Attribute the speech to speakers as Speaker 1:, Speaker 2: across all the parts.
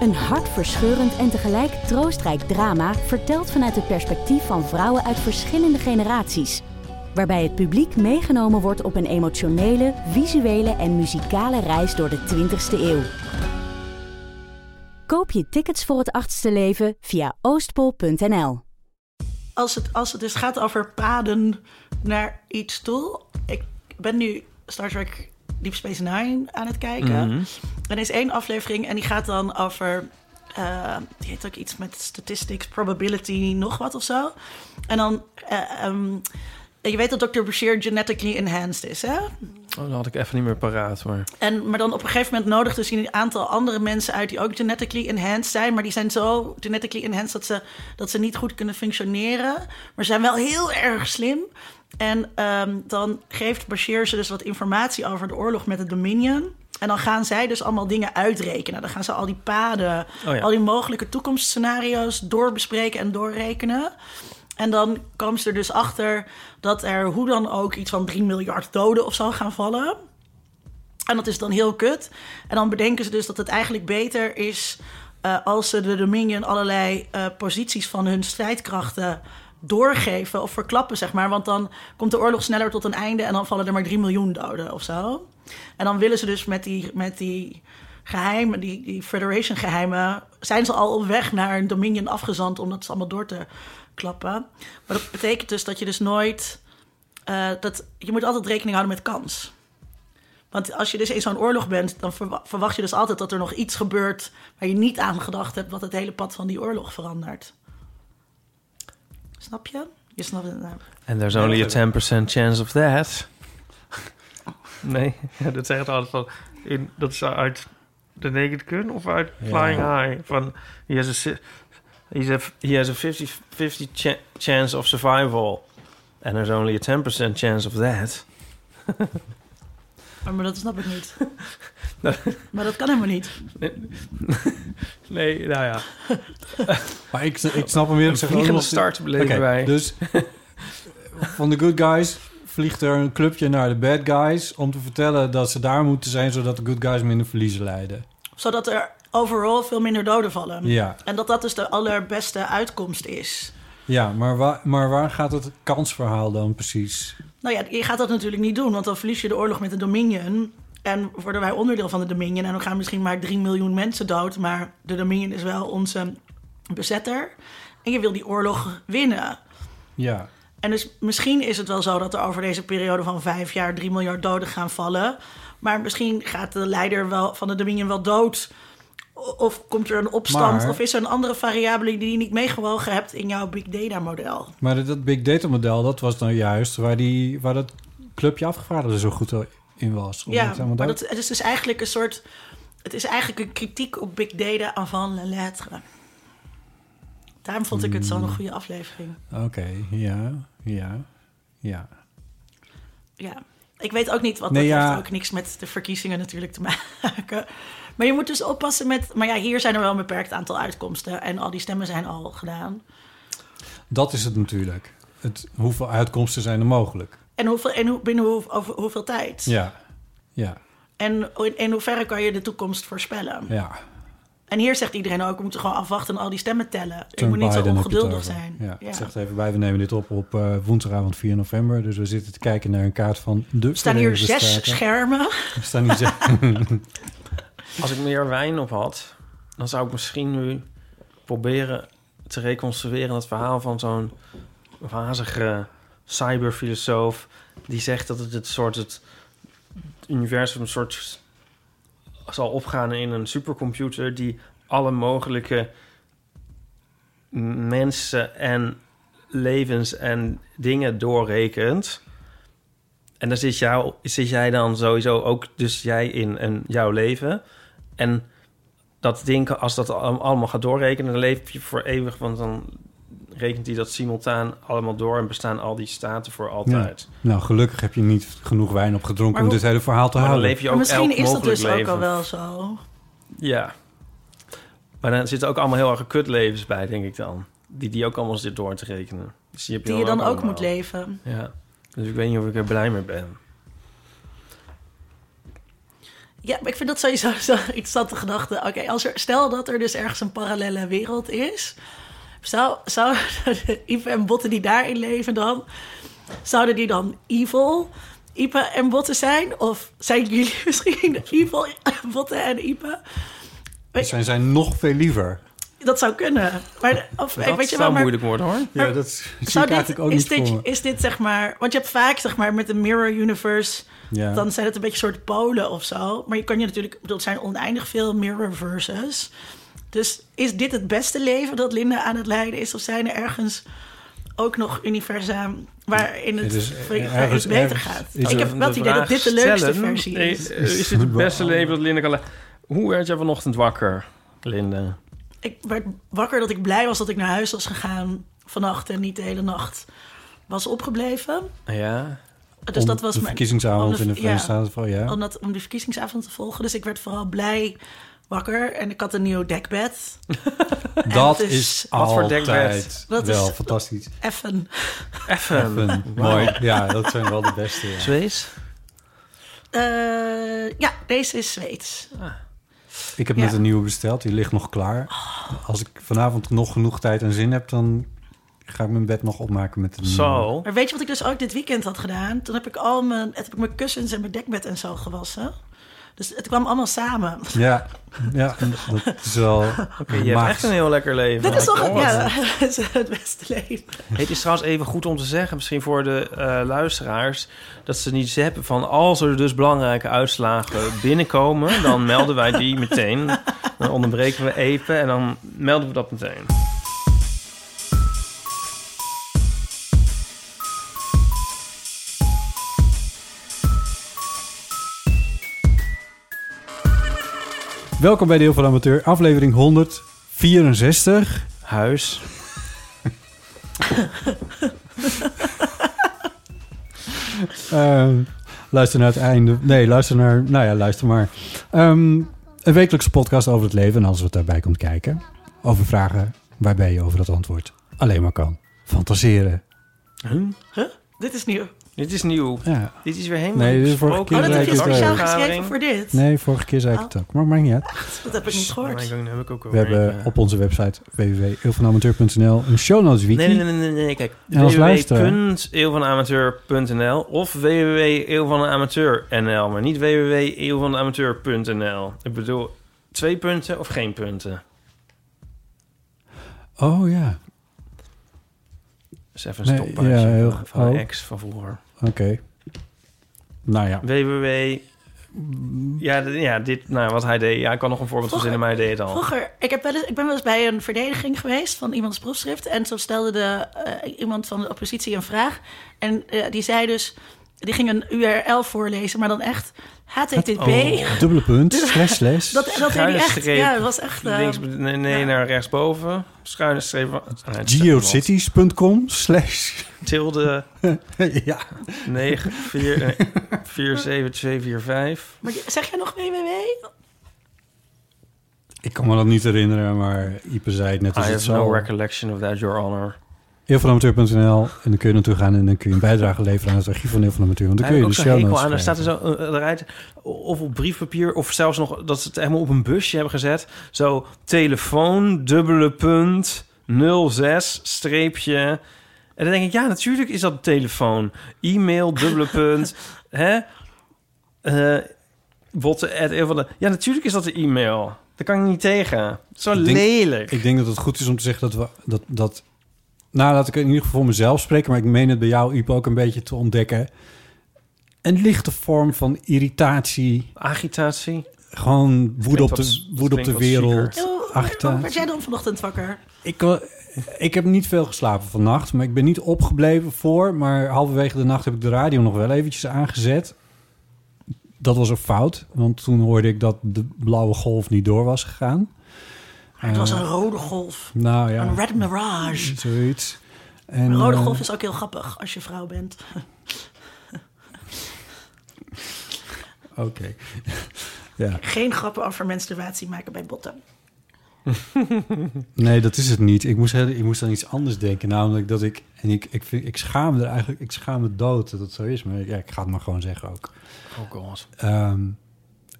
Speaker 1: Een hartverscheurend en tegelijk troostrijk drama... verteld vanuit het perspectief van vrouwen uit verschillende generaties waarbij het publiek meegenomen wordt op een emotionele, visuele en muzikale reis door de 20ste eeuw. Koop je tickets voor het achtste leven via oostpol.nl.
Speaker 2: Als het, als het dus gaat over paden naar iets toe. Ik ben nu Star Trek Deep Space Nine aan het kijken. En er is één aflevering en die gaat dan over. eh, die heet ook iets met statistics, probability, nog wat of zo. En dan. eh, ehm, je weet dat Dr. Bashir genetically enhanced is, hè?
Speaker 3: Oh, dat had ik even niet meer paraat, maar...
Speaker 2: En, maar dan op een gegeven moment nodigt dus een aantal andere mensen uit die ook genetically enhanced zijn. Maar die zijn zo genetically enhanced dat ze, dat ze niet goed kunnen functioneren. Maar zijn wel heel erg slim. En ehm, dan geeft Bashir ze dus wat informatie over de oorlog met het Dominion. En dan gaan zij dus allemaal dingen uitrekenen. Dan gaan ze al die paden,
Speaker 3: Oh ja.
Speaker 2: al die mogelijke toekomstscenario's doorbespreken en doorrekenen. En dan kwam ze er dus achter dat er hoe dan ook iets van 3 miljard doden of zo gaan vallen. En dat is dan heel kut. En dan bedenken ze dus dat het eigenlijk beter is eh, als ze de Dominion allerlei eh, posities van hun strijdkrachten doorgeven of verklappen, zeg maar. Want dan komt de oorlog sneller tot een einde en dan vallen er maar 3 miljoen doden of zo. En dan willen ze dus met die, met die geheimen, die, die Federation geheimen, zijn ze al op weg naar een Dominion afgezand om dat allemaal door te klappen. Maar dat betekent dus dat je dus nooit, eh, dat, je moet altijd rekening houden met kans. Want als je dus in zo'n oorlog bent, dan verwa- verwacht je dus altijd dat er nog iets gebeurt waar je niet aan gedacht hebt, wat het hele pad van die oorlog verandert. Snap je? Je snapt het. nou.
Speaker 3: And there's only a 10% chance of that. Nee, ja, dat zegt altijd van... In, dat is uit The Naked Gun of uit Flying High. Van, he has a, si- he's a, he has a 50, 50 cha- chance of survival. And there's only a 10% chance of that.
Speaker 2: Maar, maar dat snap ik niet. maar dat kan helemaal niet.
Speaker 3: Nee, nou ja.
Speaker 4: Maar ik, ik snap hem weer.
Speaker 3: Een vliegende start beleven wij.
Speaker 4: Dus van de good guys vliegt er een clubje naar de bad guys... om te vertellen dat ze daar moeten zijn... zodat de good guys minder verliezen leiden.
Speaker 2: Zodat er overal veel minder doden vallen.
Speaker 4: Ja.
Speaker 2: En dat dat dus de allerbeste uitkomst is.
Speaker 4: Ja, maar, wa maar waar gaat het kansverhaal dan precies?
Speaker 2: Nou ja, je gaat dat natuurlijk niet doen, want dan verlies je de oorlog met de Dominion. En worden wij onderdeel van de Dominion. En dan gaan misschien maar 3 miljoen mensen dood. Maar de Dominion is wel onze bezetter. En je wil die oorlog winnen.
Speaker 4: Ja,
Speaker 2: En dus misschien is het wel zo dat er over deze periode van vijf jaar 3 miljard doden gaan vallen. Maar misschien gaat de leider wel, van de Dominion wel dood. O- Of komt er een opstand?
Speaker 4: Maar-
Speaker 2: Of is er een andere variabele die je niet meegewogen hebt in jouw big data model?
Speaker 4: maar dat- dat big data model... dat was nou juist waar, die, waar dat clubje afgevaardigden zo goed in was. Omdat het
Speaker 2: Ja,
Speaker 4: helemaal
Speaker 2: maar
Speaker 4: duidelijk-
Speaker 2: dat, het is dus eigenlijk een soort. Het is eigenlijk een kritiek op big data avant la lettre. Daarom vond ik het zo'n
Speaker 4: Hmm.
Speaker 2: goede aflevering.
Speaker 4: Oké, ja, ja, ja.
Speaker 2: Ja. Ik weet ook niet, want
Speaker 4: Nee,
Speaker 2: dat
Speaker 4: ja.
Speaker 2: heeft ook niks met de verkiezingen natuurlijk te maken. Maar je moet dus oppassen met... Maar ja, hier zijn er wel een beperkt aantal uitkomsten. En al die stemmen zijn al gedaan.
Speaker 4: Dat is het natuurlijk. Het, hoeveel uitkomsten zijn er mogelijk?
Speaker 2: En, hoeveel, en hoe, binnen hoe, over hoeveel tijd?
Speaker 4: Ja, ja,
Speaker 2: En in, in hoeverre kan je de toekomst voorspellen?
Speaker 4: ja.
Speaker 2: En hier zegt iedereen ook, we moeten gewoon afwachten en al die stemmen tellen. Ik
Speaker 4: Trump
Speaker 2: moet niet zo
Speaker 4: Biden heb je het
Speaker 2: ongeduldig
Speaker 4: over.
Speaker 2: zijn.
Speaker 4: Ja,
Speaker 2: Ja.
Speaker 4: Ik zeg het even bij, we nemen dit op op eh, woensdagavond 4 november. Dus we zitten te kijken naar een kaart van de
Speaker 2: Er staan hier
Speaker 4: Verenigde
Speaker 2: zes
Speaker 4: Staten.
Speaker 2: schermen.
Speaker 4: Er staan hier zes...
Speaker 3: Als ik meer wijn op had, dan zou ik misschien nu proberen te reconstrueren het verhaal van zo'n wazige cyberfilosoof die zegt dat het, het soort het universum een soort zal opgaan in een supercomputer die alle mogelijke m- mensen en levens en dingen doorrekent. En daar zit, jou, zit jij dan sowieso ook, dus jij in, en jouw leven. En dat ding, als dat al- allemaal gaat doorrekenen, dan leef je voor eeuwig. Want dan rekent hij dat simultaan allemaal door en bestaan al die staten voor altijd.
Speaker 4: Nou, gelukkig heb je niet genoeg wijn opgedronken
Speaker 2: Maar
Speaker 4: om
Speaker 2: hoe-
Speaker 4: dit hele verhaal te
Speaker 3: Maar dan
Speaker 4: houden.
Speaker 3: leef je ook
Speaker 2: Maar misschien
Speaker 3: elk
Speaker 2: is dat
Speaker 3: mogelijk
Speaker 2: dus ook
Speaker 3: leven.
Speaker 2: al wel zo.
Speaker 3: Ja. Maar dan zitten ook allemaal heel erg kutlevens bij, denk ik dan. Die, die ook allemaal zitten door te rekenen. Dus die, heb
Speaker 2: Die je dan ook moet
Speaker 3: allemaal.
Speaker 2: leven.
Speaker 3: Ja. Dus ik weet niet of ik er blij mee ben.
Speaker 2: Ja, maar ik vind dat sowieso zo interessante gedachte. Oké, als er, stel dat er dus ergens een parallele wereld is. Zou, zou Ipe en Botten die daarin leven dan... Zouden die dan evil Ipe en Botten zijn? Of zijn jullie misschien evil Botten en Ipe?
Speaker 4: Dan zijn zij nog veel liever.
Speaker 2: Dat zou kunnen. Maar, of,
Speaker 3: dat
Speaker 2: weet je wel,
Speaker 3: zou
Speaker 2: maar
Speaker 3: moeilijk worden, hoor.
Speaker 4: Ja, dat zie ik
Speaker 2: Zou
Speaker 4: eigenlijk ook
Speaker 2: is,
Speaker 4: niet
Speaker 2: dit,
Speaker 4: voor me.
Speaker 2: is dit zeg maar... Want je hebt vaak zeg maar met de Mirror Universe...
Speaker 4: Ja.
Speaker 2: dan zijn het een beetje soort polen of zo. Maar je kan je natuurlijk... Ik bedoel, het zijn oneindig veel Mirrorverses. Dus is dit het beste leven dat Linda aan het leiden is? Of zijn er ergens ook nog universa waarin het,
Speaker 4: Het is
Speaker 2: waarin het
Speaker 4: ergens-
Speaker 2: beter
Speaker 4: ergens
Speaker 2: gaat?
Speaker 4: is
Speaker 2: Ik
Speaker 4: er
Speaker 2: heb wel het idee dat dit de leukste versie is.
Speaker 3: eh, Is dit het beste leven dat Linda kan le- Hoe werd jij vanochtend wakker, Linda?
Speaker 2: Ik werd wakker dat ik blij was dat ik naar huis was gegaan vannacht... en niet de hele nacht was opgebleven.
Speaker 3: Ja.
Speaker 2: Dus dat was
Speaker 4: de
Speaker 2: mijn...
Speaker 4: verkiezingsavond
Speaker 2: om de-
Speaker 4: in de
Speaker 2: ja.
Speaker 4: Verenigde Staten. van, Ja.
Speaker 2: om, dat, om die verkiezingsavond te volgen. Dus ik werd vooral blij wakker. En ik had een nieuw dekbed.
Speaker 4: Dat
Speaker 2: het is-
Speaker 4: is
Speaker 3: Wat voor
Speaker 4: altijd
Speaker 3: dekbed?
Speaker 2: Dat
Speaker 4: wel
Speaker 2: is-
Speaker 4: fantastisch.
Speaker 2: Effen.
Speaker 3: Even.
Speaker 4: Fun. Mooi. Ja, dat zijn wel de beste. ja.
Speaker 3: Zwees?
Speaker 2: Eh, ja, deze is Zweeds.
Speaker 4: Ik heb
Speaker 2: Ja.
Speaker 4: net een nieuwe besteld. Die ligt nog klaar.
Speaker 3: Oh.
Speaker 4: Als ik vanavond nog genoeg tijd en zin heb, dan ga ik mijn bed nog opmaken met de nieuwe.
Speaker 3: Zo.
Speaker 2: Maar weet je wat ik dus ook dit weekend had gedaan? Toen heb ik al mijn, heb ik mijn kussens en mijn dekbed en zo gewassen. Dus het kwam allemaal samen.
Speaker 4: Ja, ja dat is wel
Speaker 3: Je hebt echt
Speaker 4: magisch.
Speaker 3: een heel lekker leven. Oh
Speaker 2: Dit is
Speaker 3: Ik
Speaker 2: toch
Speaker 3: hoor het.
Speaker 2: ja, het is het beste leven.
Speaker 3: Het is trouwens even goed om te zeggen, misschien voor de eh, luisteraars, dat ze niet zeppen van als er dus belangrijke uitslagen binnenkomen, dan melden wij die meteen. Dan onderbreken we even en dan melden we dat meteen.
Speaker 4: Welkom bij Deel van de Amateur, aflevering 164.
Speaker 3: Huis.
Speaker 4: Ehm, luister naar het einde. Nee, luister naar... Nou ja, luister maar. Ehm, een wekelijkse podcast over het leven en alles wat daarbij komt kijken. Over vragen waarbij je over het antwoord alleen maar kan. Fantaseren.
Speaker 2: Dit is nieuw.
Speaker 3: Dit is nieuw.
Speaker 4: Ja.
Speaker 3: Dit is weer helemaal
Speaker 4: Nee, dit is vorige
Speaker 3: besproken.
Speaker 2: Oh, dat
Speaker 4: keer
Speaker 2: heb je
Speaker 4: Lijkt het
Speaker 2: speciaal
Speaker 4: wel.
Speaker 2: geschreven voor dit?
Speaker 4: Nee, vorige keer zei ik het ook. Maar maakt niet uit.
Speaker 2: Dat heb ik niet gehoord.
Speaker 3: Oh my god, dat heb ik ook
Speaker 4: We
Speaker 3: alweer,
Speaker 4: hebben
Speaker 3: eh.
Speaker 4: op onze website www.eelvanamateur.nl een show notes wiki.
Speaker 3: Nee, nee, nee, nee, nee, nee, kijk.
Speaker 4: En als luisteraar.
Speaker 3: www.eeuwvanamateur.nl of www.eeuwvanamateur.nl, maar niet www.eeuwvanamateur.nl. Ik bedoel, twee punten of geen punten?
Speaker 4: Oh ja,
Speaker 3: Dat is even
Speaker 4: Nee,
Speaker 3: een stoppaartje
Speaker 4: ja, heel
Speaker 3: van-
Speaker 4: goed.
Speaker 3: van mijn
Speaker 4: Oh.
Speaker 3: ex van vroeger.
Speaker 4: oké. Nou ja.
Speaker 3: www... Ja, d- ja, dit, nou, wat hij deed. Ja, ik kan nog een voorbeeld
Speaker 2: Vroeger-
Speaker 3: verzinnen, maar hij deed het al.
Speaker 2: Vroeger, ik, heb wel eens, ik ben wel eens bij een verdediging geweest van iemands proefschrift. En zo stelde de, eh, iemand van de oppositie een vraag. En eh, die zei dus, die ging een URL voorlezen, maar dan echt HTTP.
Speaker 4: Dubbele punt, slash, slash.
Speaker 2: Dat, dat deed hij echt.
Speaker 3: Schuine
Speaker 2: Ja,
Speaker 3: streep.
Speaker 2: dat was echt. eh,
Speaker 3: Dus Links, nee, nee,
Speaker 2: ja.
Speaker 3: naar rechtsboven. Schuine streep. van- Ah, het is
Speaker 4: Geocities.com, slash.
Speaker 3: Tilde eh,
Speaker 4: ja.
Speaker 3: 9, 4, 4, 7, 2, 4, 5.
Speaker 2: maar die- zeg jij nog www?
Speaker 4: Ik kan me dat niet herinneren, maar Ipe zei het net
Speaker 3: I
Speaker 4: als het
Speaker 3: have Ah, no
Speaker 4: zo.
Speaker 3: recollection of that, your honor.
Speaker 4: Eelvanamateur.nl en dan kun je naartoe gaan en dan kun je een bijdrage leveren aan het archief van Heel van Amateur. Want dan
Speaker 3: Daar
Speaker 4: kun
Speaker 3: heb
Speaker 4: je
Speaker 3: ik ook
Speaker 4: de
Speaker 3: zo'n
Speaker 4: show
Speaker 3: hekel
Speaker 4: notes
Speaker 3: aan. Daar staat er
Speaker 4: krijgen.
Speaker 3: zo een een rij, of op briefpapier, of zelfs nog dat ze het helemaal op een busje hebben gezet. Zo, telefoon, dubbele punt, 06, streepje. En dan denk ik, ja, natuurlijk is dat telefoon. E-mail, dubbele punt, hè? Eh botten, at, heel veel de- ja, natuurlijk is dat de e-mail. Daar kan ik niet tegen. Zo
Speaker 4: Ik denk-
Speaker 3: lelijk.
Speaker 4: Ik denk dat het goed is om te zeggen dat we... Dat, dat, nou, laat ik in ieder geval voor mezelf spreken, maar ik meen het bij jou, Ipe, ook een beetje te ontdekken. Een lichte vorm van irritatie...
Speaker 3: Agitatie.
Speaker 4: Gewoon woede op
Speaker 3: wat-
Speaker 4: de, woede op
Speaker 3: klinkt
Speaker 4: de
Speaker 3: wat
Speaker 4: wereld.
Speaker 2: Hoe- Hoe werd
Speaker 4: Agitatie.
Speaker 2: jij dan vanochtend wakker?
Speaker 4: Ik, wa- ik heb niet veel geslapen vannacht, maar ik ben niet opgebleven voor. Maar halverwege de nacht heb ik de radio nog wel eventjes aangezet. dat was een fout, want toen hoorde ik dat de blauwe golf niet door was gegaan.
Speaker 2: Maar het was een rode golf.
Speaker 4: Nou Eh. ja,
Speaker 2: Een red mirage.
Speaker 4: zoiets. En,
Speaker 2: Een rode
Speaker 4: eh,
Speaker 2: golf is ook heel grappig als je vrouw bent.
Speaker 4: Oké. ja.
Speaker 2: Geen grappen over menstruatie maken bij botten.
Speaker 4: Nee, dat is het niet. Ik moest, heel- ik moest aan iets anders denken. Namelijk dat ik. En ik, ik, vind, ik schaam me er eigenlijk. Ik schaam me dood dat het zo is. Maar ja, ik ga het maar gewoon zeggen ook.
Speaker 3: Oh god.
Speaker 4: Ehm,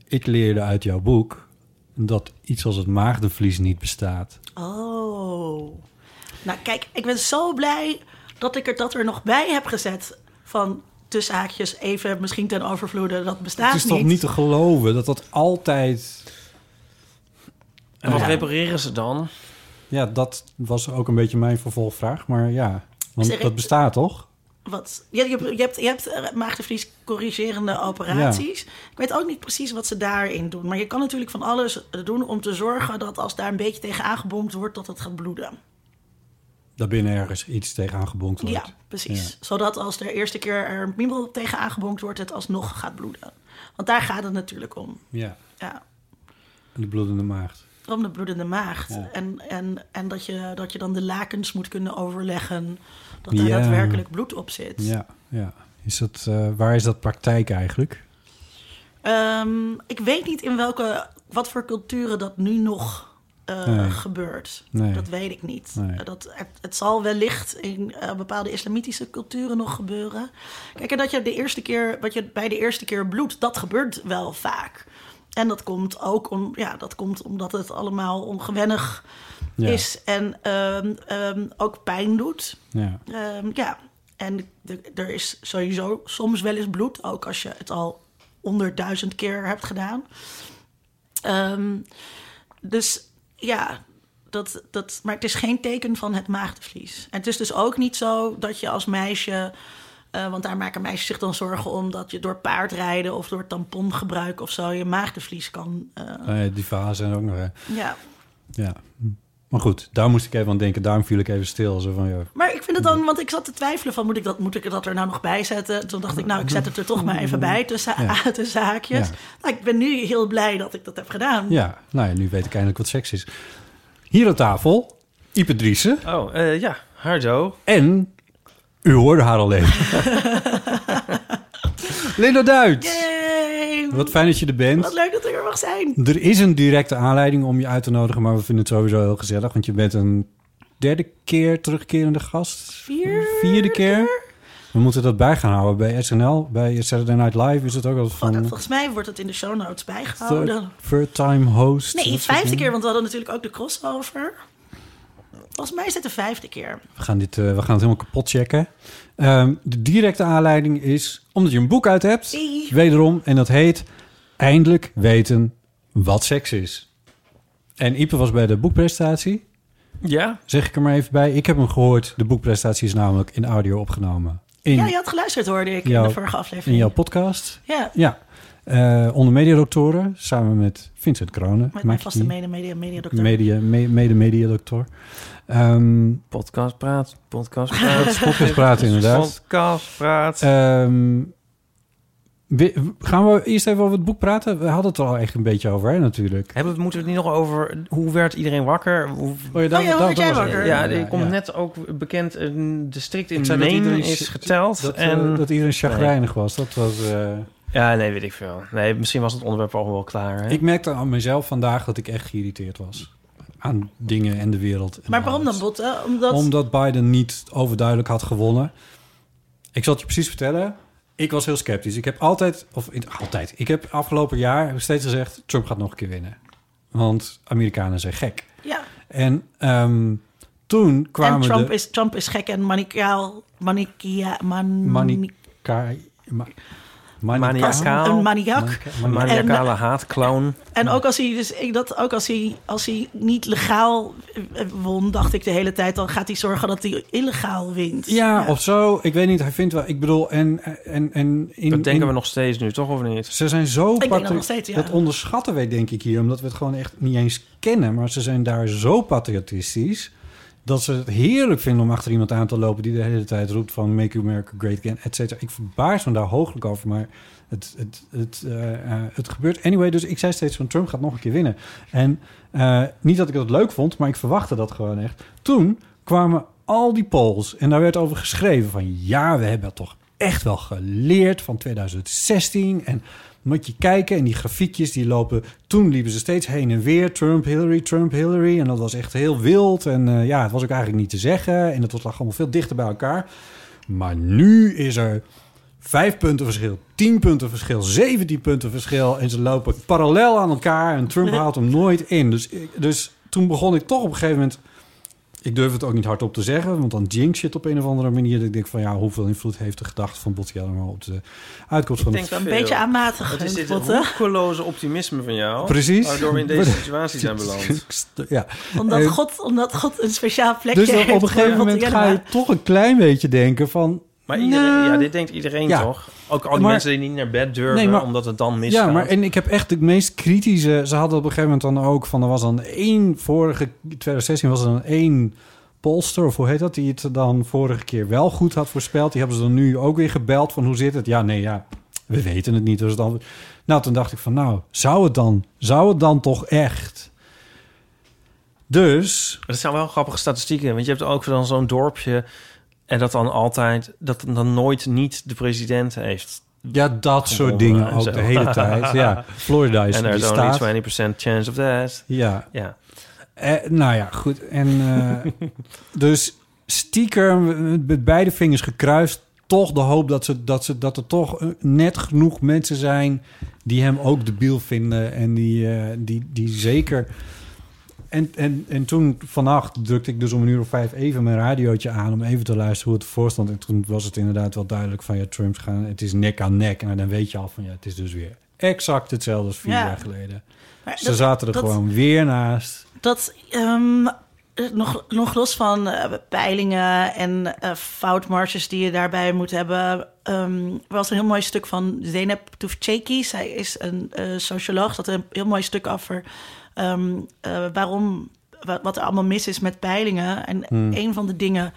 Speaker 4: ik leerde uit jouw boek dat iets als het maagdenvlies niet bestaat.
Speaker 2: Oh. Nou, kijk, ik ben zo blij dat ik er dat er nog bij heb gezet. Van tussen haakjes even misschien ten overvloede. Dat bestaat
Speaker 4: het is toch niet te geloven dat dat altijd.
Speaker 3: En wat
Speaker 2: Ja.
Speaker 3: repareren ze dan?
Speaker 4: Ja, dat was ook een beetje mijn vervolgvraag. Maar ja,
Speaker 2: Zeg
Speaker 4: want
Speaker 2: ik-
Speaker 4: dat bestaat toch?
Speaker 2: Wat? Je, je, je hebt, je hebt eh, maagdenvlies corrigerende operaties. Ik weet ook niet precies wat ze daarin doen. Maar je kan natuurlijk van alles eh, doen om te zorgen dat als daar een beetje tegen aangebomd wordt, dat het gaat bloeden.
Speaker 4: Daarbinnen ergens iets tegenaan gebonkt wordt.
Speaker 2: Ja, precies. Zodat als de eerste keer er een piemel tegen aangebonkt wordt, het alsnog gaat bloeden. Want daar gaat het natuurlijk om.
Speaker 4: Ja,
Speaker 2: Ja.
Speaker 4: en de bloedende maagd.
Speaker 2: Om de bloedende maagd.
Speaker 4: Ja.
Speaker 2: En, en, en dat, je, dat je dan de lakens moet kunnen overleggen. Dat daar
Speaker 4: Ja.
Speaker 2: daadwerkelijk bloed op zit.
Speaker 4: Ja, ja. Is dat, eh, waar is dat praktijk eigenlijk?
Speaker 2: Ehm, ik weet niet in welke, wat voor culturen dat nu nog eh,
Speaker 4: Nee.
Speaker 2: gebeurt.
Speaker 4: Nee.
Speaker 2: Dat weet ik niet.
Speaker 4: Nee.
Speaker 2: Eh, Dat, het, het zal wellicht in eh, bepaalde islamitische culturen nog gebeuren. Kijk, en dat je de eerste keer, wat je bij de eerste keer bloedt, dat gebeurt wel vaak. En dat komt ook om, ja, dat komt omdat het allemaal ongewennig
Speaker 4: Ja.
Speaker 2: is en ehm, ehm, ook pijn doet.
Speaker 4: Ja.
Speaker 2: Ehm, ja, en de- er is sowieso soms wel eens bloed, ook als je het al honderdduizend keer hebt gedaan. Ehm, dus ja, dat, dat, maar het is geen teken van het maagdevlies. En het is dus ook niet zo dat je als meisje, eh, want daar maken meisjes zich dan zorgen om, dat je door paardrijden of door tampongebruik of zo je maagdevlies kan. eh,
Speaker 4: Ah ja, die fase en ook nog. hè.
Speaker 2: ja.
Speaker 4: Ja. Maar goed, daar moest ik even aan denken. Daarom viel ik even stil. Zo van, ja.
Speaker 2: Maar ik vind het dan, want ik zat te twijfelen van moet ik dat, moet ik dat er nou nog bij zetten? Toen dacht ik, nou, ik zet het er toch maar even bij tussen,
Speaker 4: Mm. Ja.
Speaker 2: tussen haakjes.
Speaker 4: Ja.
Speaker 2: Nou, ik ben nu heel blij dat ik dat heb gedaan.
Speaker 4: ja, nou ja, nu weet ik eindelijk wat seks is. Hier aan tafel, Ipe Driessen.
Speaker 3: Oh, eh, ja. Hardo.
Speaker 4: En u hoorde haar al even. Linda Duit.
Speaker 2: Yay!
Speaker 4: Wat fijn dat je er bent.
Speaker 2: Wat leuk dat ik er mag zijn.
Speaker 4: Er is een directe aanleiding om je uit te nodigen, maar we vinden het sowieso heel gezellig. Want je bent een derde keer terugkerende gast.
Speaker 2: Vierde
Speaker 4: Vierde keer. We moeten dat bij gaan houden. Bij SNL, bij Saturday Night Live is het ook altijd
Speaker 2: Oh, dat-
Speaker 4: van...
Speaker 2: volgens mij wordt het in de show notes bijgehouden.
Speaker 4: Third, third time host. dat
Speaker 2: Nee,
Speaker 4: soort
Speaker 2: vijfde
Speaker 4: dingen.
Speaker 2: keer, want we hadden natuurlijk ook de crossover. Volgens mij is het de vijfde keer.
Speaker 4: We gaan, dit, eh, we gaan het helemaal kapot checken. Ehm, de directe aanleiding is omdat je een boek uit hebt.
Speaker 2: Hey.
Speaker 4: Wederom. En dat heet Eindelijk weten wat seks is. En Ipe was bij de boekpresentatie.
Speaker 3: Ja?
Speaker 4: Zeg ik er maar even bij. Ik heb hem gehoord. De boekpresentatie is namelijk in audio opgenomen. In,
Speaker 2: Ja, je had geluisterd, hoorde ik in
Speaker 4: Jouw-
Speaker 2: de vorige
Speaker 4: in
Speaker 2: aflevering.
Speaker 4: jouw podcast.
Speaker 2: Ja,
Speaker 4: Ja. Eh, onder mediadoctoren. Samen met Vincent Kronen.
Speaker 2: met
Speaker 4: Maak
Speaker 2: mijn
Speaker 4: je
Speaker 2: vaste
Speaker 4: die?
Speaker 2: mede media, media doctor.
Speaker 4: media, me- mede-mediadoctor. Ehm,
Speaker 3: Podcast praat. Podcast praat.
Speaker 4: Podcast praat, inderdaad.
Speaker 3: Dus Podcast praat.
Speaker 4: Ehm, we- gaan we eerst even over het boek praten? We hadden het er al echt een beetje over, hè, natuurlijk.
Speaker 3: Hebben we, moeten we het niet nog over hoe werd iedereen wakker? Hoe,
Speaker 4: ja,
Speaker 2: daar- Oh ja, hoe daar- werd daar jij was het. wakker?
Speaker 3: ja,
Speaker 4: die
Speaker 3: er komt net ook bekend een district in
Speaker 4: Ik zei dat
Speaker 3: Maine
Speaker 4: iedereen
Speaker 3: is
Speaker 4: sch-
Speaker 3: geteld.
Speaker 4: Dat,
Speaker 3: en,
Speaker 4: en... dat iedereen chagrijnig was. Dat was eh,
Speaker 3: ja, nee, weet ik veel. Nee, misschien was het onderwerp al wel klaar. Hè?
Speaker 4: Ik merkte aan mezelf vandaag dat ik echt geïrriteerd was. Aan dingen en de wereld. en
Speaker 2: Maar waarom dan,
Speaker 4: alles.
Speaker 2: Botte? Omdat...
Speaker 4: Omdat Biden niet overduidelijk had gewonnen. Ik zal het je precies vertellen. Ik was heel sceptisch. Ik heb altijd, of in- altijd, ik heb afgelopen jaar heb ik steeds gezegd... Trump gaat nog een keer winnen. Want Amerikanen zijn gek.
Speaker 2: Ja.
Speaker 4: En ehm, toen kwamen
Speaker 2: En Trump,
Speaker 4: de...
Speaker 2: is, Trump is gek en manicaal. Manikia, man,
Speaker 4: Manika, ma, manika-
Speaker 3: Maniaka. Maniacaal.
Speaker 2: Een maniak.
Speaker 4: manika-
Speaker 3: Een
Speaker 4: manika-
Speaker 3: maniacale haatclown.
Speaker 2: En ook als hij, dus, ik, dat, ook als hij, als hij niet legaal eh, won, dacht ik de hele tijd, dan gaat hij zorgen dat hij illegaal wint.
Speaker 4: Ja, of zo. Ik weet niet. Hij vindt wel... Ik bedoel, en... en, en in,
Speaker 3: Dat denken
Speaker 4: in-
Speaker 3: we nog steeds nu, toch of niet?
Speaker 4: Ze zijn zo
Speaker 2: denk dat
Speaker 4: patri-
Speaker 2: nog steeds, ja.
Speaker 4: Dat onderschatten wij denk ik hier, omdat we het gewoon echt niet eens kennen. Maar ze zijn daar zo patriotistisch dat ze het heerlijk vinden om achter iemand aan te lopen die de hele tijd roept van Make America Great Again, et cetera. Ik verbaas me daar hooglijk over, maar Het, het, het, eh, eh, het gebeurt. Anyway, dus ik zei steeds van Trump gaat nog een keer winnen. En eh, niet dat ik dat leuk vond, maar ik verwachtte dat gewoon echt. Toen kwamen al die polls en daar werd over geschreven van... ja, we hebben toch echt wel geleerd van 2016 en... Moet je kijken en die grafiekjes die lopen. Toen liepen ze steeds heen en weer. Trump, Hillary, Trump, Hillary. En dat was echt heel wild. En eh, ja, het was ook eigenlijk niet te zeggen. En het was lag allemaal veel dichter bij elkaar. Maar nu is er vijf punten verschil, tien punten verschil, zeventien punten verschil. En ze lopen parallel aan elkaar en Trump haalt hem nooit in. Dus, ik- dus toen begon ik toch op een gegeven moment... Ik durf het ook niet hardop te zeggen, want dan jinx je het op een of andere manier. Dat ik denk van ja, hoeveel invloed heeft de gedachte van Botti allemaal op de uitkomst van de
Speaker 3: denk
Speaker 2: Een
Speaker 3: veel.
Speaker 2: beetje aanmatig.
Speaker 3: Het is dit
Speaker 2: Botte.
Speaker 3: roekeloze optimisme van jou.
Speaker 4: Precies.
Speaker 3: Waardoor we in deze situatie zijn beland.
Speaker 4: Ja.
Speaker 2: Omdat,
Speaker 4: Eh,
Speaker 2: God, omdat God een speciaal plekje
Speaker 4: Dus dan
Speaker 2: heeft.
Speaker 4: op een gegeven
Speaker 2: voor
Speaker 4: moment
Speaker 2: Botte
Speaker 4: ga je
Speaker 2: Jellema.
Speaker 4: toch een klein beetje denken van...
Speaker 3: Maar iedereen,
Speaker 4: nou,
Speaker 3: ja, dit denkt iedereen
Speaker 4: Ja.
Speaker 3: toch? Ook al die
Speaker 4: Maar-
Speaker 3: mensen die niet naar bed durven,
Speaker 4: Nee, maar-
Speaker 3: omdat het dan misgaat.
Speaker 4: Ja, maar en ik heb echt de meest kritische. Ze hadden op een gegeven moment dan ook van er was dan één vorige 2016 was er dan één polster of hoe heet dat die het dan vorige keer wel goed had voorspeld. Die hebben ze dan nu ook weer gebeld van hoe zit het? Ja, nee, ja, we weten het niet. Dus dan, nou, toen dacht ik van nou zou het dan, zou het dan toch echt? Dus
Speaker 3: Dat zijn wel grappige statistieken. Want je hebt ook dan zo'n dorpje... en dat dan altijd... dat dan nooit niet de president heeft.
Speaker 4: ja, dat soort
Speaker 3: Gewonnen
Speaker 4: dingen
Speaker 3: en
Speaker 4: ook
Speaker 3: zo.
Speaker 4: de hele tijd. Ja, Florida is
Speaker 3: en er
Speaker 4: die
Speaker 3: is only
Speaker 4: staat.
Speaker 3: 20% chance of that.
Speaker 4: Ja,
Speaker 3: Ja.
Speaker 4: Eh, nou ja, goed. En, eh, dus stiekem met- met beide vingers gekruist. Toch de hoop dat, ze, dat, ze, dat er toch eh, net genoeg mensen zijn die hem ook debiel vinden. En die, eh, die, die zeker. En, en, en toen vannacht drukte ik dus om een uur of vijf even mijn radiootje aan om even te luisteren hoe het ervoor stond. En toen was het inderdaad wel duidelijk van ja, Trump gaan. Het is nek aan nek. En dan weet je al van ja, het is dus weer exact hetzelfde als vier
Speaker 2: Ja.
Speaker 4: jaar geleden.
Speaker 2: Maar
Speaker 4: Ze
Speaker 2: dat-
Speaker 4: zaten er
Speaker 2: dat-
Speaker 4: gewoon weer naast.
Speaker 2: Dat ehm, eh, nog, nog los van eh, peilingen en eh, foutmarges die je daarbij moet hebben. ehm, er was een heel mooi stuk van Zeynep Tufcheki. Zij is een eh, socioloog. Dat een heel mooi stuk over ehm, eh, waarom, wa- wat er allemaal mis is met peilingen. En een van de dingen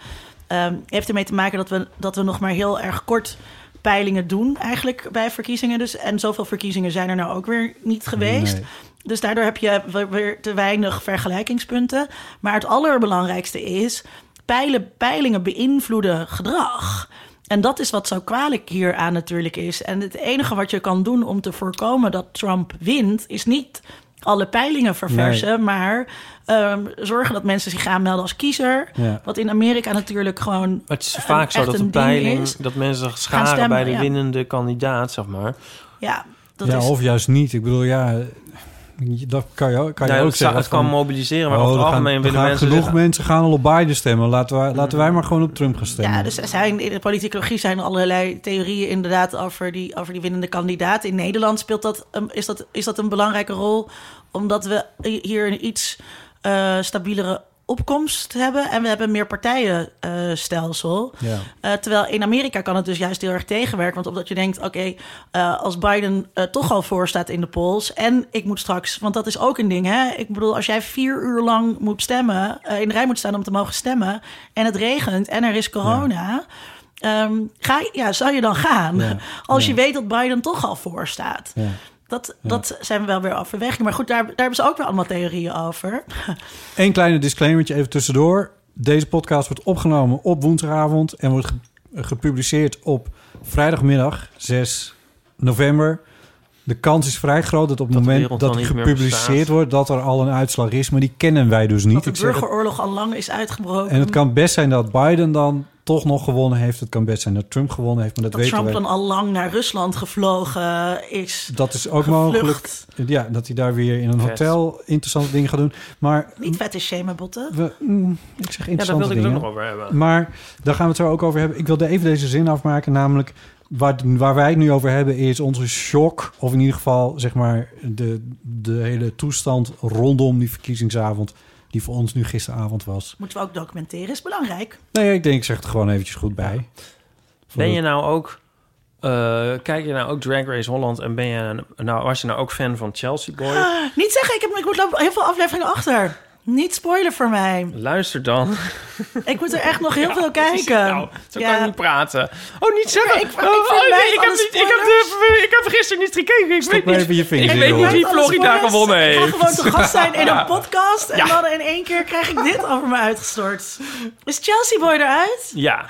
Speaker 2: ehm, heeft ermee te maken dat we, dat we nog maar heel erg kort peilingen doen eigenlijk bij verkiezingen. Dus, en zoveel verkiezingen zijn er nou ook weer niet geweest.
Speaker 4: Nee.
Speaker 2: Dus daardoor heb je we- weer te weinig vergelijkingspunten. Maar het allerbelangrijkste is, peilen, peilingen beïnvloeden gedrag. En dat is wat zo kwalijk hieraan natuurlijk is. En het enige wat je kan doen om te voorkomen dat Trump wint, is niet alle peilingen verversen, maar ehm, zorgen dat mensen zich aanmelden als kiezer.
Speaker 4: Ja.
Speaker 2: Wat in Amerika natuurlijk gewoon.
Speaker 3: Maar het is
Speaker 2: Een-
Speaker 3: vaak zo
Speaker 2: echt
Speaker 3: dat
Speaker 2: een
Speaker 3: de
Speaker 2: ding
Speaker 3: peiling...
Speaker 2: is.
Speaker 3: dat mensen zich scharen
Speaker 2: stemmen,
Speaker 3: bij de
Speaker 2: ja.
Speaker 3: winnende kandidaat, zeg maar.
Speaker 2: Ja, dat
Speaker 4: ja,
Speaker 2: is.
Speaker 4: of juist niet. Ik bedoel, ja, je- dat kan je, ook- kan je
Speaker 3: Nou,
Speaker 4: ook
Speaker 3: het, zou-
Speaker 4: zeggen.
Speaker 3: het kan
Speaker 4: van,
Speaker 3: mobiliseren, maar
Speaker 4: oh,
Speaker 3: over
Speaker 4: er
Speaker 3: het
Speaker 4: gaan-
Speaker 3: algemeen
Speaker 4: er
Speaker 3: willen
Speaker 4: gaan
Speaker 3: mensen... Mm.
Speaker 4: genoeg
Speaker 3: zich-
Speaker 4: mensen gaan al op Biden stemmen. Laten wij, laten wij maar gewoon op Trump gaan stemmen.
Speaker 2: Ja, dus er zijn, in de politicologie zijn allerlei theorieën inderdaad over die, over die winnende kandidaat. In Nederland speelt dat, ehm, is, dat, is dat een belangrijke rol, omdat we hier een iets eh, stabielere opkomst hebben en we hebben meer partijenstelsel.
Speaker 4: Ja.
Speaker 2: Eh, terwijl in Amerika kan het dus juist heel erg tegenwerken. Want omdat je denkt, oké, eh, als Biden eh, toch al voor staat in de polls... en ik moet straks, want dat is ook een ding, hè? Ik bedoel, als jij vier uur lang moet stemmen... eh, in de rij moet staan om te mogen stemmen... en het regent en er is corona... ehm, ga, je- ja, zou je dan gaan?
Speaker 4: Ja,
Speaker 2: Als je
Speaker 4: ja.
Speaker 2: weet dat Biden toch al voor staat.
Speaker 4: Ja.
Speaker 2: Dat, dat zijn wel weer overwegingen. Maar goed, daar, daar hebben ze ook weer allemaal theorieën over.
Speaker 4: Eén kleine disclaimertje even tussendoor. Deze podcast wordt opgenomen op woensdagavond en wordt ge- gepubliceerd op vrijdagmiddag 6 november. De kans is vrij groot dat op het
Speaker 3: Dat de
Speaker 4: moment
Speaker 3: wereld
Speaker 4: dat
Speaker 3: dan
Speaker 4: die
Speaker 3: niet meer
Speaker 4: gepubliceerd
Speaker 3: bestaat.
Speaker 4: wordt, dat er al een uitslag is. Maar die kennen wij dus niet.
Speaker 2: dat de
Speaker 4: Ik zeg het
Speaker 2: burgeroorlog al lang is uitgebroken.
Speaker 4: En het kan best zijn dat Biden dan toch nog gewonnen heeft. Het kan best zijn dat Trump gewonnen heeft, maar dat,
Speaker 2: dat
Speaker 4: weten
Speaker 2: Trump
Speaker 4: we.
Speaker 2: dan al lang naar Rusland gevlogen is.
Speaker 4: Dat is ook
Speaker 2: gevlucht.
Speaker 4: mogelijk. Ja, dat hij daar weer in een
Speaker 3: Vet.
Speaker 4: hotel interessante dingen gaat doen. Maar
Speaker 2: Niet vette shameabotten.
Speaker 4: we, mm, ik
Speaker 3: Ja, daar
Speaker 4: zeg
Speaker 3: wilde
Speaker 4: interessante
Speaker 3: ik het ook nog
Speaker 4: dingen.
Speaker 3: over hebben.
Speaker 4: Maar daar gaan we het zo ook over hebben. Ik wilde even deze zin afmaken, namelijk waar, waar wij het nu over hebben is onze shock, of in ieder geval zeg maar de, de hele toestand rondom die verkiezingsavond, die voor ons nu gisteravond was.
Speaker 2: Moeten we ook documenteren, is belangrijk.
Speaker 4: Nee, ik denk ik zeg het gewoon eventjes goed bij.
Speaker 3: Ben je nou ook... eh, kijk je nou ook Drag Race Holland en ben je nou, was je nou ook fan van Chelsea Boy?
Speaker 2: Ah, Niet zeggen, ik, heb, ik moet lopen heel veel afleveringen achter. Niet spoiler voor mij.
Speaker 3: Luister dan.
Speaker 2: Ik moet er echt nog heel veel
Speaker 3: Precies,
Speaker 2: kijken.
Speaker 3: nou, zo
Speaker 2: eh, Ja.
Speaker 3: kan ik niet praten. Oh, niet zeggen.
Speaker 2: ik- ik
Speaker 3: Oh, oh,
Speaker 2: vermijd
Speaker 3: ik,
Speaker 2: alle
Speaker 3: heb niet, ik, heb de- ik heb gisteren niet gekeken. Ik weet
Speaker 4: maar
Speaker 3: niet,
Speaker 4: even je
Speaker 3: ik
Speaker 4: vingers in
Speaker 3: weet
Speaker 4: je
Speaker 3: niet
Speaker 4: oren.
Speaker 3: wie Florida gewonnen
Speaker 2: Ik ga
Speaker 3: heeft.
Speaker 2: gewoon te gast zijn in een podcast. En
Speaker 3: Ja.
Speaker 2: dan in één keer krijg ik dit over me uitgestort. Is Chelsea Boy eruit?
Speaker 3: Ja,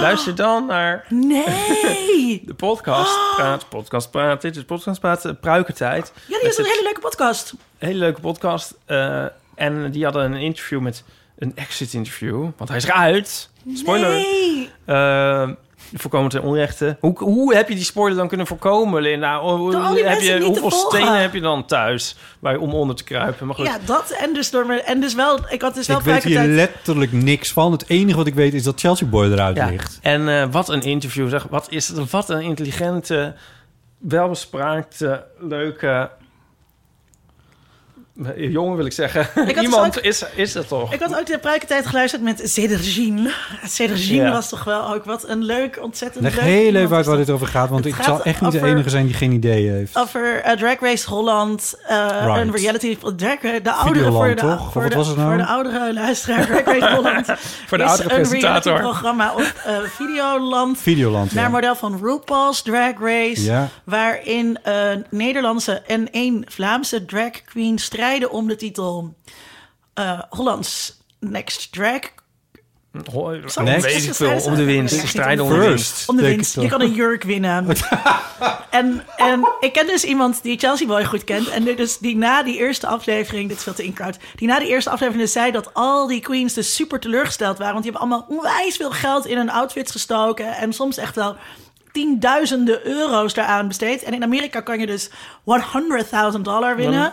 Speaker 3: luister dan naar
Speaker 2: Nee.
Speaker 3: de podcast. Praat, podcast, praat. Dit is podcast, praat, eh, pruikentijd.
Speaker 2: Ja, die is
Speaker 3: Met
Speaker 2: een
Speaker 3: het-
Speaker 2: hele leuke podcast.
Speaker 3: hele leuke podcast. eh, en die hadden een interview met een exit interview. Want hij is eruit. Spoiler.
Speaker 2: Nee.
Speaker 3: Eh, voorkomen ten onrechte. Hoe, hoe heb je die spoiler dan kunnen voorkomen, Linda? Hoe- hoe-
Speaker 2: Door al die
Speaker 3: heb
Speaker 2: mensen
Speaker 3: je,
Speaker 2: niet te
Speaker 3: hoeveel
Speaker 2: volgen.
Speaker 3: stenen heb je dan thuis waar je om onder te kruipen? Maar goed,
Speaker 2: Ja, dat en dus door me. En dus wel, ik had dus wel
Speaker 4: Ik weet hier
Speaker 2: pruikentijd.
Speaker 4: letterlijk niks van. Het enige wat ik weet is dat Chelsea Boy eruit
Speaker 3: Ja.
Speaker 4: ligt.
Speaker 3: En eh, wat een interview, zeg. Wat is het? Wat een intelligente, welbespraakte, leuke... eh, Jongen wil ik zeggen.
Speaker 2: dus
Speaker 3: Iemand
Speaker 2: ook-
Speaker 3: is, is dat toch?
Speaker 2: Ik had ook de pruikentijd geluisterd met Cedergine. Cedergine
Speaker 3: Ja.
Speaker 2: was toch wel ook wat een leuk, ontzettend
Speaker 4: Leg
Speaker 2: leuk...
Speaker 4: heel
Speaker 2: iemand
Speaker 4: even uit
Speaker 2: is
Speaker 4: waar
Speaker 2: dat.
Speaker 4: dit over gaat, want
Speaker 2: Het
Speaker 4: ik
Speaker 2: gaat
Speaker 4: zal echt niet de
Speaker 2: over-
Speaker 4: enige zijn die geen idee heeft.
Speaker 2: Over eh, Drag Race Holland, eh,
Speaker 4: Right.
Speaker 2: een reality... Drag, eh, de oudere
Speaker 4: Videoland,
Speaker 2: voor de,
Speaker 4: toch? Of
Speaker 2: Voor
Speaker 4: wat
Speaker 2: de,
Speaker 4: was het nou?
Speaker 2: voor de oudere luisteraar Drag Race Holland.
Speaker 3: Voor de
Speaker 2: is
Speaker 3: oudere presentator.
Speaker 2: een programma op eh, Videoland...
Speaker 4: Videoland.
Speaker 2: Naar
Speaker 4: ja.
Speaker 2: model van RuPaul's Drag Race.
Speaker 4: Ja.
Speaker 2: Waarin eh, Nederlandse en één Vlaamse drag queen strijden om de titel eh, Hollands Next Drag.
Speaker 3: Hoi,
Speaker 2: Zo,
Speaker 3: weet
Speaker 4: Next.
Speaker 3: ik veel. Om de winst. Strijden om de winst.
Speaker 4: First.
Speaker 2: Om de
Speaker 4: denk
Speaker 2: winst.
Speaker 4: ik
Speaker 2: Je
Speaker 4: toch.
Speaker 2: kan een jurk winnen. en, en ik ken dus iemand die Chelsea Boy goed kent. En die dus die na die eerste aflevering, dit is veel te in-crowd. Die na die eerste aflevering dus zei dat al die queens dus super teleurgesteld waren. Want die hebben allemaal onwijs veel geld in hun outfits gestoken. En soms echt wel tienduizenden euro's daaraan besteed. En in Amerika kan je dus 100.000 dollar winnen.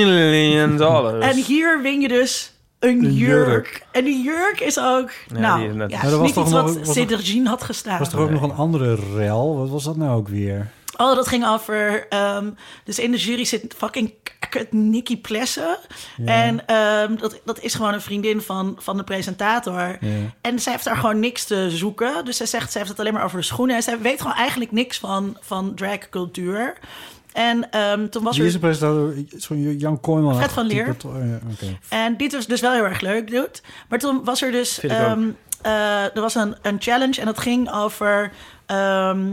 Speaker 3: Million dollars.
Speaker 2: En hier win je dus een
Speaker 4: Een
Speaker 2: jurk.
Speaker 4: jurk.
Speaker 2: En die jurk is ook...
Speaker 3: die
Speaker 2: nou,
Speaker 3: is
Speaker 2: ja,
Speaker 3: net-
Speaker 4: Maar dat was
Speaker 2: niet
Speaker 4: toch
Speaker 2: iets
Speaker 4: nog-
Speaker 2: wat
Speaker 4: was toch-
Speaker 2: Cedergine had gestaan.
Speaker 4: was er ook nog een andere rel? Wat was dat nou ook weer?
Speaker 2: Oh, dat ging over. ehm, dus in de jury zit fucking k- kut Nikki Plessen. En ehm, dat, dat is gewoon een vriendin van, van de presentator. En zij heeft daar gewoon niks te zoeken. Dus zij zegt, zij heeft het alleen maar over de schoenen. En zij weet gewoon eigenlijk niks van, van dragcultuur. En ehm, toen was
Speaker 4: Wie
Speaker 2: er.
Speaker 4: is de presentator? Zo'n Jan Kooijman.
Speaker 2: Fred van Leer.
Speaker 4: Oh, ja, oké.
Speaker 2: En dit was dus wel heel erg leuk, dude. Maar toen was er dus...
Speaker 3: Vind ik
Speaker 2: ehm,
Speaker 3: ook.
Speaker 2: eh, er was een, een challenge en dat ging over... ehm,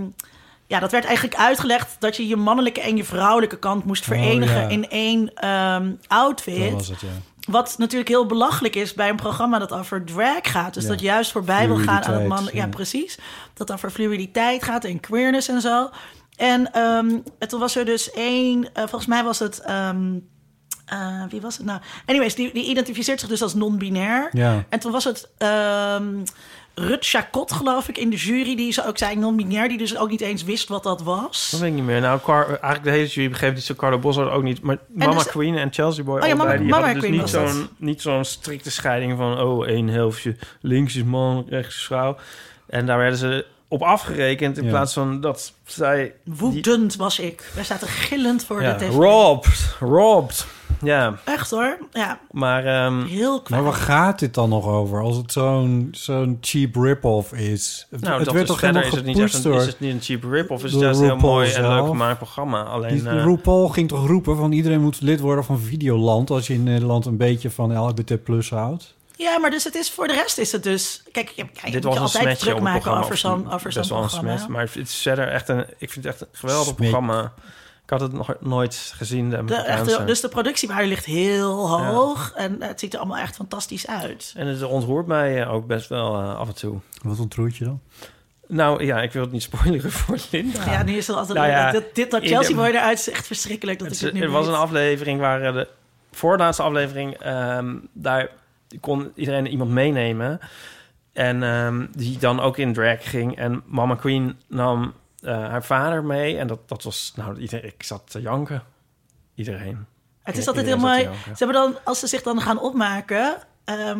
Speaker 2: ja, dat werd eigenlijk uitgelegd dat je je mannelijke en je vrouwelijke kant moest verenigen
Speaker 4: ja.
Speaker 2: in één ehm, outfit.
Speaker 4: Dat was het, ja.
Speaker 2: Wat natuurlijk heel belachelijk is bij een programma dat over drag gaat. Dus
Speaker 4: Ja.
Speaker 2: dat juist voorbij wil gaan aan het man. Ja,
Speaker 4: Fluiditeit, ja.
Speaker 2: precies. Dat over fluiditeit gaat en queerness en zo. En ehm, en toen was er dus één, eh, volgens mij was het. ehm, eh, wie was het nou? Anyways, die, die identificeert zich dus als non-binair.
Speaker 4: Ja.
Speaker 2: En toen was het ehm Rut Chacot, geloof ik, in de jury. Die ze ook zei non-binair. Die dus ook niet eens wist wat dat was.
Speaker 4: Oh,
Speaker 3: Dat weet ik niet meer. Nou, Car- eigenlijk de hele jury begreep niet zo. Carlo Bos ook niet. Maar Mama
Speaker 2: dus-
Speaker 3: Queen en Chelsea Boy
Speaker 2: Oh ja,
Speaker 3: allebei,
Speaker 2: Mama-
Speaker 3: die
Speaker 2: Mama
Speaker 3: hadden
Speaker 2: Queen
Speaker 3: dus
Speaker 2: was
Speaker 3: niet
Speaker 2: dat.
Speaker 3: zo'n, niet zo'n strikte scheiding van... oh, één helftje links is man, rechts is vrouw. En daar werden ze op afgerekend in
Speaker 4: Ja.
Speaker 3: plaats van dat zij...
Speaker 2: Woedend was ik. Wij zaten gillend voor
Speaker 3: Ja,
Speaker 2: de tv.
Speaker 3: robbed, robbed. Ja,
Speaker 2: Echt hoor. Ja,
Speaker 3: maar... ehm,
Speaker 2: heel kwaad.
Speaker 4: Maar waar gaat dit dan nog over? Als het zo'n zo'n cheap rip-off is.
Speaker 3: nou,
Speaker 4: het
Speaker 3: dat
Speaker 4: werd
Speaker 3: is
Speaker 4: toch
Speaker 3: verder
Speaker 4: helemaal
Speaker 3: is het, niet echt
Speaker 4: gepusht
Speaker 3: een, is
Speaker 4: door...
Speaker 3: het niet een cheap rip of is het
Speaker 4: door
Speaker 3: juist een heel
Speaker 4: RuPaul
Speaker 3: mooi en leuk
Speaker 4: zelf.
Speaker 3: gemaakt programma. Alleen,
Speaker 4: Die
Speaker 3: eh,
Speaker 4: RuPaul ging toch roepen van iedereen moet lid worden van Videoland... als je in Nederland een beetje van LGBT plus houdt?
Speaker 2: Ja, maar dus het is voor de rest is het dus. Kijk, je, ja, je moet
Speaker 3: dit was
Speaker 2: je
Speaker 3: een
Speaker 2: altijd
Speaker 3: smetje
Speaker 2: druk
Speaker 3: op een
Speaker 2: maken
Speaker 3: programma.
Speaker 2: over
Speaker 3: of
Speaker 2: zo'n over zo'n
Speaker 3: best wel een
Speaker 2: programma.
Speaker 3: smash, maar het is verder echt een... Ik vind het echt een geweldig
Speaker 4: Smet.
Speaker 3: programma. Ik had het nog nooit gezien, de
Speaker 2: de, echt,
Speaker 3: Amerikaanse.
Speaker 2: de- dus de productiewaarde ligt heel hoog en het ziet er allemaal echt fantastisch uit.
Speaker 3: En het ontroert mij eh, ook best wel eh, af en toe.
Speaker 4: Wat ontroert je dan?
Speaker 3: Nou ja, ik wil het niet spoileren voor Linda.
Speaker 2: Ja, nu is het altijd
Speaker 3: Nou
Speaker 2: leuk.
Speaker 3: ja,
Speaker 2: dat, dit dat
Speaker 3: in
Speaker 2: Chelsea
Speaker 3: de-
Speaker 2: Boy eruit is echt verschrikkelijk dat
Speaker 3: Het,
Speaker 2: ik het nu
Speaker 3: er was
Speaker 2: weet.
Speaker 3: een aflevering waar eh, de voorlaatste aflevering... ehm, daar kon iedereen iemand meenemen. En ehm, die dan ook in drag ging. En Mama Queen nam eh, haar vader mee. En dat, dat was... Nou, iedereen, ik zat te janken. Iedereen.
Speaker 2: Het is altijd heel mooi.
Speaker 3: Iedereen zat te janken.
Speaker 2: Ze hebben dan, als ze zich dan gaan opmaken. ehm,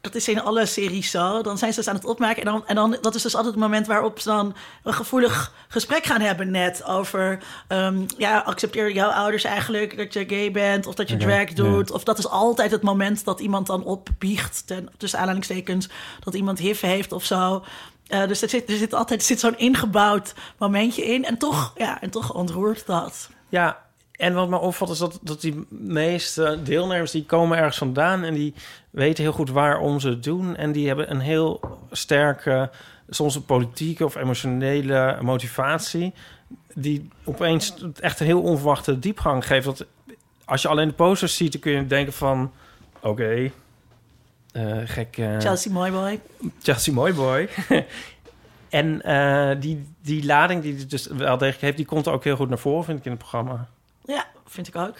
Speaker 2: dat is in alle series zo. Dan zijn ze dus aan het opmaken. En, dan, en dan, dat is dus altijd het moment waarop ze dan een gevoelig gesprek gaan hebben. Net over, ehm, ja, accepteer jouw ouders eigenlijk dat je gay bent? Of dat je
Speaker 4: Oké,
Speaker 2: drag doet?
Speaker 4: ja.
Speaker 2: Of dat is altijd het moment dat iemand dan opbiecht. Ten, tussen aanhalingstekens, dat iemand hiv heeft of zo. Eh, dus er zit, er zit altijd er zit zo'n ingebouwd momentje in. En toch, ja, en toch ontroert dat.
Speaker 3: Ja, En wat me opvalt is dat, dat die meeste deelnemers... die komen ergens vandaan en die weten heel goed waarom ze het doen. En die hebben een heel sterke, soms een politieke of emotionele motivatie... die opeens echt een heel onverwachte diepgang geeft. Dat als je alleen de posters ziet, dan kun je denken van... oké, eh, gek... eh,
Speaker 2: Chelsea Mooi Boy.
Speaker 3: Chelsea mooi boy. en eh, die, die lading die het dus wel degelijk heeft, die komt ook heel goed naar voren, vind ik, in het programma.
Speaker 2: Ja, vind ik ook.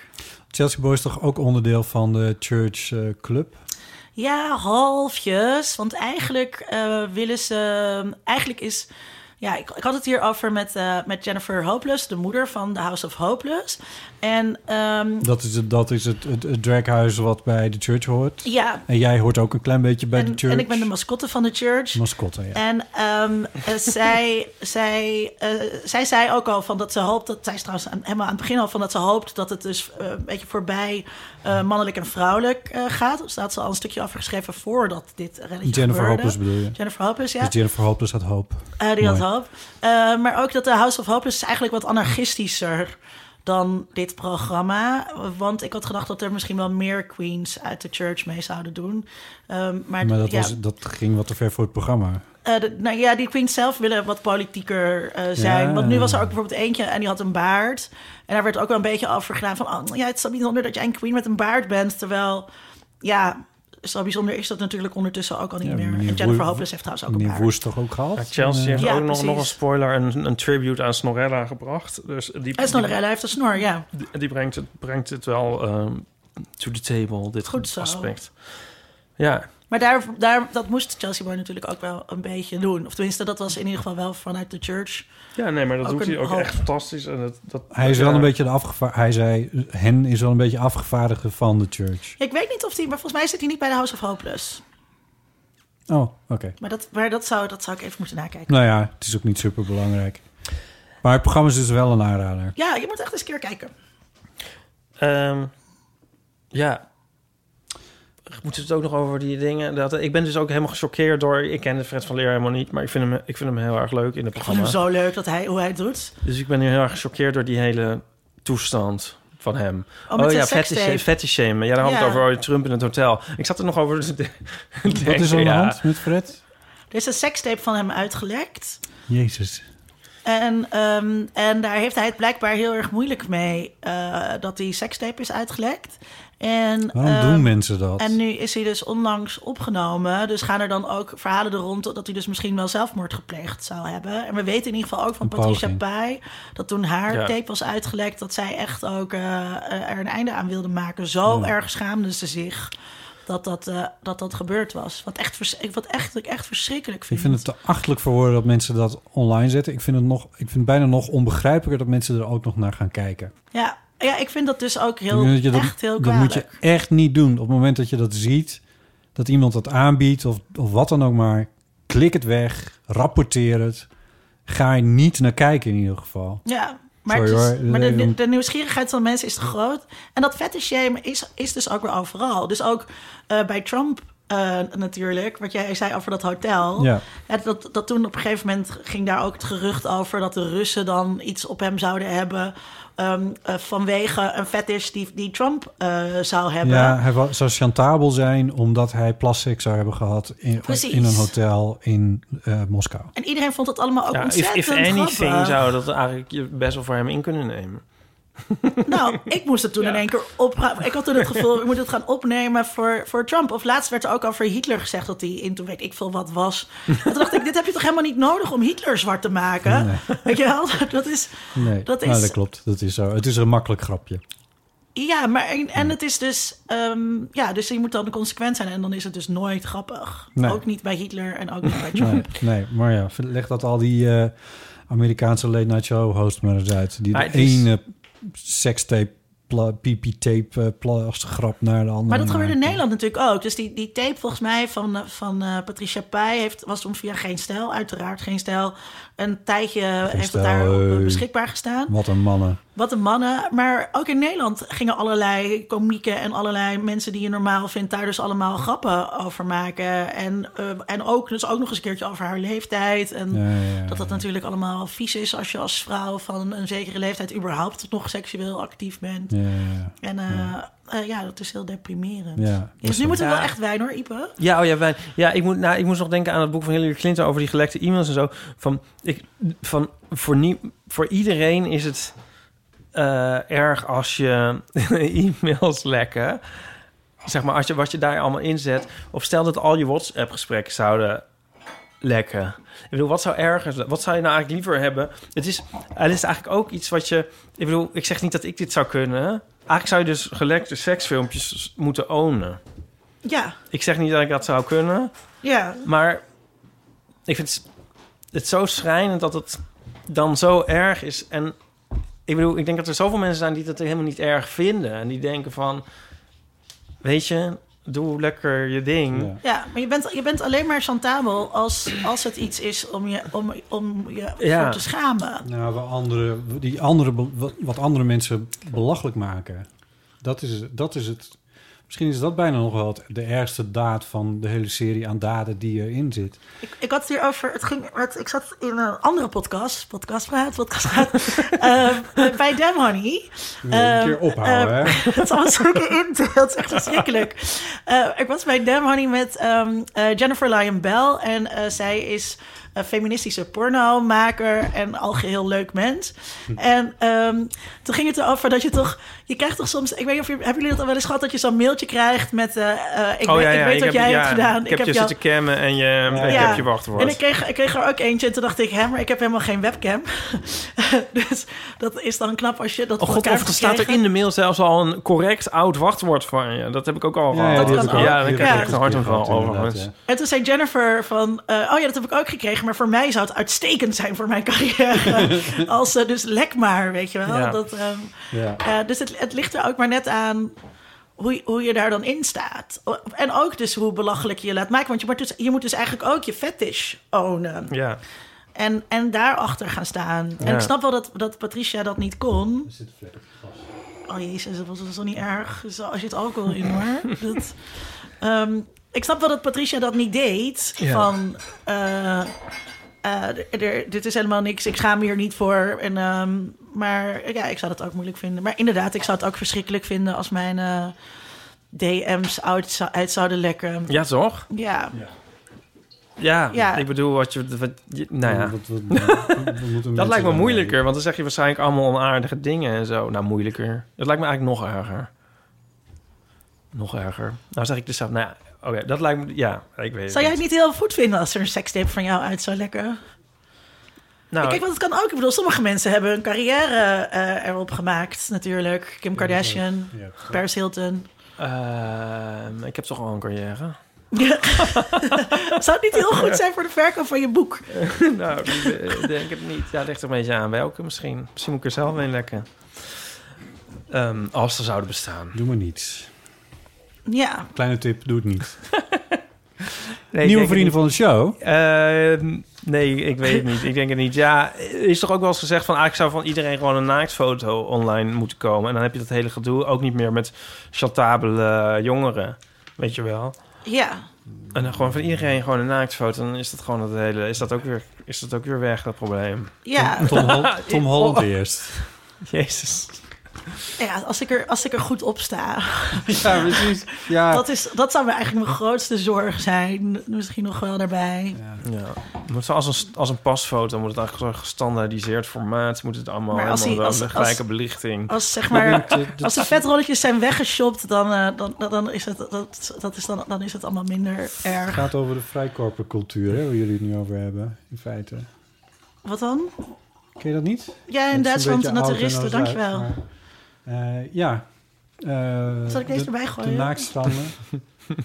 Speaker 4: Chelsea Boys is toch ook onderdeel van de Church eh, Club?
Speaker 2: Ja, halfjes. Want eigenlijk eh, willen ze. Eigenlijk is. Ja, ik, ik had het hier over met, eh, met Jennifer Hopeless, de moeder van The House of Hopeless. En ehm,
Speaker 4: Dat is, het, dat is het, het, het draghuis wat bij de church hoort.
Speaker 2: ja,
Speaker 4: En jij hoort ook een klein beetje bij
Speaker 2: en,
Speaker 4: de church.
Speaker 2: en ik ben de mascotte van de church.
Speaker 4: mascotte. Ja.
Speaker 2: En ehm, eh, zij, zij, eh, zij zei ook al van dat ze hoopt... dat zij is trouwens aan, helemaal aan het begin al van dat ze hoopt... dat het dus eh, een beetje voorbij eh, mannelijk en vrouwelijk eh, gaat. Dus daar had ze al een stukje afgeschreven voordat dit relletje
Speaker 4: Jennifer
Speaker 2: gebeurde.
Speaker 4: Hopeless bedoel je?
Speaker 2: Jennifer Hopeless, ja.
Speaker 4: Dus Jennifer Hopeless had hoop.
Speaker 2: Eh, die had
Speaker 4: Mooi.
Speaker 2: hoop. Eh, maar ook dat de House of Hope is eigenlijk wat anarchistischer dan dit programma. Want ik had gedacht dat er misschien wel meer queens uit de church mee zouden doen. Ehm, maar
Speaker 4: Maar dat,
Speaker 2: ja,
Speaker 4: was, dat ging wat te ver voor het programma.
Speaker 2: eh, de- nou ja, die queens zelf willen wat politieker eh, zijn.
Speaker 4: Ja.
Speaker 2: Want nu was er ook bijvoorbeeld eentje en die had een baard. En daar werd ook wel een beetje over gedaan van... Oh, ja, het is zo bijzonder dat jij een queen met een baard bent. Terwijl, ja, zo bijzonder is dat natuurlijk ondertussen ook al niet
Speaker 4: Ja,
Speaker 2: meer. En
Speaker 4: meneer
Speaker 2: Jennifer
Speaker 4: Woer-
Speaker 2: Hopeless heeft trouwens ook een
Speaker 4: Meneer
Speaker 2: baard.
Speaker 4: Woest toch ook gehad?
Speaker 3: Ja, Chelsea heeft
Speaker 4: eh,
Speaker 2: Ja,
Speaker 3: ook nog,
Speaker 2: precies.
Speaker 3: nog een spoiler, een, een tribute aan Snorella gebracht. Dus die,
Speaker 2: En Snorrella heeft een snor, ja.
Speaker 3: Die, die brengt, het, brengt het wel ehm, to the table, dit
Speaker 2: Goed zo.
Speaker 3: aspect. Ja,
Speaker 2: Maar daar, daar, dat moest Chelsea Boy natuurlijk ook wel een beetje doen. Of tenminste, dat was in ieder geval wel vanuit de church.
Speaker 3: ja, nee, maar dat
Speaker 2: Ook
Speaker 3: doet
Speaker 2: een
Speaker 3: hij ook
Speaker 2: half-
Speaker 3: echt fantastisch. En dat, dat,
Speaker 4: eh, Hij is wel
Speaker 3: ja.
Speaker 4: een beetje de afgevaar... Hij zei, hen is wel een beetje afgevaardigde van de church.
Speaker 2: Ik weet niet of die, maar volgens mij zit hij niet bij de House of Hopeless.
Speaker 4: Oh, oké.
Speaker 2: Maar dat, maar dat, zou, dat zou ik even moeten nakijken.
Speaker 4: Nou ja, het is ook niet super belangrijk. Maar het programma is dus wel een aanrader.
Speaker 2: Ja, je moet echt eens een keer kijken.
Speaker 3: Ehm, ja. Moeten we het ook nog over die dingen? Dat, ik ben dus ook helemaal gechoqueerd door... Ik ken de Fred van Leer helemaal niet, maar ik vind hem, ik vind hem heel erg leuk in het
Speaker 2: Ik vond hem
Speaker 3: programma.
Speaker 2: zo leuk dat hij, hoe hij het doet.
Speaker 3: Dus ik ben nu heel erg gechoqueerd door die hele toestand van hem.
Speaker 2: Oh, met zijn
Speaker 3: ja,
Speaker 2: sekstape.
Speaker 3: fetish, fetish shame. Ja, daar had het
Speaker 2: Ja.
Speaker 3: over oh, Trump in het hotel. Ik zat er nog over te denken.
Speaker 4: Wat is er aan de
Speaker 3: ja.
Speaker 4: hand met Fred?
Speaker 2: Er is een sekstape van hem uitgelekt.
Speaker 4: Jezus.
Speaker 2: En, ehm, en daar heeft hij het blijkbaar heel erg moeilijk mee eh, dat die sekstape is uitgelekt. En,
Speaker 4: Waarom
Speaker 2: ehm,
Speaker 4: doen mensen dat?
Speaker 2: En nu is hij dus onlangs opgenomen. Dus gaan er dan ook verhalen er rond dat hij dus misschien wel zelfmoord gepleegd zou hebben. En we weten in ieder geval ook van
Speaker 4: Een
Speaker 2: Patricia
Speaker 4: poging.
Speaker 2: Pai... dat toen haar
Speaker 3: Ja.
Speaker 2: tape was uitgelekt... dat zij echt ook eh, eh, er een einde aan wilde maken. Zo erg schaamde ze zich dat dat, eh, dat, dat gebeurd was. Wat, echt, vers- ik- wat echt, ik echt verschrikkelijk
Speaker 4: Ik
Speaker 2: vind.
Speaker 4: vind het te achtelijk voor woorden dat mensen dat online zetten. Ik vind het, nog, ik vind het bijna nog onbegrijpelijker dat mensen er ook nog naar gaan kijken.
Speaker 2: ja, ja, ik vind dat dus ook
Speaker 4: Ik
Speaker 2: heel,
Speaker 4: vind dat je dat-
Speaker 2: echt heel
Speaker 4: dat moet
Speaker 2: kwalijk.
Speaker 4: je echt niet doen. Op het moment dat je dat ziet, dat iemand dat aanbiedt of, of wat dan ook maar, klik het weg, rapporteer het. Ga er niet naar kijken in ieder geval.
Speaker 2: Ja, maar,
Speaker 4: Sorry
Speaker 2: het is-
Speaker 4: hoor,
Speaker 2: maar de, de,
Speaker 4: even-
Speaker 2: de nieuwsgierigheid van mensen is te groot. En dat fetish shame is, is dus ook weer overal. Dus ook eh, bij Trump eh, natuurlijk, wat jij zei over dat hotel.
Speaker 4: Ja.
Speaker 2: Ja, dat, dat toen op een gegeven moment ging daar ook het gerucht over... dat de Russen dan iets op hem zouden hebben... ehm, eh, vanwege een fetish die, die Trump eh, zou hebben.
Speaker 4: Ja, hij wa- zou chantabel zijn omdat hij plastic zou hebben gehad in,
Speaker 2: Precies.
Speaker 4: in een hotel in eh, Moskou.
Speaker 2: En iedereen vond dat allemaal ook
Speaker 3: Ja, if,
Speaker 2: ontzettend
Speaker 3: if anything
Speaker 2: grappig.
Speaker 3: zou dat eigenlijk je best wel voor hem in kunnen nemen.
Speaker 2: Nou, ik moest het toen in één keer opruimen. Ik had toen het gevoel, ik moet het gaan opnemen voor, voor Trump. Of laatst werd er ook over Hitler gezegd dat hij in toen weet ik veel wat was. En toen dacht ik, dit heb je toch helemaal niet nodig om Hitler zwart te maken? Weet je wel? Dat is,
Speaker 4: Nee,
Speaker 2: Dat
Speaker 4: dat,
Speaker 2: is-
Speaker 4: Nou, dat klopt. Dat is zo. Het is een makkelijk grapje.
Speaker 2: ja, maar en, en het is dus, ehm, ja, dus je moet dan consequent zijn. En dan is het dus nooit grappig.
Speaker 4: Nee.
Speaker 2: Ook niet bij Hitler en ook niet bij Trump.
Speaker 4: Nee, nee, maar ja, leg dat al die eh, Amerikaanse late night show host maar eens uit. Die
Speaker 3: Maar
Speaker 4: de
Speaker 3: het
Speaker 2: dus-
Speaker 3: is-
Speaker 4: ene sekstape, pla, pipi-tape, eh, plastic grap naar de andere.
Speaker 2: Maar dat gebeurde in
Speaker 4: maken.
Speaker 2: Nederland natuurlijk ook. Dus die, die tape volgens mij van, eh, van eh, Patricia Pai heeft, was toen via Geen Stijl, uiteraard Geen Stijl. Een tijdje heeft
Speaker 4: Stijl,
Speaker 2: het daar eh,
Speaker 4: hey.
Speaker 2: beschikbaar gestaan.
Speaker 4: Wat een mannen.
Speaker 2: Wat een mannen. Maar ook in Nederland gingen allerlei komieken en allerlei mensen die je normaal vindt daar dus allemaal grappen over maken. En, eh, en ook, dus ook nog eens een keertje over haar leeftijd. En
Speaker 4: Ja, ja, ja,
Speaker 2: Mm. dat dat
Speaker 4: ja.
Speaker 2: natuurlijk allemaal vies is als je als vrouw van een zekere leeftijd überhaupt nog seksueel actief bent.
Speaker 4: Ja, ja,
Speaker 2: En eh, eh, ja, dat is heel deprimerend.
Speaker 4: ja.
Speaker 2: Dus nu moeten we
Speaker 3: Ja.
Speaker 2: wel echt wijn hoor, Ipe.
Speaker 3: Ja, oh ja, wij, ja ik, moet, nou, ik moest nog denken aan het boek van Hillary Clinton over die gelekte e-mails en zo. Van, ik, van, voor, nie, voor iedereen is het eh, erg als je e-mails lekken. Zeg maar, als je, wat je daar allemaal inzet. Of stel dat al je WhatsApp-gesprekken zouden lekken. Ik bedoel, wat zou erger Wat zou je nou eigenlijk liever hebben? Het is, het is eigenlijk ook iets wat je... Ik bedoel, ik zeg niet dat ik dit zou kunnen. Eigenlijk zou je dus gelekte seksfilmpjes moeten ownen.
Speaker 2: Ja,
Speaker 3: Ik zeg niet dat ik dat zou kunnen,
Speaker 2: ja.
Speaker 3: maar ik vind het- het zo schrijnend dat het dan zo erg is. En ik bedoel, ik denk dat er zoveel mensen zijn die dat helemaal niet erg vinden. En die denken van, weet je, doe lekker je ding.
Speaker 4: Ja.
Speaker 2: Ja, maar je bent, je bent alleen maar chantabel als, als het iets is om je, om, om je
Speaker 3: Ja.
Speaker 2: voor te schamen.
Speaker 4: Nou, we andere, die andere, be- wat- wat andere mensen belachelijk maken. Dat is, dat is het. Misschien is dat bijna nog wel het- de ergste daad van de hele serie aan daden die erin zit.
Speaker 2: Ik, ik had het hier over, het ging, het, ik zat in een andere podcast, podcast praat, podcast praat, eh, bij Dem Honey.
Speaker 4: Wil je een
Speaker 2: Ehm,
Speaker 4: keer ophouden,
Speaker 2: ehm,
Speaker 4: hè?
Speaker 2: Het was zoeken in, dat is echt verschrikkelijk. Eh, ik was bij Dem Honey met ehm, eh, Jennifer Lyon Bell en eh, zij is een feministische pornomaker en al geheel leuk mens.
Speaker 3: Hm.
Speaker 2: En ehm, toen ging het erover dat je toch, je krijgt toch soms, ik weet niet of je, hebben jullie dat al wel eens gehad, dat je zo'n mailtje krijgt met, eh, eh,
Speaker 3: Oh,
Speaker 2: ik, weet, ik weet wat jij hebt gedaan.
Speaker 3: Ik heb, je
Speaker 2: jou-
Speaker 3: zitten cammen en je, en ik
Speaker 2: Ja.
Speaker 3: heb je wachtwoord.
Speaker 2: en ik kreeg, ik kreeg er ook eentje en toen dacht ik, hè, maar ik heb helemaal geen webcam. dus dat is dan knap als je dat
Speaker 3: Oh
Speaker 2: voor
Speaker 3: god,
Speaker 2: elkaar
Speaker 3: of
Speaker 2: hebt
Speaker 3: er staat er
Speaker 2: gekregen.
Speaker 3: in de mail zelfs al een correct oud wachtwoord van je. Dat heb ik ook al
Speaker 4: Ja,
Speaker 3: gehad.
Speaker 4: die
Speaker 2: heb ik ook.
Speaker 3: Ja, dan
Speaker 4: Die
Speaker 3: krijg
Speaker 2: heb
Speaker 3: ik
Speaker 2: ik
Speaker 3: echt een
Speaker 4: ook
Speaker 3: hartaanval
Speaker 4: gehad, inderdaad,
Speaker 3: overigens.
Speaker 4: ja.
Speaker 2: En toen zei Jennifer van, eh, oh ja, dat heb ik ook gekregen, maar voor mij zou het uitstekend zijn voor mijn carrière. als ze dus lek maar, weet je wel.
Speaker 3: Ja.
Speaker 2: Dat, ehm,
Speaker 4: Ja.
Speaker 2: ja, dus het, het ligt er ook maar net aan hoe, je- hoe je daar dan in staat. En ook dus hoe belachelijk je je laat maken. Want je moet dus, je moet dus eigenlijk ook je fetish ownen.
Speaker 3: Ja.
Speaker 2: En, en daarachter gaan staan. En
Speaker 3: Ja.
Speaker 2: ik snap wel dat, dat Patricia dat niet kon. Oh jezus, dat was dat was toch niet erg. Zo, Als je het alcohol in hoor. Dat, Ehm, ik snap wel dat Patricia dat niet deed.
Speaker 3: Ja.
Speaker 2: Van, eh, eh, d- er- dit is helemaal niks. Ik schaam me hier niet voor. En, ehm, maar ja, ik zou dat ook moeilijk vinden. Maar inderdaad, ik zou het ook verschrikkelijk vinden als mijn eh, DM's uit, zou- uit zouden lekken.
Speaker 3: ja, toch?
Speaker 2: Ja.
Speaker 3: Ja,
Speaker 2: Ja.
Speaker 3: ik bedoel, wat je, wat je- nou ja.
Speaker 4: Wat- wat- wat- wat moeten
Speaker 3: Dat
Speaker 4: mensen
Speaker 3: lijkt me
Speaker 4: dan eh,
Speaker 3: moeilijker, want dan zeg je waarschijnlijk allemaal onaardige dingen en zo. Nou, moeilijker. Dat lijkt me eigenlijk nog erger. Nog erger. Nou zeg ik dus zelf, nou ja, oké, dat lijkt me, ja, ik weet het
Speaker 2: Zou jij het
Speaker 3: niet.
Speaker 2: niet heel goed vinden als er een sekstape van jou uit zou lekken?
Speaker 3: Nou,
Speaker 2: Kijk, want het kan ook. Ik bedoel, sommige mensen hebben hun carrière eh, erop gemaakt, natuurlijk. Kim Kardashian,
Speaker 4: mee? Ja.
Speaker 2: Paris Hilton.
Speaker 3: ehm, ik heb toch al een carrière.
Speaker 2: Zou het niet heel goed zijn voor de verkoop van je boek?
Speaker 3: nou, ik denk het niet. Ja, het ligt er een beetje aan welke misschien. Misschien moet ik er zelf een lekken. Ehm, als ze zouden bestaan.
Speaker 4: Doe maar niet.
Speaker 2: Ja.
Speaker 4: Kleine tip, doe het niet.
Speaker 3: Nee, ik denk
Speaker 4: Nieuwe
Speaker 3: het
Speaker 4: vrienden
Speaker 3: niet.
Speaker 4: van de show.
Speaker 3: Ehm, nee, ik weet het niet. Ik denk het niet. Ja, er is toch ook wel eens gezegd van... eigenlijk zou van iedereen gewoon een naaktfoto online moeten komen. En dan heb je dat hele gedoe ook niet meer met chantabele jongeren. Weet je wel?
Speaker 2: Ja.
Speaker 3: En dan gewoon van iedereen gewoon een naaktfoto. Dan is dat gewoon het hele... Is dat ook weer, is dat ook weer weg, dat probleem?
Speaker 2: Ja. Oh.
Speaker 4: Tom, Hol- Tom Holland eerst.
Speaker 3: Jezus.
Speaker 2: ja, als ik er, als ik er goed op sta.
Speaker 4: Ja, precies. Ja,
Speaker 2: Dat, is, dat zou me eigenlijk mijn grootste zorg zijn. Misschien nog wel daarbij.
Speaker 3: Ja. Moet zo als, een, als een pasfoto moet het eigenlijk zo'n gestandaardiseerd formaat. Moet het allemaal
Speaker 2: Maar als
Speaker 3: helemaal
Speaker 2: hij-
Speaker 3: zo
Speaker 2: als-
Speaker 3: met gelijke
Speaker 2: als-
Speaker 3: belichting.
Speaker 2: Als, zeg maar,
Speaker 4: Dat- eh, dat-
Speaker 2: als de vetrolletjes zijn weggeshopt, dan, eh, dan, dan, dan is het, dat, dat is dan, dan is het allemaal minder
Speaker 4: Het
Speaker 2: erg.
Speaker 4: gaat over de vrijkorpercultuur, hè, waar jullie het nu over hebben, in feite.
Speaker 2: Wat dan?
Speaker 4: Ken je dat niet?
Speaker 2: Ja, in Duitsland, naturisten, dankjewel.
Speaker 4: wel. ja. Eh,
Speaker 2: Zal ik deze
Speaker 4: de-
Speaker 2: erbij
Speaker 4: De
Speaker 2: gooien?
Speaker 4: naakstanden.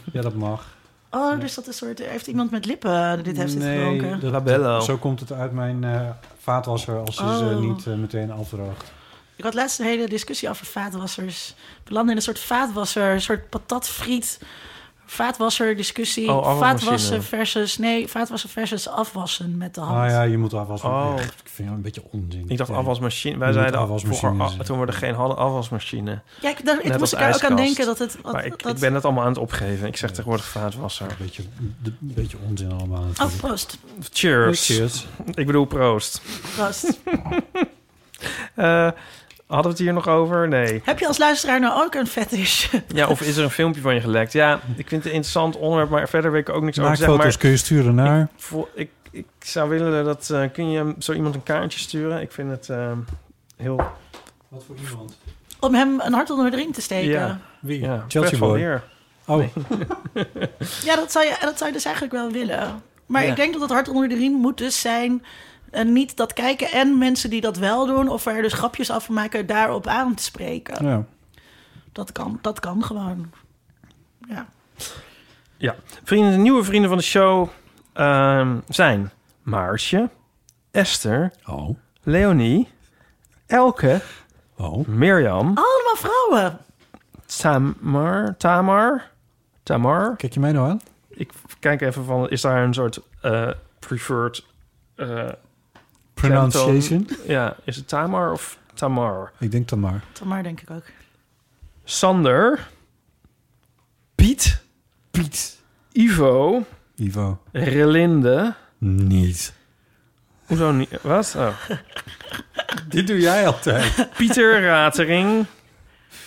Speaker 4: ja, dat mag.
Speaker 2: Oh, dus dat is een soort. Heeft iemand met lippen eh, dit heeft dit gedronken?
Speaker 4: dat-
Speaker 3: Labello.
Speaker 4: Zo komt het uit mijn eh, vaatwasser als je ze
Speaker 2: Oh.
Speaker 4: niet eh, meteen afdroogt.
Speaker 2: Ik had laatst een hele discussie over vaatwassers. We landen in een soort vaatwasser, een soort patatfriet vaatwasser discussie.
Speaker 3: Oh, afwasmachine.
Speaker 2: vaatwassen versus... Nee, vaatwassen versus afwassen met de hand.
Speaker 4: Ah ja, je moet afwas.
Speaker 3: Oh.
Speaker 4: Ik vind dat een beetje onzin.
Speaker 3: Ik dacht
Speaker 4: Ja.
Speaker 3: afwasmachine. Wij
Speaker 4: moet
Speaker 3: zeiden
Speaker 4: afwasmachine
Speaker 3: vroeger,
Speaker 4: zeggen.
Speaker 3: ah, toen we er geen hadden, afwasmachine.
Speaker 2: Ja, ik, daar, ik
Speaker 3: Net
Speaker 2: moest
Speaker 3: als
Speaker 2: ik daar ook aan
Speaker 3: ijskast.
Speaker 2: denken dat het... wat-
Speaker 3: maar ik,
Speaker 2: dat...
Speaker 3: ik ben het allemaal aan het opgeven. Ik zeg tegenwoordig vaatwasser.
Speaker 4: Een beetje, een beetje onzin allemaal.
Speaker 2: Oh,
Speaker 4: natuurlijk.
Speaker 2: proost.
Speaker 3: Cheers.
Speaker 4: Cheers.
Speaker 3: Ik bedoel proost.
Speaker 2: Proost.
Speaker 3: Eh, hadden we het hier nog over? Nee.
Speaker 2: Heb je als luisteraar nou ook een fetish?
Speaker 3: Ja, of is er een filmpje van je gelekt? Ja, ik vind het een interessant onderwerp, maar verder weet ik ook niks over te
Speaker 4: Maakfoto's
Speaker 3: zeggen. Maar
Speaker 4: kun je sturen naar.
Speaker 3: voor, ik, ik zou willen dat... eh, kun je zo iemand een kaartje sturen? Ik vind het eh, heel...
Speaker 4: Wat voor iemand?
Speaker 2: Om hem een hart onder de ring te steken.
Speaker 3: Ja.
Speaker 2: Ja,
Speaker 4: Wie?
Speaker 3: Ja,
Speaker 4: Chelsea
Speaker 3: Fred van
Speaker 4: Boy.
Speaker 3: Leer.
Speaker 4: Oh,
Speaker 2: dat, zou je, dat zou je dus eigenlijk wel willen. Maar
Speaker 3: Ja.
Speaker 2: ik denk dat het hart onder de riem moet dus zijn... En niet dat kijken en mensen die dat wel doen... of er dus grapjes af maken, daarop aan te spreken.
Speaker 4: ja.
Speaker 2: Dat, kan, dat kan gewoon. Ja.
Speaker 3: Ja, vrienden, de nieuwe vrienden van de show ehm, zijn Maarsje, Esther,
Speaker 4: Oh,
Speaker 3: Leonie, Elke,
Speaker 4: oh.
Speaker 3: Mirjam,
Speaker 2: Allemaal vrouwen.
Speaker 3: Tamar, Tamar, Tamar.
Speaker 4: Kijk je mij nou aan?
Speaker 3: Ik kijk even van, is daar een soort eh, preferred... eh,
Speaker 4: Pronunciation?
Speaker 3: ja, is het Tamar of Tamar?
Speaker 4: Ik denk dan maar.
Speaker 2: Tamar denk ik ook.
Speaker 3: Sander, Piet,
Speaker 4: Piet.
Speaker 3: Ivo,
Speaker 4: Ivo.
Speaker 3: Relinde.
Speaker 4: Niet.
Speaker 3: Hoezo niet? Wat? Oh.
Speaker 4: Dit doe jij altijd.
Speaker 3: Pieter Ratering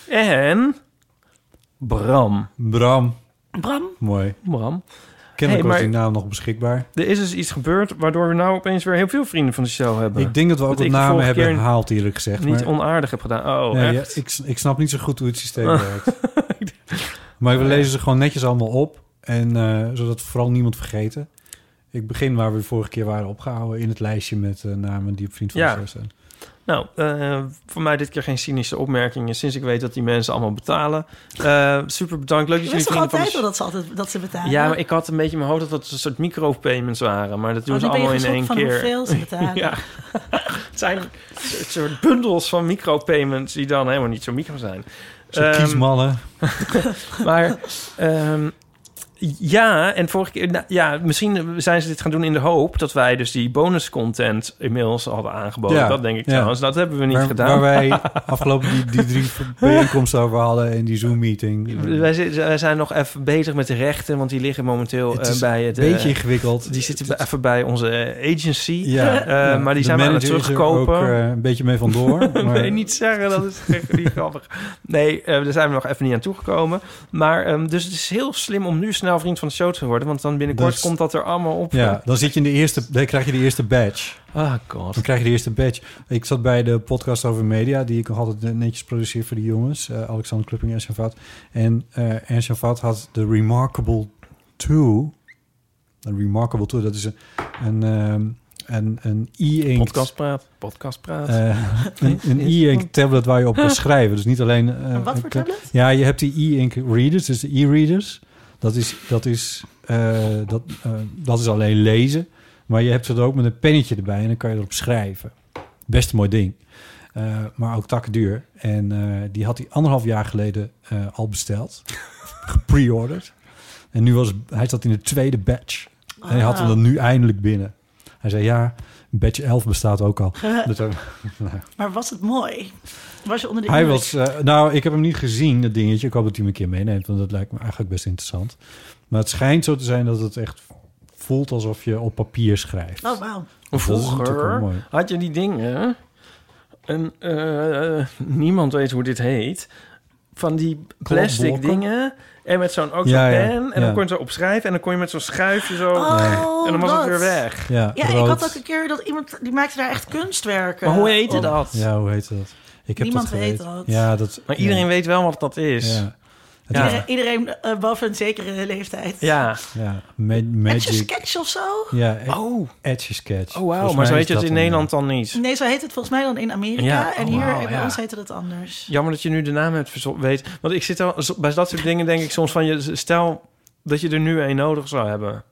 Speaker 3: en Bram.
Speaker 4: Bram.
Speaker 2: Bram,
Speaker 4: Mooi.
Speaker 3: Bram.
Speaker 4: Kennelijk
Speaker 3: Hey,
Speaker 4: was
Speaker 3: maar-
Speaker 4: die naam nog beschikbaar.
Speaker 3: Er is dus iets gebeurd waardoor we nou opeens weer heel veel vrienden van de show hebben.
Speaker 4: Ik denk dat we ook
Speaker 3: Wat
Speaker 4: wat
Speaker 3: ik de
Speaker 4: namen
Speaker 3: vorige
Speaker 4: hebben
Speaker 3: keer
Speaker 4: gehaald, eerlijk gezegd.
Speaker 3: niet
Speaker 4: maar-
Speaker 3: onaardig heb gedaan. Oh,
Speaker 4: Nee,
Speaker 3: echt?
Speaker 4: ja, ik, ik snap niet zo goed hoe het systeem
Speaker 3: Oh.
Speaker 4: werkt. Maar we lezen ze gewoon netjes allemaal op. En, eh, zodat we vooral niemand vergeten. Ik begin waar we de vorige keer waren opgehouden... in het lijstje met eh, namen die op Vriend van
Speaker 3: Ja.
Speaker 4: de Show staan.
Speaker 3: Nou, eh, voor mij dit keer geen cynische opmerkingen... sinds ik weet dat die mensen allemaal betalen. Eh, super bedankt. Leuk dat
Speaker 2: je
Speaker 3: jullie
Speaker 2: wist toch
Speaker 3: vrienden van de
Speaker 2: altijd
Speaker 3: show...
Speaker 2: wel dat ze, altijd, dat ze betalen?
Speaker 3: Ja, maar ik had een beetje in mijn hoofd dat dat een soort micropayments waren. Maar dat doen
Speaker 2: Oh,
Speaker 3: ze
Speaker 2: nu ben je
Speaker 3: allemaal in
Speaker 2: geschokt
Speaker 3: één
Speaker 2: van
Speaker 3: keer.
Speaker 2: hoeveel ze betalen.
Speaker 3: Ja. Het zijn een soort bundels van micropayments die dan helemaal niet zo micro zijn.
Speaker 4: Zo
Speaker 3: Ehm,
Speaker 4: kiesmannen.
Speaker 3: Maar ehm, ja, en vorige keer, nou, ja, misschien zijn ze dit gaan doen in de hoop dat wij dus die bonuscontent inmiddels hadden aangeboden.
Speaker 4: Ja,
Speaker 3: dat denk ik
Speaker 4: ja.
Speaker 3: trouwens. Dat hebben we niet
Speaker 4: waar,
Speaker 3: gedaan.
Speaker 4: waar wij afgelopen die, die drie bijeenkomsten over hadden... en die Zoom-meeting.
Speaker 3: wij, zi- wij zijn nog even bezig met de rechten, want die liggen momenteel
Speaker 4: Het
Speaker 3: eh,
Speaker 4: is
Speaker 3: bij
Speaker 4: een
Speaker 3: het. eh,
Speaker 4: beetje ingewikkeld.
Speaker 3: die zitten bij- even bij onze eh, agency.
Speaker 4: Ja,
Speaker 3: Eh, maar die
Speaker 4: de
Speaker 3: zijn we aan het
Speaker 4: manager is er
Speaker 3: terugkopen.
Speaker 4: Ook, eh, een beetje mee vandoor. maar
Speaker 3: Nee, niet zeggen, dat is echt niet grappig. Nee, eh, daar zijn we nog even niet aan toegekomen. Maar ehm, dus het is heel slim om nu snel vriend van de show te worden. Want dan binnenkort
Speaker 4: Dus-
Speaker 3: komt dat er allemaal op.
Speaker 4: Ja, dan zit je in de eerste, dan krijg je de eerste badge.
Speaker 3: Ah, god.
Speaker 4: Dan krijg je de eerste badge. Ik zat bij de podcast over media, die ik nog altijd netjes produceer voor die jongens. eh, Alexander Klupping en Shavat. En eh en Shavat had de Remarkable 2. De Remarkable 2, dat is een, een, ehm, een, een e-ink
Speaker 3: Podcast praat. Podcast praat.
Speaker 4: eh, een, een e-ink tablet waar je op kan schrijven. Dus niet alleen... eh,
Speaker 2: En wat
Speaker 4: een
Speaker 2: voor
Speaker 4: kle-
Speaker 2: tablet?
Speaker 4: Ja, je hebt die e-ink readers, dus de e-readers. Dat is, dat, is, eh, dat, eh, dat is alleen lezen. Maar je hebt het ook met een pennetje erbij en dan kan je erop schrijven. Best een mooi ding. Eh, maar ook takduur. En eh, die had hij anderhalf jaar geleden eh, al besteld. Gepreorderd. En nu was, hij zat in de tweede batch. En hij
Speaker 2: Ah.
Speaker 4: had hem dan nu eindelijk binnen. Hij zei, ja, batch 11 bestaat ook al. Dus, eh,
Speaker 2: Ah. Maar was het mooi? Was je onder de
Speaker 4: hij
Speaker 2: indruk?
Speaker 4: was, eh, nou, ik heb hem niet gezien, dat dingetje. Ik hoop dat hij me een keer meeneemt, want dat lijkt me eigenlijk best interessant. Maar het schijnt zo te zijn dat het echt voelt alsof je op papier schrijft.
Speaker 2: Oh, wauw.
Speaker 4: natuurlijk wel
Speaker 3: Vroeger
Speaker 4: mooi.
Speaker 3: had je die dingen. En eh, niemand weet hoe dit heet. Van die plastic
Speaker 4: Klapblokken.
Speaker 3: dingen. En met zo'n ook zo'n
Speaker 4: Ja, ja,
Speaker 3: pen. En
Speaker 4: ja.
Speaker 3: dan kon je zo opschrijven. En dan kon je met zo'n schuifje zo.
Speaker 2: Oh,
Speaker 3: en dan was
Speaker 2: dat.
Speaker 3: het weer weg.
Speaker 4: Ja,
Speaker 2: Ja, ik
Speaker 4: rood. Oh.
Speaker 2: had ook een keer dat iemand... Die maakte daar echt kunstwerken.
Speaker 3: Maar hoe heette
Speaker 2: op.
Speaker 3: dat?
Speaker 4: Ja, hoe heet dat? Ik heb
Speaker 2: Niemand
Speaker 4: dat
Speaker 2: weet
Speaker 4: geweten.
Speaker 2: dat.
Speaker 4: Ja, dat.
Speaker 3: Maar iedereen
Speaker 4: ja,
Speaker 3: weet wel wat dat is.
Speaker 4: Ja. Het
Speaker 3: Ja.
Speaker 4: is-
Speaker 2: Iedereen, iedereen eh, boven een zekere leeftijd.
Speaker 3: Ja.
Speaker 4: ja. ma-
Speaker 2: Magic.
Speaker 4: magic.
Speaker 2: sketch of zo?
Speaker 4: Ja, e-
Speaker 3: Oh,
Speaker 4: Edge Sketch.
Speaker 3: oh wauw.
Speaker 4: Volgens
Speaker 3: Maar zo
Speaker 4: mij
Speaker 3: heet het in
Speaker 4: is dat een- eh,
Speaker 3: Nederland dan niet.
Speaker 2: Nee, zo heet het volgens mij dan in Amerika.
Speaker 3: Ja,
Speaker 2: en
Speaker 3: oh,
Speaker 2: hier
Speaker 3: wauw,
Speaker 2: bij
Speaker 3: ja.
Speaker 2: ons heette het anders.
Speaker 3: Jammer dat je nu de naam hebt verzo- weet. Want ik zit al, zo- bij dat soort dingen denk ik soms van je. Stel dat je er nu een nodig zou hebben.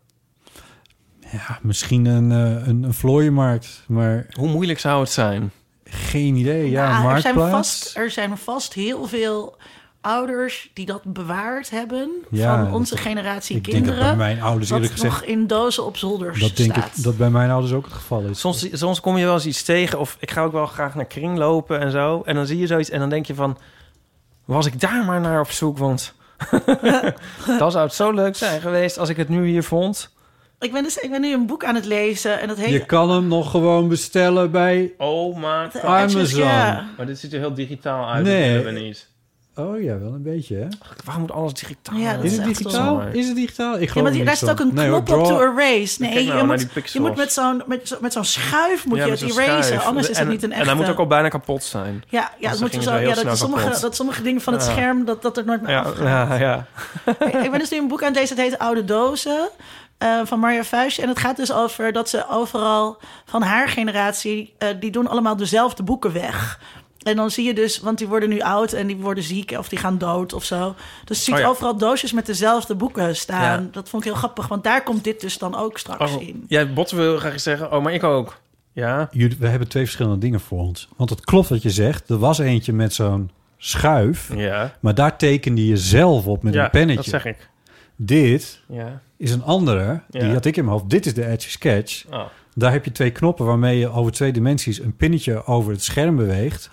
Speaker 4: Ja, misschien een, eh, een, een vlooienmarkt, maar
Speaker 3: Hoe moeilijk zou het zijn?
Speaker 4: geen idee. Ja,
Speaker 2: Nou, er, zijn
Speaker 4: marktplaats.
Speaker 2: vast, er zijn vast heel veel ouders die dat bewaard hebben
Speaker 4: Ja,
Speaker 2: van onze
Speaker 4: dat-
Speaker 2: generatie
Speaker 4: Ik denk dat bij
Speaker 2: kinderen.
Speaker 4: mijn ouders
Speaker 2: dat
Speaker 4: eerlijk gezegd...
Speaker 2: nog in dozen op zolders
Speaker 4: Dat denk
Speaker 2: staat.
Speaker 4: ik dat bij mijn ouders ook het geval is.
Speaker 3: Soms, soms kom je wel eens iets tegen. Of ik ga ook wel graag naar kring lopen en zo. En dan zie je zoiets en dan denk je van... Was ik daar maar naar op zoek? Want dan zou het zo leuk zijn geweest als ik het nu hier vond.
Speaker 2: Ik ben, dus, ik ben nu een boek aan het lezen en dat heet...
Speaker 4: Je kan hem nog gewoon bestellen bij...
Speaker 3: Oh my
Speaker 2: The
Speaker 3: god.
Speaker 2: Anxious-
Speaker 4: Amazon.
Speaker 2: Ja.
Speaker 3: Maar dit ziet er heel digitaal
Speaker 4: uit, dat Nee. willen we
Speaker 3: niet.
Speaker 4: Oh ja, wel een beetje, hè?
Speaker 3: Waarom moet alles digitaal?
Speaker 2: Ja, dat
Speaker 4: Is
Speaker 2: is
Speaker 4: het
Speaker 2: echt
Speaker 4: digitaal?
Speaker 3: wel-
Speaker 4: Is het digitaal? Ik geloof
Speaker 2: Ja, maar
Speaker 4: er
Speaker 2: die, daar
Speaker 4: niks
Speaker 2: zit ook
Speaker 4: van.
Speaker 2: een
Speaker 4: Nee,
Speaker 2: knop
Speaker 4: hoor,
Speaker 2: op to
Speaker 4: draw-
Speaker 2: erase.
Speaker 3: Kijk
Speaker 2: Nee,
Speaker 3: nou
Speaker 2: je,
Speaker 3: naar
Speaker 2: moet,
Speaker 3: die pixels.
Speaker 2: je moet met zo'n met zo, met zo'n schuif moet
Speaker 3: Ja,
Speaker 2: je
Speaker 3: met
Speaker 2: het
Speaker 3: zo'n
Speaker 2: erasen.
Speaker 3: schuif.
Speaker 2: Anders is het
Speaker 3: En-
Speaker 2: niet een echte.
Speaker 3: En dan moet ook al bijna kapot zijn.
Speaker 2: Ja, ja,
Speaker 3: dan
Speaker 2: het moet je
Speaker 3: ging
Speaker 2: zo,
Speaker 3: het wel
Speaker 2: ja
Speaker 3: heel
Speaker 2: dat,
Speaker 3: snel
Speaker 2: sommige,
Speaker 3: kapot.
Speaker 2: dat sommige dingen van het
Speaker 3: Ja.
Speaker 2: scherm, dat, Nou, dat er nooit meer
Speaker 3: Ja,
Speaker 2: afgaat.
Speaker 3: ja, ja.
Speaker 2: Ik ben dus nu een boek aan het lezen, het heet Oude Dozen. eh, van Marja Vuijsje. En het gaat dus over dat ze overal van haar generatie... eh, die doen allemaal dezelfde boeken weg. En dan zie je dus... want die worden nu oud en die worden ziek... of die gaan dood of zo. Dus je ziet
Speaker 3: Oh ja.
Speaker 2: overal doosjes met dezelfde boeken staan.
Speaker 3: Ja.
Speaker 2: Dat vond ik heel grappig, want daar komt dit dus dan ook straks
Speaker 3: Oh,
Speaker 2: in.
Speaker 3: jij botten wil graag zeggen, oh, maar ik ook. Ja,
Speaker 4: Jullie- we hebben twee verschillende dingen voor ons. Want het klopt wat je zegt. Er was eentje met zo'n schuif.
Speaker 3: ja.
Speaker 4: Maar daar tekende je zelf op met
Speaker 3: ja,
Speaker 4: een pennetje.
Speaker 3: dat zeg ik.
Speaker 4: Dit
Speaker 3: Ja.
Speaker 4: is een andere. Die
Speaker 3: Ja.
Speaker 4: had ik in mijn hoofd. Dit is de Edge Sketch.
Speaker 3: Oh.
Speaker 4: Daar heb je twee knoppen waarmee je over twee dimensies een pinnetje over het scherm beweegt.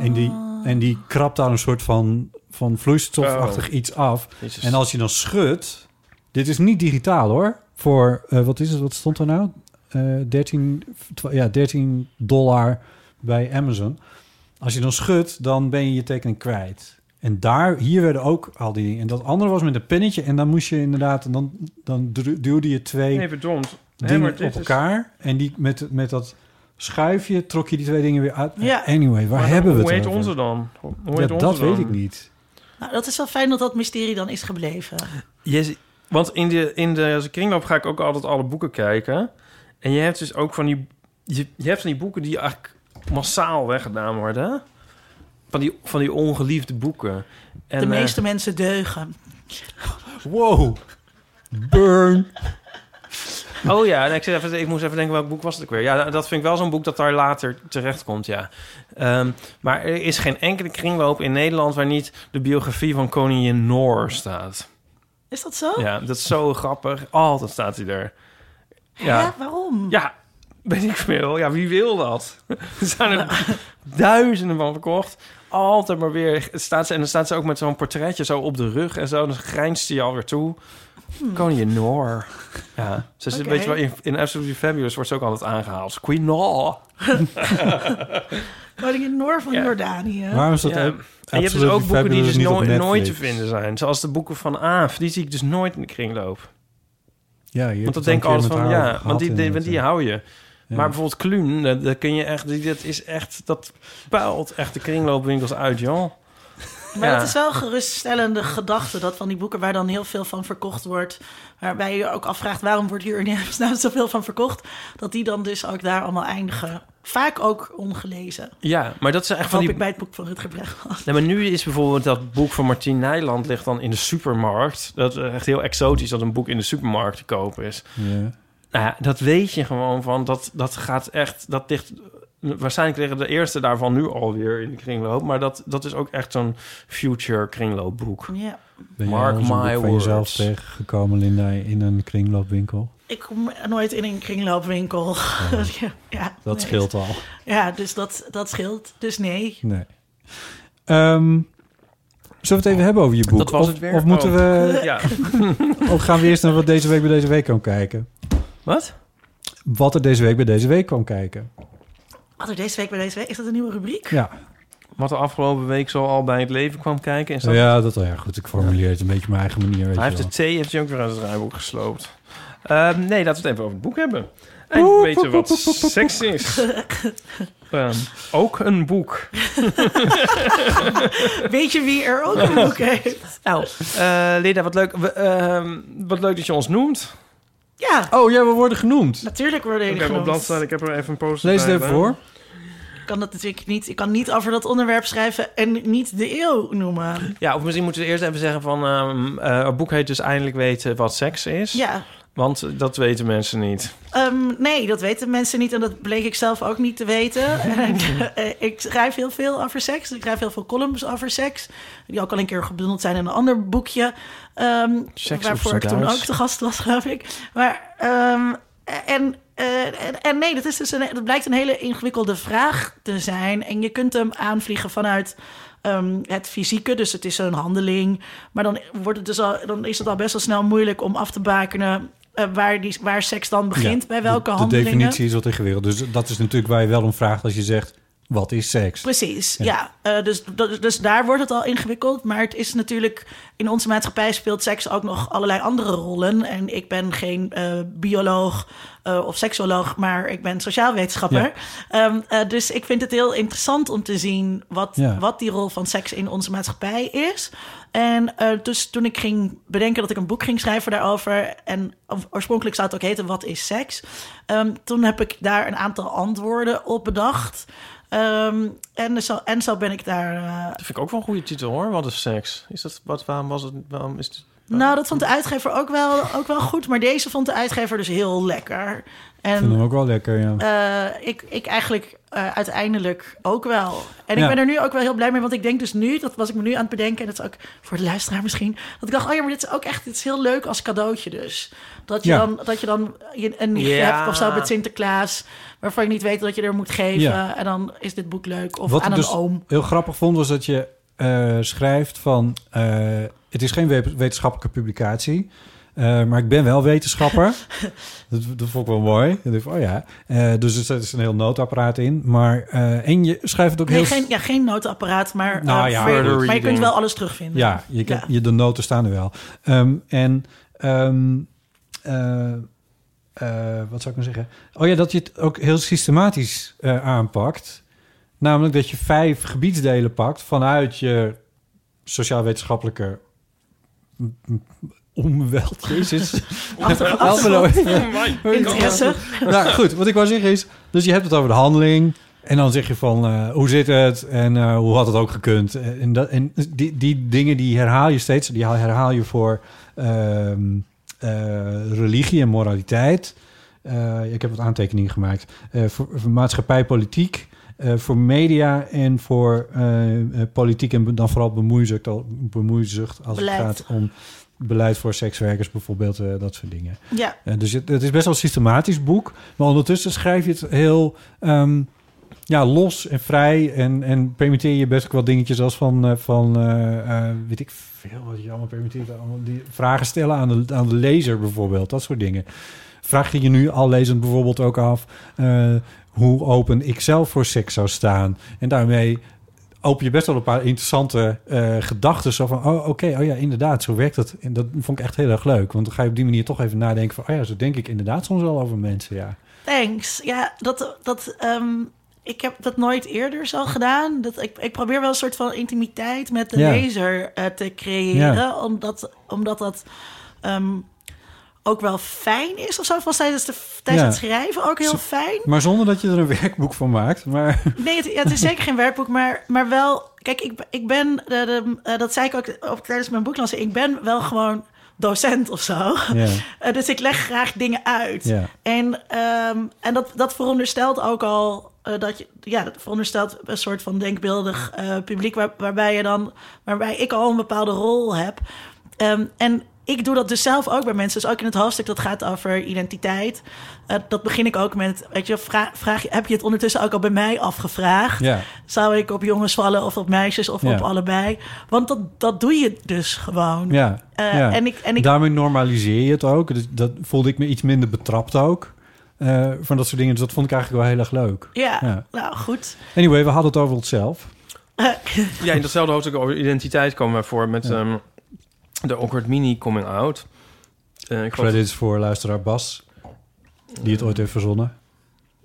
Speaker 4: En, die, en die krabt daar een soort van, van vloeistofachtig iets af.
Speaker 3: Jezus.
Speaker 4: En als je dan schudt... Dit is niet digitaal hoor. Voor, eh, wat is het, wat stond er nou? Eh 13, twa- ja, 13 dollar bij Amazon. Als je dan schudt, dan ben je je tekening kwijt. En daar, hier werden ook al die dingen. En dat andere was met een pennetje. En dan moest je inderdaad, en dan, dan dru- duwde je twee
Speaker 3: Nee, verdomd. Nee,
Speaker 4: dingen
Speaker 3: maar dit
Speaker 4: op
Speaker 3: is-
Speaker 4: elkaar. En die, met, met dat schuifje trok je die twee dingen weer uit.
Speaker 2: Ja.
Speaker 4: Anyway, waar
Speaker 3: maar
Speaker 4: hebben we het
Speaker 3: Hoe heet
Speaker 4: over?
Speaker 3: onze dan? Hoe
Speaker 4: Ja,
Speaker 3: heet onze
Speaker 4: dat
Speaker 3: dan?
Speaker 4: weet ik niet.
Speaker 2: Nou, dat is wel fijn dat dat mysterie dan is gebleven.
Speaker 3: Je, want in de, in de als ik kringloop ga ik ook altijd alle boeken kijken. En je hebt dus ook van die... Je, je hebt van die boeken die eigenlijk massaal weggedaan worden. Van die, van die ongeliefde boeken. En,
Speaker 2: De
Speaker 3: eh,
Speaker 2: meeste mensen deugen.
Speaker 4: Wow. Burn.
Speaker 3: Oh ja, en ik, zit even, ik moest even denken welk boek was het ook weer. Ja, nou, dat vind ik wel zo'n boek dat daar later terecht komt, ja. Ehm, maar er is geen enkele kringloop in Nederland waar niet de biografie van koningin Noor staat.
Speaker 2: Is dat zo?
Speaker 3: Ja, dat is zo grappig. Altijd staat hij er. Ja,
Speaker 2: Hè? waarom?
Speaker 3: ja, weet ik veel. Ja, wie wil dat? Er zijn er duizenden van verkocht. Altijd maar weer staat ze en dan staat ze ook met zo'n portretje zo op de rug en zo. Dan grijnst ze je alweer toe. Koningin Noor. Ja, ze is,
Speaker 2: Oké.
Speaker 3: weet je wel, in, in Absolutely Fabulous wordt ze ook altijd aangehaald. Queen Noor.
Speaker 2: Koningin Noor van
Speaker 3: Ja.
Speaker 2: Jordanië.
Speaker 4: Waarom is dat
Speaker 3: Ja.
Speaker 4: ook?
Speaker 3: En je hebt dus
Speaker 4: Absolutely
Speaker 3: ook boeken die
Speaker 4: Fabulous
Speaker 3: dus
Speaker 4: niet op
Speaker 3: nooit, nooit te
Speaker 4: Netflix?
Speaker 3: vinden zijn. Zoals de boeken van Aaf. Die zie ik dus nooit in de kringloop.
Speaker 4: Ja, hier
Speaker 3: Want dat
Speaker 4: heb je
Speaker 3: denk ik
Speaker 4: het al een
Speaker 3: altijd
Speaker 4: keer
Speaker 3: van,
Speaker 4: met haar
Speaker 3: ja,
Speaker 4: over
Speaker 3: want die,
Speaker 4: gehad
Speaker 3: die, want die
Speaker 4: inderdaad.
Speaker 3: hou je.
Speaker 4: Ja.
Speaker 3: Maar bijvoorbeeld Kluun, dat, dat kun je echt, die, dat is echt, dat puilt echt de kringloopwinkels uit, joh.
Speaker 2: Maar
Speaker 3: Ja.
Speaker 2: dat is wel een geruststellende gedachte dat van die boeken waar dan heel veel van verkocht wordt, waarbij je je ook afvraagt waarom wordt hier in hemelsnaam zoveel van verkocht, dat die dan dus ook daar allemaal eindigen. Vaak ook ongelezen.
Speaker 3: Ja, maar dat is echt van
Speaker 2: Hoop
Speaker 3: die...
Speaker 2: ik bij het boek van Rutger Bregman.
Speaker 3: Nee, maar nu is bijvoorbeeld dat boek van Martien Nijland ligt dan in de supermarkt. Dat is echt heel exotisch dat een boek in de supermarkt te koop is.
Speaker 4: Ja.
Speaker 3: Nou ja, dat weet je gewoon van. Dat, dat gaat echt. Dat ligt. Waarschijnlijk liggen de eerste daarvan nu alweer in de kringloop. Maar dat, dat is ook echt zo'n future kringloopboek.
Speaker 2: Ja.
Speaker 4: Ben jij
Speaker 3: Mark
Speaker 4: al eens een
Speaker 3: my
Speaker 4: boek van jezelf
Speaker 3: words.
Speaker 4: tegengekomen, Linda, in een kringloopwinkel?
Speaker 2: Ik kom nooit in een kringloopwinkel. Ja, ja,
Speaker 4: Dat
Speaker 2: nee.
Speaker 4: scheelt al.
Speaker 2: Ja, dus dat, dat scheelt. Dus nee.
Speaker 4: Nee. Ehm, zullen we het even hebben over je boek?
Speaker 3: Dat was
Speaker 4: of,
Speaker 3: het weer.
Speaker 4: of moeten
Speaker 3: Oh.
Speaker 4: we...
Speaker 3: Ja.
Speaker 4: Of gaan we eerst naar wat deze week bij deze week kwam kijken?
Speaker 3: Wat?
Speaker 4: Wat er deze week bij deze week kwam kijken.
Speaker 2: Wat er deze week bij deze week? Is dat een nieuwe rubriek?
Speaker 4: Ja,
Speaker 3: Wat de afgelopen week zo al bij het leven kwam kijken. Is dat...
Speaker 4: ja dat wel. Ja, goed, ik formuleer het een beetje op mijn eigen manier.
Speaker 3: Hij
Speaker 4: Weet je
Speaker 3: heeft
Speaker 4: wel.
Speaker 3: de thee heeft hij ook weer uit het rijboek gesloopt. Ehm, nee, laten we het even over het boek hebben. En weten wat seks is. Ehm, ook een boek.
Speaker 2: Weet je wie er ook een boek heeft?
Speaker 3: Nou, eh Lida, wat leuk, we- ehm, wat leuk dat je ons noemt.
Speaker 2: Ja,
Speaker 4: Oh ja, we worden genoemd.
Speaker 2: natuurlijk worden
Speaker 3: Ik
Speaker 2: jullie
Speaker 3: heb op
Speaker 2: genoemd.
Speaker 3: bladzijde, ik heb er even een post
Speaker 4: Lees het even voor.
Speaker 2: Ik kan dat natuurlijk niet. Ik kan niet over dat onderwerp schrijven en niet de eeuw noemen.
Speaker 3: Ja, of misschien moeten we eerst even zeggen van... ehm, eh, het boek heet dus Eindelijk weten wat seks is.
Speaker 2: Ja,
Speaker 3: Want eh, dat weten mensen niet.
Speaker 2: Ehm, nee, dat weten mensen niet en dat bleek ik zelf ook niet te weten. Eh, ik schrijf heel veel over seks. Ik schrijf heel veel columns over seks. Die ook al een keer gebundeld zijn in een ander boekje. ehm,
Speaker 3: Seks op
Speaker 2: waarvoor
Speaker 3: z'n
Speaker 2: ik toen
Speaker 3: Duits.
Speaker 2: ook te gast was, geloof ik. Maar, ehm, en, eh, en, en nee, dat, is dus een, dat blijkt een hele ingewikkelde vraag te zijn. En je kunt hem aanvliegen vanuit ehm, het fysieke. Dus het is een handeling. Maar dan, wordt het dus al, dan is het al best wel snel moeilijk om af te bakenen... eh, waar, die, waar seks dan begint,
Speaker 4: Ja,
Speaker 2: bij welke
Speaker 4: de,
Speaker 2: handelingen.
Speaker 4: De definitie is wat ingewikkeld. Dus dat is natuurlijk waar je wel om vraagt als je zegt... wat is seks?
Speaker 2: Precies, ja. Eh, dus, dat- dus daar wordt het al ingewikkeld. Maar het is natuurlijk... In onze maatschappij speelt seks ook nog allerlei andere rollen. En ik ben geen eh, bioloog eh, of seksoloog... maar ik ben sociaal wetenschapper. Ehm, eh, dus ik vind het heel interessant om te zien... Wat,
Speaker 4: Ja.
Speaker 2: wat die rol van seks in onze maatschappij is. En eh, dus toen ik ging bedenken dat ik een boek ging schrijven daarover... en of- oorspronkelijk zou het ook heten Wat is seks? Ehm, toen heb ik daar een aantal antwoorden op bedacht... Ehm, en, zo, en zo ben ik daar. eh,
Speaker 3: Dat vind ik ook wel een goede titel hoor. Wat is seks? Is dat, wat, waarom was het? Waarom is het
Speaker 2: nou, dat vond de uitgever ook wel, ook wel goed. Maar deze vond de uitgever dus heel lekker.
Speaker 4: Ik vind
Speaker 2: En
Speaker 4: hem ook wel lekker, ja.
Speaker 2: eh, ik, ik eigenlijk eh, uiteindelijk ook wel. En ik
Speaker 4: Ja.
Speaker 2: ben er nu ook wel heel blij mee. Want ik denk dus nu, dat was ik me nu aan het bedenken. En dat is ook voor de luisteraar misschien. Dat ik dacht, oh ja, maar dit is ook echt dit is heel leuk als cadeautje dus. Dat je
Speaker 4: Ja.
Speaker 2: dan, dat je dan je- een nichtje
Speaker 3: Ja.
Speaker 2: hebt of zo met Sinterklaas. Waarvan je niet weet dat je er moet geven.
Speaker 4: Ja.
Speaker 2: En dan is dit boek leuk. Of
Speaker 4: Wat
Speaker 2: aan
Speaker 4: ik dus
Speaker 2: een oom.
Speaker 4: heel grappig vond, was dat je eh, schrijft van... eh, het is geen we- wetenschappelijke publicatie, eh, maar ik ben wel wetenschapper. dat, dat vond ik wel mooi. Ik dacht, oh ja. Eh, dus er zit een heel noodapparaat in. Maar, eh, en je schrijft het ook
Speaker 2: Nee,
Speaker 4: heel...
Speaker 2: geen, ja, geen noodapparaat, maar,
Speaker 4: Nou
Speaker 2: eh,
Speaker 4: ja,
Speaker 2: maar je-
Speaker 3: further
Speaker 2: maar je kunt
Speaker 3: reading.
Speaker 2: wel alles terugvinden.
Speaker 4: Ja, je kan,
Speaker 2: Ja.
Speaker 4: Je, de noten staan er wel. Ehm, en ehm, eh, eh, wat zou ik nou zeggen? Oh ja, dat je het ook heel systematisch eh, aanpakt. Namelijk dat je vijf gebiedsdelen pakt vanuit je sociaal-wetenschappelijke omweld. Jezus. Almelo.
Speaker 2: Interesse.
Speaker 4: Nou goed, wat ik wou zeggen is... Dus je hebt het over de handeling... En dan zeg je van, eh, hoe zit het? En eh, hoe had het ook gekund? En, dat, en die, die dingen die herhaal je steeds. Die herhaal je voor ehm, eh, religie en moraliteit. Eh, ik heb wat aantekeningen gemaakt. Eh, voor, voor maatschappij, politiek. eh, voor media en voor eh, eh, politiek. En dan vooral bemoeizucht, al- bemoeizucht als
Speaker 2: Beleid.
Speaker 4: het gaat om beleid voor sekswerkers bijvoorbeeld. eh, dat soort dingen.
Speaker 2: Ja,
Speaker 4: Ja, dus het, het is best wel een systematisch boek. Maar ondertussen schrijf je het heel ehm, ja, los en vrij. En, en permitteer je best ook wel dingetjes als van... eh, van eh, eh, weet ik veel wat je allemaal permitteert. Allemaal die vragen stellen aan de, aan de lezer bijvoorbeeld. Dat soort dingen. Vraag je je nu al lezend bijvoorbeeld ook af... eh, hoe open ik zelf voor seks zou staan. En daarmee open je best wel een paar interessante eh, gedachten. Zo van, oh oké, oh ja, inderdaad, zo werkt dat. En dat vond ik echt heel erg leuk. Want dan ga je op die manier toch even nadenken van... oh ja, zo denk ik inderdaad soms wel over mensen, ja.
Speaker 2: thanks. Ja, dat, dat, ehm, ik heb dat nooit eerder zo gedaan. Dat, ik, ik probeer wel een soort van intimiteit met de
Speaker 4: Ja.
Speaker 2: lezer eh, te creëren.
Speaker 4: Ja.
Speaker 2: Omdat, omdat dat ehm, ook wel fijn is of zo. Van tijdens, de, tijdens
Speaker 4: Ja.
Speaker 2: het schrijven ook heel
Speaker 4: Zo-
Speaker 2: fijn.
Speaker 4: Maar zonder dat je er een werkboek van maakt. Maar
Speaker 2: Nee, het, ja, het is zeker geen werkboek, maar, maar wel... Kijk, ik, ik ben, eh, de, eh, dat zei ik ook, ook tijdens mijn boeklancering... ik ben wel gewoon docent of zo.
Speaker 4: ja,
Speaker 2: Eh, dus ik leg graag dingen uit.
Speaker 4: ja.
Speaker 2: En, ehm, en dat, dat veronderstelt ook al eh, dat je, ja, dat veronderstelt een soort van denkbeeldig eh, publiek waar- waarbij je dan, waarbij ik al een bepaalde rol heb. Ehm, en ik doe dat dus zelf ook bij mensen. Dus ook in het hoofdstuk dat gaat over identiteit. eh, dat begin ik ook met, weet je, vraag, vraag, je- heb je het ondertussen ook al bij mij afgevraagd?
Speaker 4: ja.
Speaker 2: Zou ik op jongens vallen of op meisjes of
Speaker 4: Ja.
Speaker 2: op allebei? Want dat, dat doe je dus gewoon.
Speaker 4: ja,
Speaker 2: Eh,
Speaker 4: ja.
Speaker 2: En ik, en ik
Speaker 4: Daarmee normaliseer je het ook. Dus dat voelde ik me iets minder betrapt ook. eh, van dat soort dingen. Dus dat vond ik eigenlijk wel heel erg leuk.
Speaker 2: ja,
Speaker 4: Ja.
Speaker 2: nou goed. Eh,
Speaker 4: Anyway, we hadden het over onszelf.
Speaker 3: Ja, in datzelfde hoofdstuk over identiteit komen we voor met ehm, de awkward mini coming out. Eh, ik geloof-
Speaker 4: Credits voor luisteraar Bas. Die het ooit heeft verzonnen.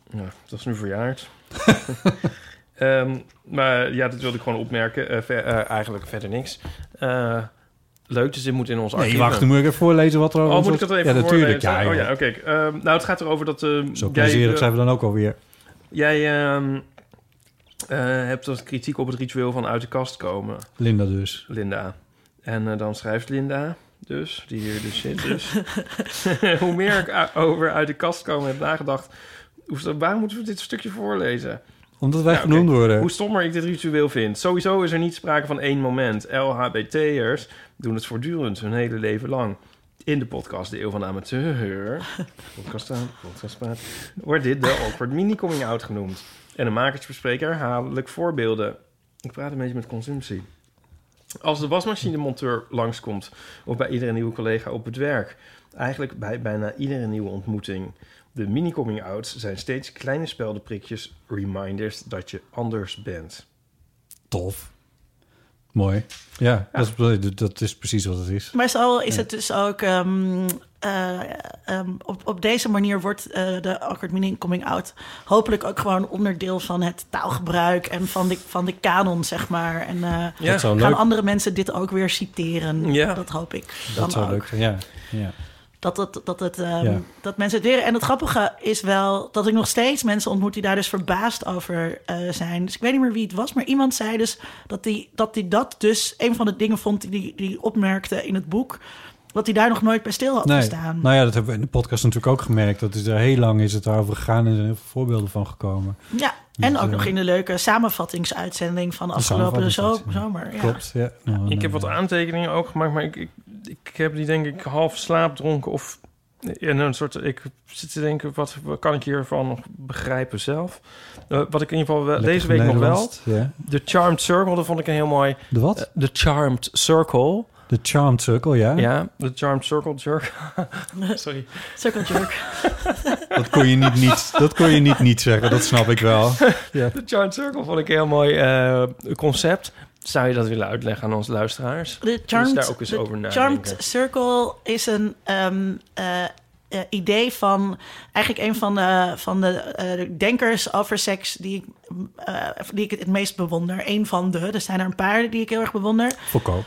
Speaker 3: ja, dat is nu verjaard. Ehm, maar ja, dat wilde ik gewoon opmerken. Eh, ver- eh, eigenlijk verder niks. Eh, leuk, dus dit moet in ons
Speaker 4: Nee,
Speaker 3: archief.
Speaker 4: wacht, dan moet ik even voorlezen wat er over
Speaker 3: Oh,
Speaker 4: ons
Speaker 3: moet ik
Speaker 4: wordt-
Speaker 3: dat even
Speaker 4: Ja, natuurlijk.
Speaker 3: voorlezen?
Speaker 4: Ja,
Speaker 3: oh ja,
Speaker 4: joh.
Speaker 3: oké. Ehm, nou, het gaat erover dat... ehm,
Speaker 4: Zo
Speaker 3: jij,
Speaker 4: plezierig
Speaker 3: eh,
Speaker 4: zijn we dan ook alweer.
Speaker 3: Jij ehm, eh, hebt wat kritiek op het ritueel van uit de kast komen,
Speaker 4: Linda dus.
Speaker 3: Linda. En eh, dan schrijft Linda... dus, die hier dus zit. Dus. hoe meer ik a- over uit de kast komen heb nagedacht, hoe, st- waarom moeten we dit stukje voorlezen?
Speaker 4: Omdat wij
Speaker 3: Nou, oké.
Speaker 4: genoemd worden.
Speaker 3: Hoe stommer ik dit ritueel vind. Sowieso is er niet sprake van één moment. LHBT'ers doen het voortdurend hun hele leven lang. In de podcast De Eeuw van de Amateur, podcast aan, podcast praat, wordt dit de awkward mini-coming-out genoemd. En de makers bespreken herhaaldelijk voorbeelden. Ik praat een beetje met consumptie. Als de wasmachinemonteur langskomt, of bij iedere nieuwe collega op het werk. Eigenlijk bij bijna iedere nieuwe ontmoeting. De mini-coming-outs zijn steeds kleine speldenprikjes, reminders dat je anders bent.
Speaker 4: Tof. Mooi. Ja, Dat, is, dat is precies wat het is.
Speaker 2: Maar zo is het dus ook. ehm, eh, ehm, op, op deze manier wordt eh, de awkward meaning coming out hopelijk ook gewoon onderdeel van het taalgebruik en van de, van de kanon, zeg maar. En eh,
Speaker 4: Dat zou
Speaker 2: gaan
Speaker 4: Nou, leuk,
Speaker 2: andere mensen dit ook weer citeren.
Speaker 3: Ja.
Speaker 2: Dat hoop ik.
Speaker 4: dat
Speaker 2: dan
Speaker 4: zou
Speaker 2: ook.
Speaker 4: leuk zijn. Ja. ja.
Speaker 2: Dat, dat, dat, het, ehm,
Speaker 4: Ja.
Speaker 2: dat mensen het leren. En het grappige is wel dat ik nog steeds mensen ontmoet die daar dus verbaasd over eh, zijn. Dus ik weet niet meer wie het was, maar iemand zei dus dat hij dat, die dat dus een van de dingen vond die die, die opmerkte in het boek. Dat hij daar nog nooit bij stil had
Speaker 4: Nee.
Speaker 2: gestaan.
Speaker 4: Nou ja, dat hebben we in de podcast natuurlijk ook gemerkt. Dat is er heel lang is het daarover gegaan en er zijn heel veel voorbeelden van gekomen.
Speaker 2: Ja, en
Speaker 4: Dus,
Speaker 2: ook
Speaker 4: eh,
Speaker 2: nog in de leuke samenvattingsuitzending van afgelopen zo-
Speaker 4: samenvattingsuitzending.
Speaker 2: zomer. Ja.
Speaker 4: Klopt. Ja. Nou,
Speaker 3: Ik
Speaker 4: nou,
Speaker 3: heb wat
Speaker 4: ja.
Speaker 3: aantekeningen ook gemaakt, maar ik, ik, ik heb die denk ik half slaapdronken of... En een soort, ik zit te denken, wat, wat kan ik hiervan nog begrijpen zelf? Eh, wat ik in ieder geval wel-
Speaker 4: Lekker
Speaker 3: deze week nog wel...
Speaker 4: Nederlands. Ja.
Speaker 3: De Charmed Circle, dat vond ik een heel mooi...
Speaker 4: De
Speaker 3: eh,
Speaker 4: wat?
Speaker 3: De Charmed Circle.
Speaker 4: De Charmed Circle, ja.
Speaker 3: Ja, de Charmed Circle Jerk. Sorry.
Speaker 2: Circle jerk.
Speaker 4: Dat kon je niet niet, dat kon je niet, niet zeggen, dat snap ik wel.
Speaker 3: De Charmed Circle vond ik een heel mooi eh, concept. Zou je dat willen uitleggen aan onze luisteraars?
Speaker 2: De
Speaker 3: Dus
Speaker 2: charmed,
Speaker 3: daar ook eens
Speaker 2: de
Speaker 3: over nadenken.
Speaker 2: charmed circle is een ehm, eh, eh, idee van eigenlijk een van de, van de eh, denkers over seks die, ik, eh, die ik het meest bewonder. Een van de, er zijn er een paar die ik heel erg bewonder.
Speaker 4: Foucault.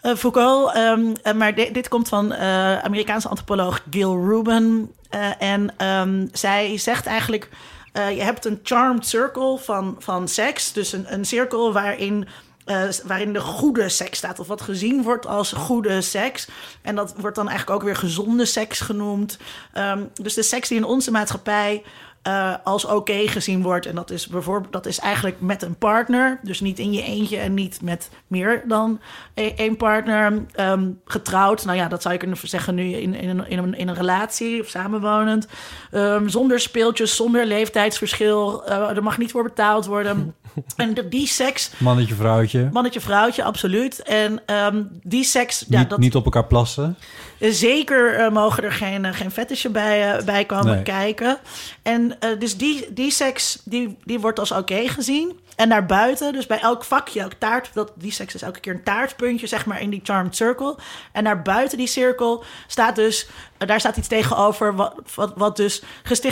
Speaker 2: Eh, Foucault, ehm, eh, maar di- dit komt van eh, Amerikaanse antropoloog Gil Rubin. Eh, en ehm, zij zegt eigenlijk: eh, je hebt een charmed circle van, van seks. Dus een, een cirkel waarin. eh, s- waarin de goede seks staat, of wat gezien wordt als goede seks. En dat wordt dan eigenlijk ook weer gezonde seks genoemd. Ehm, dus de seks die in onze maatschappij eh, als oké gezien wordt. En dat is, bijvoorbeeld, dat is eigenlijk met een partner. Dus niet in je eentje en niet met meer dan e- één partner. Ehm, getrouwd, nou ja, dat zou je kunnen zeggen nu in, in, een, in, een, in een relatie of samenwonend. Ehm, zonder speeltjes, zonder leeftijdsverschil. Eh, er mag niet voor betaald worden. en de- die seks,
Speaker 4: Mannetje, vrouwtje.
Speaker 2: mannetje, vrouwtje, absoluut. En ehm, die seks, ja,
Speaker 4: niet,
Speaker 2: dat
Speaker 4: niet op elkaar plassen.
Speaker 2: eh, Zeker eh, mogen er geen, eh, geen fetishen bij, eh, bij komen
Speaker 4: Nee.
Speaker 2: kijken. En eh, dus die, die seks, die, die wordt als oké gezien. En daarbuiten, dus bij elk vakje, elk taart, dat, die seks is elke keer een taartpuntje, zeg maar, in die charmed circle. En daar buiten die cirkel staat dus, eh, daar staat iets tegenover wat, wat, wat dus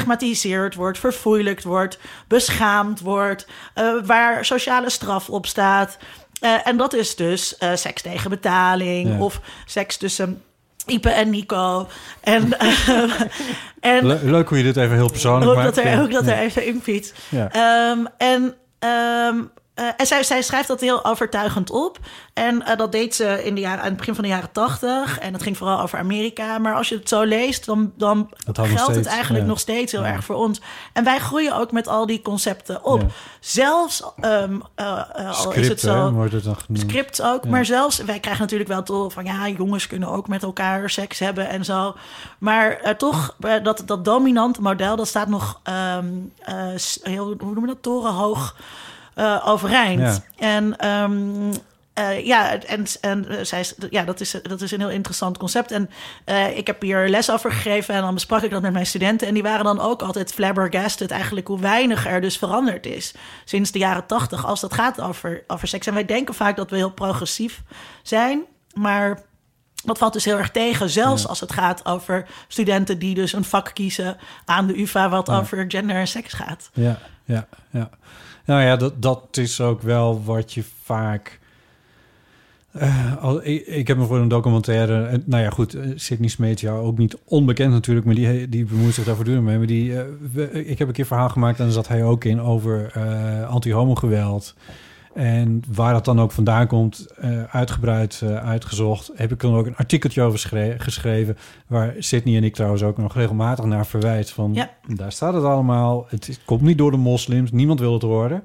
Speaker 2: gestigmatiseerd wordt, verfoeilijkt wordt, beschaamd wordt, eh, waar sociale straf op staat. Eh, en dat is dus eh, seks tegen betaling
Speaker 4: Ja.
Speaker 2: of seks tussen Ipe en Nico. En, ehm, en
Speaker 4: Le- leuk hoe je dit even heel persoonlijk
Speaker 2: ook
Speaker 4: maakt.
Speaker 2: dat er,
Speaker 4: Ja.
Speaker 2: ook dat er
Speaker 4: Ja.
Speaker 2: even in fiets.
Speaker 4: Ja.
Speaker 2: Ehm, en ehm, eh, en zij, zij schrijft dat heel overtuigend op. En eh, dat deed ze in de jaren, aan het begin van de jaren tachtig. En dat ging vooral over Amerika. Maar als je het zo leest, dan, dan
Speaker 4: Dat houdt nog
Speaker 2: geldt het
Speaker 4: steeds,
Speaker 2: eigenlijk
Speaker 4: ja.
Speaker 2: nog steeds heel
Speaker 4: Ja.
Speaker 2: erg voor ons. En wij groeien ook met al die concepten op.
Speaker 4: Ja.
Speaker 2: Zelfs ehm, eh, eh, al is het
Speaker 4: Script, hè,
Speaker 2: zo
Speaker 4: wordt het dan genoemd.
Speaker 2: script ook. Maar zelfs, wij krijgen natuurlijk wel tol van ja, jongens kunnen ook met elkaar seks hebben en zo. Maar eh, toch, eh, dat, dat dominante model, dat staat nog ehm, eh, s- heel, hoe noemen we dat, torenhoog eh, overeind. En ehm, eh, ja, en, en eh, zij, is- ja dat, is, dat is een heel interessant concept. En eh, ik heb hier les over gegeven en dan besprak ik dat met mijn studenten. En die waren dan ook altijd flabbergasted eigenlijk hoe weinig er dus veranderd is sinds de jaren tachtig als dat gaat over, over seks. En wij denken vaak dat we heel progressief zijn, maar dat valt dus heel erg tegen. Zelfs als het gaat over studenten die dus een vak kiezen aan de UvA wat over gender en seks gaat.
Speaker 4: Ja, ja, ja. Nou ja, dat, dat is ook wel wat je vaak... eh, al, ik, ik heb me voor een documentaire... en nou ja, goed, eh, Sidney Smeet, jou ook niet onbekend natuurlijk... maar die, eh, die bemoeit zich daar voortdurend mee. Maar die, eh, we- ik heb een keer verhaal gemaakt en daar zat hij ook in... over eh anti-homo geweld... En waar dat dan ook vandaan komt, eh, uitgebreid eh, uitgezocht, heb ik dan ook een artikeltje over schre- geschreven. Waar Sydney en ik trouwens ook nog regelmatig naar verwijt. Van
Speaker 2: Ja.
Speaker 4: daar staat het allemaal. Het is- komt niet door de moslims, niemand wil het horen.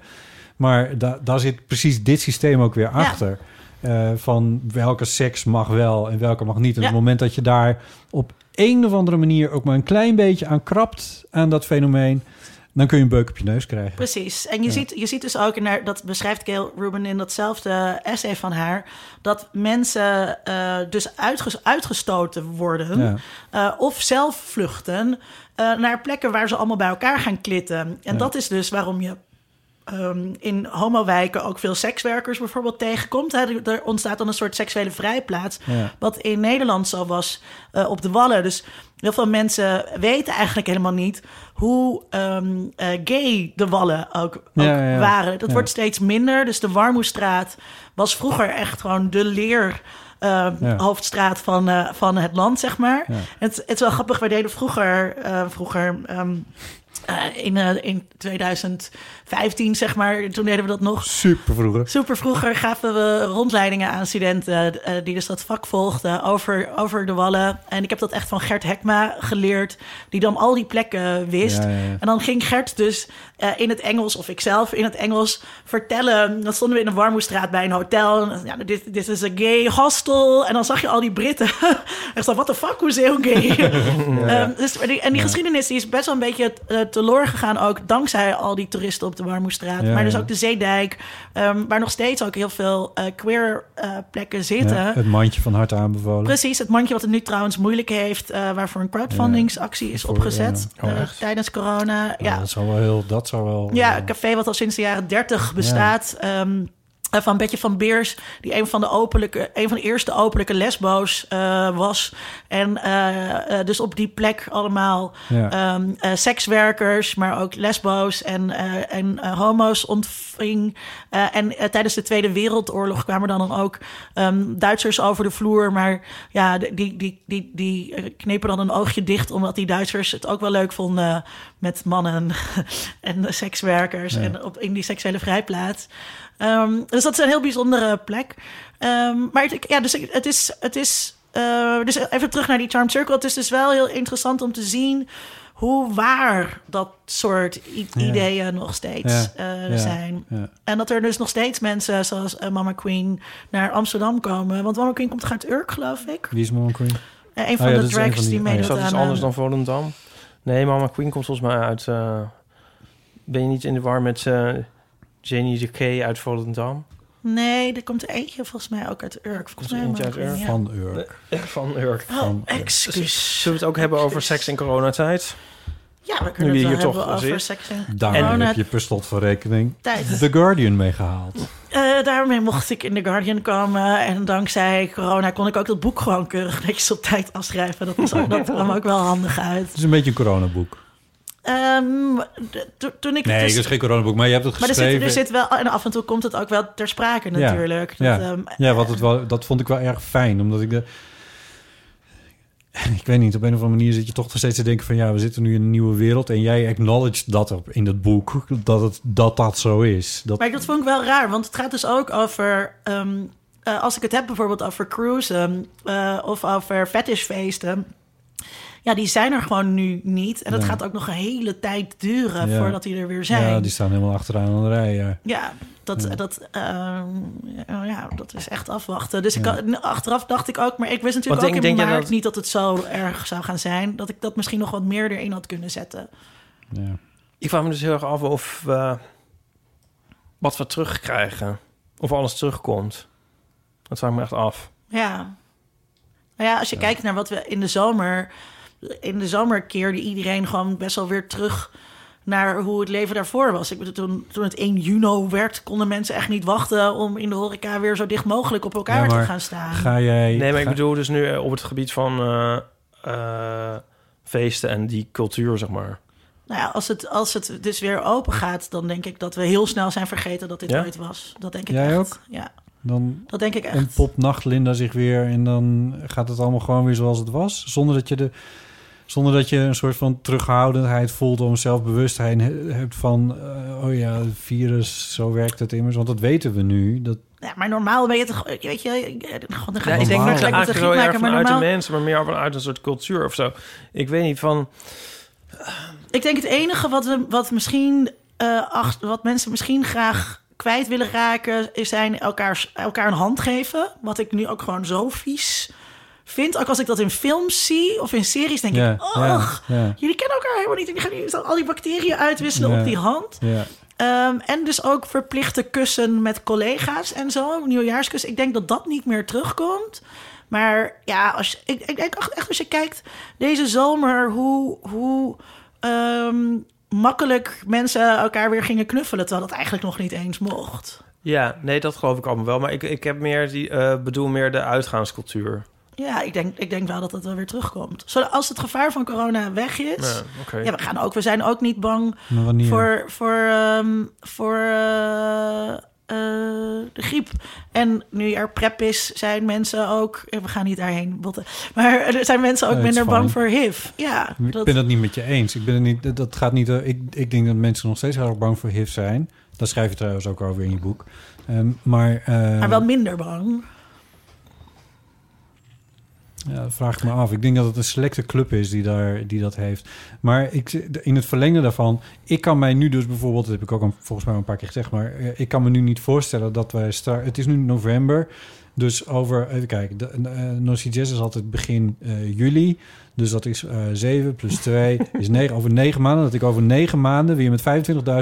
Speaker 4: Maar da- daar zit precies dit systeem ook weer achter. Eh, van welke seks mag wel en welke mag niet. En
Speaker 2: Ja.
Speaker 4: op het moment dat je daar op een of andere manier ook maar een klein beetje aan krabt aan dat fenomeen, dan kun je een beuk op je neus krijgen.
Speaker 2: Precies. En je, ziet, je ziet dus ook, en daar- dat beschrijft Gail Rubin in datzelfde essay van haar, dat mensen eh, dus uitges- uitgestoten worden
Speaker 4: Ja.
Speaker 2: eh, of zelf vluchten eh, naar plekken waar ze allemaal bij elkaar gaan klitten. En
Speaker 4: Ja.
Speaker 2: dat is dus waarom je ehm, in homowijken ook veel sekswerkers bijvoorbeeld tegenkomt. Hè. Er- Er ontstaat dan een soort seksuele vrijplaats.
Speaker 4: Ja.
Speaker 2: Wat in Nederland zo was eh, op de Wallen. Dus heel veel mensen weten eigenlijk helemaal niet hoe ehm, eh, gay de Wallen ook, ook
Speaker 4: Ja, ja, ja.
Speaker 2: waren. Dat
Speaker 4: Ja.
Speaker 2: wordt steeds minder. Dus de Warmoestraat was vroeger echt gewoon de leer. ehm,
Speaker 4: Ja.
Speaker 2: hoofdstraat van, eh, van het land, zeg maar.
Speaker 4: Ja.
Speaker 2: Het, het is wel grappig, wij deden vroeger, eh, vroeger ehm, eh, in, eh, in 2015, zeg maar, toen deden we dat nog.
Speaker 4: Super vroeger.
Speaker 2: Super vroeger gaven we rondleidingen aan studenten eh, die dus dat vak volgden over, over de wallen. En ik heb dat echt van Gert Hekma geleerd, die dan al die plekken wist.
Speaker 4: Ja, ja, ja.
Speaker 2: En dan ging Gert dus eh, in het Engels, of ikzelf in het Engels, vertellen. Dan stonden we in de Warmoestraat bij een hotel. En, ja, dit, dit is een gay hostel. En dan zag je al die Britten. en zo, what the fuck, hoe is heel gay? Ehm, dus, maar die- en die geschiedenis die is best wel een beetje eh, teloor gegaan ook dankzij al die toeristen op de Warmoestraat.
Speaker 4: Ja,
Speaker 2: maar dus
Speaker 4: ja.
Speaker 2: ook de Zeedijk, ehm, waar nog steeds ook heel veel eh, queer eh, plekken zitten.
Speaker 4: Ja, het mandje van harte aanbevolen.
Speaker 2: Precies, het mandje wat het nu trouwens moeilijk heeft, eh, waarvoor een crowdfundingsactie is
Speaker 4: Voor,
Speaker 2: opgezet
Speaker 3: ja. Oh,
Speaker 2: eh,
Speaker 3: echt?
Speaker 2: tijdens corona.
Speaker 4: Ja,
Speaker 2: ja,
Speaker 4: Eh, Dat zou wel heel... Dat zou wel
Speaker 2: ja,
Speaker 4: eh,
Speaker 2: een café wat al sinds de jaren 30 bestaat. ehm, eh, van Betje van Beers, die een van de, openlijke, een van de eerste openlijke lesbo's eh, was. En eh, eh, dus op die plek allemaal
Speaker 4: Ja.
Speaker 2: ehm, eh, sekswerkers, maar ook lesbo's en, eh, en eh, homo's ontving. Eh, en eh, tijdens de Tweede Wereldoorlog kwamen dan ook ehm, Duitsers over de vloer. Maar ja, de- die, die, die, die eh, knepen dan een oogje dicht, omdat die Duitsers het ook wel leuk vonden met mannen en sekswerkers en op, in die seksuele vrijplaats. Ehm, dus dat is een heel bijzondere plek. Ehm, maar het, ik- ja, dus ik- het is. Het is eh, dus even terug naar die Charm Circle. Het is dus wel heel interessant om te zien hoe waar dat soort i-
Speaker 4: Ja.
Speaker 2: ideeën nog steeds
Speaker 4: Ja.
Speaker 2: eh,
Speaker 4: Ja.
Speaker 2: zijn.
Speaker 4: Ja.
Speaker 2: En dat er dus nog steeds mensen zoals eh, Mama Queen naar Amsterdam komen. Want Mama Queen komt toch uit Urk, geloof ik.
Speaker 4: Wie is Mama Queen?
Speaker 2: Eh, een van
Speaker 4: ja,
Speaker 2: de
Speaker 4: dat is een
Speaker 2: drags
Speaker 4: van die-
Speaker 2: die
Speaker 4: oh ja.
Speaker 2: meedoet
Speaker 3: Is dat
Speaker 2: aan...
Speaker 3: iets anders
Speaker 2: eh,
Speaker 3: dan Volendam? Nee, Mama Queen komt volgens mij uit... eh, ben je niet in de war met eh Jenny de K uit Volendam?
Speaker 2: Nee, er komt er eentje volgens mij ook uit Urk. Volgens
Speaker 3: Komt
Speaker 2: mij
Speaker 3: er eentje
Speaker 2: Mama
Speaker 3: uit
Speaker 2: Queen,
Speaker 3: Urk?
Speaker 2: ja.
Speaker 4: Van Urk.
Speaker 3: Van Urk.
Speaker 4: Van
Speaker 2: Oh,
Speaker 4: Urk.
Speaker 2: excuus.
Speaker 3: Zullen we het ook hebben over seks in coronatijd?
Speaker 2: Ja, we kunnen
Speaker 3: Nu je
Speaker 2: het
Speaker 3: hier
Speaker 2: wel
Speaker 3: toch
Speaker 2: hebben over
Speaker 3: zit.
Speaker 2: seks en
Speaker 4: Daar
Speaker 2: corona
Speaker 4: heb je per slot van rekening
Speaker 2: tijd.
Speaker 4: The Guardian mee gehaald.
Speaker 2: Eh, daarmee mocht ik in The Guardian komen. En dankzij corona kon ik ook dat boek gewoon keurig netjes op tijd afschrijven. Dat, was ook, dat kwam ook wel handig uit.
Speaker 4: Het is een beetje een coronaboek.
Speaker 2: Ehm, de- to- toen ik
Speaker 4: Nee,
Speaker 2: het
Speaker 4: het
Speaker 2: dus-
Speaker 4: is geen coronaboek, maar je hebt het
Speaker 2: maar er
Speaker 4: geschreven.
Speaker 2: zit, er zit wel... En af en toe komt het ook wel ter sprake
Speaker 4: Ja,
Speaker 2: natuurlijk.
Speaker 4: ja,
Speaker 2: Dat, ehm,
Speaker 4: ja wat het wel, dat vond ik wel erg fijn, omdat ik de... Ik weet niet, op een of andere manier zit je toch nog steeds te denken van... ja, we zitten nu in een nieuwe wereld en jij acknowledged dat op- in dat boek, dat het, dat, dat zo is. Dat,
Speaker 2: Maar dat vond ik wel raar, want het gaat dus ook over... ehm, eh, als ik het heb bijvoorbeeld over cruisen eh, of over fetishfeesten... Ja, die zijn er gewoon nu niet. En dat
Speaker 4: Nee.
Speaker 2: gaat ook nog een hele tijd duren
Speaker 4: Ja.
Speaker 2: voordat die er weer zijn.
Speaker 4: Ja, die staan helemaal achteraan aan de rij, ja.
Speaker 2: Ja, dat, dat, ehm, ja, dat is echt afwachten. Dus ik kan- achteraf dacht ik ook, maar ik wist natuurlijk ook
Speaker 3: Wat denk-
Speaker 2: in
Speaker 3: denk jij
Speaker 2: maart
Speaker 3: dat-
Speaker 2: niet dat het zo erg zou gaan zijn. Dat ik dat misschien nog wat meer erin had kunnen zetten.
Speaker 4: ja.
Speaker 3: Ik vraag me dus heel erg af of we- wat we terugkrijgen. Of alles terugkomt. Dat vraag ik me echt af.
Speaker 2: Ja. Nou ja, als je kijkt naar wat we in de zomer... In de zomer keerde iedereen gewoon best wel weer terug naar hoe het leven daarvoor was. Ik bedoel, toen, toen het 1 juni werd, konden mensen echt niet wachten... om in de horeca weer zo dicht mogelijk op elkaar
Speaker 4: Ja, maar
Speaker 2: te gaan staan.
Speaker 4: Ga jij...
Speaker 3: Nee, maar ik
Speaker 4: ga-
Speaker 3: bedoel dus nu eh, op het gebied van eh, eh, feesten en die cultuur, zeg maar.
Speaker 2: Nou ja, als het, als het dus weer open gaat, dan denk ik dat we heel snel zijn vergeten dat dit
Speaker 3: Ja?
Speaker 2: ooit was. Dat denk ik
Speaker 4: Jij
Speaker 2: echt.
Speaker 4: ook?
Speaker 2: Ja,
Speaker 4: Dan
Speaker 2: dat denk ik echt.
Speaker 4: ontpopt Nachtlinda zich weer en dan gaat het allemaal gewoon weer zoals het was. Zonder dat je de... Zonder dat je een soort van terughoudendheid voelt om zelfbewustzijn he- hebt van... eh, oh ja, virus, zo werkt het immers. Want dat weten we nu. Dat,
Speaker 2: Ja, maar normaal ben je toch... Weet je, eh, god, dan ga
Speaker 3: Ja,
Speaker 2: ik
Speaker 3: ik denk
Speaker 4: normaal.
Speaker 3: dat
Speaker 2: gelijk met
Speaker 3: het
Speaker 2: de
Speaker 3: eigenlijk wel
Speaker 2: griep
Speaker 3: erg
Speaker 2: maken, maar
Speaker 3: vanuit de
Speaker 2: normaal...
Speaker 3: mensen, maar meer vanuit een soort cultuur of zo. Ik weet niet van.
Speaker 2: Ik denk het enige wat, we, wat, misschien, eh, ach- wat mensen misschien graag kwijt willen raken... is zijn elkaars, elkaar een hand geven. Wat ik nu ook gewoon zo vies vind. Ook als ik dat in films zie of in series, denk
Speaker 4: ja,
Speaker 2: ik... Och,
Speaker 4: ja, ja,
Speaker 2: jullie kennen elkaar helemaal niet. En die gaan jullie al die bacteriën uitwisselen
Speaker 4: Ja.
Speaker 2: op die hand.
Speaker 4: ja.
Speaker 2: Ehm, en dus ook verplichte kussen met collega's en zo. Nieuwjaarskus. Ik denk dat dat niet meer terugkomt. Maar ja, als je, ik, ik denk echt als je kijkt deze zomer hoe, hoe ehm, makkelijk mensen elkaar weer gingen knuffelen. Terwijl dat eigenlijk nog niet eens mocht.
Speaker 3: Ja, nee, dat geloof ik allemaal wel. Maar ik, ik heb meer die, eh, bedoel meer de uitgaanscultuur.
Speaker 2: Ja, ik denk, ik denk wel dat dat wel weer terugkomt. Zodat als het gevaar van corona weg is.
Speaker 3: Ja,
Speaker 2: Ja.
Speaker 3: oké.
Speaker 2: we, gaan ook, we zijn ook niet bang
Speaker 4: Maar wanneer?
Speaker 2: voor, voor, ehm, voor eh, eh, de griep. En nu er prep is, zijn mensen ook... eh, We gaan niet daarheen botten. Maar er zijn mensen ook
Speaker 4: Nee, het is
Speaker 2: minder bang voor
Speaker 4: fijn.
Speaker 2: HIV. Ja,
Speaker 4: Ik
Speaker 2: dat,
Speaker 4: ben dat niet met je eens. Ik, ben het niet, dat gaat niet, eh, ik, ik denk dat mensen nog steeds heel erg bang voor HIV zijn. Daar schrijf je trouwens ook over in je boek. Ehm, maar, eh,
Speaker 2: maar wel minder bang.
Speaker 4: ja, dat vraag ik me af. Ik denk dat het een selecte club is die, daar, die dat heeft. Maar ik, in het verlengde daarvan... Ik kan mij nu dus bijvoorbeeld... Dat heb ik ook een, volgens mij een paar keer gezegd... maar eh, ik kan me nu niet voorstellen dat wij... Star, het is nu november... Dus over, even kijken, de, eh, Noisy Jazz is altijd begin eh, juli. Dus dat is eh 7 plus 2 is 9. Over 9 maanden, dat ik over 9 maanden weer met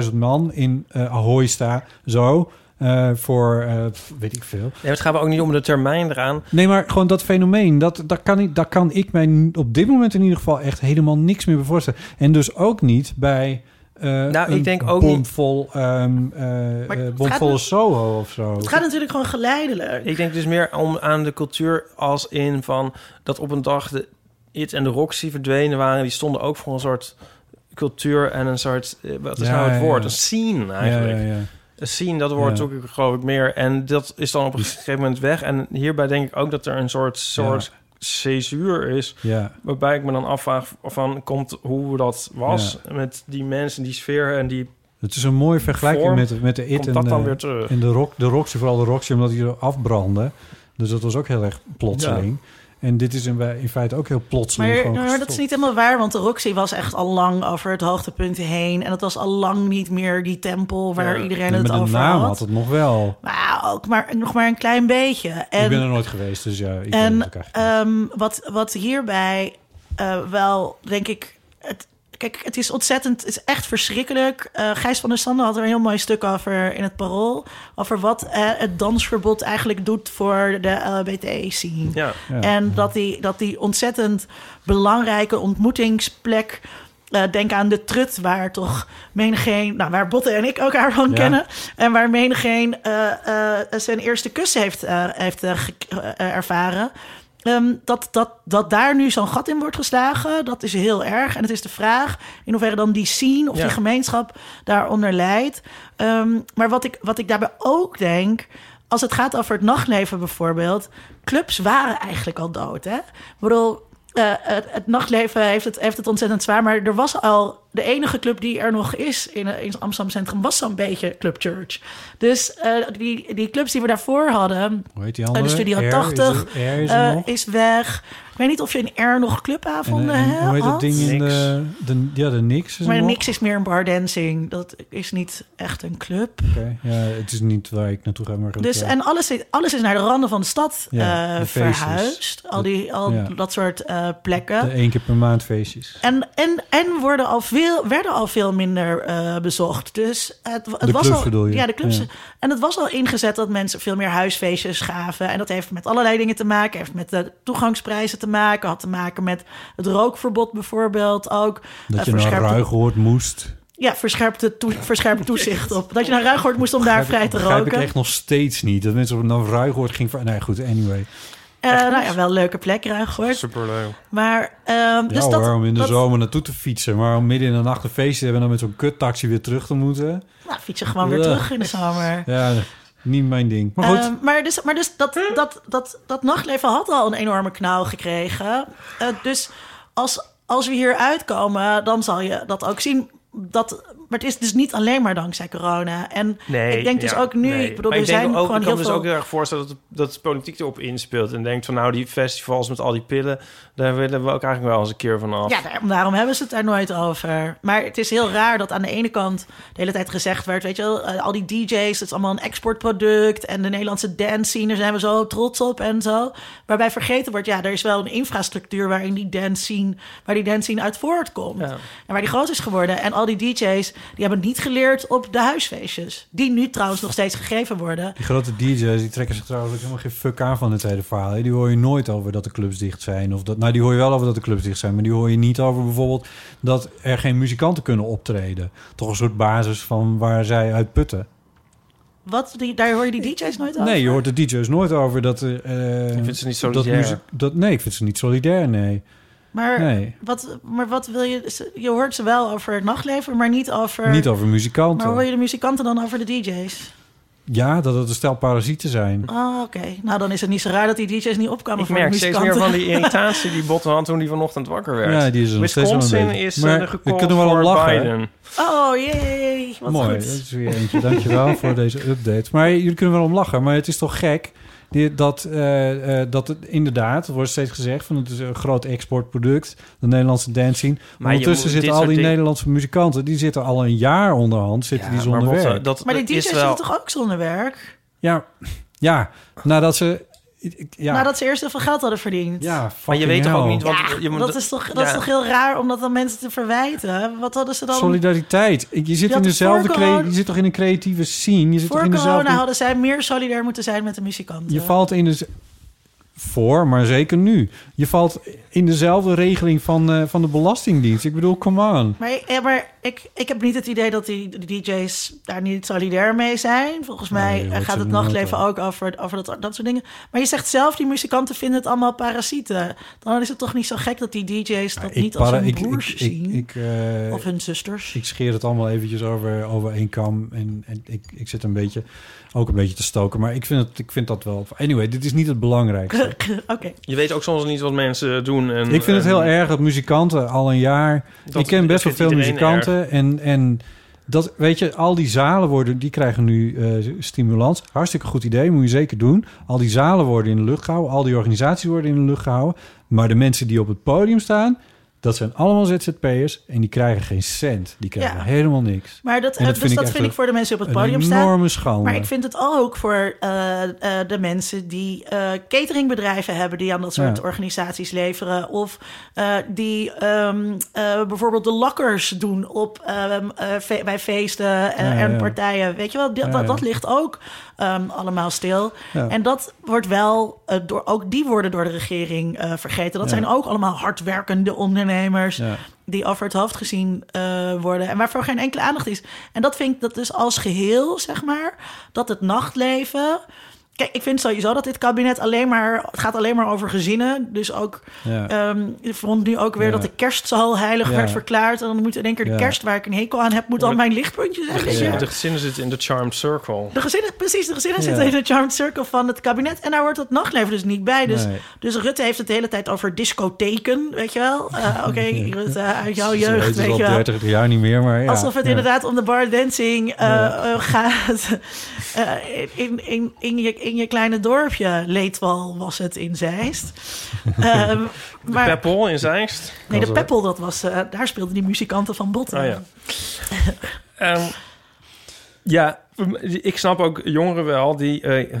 Speaker 4: 25.000 man in eh Ahoy sta. Zo, eh, voor eh, pff, weet ik veel.
Speaker 3: Nee, maar het gaat wel ook niet om de termijn eraan.
Speaker 4: Nee, maar gewoon dat fenomeen, dat, dat, kan ik, dat kan ik mij n- op dit moment in ieder geval echt helemaal niks meer bevoorstellen. En dus ook niet bij eh
Speaker 3: Nou, ik
Speaker 4: een
Speaker 3: denk ook
Speaker 4: bomvol, ehm, eh,
Speaker 2: Maar
Speaker 4: eh,
Speaker 2: het
Speaker 4: bomvolle
Speaker 2: gaat- dus-
Speaker 4: Soho of zo.
Speaker 2: Het gaat natuurlijk gewoon geleidelijk.
Speaker 3: Ik denk dus meer om, aan de cultuur als in van dat op een dag de It en de Roxy verdwenen waren. Die stonden ook voor een soort cultuur en een soort, eh, wat is
Speaker 4: Ja,
Speaker 3: nou het
Speaker 4: ja,
Speaker 3: woord?
Speaker 4: ja.
Speaker 3: Een scene
Speaker 4: ja,
Speaker 3: eigenlijk.
Speaker 4: ja, ja.
Speaker 3: Een scene, dat woord
Speaker 4: Ja.
Speaker 3: zoek ik geloof ik meer. En dat is dan op een gegeven moment weg. En hierbij denk ik ook dat er een soort, soort césuur is.
Speaker 4: ja.
Speaker 3: Waarbij ik me dan afvraag van komt hoe dat was met die mensen, die sfeer en die
Speaker 4: Het is een mooie vergelijking
Speaker 3: Vorm,
Speaker 4: met, met de IT
Speaker 3: komt
Speaker 4: en eh,
Speaker 3: dat
Speaker 4: de,
Speaker 3: dan weer terug.
Speaker 4: en de, rock, de Roxy. Vooral de Roxy, omdat die er afbrandde. Dus dat was ook heel erg plotseling. En dit is in, in feite ook heel plotseling.
Speaker 2: Maar,
Speaker 4: gewoon
Speaker 2: nou, dat is
Speaker 4: gestopt.
Speaker 2: niet helemaal waar, want de Roxy was echt al lang over het hoogtepunt heen. En het was al lang niet meer die tempel waar
Speaker 3: Ja.
Speaker 2: iedereen
Speaker 4: Nee,
Speaker 2: het
Speaker 4: maar de
Speaker 2: over
Speaker 4: naam
Speaker 2: had.
Speaker 4: had het nog wel.
Speaker 2: Maar ook maar, nog maar een klein beetje.
Speaker 4: ik ben er
Speaker 2: En,
Speaker 4: nooit geweest, dus ja. Ik weet het
Speaker 2: en
Speaker 4: ook eigenlijk niet.
Speaker 2: ehm, wat, wat hierbij eh, wel, denk ik... Het, kijk, het is ontzettend, het is echt verschrikkelijk. Eh, Gijs van der Sande had er een heel mooi stuk over in het Parool. Over wat eh, het dansverbod eigenlijk doet voor de LHBT-scene.
Speaker 3: Ja,
Speaker 4: Ja.
Speaker 2: En dat die, dat die ontzettend belangrijke ontmoetingsplek. eh, denk aan de trut, waar toch menigeen... Nou, waar Botte en ik elkaar van
Speaker 4: Ja.
Speaker 2: kennen. En waar menigeen eh, eh, zijn eerste kus heeft, eh, heeft eh, ge- eh, ervaren. Ehm, dat, dat, dat daar nu zo'n gat in wordt geslagen, dat is heel erg. En het is de vraag in hoeverre dan die scene of
Speaker 3: Ja.
Speaker 2: die gemeenschap daaronder leidt. Ehm, maar wat ik, wat ik daarbij ook denk, als het gaat over het nachtleven bijvoorbeeld, clubs waren eigenlijk al dood. Hè? Ik bedoel, eh, het, het nachtleven heeft het, heeft het ontzettend zwaar, maar er was al de enige club die er nog is in, eh, in het Amsterdam Centrum, was zo'n beetje Club Church. Dus eh, die, die clubs die we daarvoor hadden,
Speaker 4: Hoe heet die
Speaker 2: eh,
Speaker 4: andere?
Speaker 2: de Studio
Speaker 4: R is
Speaker 2: 80
Speaker 4: er- R is er
Speaker 2: eh,
Speaker 4: nog.
Speaker 2: is weg. Ik weet niet of je in R nog
Speaker 4: En,
Speaker 2: clubavonden
Speaker 4: eh, en
Speaker 2: hè,
Speaker 4: hoe heet dat
Speaker 2: had.
Speaker 4: ding in
Speaker 3: Niks.
Speaker 4: de, de... Ja, de Nix is er
Speaker 2: Maar
Speaker 4: nog.
Speaker 2: niks is meer een bardancing. Dat is niet echt een club.
Speaker 4: Oké, Ja, het is niet waar ik naartoe ga, maar... goed,
Speaker 2: Dus,
Speaker 4: ja.
Speaker 2: en alles, is- alles is naar de randen van de stad
Speaker 4: Ja,
Speaker 2: eh,
Speaker 4: de feestjes.
Speaker 2: verhuisd. Al,
Speaker 4: De-
Speaker 2: die, al
Speaker 4: ja.
Speaker 2: dat soort eh,
Speaker 4: De
Speaker 2: plekken.
Speaker 4: één keer per maand feestjes.
Speaker 2: En, en, en worden al veel, werden al veel minder eh, bezocht. Dus het, het
Speaker 4: De
Speaker 2: was
Speaker 4: clubs
Speaker 2: al,
Speaker 4: bedoel je?
Speaker 2: Ja, de clubs.
Speaker 4: Ja.
Speaker 2: En het was al ingezet dat mensen veel meer huisfeestjes gaven. En dat heeft met allerlei dingen te maken. Heeft met de toegangsprijzen te maken. Had te maken met het rookverbod bijvoorbeeld ook.
Speaker 4: Dat
Speaker 2: Eh,
Speaker 4: je naar
Speaker 2: verscherpte-
Speaker 4: ruig hoort moest.
Speaker 2: Ja, verscherpte, toe- verscherpt toezicht op. Dat je naar Ruigoord moest om daar vrij te
Speaker 4: begrijp
Speaker 2: roken.
Speaker 4: ik echt nog steeds niet. Dat mensen op een ruigwoord ging van... Nee, goed, anyway.
Speaker 2: Eh, nou ja, wel een leuke plek, Ruigoord.
Speaker 3: superleuk.
Speaker 2: Maar, ehm dus
Speaker 4: ja
Speaker 2: dat,
Speaker 4: hoor, om in de
Speaker 2: dat-
Speaker 4: zomer naartoe te fietsen. Maar om midden in de nacht een feest te hebben... en dan met zo'n kuttaxi weer terug te moeten.
Speaker 2: Nou, fietsen gewoon weer
Speaker 4: Ja.
Speaker 2: terug in de zomer.
Speaker 4: Ja, niet mijn ding. Maar goed,
Speaker 2: Ehm, maar dus, maar dus dat, dat, dat, dat nachtleven had al een enorme knauw gekregen. Eh, dus als, als we hier uitkomen, dan zal je dat ook zien. Dat, maar het is dus niet alleen maar dankzij corona. En
Speaker 3: Nee,
Speaker 2: ik denk dus
Speaker 3: ja,
Speaker 2: ook nu,
Speaker 3: nee.
Speaker 2: ik bedoel,
Speaker 3: Maar
Speaker 2: er
Speaker 3: denk
Speaker 2: zijn gewoon
Speaker 3: ook, ik kan
Speaker 2: heel
Speaker 3: me dus
Speaker 2: veel...
Speaker 3: ook heel erg voorstellen dat, dat de politiek erop inspeelt. En denkt van nou, die festivals met al die pillen, daar willen we ook eigenlijk wel eens een keer van af.
Speaker 2: Ja, daar- daarom hebben ze het daar nooit over. Maar het is heel raar dat aan de ene kant de hele tijd gezegd werd... weet je wel, eh, al die DJ's, het is allemaal een exportproduct... en de Nederlandse dance scene, daar zijn we zo trots op en zo. Waarbij vergeten wordt, ja, er is wel een infrastructuur... waarin die dance scene, waar die dance scene uit voortkomt.
Speaker 3: Ja.
Speaker 2: En waar die groot is geworden. En al die DJ's, die hebben niet geleerd op de huisfeestjes. Die nu trouwens nog steeds gegeven worden.
Speaker 4: Die grote DJ's die trekken zich trouwens ook helemaal geen fuck aan van dit hele verhaal. hè. Die hoor je nooit over dat de clubs dicht zijn. Of dat, nou, die hoor je wel over dat de clubs dicht zijn. Maar die hoor je niet over bijvoorbeeld dat er geen muzikanten kunnen optreden. Toch een soort basis van waar zij uit putten.
Speaker 2: Wat, die, daar hoor je die DJ's nooit over?
Speaker 4: Nee, je hoort de DJ's nooit over dat. eh
Speaker 3: Ik vind ze niet
Speaker 4: dat
Speaker 3: solidair.
Speaker 4: muziek- dat, nee, ik vind ze niet solidair, nee.
Speaker 2: Maar,
Speaker 4: Nee.
Speaker 2: wat, maar wat wil je... ze- Je hoort ze wel over het nachtleven, maar niet over...
Speaker 4: Niet over
Speaker 2: maar hoe
Speaker 4: muzikanten.
Speaker 2: wil je de muzikanten dan over de DJ's?
Speaker 4: Ja, dat het een stel parasieten zijn.
Speaker 2: Oh, oké. Nou, dan is het niet zo raar dat die DJ's niet opkwamen
Speaker 3: Ik
Speaker 2: voor de
Speaker 3: merk steeds
Speaker 2: muzikanten.
Speaker 3: meer van die irritatie die Botten had toen die vanochtend wakker werd.
Speaker 4: Ja, die is er nog steeds wel een
Speaker 3: Wisconsin
Speaker 4: beetje.
Speaker 3: is
Speaker 4: Maar
Speaker 3: maar,
Speaker 4: we kunnen wel om
Speaker 3: voor
Speaker 4: lachen, hè?
Speaker 3: Biden.
Speaker 2: Oh, jee. Wat
Speaker 4: Mooi, dat
Speaker 2: goed.
Speaker 4: is weer eentje. Dankjewel voor deze update. Maar jullie kunnen wel om lachen, maar het is toch gek die- dat, eh, eh, dat het inderdaad, er wordt steeds gezegd, van het is een groot exportproduct, de Nederlandse dancing.
Speaker 3: Maar
Speaker 4: Maar
Speaker 3: je
Speaker 4: ondertussen
Speaker 3: moet-
Speaker 4: zitten
Speaker 3: dit
Speaker 4: al die
Speaker 3: soort dingen-
Speaker 4: Nederlandse muzikanten, die zitten al een jaar onderhand, zitten die zonder
Speaker 3: Botte,
Speaker 4: werk.
Speaker 3: eh, dat,
Speaker 2: Maar die
Speaker 3: dat
Speaker 2: DJ's
Speaker 3: is wel...
Speaker 2: zitten toch ook zonder werk?
Speaker 4: Ja, ja, nadat ze... ik- ik- Ja,
Speaker 2: Nadat ze eerst heel veel geld hadden verdiend.
Speaker 4: ja
Speaker 3: Maar je weet toch ook niet wat...
Speaker 2: Ja,
Speaker 3: je moet-
Speaker 2: dat, is toch, dat is
Speaker 3: ja.
Speaker 2: toch heel raar om dat aan mensen te verwijten? Wat hadden ze dan...
Speaker 4: Solidariteit. Ik- Je zit,
Speaker 2: Je
Speaker 4: in
Speaker 2: had
Speaker 4: dezelfde
Speaker 2: voor
Speaker 4: crea-
Speaker 2: corona-
Speaker 4: je zit toch in een creatieve scene? Je zit
Speaker 2: voor
Speaker 4: toch in
Speaker 2: corona
Speaker 4: dezelfde...
Speaker 2: hadden zij meer solidair moeten zijn met de muzikanten.
Speaker 4: Je valt in de... Voor, maar zeker nu. Je valt in dezelfde regeling van, eh, van de Belastingdienst. Ik bedoel, come on.
Speaker 2: Maar, ja, maar ik, ik heb niet het idee dat die, die DJ's daar niet solidair mee zijn. Volgens
Speaker 4: Nee,
Speaker 2: mij
Speaker 4: je
Speaker 2: eh,
Speaker 4: hoort
Speaker 2: gaat
Speaker 4: ze
Speaker 2: het
Speaker 4: nooit
Speaker 2: nachtleven
Speaker 4: over.
Speaker 2: ook over, over dat, dat soort dingen. Maar je zegt zelf, die muzikanten vinden het allemaal parasieten. Dan is het toch niet zo gek dat die DJ's dat niet als
Speaker 4: para-
Speaker 2: hun
Speaker 4: ik,
Speaker 2: broers
Speaker 4: ik,
Speaker 2: zien.
Speaker 4: ik, ik, eh,
Speaker 2: of hun zusters.
Speaker 4: ik scheer het allemaal eventjes over, over één kam. En, en ik, ik zit een beetje, ook een beetje te stoken. Maar ik vind, het, ik vind dat wel... Anyway, dit is niet het belangrijkste.
Speaker 2: Oké.
Speaker 3: Je weet ook soms niet wat mensen eh, doen. En,
Speaker 4: Ik vind het
Speaker 3: en-
Speaker 4: heel erg dat muzikanten al een jaar.
Speaker 3: Dat
Speaker 4: ik ken best wel
Speaker 3: vindt
Speaker 4: veel
Speaker 3: iedereen
Speaker 4: muzikanten. En, en dat, weet je, al die zalen worden, die krijgen nu eh, stimulans. Hartstikke goed idee, moet je zeker doen. Al die zalen worden in de lucht gehouden, al die organisaties worden in de lucht gehouden. Maar de mensen die op het podium staan, dat zijn allemaal ZZP'ers. En die krijgen geen cent. Die krijgen
Speaker 2: Ja.
Speaker 4: helemaal niks.
Speaker 2: Maar dat,
Speaker 4: En
Speaker 2: eh,
Speaker 4: dat
Speaker 2: dus
Speaker 4: vind ik
Speaker 2: dat
Speaker 4: echt
Speaker 2: vind
Speaker 4: een-
Speaker 2: ik voor de mensen die op het
Speaker 4: Een
Speaker 2: podium staan.
Speaker 4: enorme schande.
Speaker 2: Maar ik vind het ook voor eh, eh, de mensen die eh, cateringbedrijven hebben... die aan dat soort
Speaker 4: Ja.
Speaker 2: organisaties leveren. Of eh, die ehm, eh, bijvoorbeeld de lakkers doen op, ehm, eh, fe- bij feesten eh,
Speaker 4: Ja,
Speaker 2: en
Speaker 4: ja.
Speaker 2: partijen. Weet je wel, dat,
Speaker 4: Ja,
Speaker 2: dat,
Speaker 4: ja.
Speaker 2: dat ligt ook ehm, allemaal stil.
Speaker 4: Ja.
Speaker 2: En dat wordt wel, eh, door, ook die worden door de regering eh, vergeten. Dat
Speaker 4: Ja.
Speaker 2: zijn ook allemaal hardwerkende ondernemers
Speaker 4: Ja.
Speaker 2: die over het hoofd gezien eh, worden en waarvoor geen enkele aandacht is. En dat vind ik dat dus als geheel, zeg maar, dat het nachtleven. Kijk, ik vind sowieso dat dit kabinet alleen maar. Het gaat alleen maar over gezinnen. Dus ook.
Speaker 4: Ja.
Speaker 2: ehm, ik vond nu ook weer
Speaker 4: Ja.
Speaker 2: dat de kerst zo heilig
Speaker 4: Ja.
Speaker 2: werd verklaard. En dan moet in één keer de
Speaker 4: Ja.
Speaker 2: kerst waar ik een hekel aan heb, moet dan mijn lichtpuntje zijn. weet je.
Speaker 3: De gezinnen zitten in de charmed circle.
Speaker 2: De gezinnen, precies, de gezinnen
Speaker 4: Ja.
Speaker 2: zitten in de charmed circle van het kabinet. En daar hoort het nachtleven dus niet bij. Dus,
Speaker 4: Nee.
Speaker 2: dus Rutte heeft het de hele tijd over discotheken, weet je wel. Eh, Oké, Rutte, uit jouw jeugd,
Speaker 4: Ze weten
Speaker 2: weet
Speaker 4: het
Speaker 2: je
Speaker 4: al
Speaker 2: wel.
Speaker 4: 30 jaar niet meer. Maar ja,
Speaker 2: Alsof het
Speaker 4: ja.
Speaker 2: inderdaad om de bar dancing eh, eh, gaat. Eh, in, in, in, je, in je kleine dorpje, Leetwal was het in Zeist. Ehm, maar,
Speaker 3: Peppel in Zeist.
Speaker 2: nee, de Peppel, dat was, eh, daar speelden die muzikanten van Botten.
Speaker 4: Oh
Speaker 3: Ah, ja. Ehm, ja, m- ik snap ook jongeren wel. Die, eh,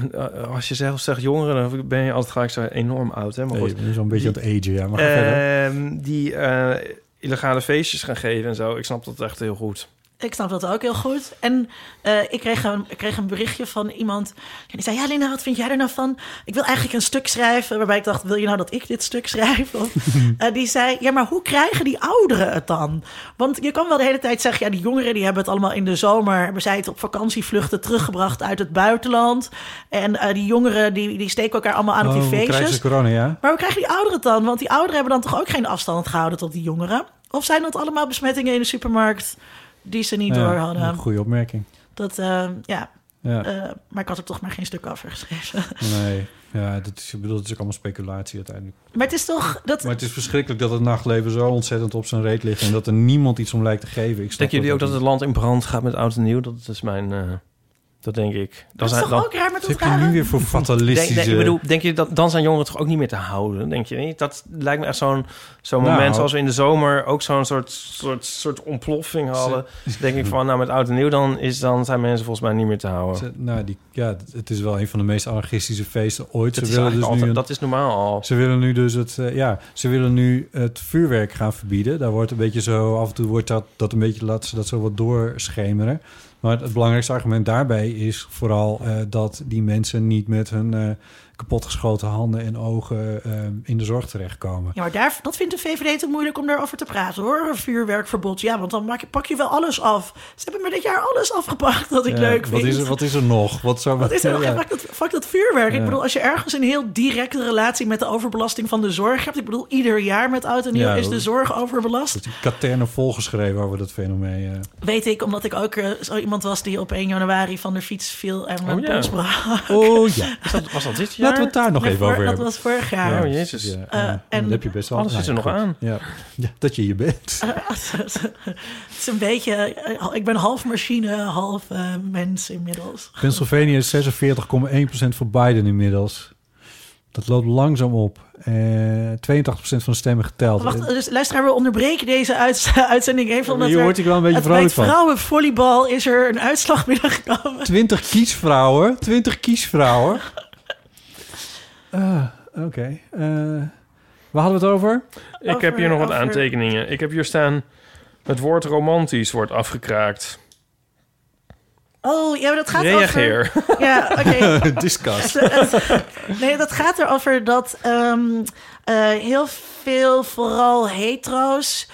Speaker 3: als je zelf zegt jongeren, dan ben je altijd gelijk zo enorm oud. Hè? Maar
Speaker 4: Nee,
Speaker 3: goed,
Speaker 4: je bent zo'n beetje aan het agen, ja. Maar
Speaker 2: Eh,
Speaker 4: ga verder.
Speaker 3: Ehm, die eh, illegale feestjes gaan geven en zo. Ik snap dat echt heel goed.
Speaker 2: Ik snap dat ook heel goed. En eh, ik, kreeg een, ik kreeg een berichtje van iemand. En die zei: Ja, Lina, wat vind jij er nou van? Ik wil eigenlijk een stuk schrijven. Waarbij ik dacht: Wil je nou dat ik dit stuk schrijf? Of, eh, die zei: Ja, maar hoe krijgen die ouderen het dan? Want je kan wel de hele tijd zeggen: Ja, die jongeren die hebben het allemaal in de zomer. Hebben zij het op vakantievluchten teruggebracht uit het buitenland? En eh, die jongeren die, die steken elkaar allemaal aan op
Speaker 4: Oh,
Speaker 2: die
Speaker 4: hoe krijgen
Speaker 2: feestjes.
Speaker 4: ze corona, ja?
Speaker 2: Maar hoe krijgen die ouderen het dan? Want die ouderen hebben dan toch ook geen afstand gehouden tot die jongeren? Of zijn dat allemaal besmettingen in de supermarkt die ze niet
Speaker 4: Ja,
Speaker 2: door hadden?
Speaker 4: Goede opmerking.
Speaker 2: Dat, eh, ja,
Speaker 4: Ja.
Speaker 2: eh, maar ik had er toch maar geen stuk over geschreven.
Speaker 4: Nee. Ja, dat is, ik bedoel, het is ook allemaal speculatie uiteindelijk.
Speaker 2: Maar het is toch... Dat,
Speaker 4: Maar het is verschrikkelijk dat het nachtleven zo ontzettend op zijn reet ligt... en dat er niemand iets om lijkt te geven. Ik snap
Speaker 3: Denken jullie ook dat
Speaker 4: niet.
Speaker 3: het land in brand gaat met oud en nieuw? Dat is mijn... eh, dat denk ik. Dan
Speaker 2: dat is
Speaker 3: zijn,
Speaker 2: toch
Speaker 3: dan,
Speaker 2: ook raar met
Speaker 4: Wat
Speaker 2: dat
Speaker 4: heb je nu
Speaker 2: rare...
Speaker 4: weer voor
Speaker 3: denk,
Speaker 4: fatalistische...
Speaker 3: denk- ik bedoel, denk je dat dan zijn jongeren toch ook niet meer te houden? Denk je niet? Dat lijkt me echt zo'n zo'n
Speaker 4: Nou.
Speaker 3: moment zoals we in de zomer ook zo'n soort, soort, soort ontploffing hadden. denk ik van, nou met oud en nieuw dan, is, dan zijn mensen volgens mij niet meer te houden.
Speaker 4: Ze- nou, die, ja, het is wel een van de meest anarchistische feesten ooit.
Speaker 3: Dat
Speaker 4: Ze
Speaker 3: is,
Speaker 4: willen,
Speaker 3: eigenlijk
Speaker 4: dus nu
Speaker 3: altijd,
Speaker 4: een-
Speaker 3: dat is normaal al.
Speaker 4: ze willen nu dus het, eh, ja, ze willen nu het vuurwerk gaan verbieden. Daar wordt een beetje zo, af en toe wordt dat, dat een beetje, laten ze dat zo wat doorschemeren. Maar het, het belangrijkste argument daarbij is vooral eh, dat die mensen niet met hun eh, kapotgeschoten handen en ogen eh, in de zorg terechtkomen.
Speaker 2: Ja, maar daar, dat vindt de VVD te moeilijk om daarover te praten, hoor. Een vuurwerkverbod. Ja, want dan maak je, pak je wel alles af. Ze hebben me dit jaar alles afgepakt dat ik
Speaker 4: Ja,
Speaker 2: leuk
Speaker 4: Eh, wat
Speaker 2: vind.
Speaker 4: is, er, wat is er nog? Wat, zou,
Speaker 2: Wat is er nog?
Speaker 4: ja.
Speaker 2: Fuck dat, fuck dat vuurwerk.
Speaker 4: Ja.
Speaker 2: Ik bedoel, als je ergens een heel directe relatie met de overbelasting van de zorg hebt. Ik bedoel, ieder jaar met oud en nieuw
Speaker 4: Ja,
Speaker 2: is
Speaker 4: dat-
Speaker 2: de zorg overbelast.
Speaker 4: Die katernen volgeschreven over dat fenomeen. eh.
Speaker 2: Weet ik, omdat ik ook eh, zo iemand was die op 1 januari van de fiets viel en mijn
Speaker 3: Oh, ja.
Speaker 2: pols brak.
Speaker 4: Oh ja,
Speaker 3: Is dat, was dat dit jaar?
Speaker 4: laten we het daar nog
Speaker 2: Nee,
Speaker 4: even
Speaker 2: voor-
Speaker 4: over hebben.
Speaker 2: Dat was vorig jaar.
Speaker 3: Oh, jezus.
Speaker 4: Ja,
Speaker 3: Eh,
Speaker 4: ja.
Speaker 2: en-
Speaker 4: dan heb je best wel...
Speaker 3: Alles zit er nog
Speaker 4: goed.
Speaker 3: aan.
Speaker 4: Ja. Ja, dat je hier bent.
Speaker 2: Het is een beetje... eh, Ik ben half machine, half eh, mens inmiddels.
Speaker 4: Pennsylvania is 46,1% voor Biden inmiddels. Dat loopt langzaam op. Eh 82% van de stemmen geteld.
Speaker 2: Wacht, dus luisteraar, we onderbreken deze uit- uitzending even.
Speaker 4: Eh,
Speaker 2: Omdat
Speaker 4: Hier
Speaker 2: er-
Speaker 4: word ik wel een beetje
Speaker 2: het bij
Speaker 4: vrolijk
Speaker 2: het
Speaker 4: van.
Speaker 2: vrouwenvolleybal is er een uitslag binnengekomen.
Speaker 4: 20 kiesvrouwen. 20 kiesvrouwen. Ah, Oké. Eh, waar hadden we het over?
Speaker 3: Ik heb hier nog wat
Speaker 2: Over- over-
Speaker 3: aantekeningen. Ik heb hier staan... Het woord romantisch wordt afgekraakt.
Speaker 2: Oh, ja, maar dat gaat
Speaker 3: Reageer.
Speaker 2: over... Ja, oké.
Speaker 4: Discuss.
Speaker 2: Nee, dat gaat erover dat ehm, eh, heel veel, vooral hetero's,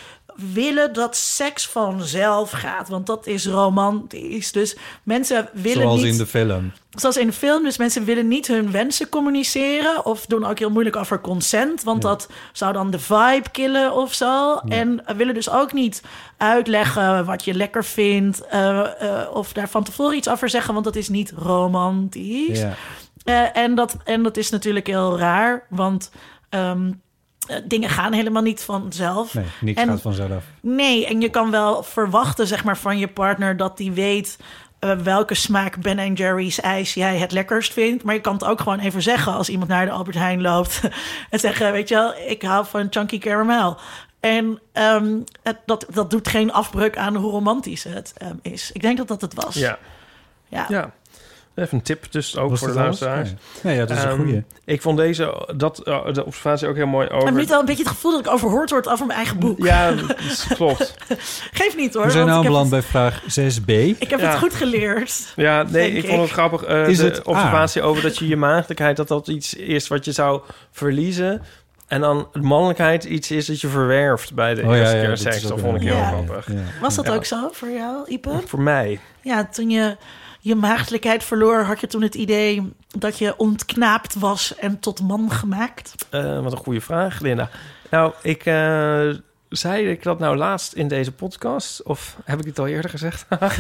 Speaker 2: willen dat seks vanzelf gaat. Want dat is romantisch. Dus mensen willen
Speaker 4: Zoals
Speaker 2: niet...
Speaker 4: in de film.
Speaker 2: Zoals in de film, dus mensen willen niet hun wensen communiceren... of doen ook heel moeilijk over consent... want dat zou dan de vibe killen of zo. En willen dus ook niet uitleggen wat je lekker vindt... eh, eh, of daar van tevoren iets over zeggen... want dat is niet romantisch.
Speaker 4: Ja.
Speaker 2: Eh, en, dat, en dat is natuurlijk heel raar, want ehm, eh, dingen gaan helemaal niet vanzelf.
Speaker 4: Nee, niks
Speaker 2: En-
Speaker 4: gaat vanzelf.
Speaker 2: Nee, en je kan wel verwachten zeg maar, van je partner dat die weet eh, welke smaak Ben Jerry's ijs jij het lekkerst vindt. Maar je kan het ook gewoon even zeggen als iemand naar de Albert Heijn loopt en zeggen: Weet je wel, ik hou van chunky caramel. En ehm, het, dat, dat doet geen afbreuk aan hoe romantisch het ehm, is. Ik denk dat dat het was.
Speaker 3: Ja.
Speaker 2: Ja.
Speaker 3: ja. Even een tip dus ook
Speaker 4: Was
Speaker 3: voor de
Speaker 4: dat alles?
Speaker 3: luisteraars.
Speaker 4: Nee. Nee, ja, dat is een
Speaker 3: Ehm,
Speaker 4: goede.
Speaker 3: Ik vond deze dat, eh, de observatie ook heel mooi
Speaker 2: Ik heb
Speaker 3: over.
Speaker 2: nu al een beetje het gevoel dat ik overhoord word over mijn eigen boek.
Speaker 3: Ja, dat is- klopt.
Speaker 2: Geef niet hoor.
Speaker 4: We zijn
Speaker 2: want ik
Speaker 4: nou
Speaker 2: heb het-
Speaker 4: aanbeland bij vraag 6b.
Speaker 2: Ik heb
Speaker 3: Ja.
Speaker 2: het goed geleerd.
Speaker 3: Ja, nee,
Speaker 2: Denk
Speaker 3: ik vond het
Speaker 2: ik.
Speaker 3: grappig. eh,
Speaker 4: Is
Speaker 3: de
Speaker 4: het
Speaker 3: observatie over dat je je maagdelijkheid, dat dat iets is wat je zou verliezen. En dan mannelijkheid iets is dat je verwerft bij de
Speaker 4: Oh, ja,
Speaker 3: eerste
Speaker 4: ja,
Speaker 3: keer
Speaker 4: dat is
Speaker 3: seks.
Speaker 4: ook
Speaker 3: Dat
Speaker 4: een-
Speaker 3: vond ik heel
Speaker 2: Ja.
Speaker 3: grappig.
Speaker 4: Ja.
Speaker 2: Was dat
Speaker 3: Ja.
Speaker 2: ook zo voor jou, Ipe?
Speaker 3: Voor mij.
Speaker 2: Ja, toen je je maagdelijkheid verloor, had je toen het idee dat je ontknaapt was en tot man gemaakt?
Speaker 3: Eh, wat een goede vraag, Linda. Nou, ik eh, zei ik dat nou laatst in deze podcast? Of heb ik het al eerder gezegd?
Speaker 4: Nou,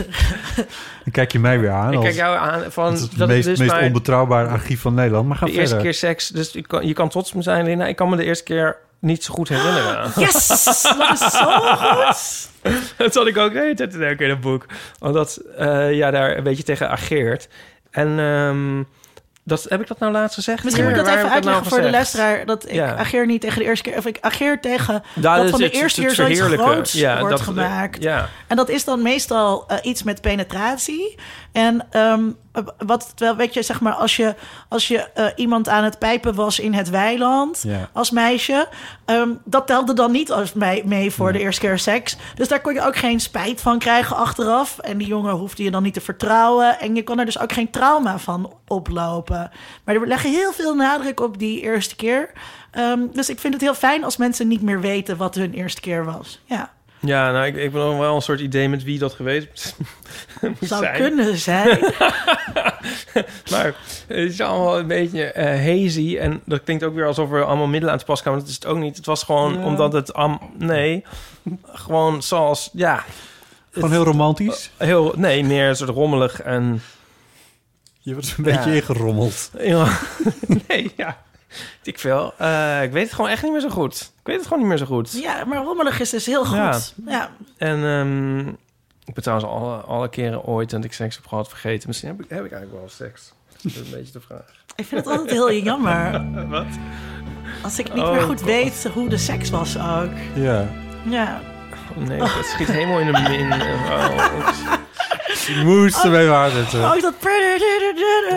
Speaker 4: Dan kijk je mij weer aan.
Speaker 3: ik
Speaker 4: als-
Speaker 3: kijk jou aan van
Speaker 4: dat is het
Speaker 3: dat
Speaker 4: meest,
Speaker 3: dus
Speaker 4: meest
Speaker 3: mijn-
Speaker 4: onbetrouwbare archief van Nederland. Maar ga
Speaker 3: de eerste
Speaker 4: verder.
Speaker 3: keer seks. Dus je kan, je kan trots op me zijn, Linda. Ik kan me de eerste keer niet zo goed herinneren.
Speaker 2: Yes! dat is zo goed!
Speaker 3: dat zat ik ook de hele tijd te denken in het boek. Omdat eh, ja, daar een beetje tegen ageert. En ehm, dat, heb ik dat nou laatst gezegd?
Speaker 2: Misschien moet ik
Speaker 3: Hier,
Speaker 2: dat
Speaker 3: waar
Speaker 2: even
Speaker 3: heb nou
Speaker 2: uitleggen voor de
Speaker 3: gezegd?
Speaker 2: luisteraar. Dat ik
Speaker 3: Ja.
Speaker 2: ageer niet tegen de eerste keer... of ik ageer tegen
Speaker 3: Ja,
Speaker 2: dat
Speaker 3: is
Speaker 2: van de
Speaker 3: het- het-
Speaker 2: eerste
Speaker 3: het
Speaker 2: keer zoiets
Speaker 3: verheerlijken.
Speaker 2: groots wordt
Speaker 3: dat-
Speaker 2: gemaakt.
Speaker 3: Ja,
Speaker 2: En dat is dan meestal eh, iets met penetratie. En ehm, wat wel, weet je, zeg maar, als je, als je eh, iemand aan het pijpen was in het weiland
Speaker 4: Ja.
Speaker 2: als meisje, ehm, dat telde dan niet als mee, mee voor de eerste keer seks. Dus daar kon je ook geen spijt van krijgen achteraf. En die jongen hoefde je dan niet te vertrouwen. En je kon er dus ook geen trauma van oplopen. Maar er leggen heel veel nadruk op die eerste keer. Ehm, dus ik vind het heel fijn als mensen niet meer weten wat hun eerste keer was. Ja.
Speaker 3: ja nou, ik, ik heb nog wel een soort idee met wie dat geweest moet
Speaker 2: Zou
Speaker 3: zijn.
Speaker 2: kunnen zijn.
Speaker 3: Maar het is allemaal een beetje eh, hazy. En dat klinkt ook weer alsof er allemaal middelen aan te pas kwamen. Dat is het ook niet. Het was gewoon omdat het... am- nee, gewoon zoals... Ja, Oh.
Speaker 4: Gewoon heel romantisch.
Speaker 3: heel... Nee, meer een soort rommelig en...
Speaker 4: Je wordt een
Speaker 3: Ja.
Speaker 4: beetje ingerommeld.
Speaker 3: Ja. nee, ja. Ik veel. Eh, ik weet het gewoon echt niet meer zo goed. Ik weet het gewoon niet meer zo goed.
Speaker 2: Ja, maar rommelig is dus heel goed.
Speaker 3: Ja.
Speaker 2: Ja. Ja.
Speaker 3: En ehm, ik ben trouwens alle, alle keren ooit dat ik seks heb gehad vergeten. Misschien heb ik, heb ik eigenlijk wel seks. Dat is een beetje de vraag.
Speaker 2: Ik vind het altijd heel jammer.
Speaker 3: Wat?
Speaker 2: Als ik niet
Speaker 3: Oh,
Speaker 2: meer goed
Speaker 3: God.
Speaker 2: weet hoe de seks was ook.
Speaker 4: Ja.
Speaker 2: Ja.
Speaker 3: Nee, dat schiet helemaal in de min. Oh, oeps.
Speaker 4: Je moest ermee waarzetten.
Speaker 2: Oh, dat...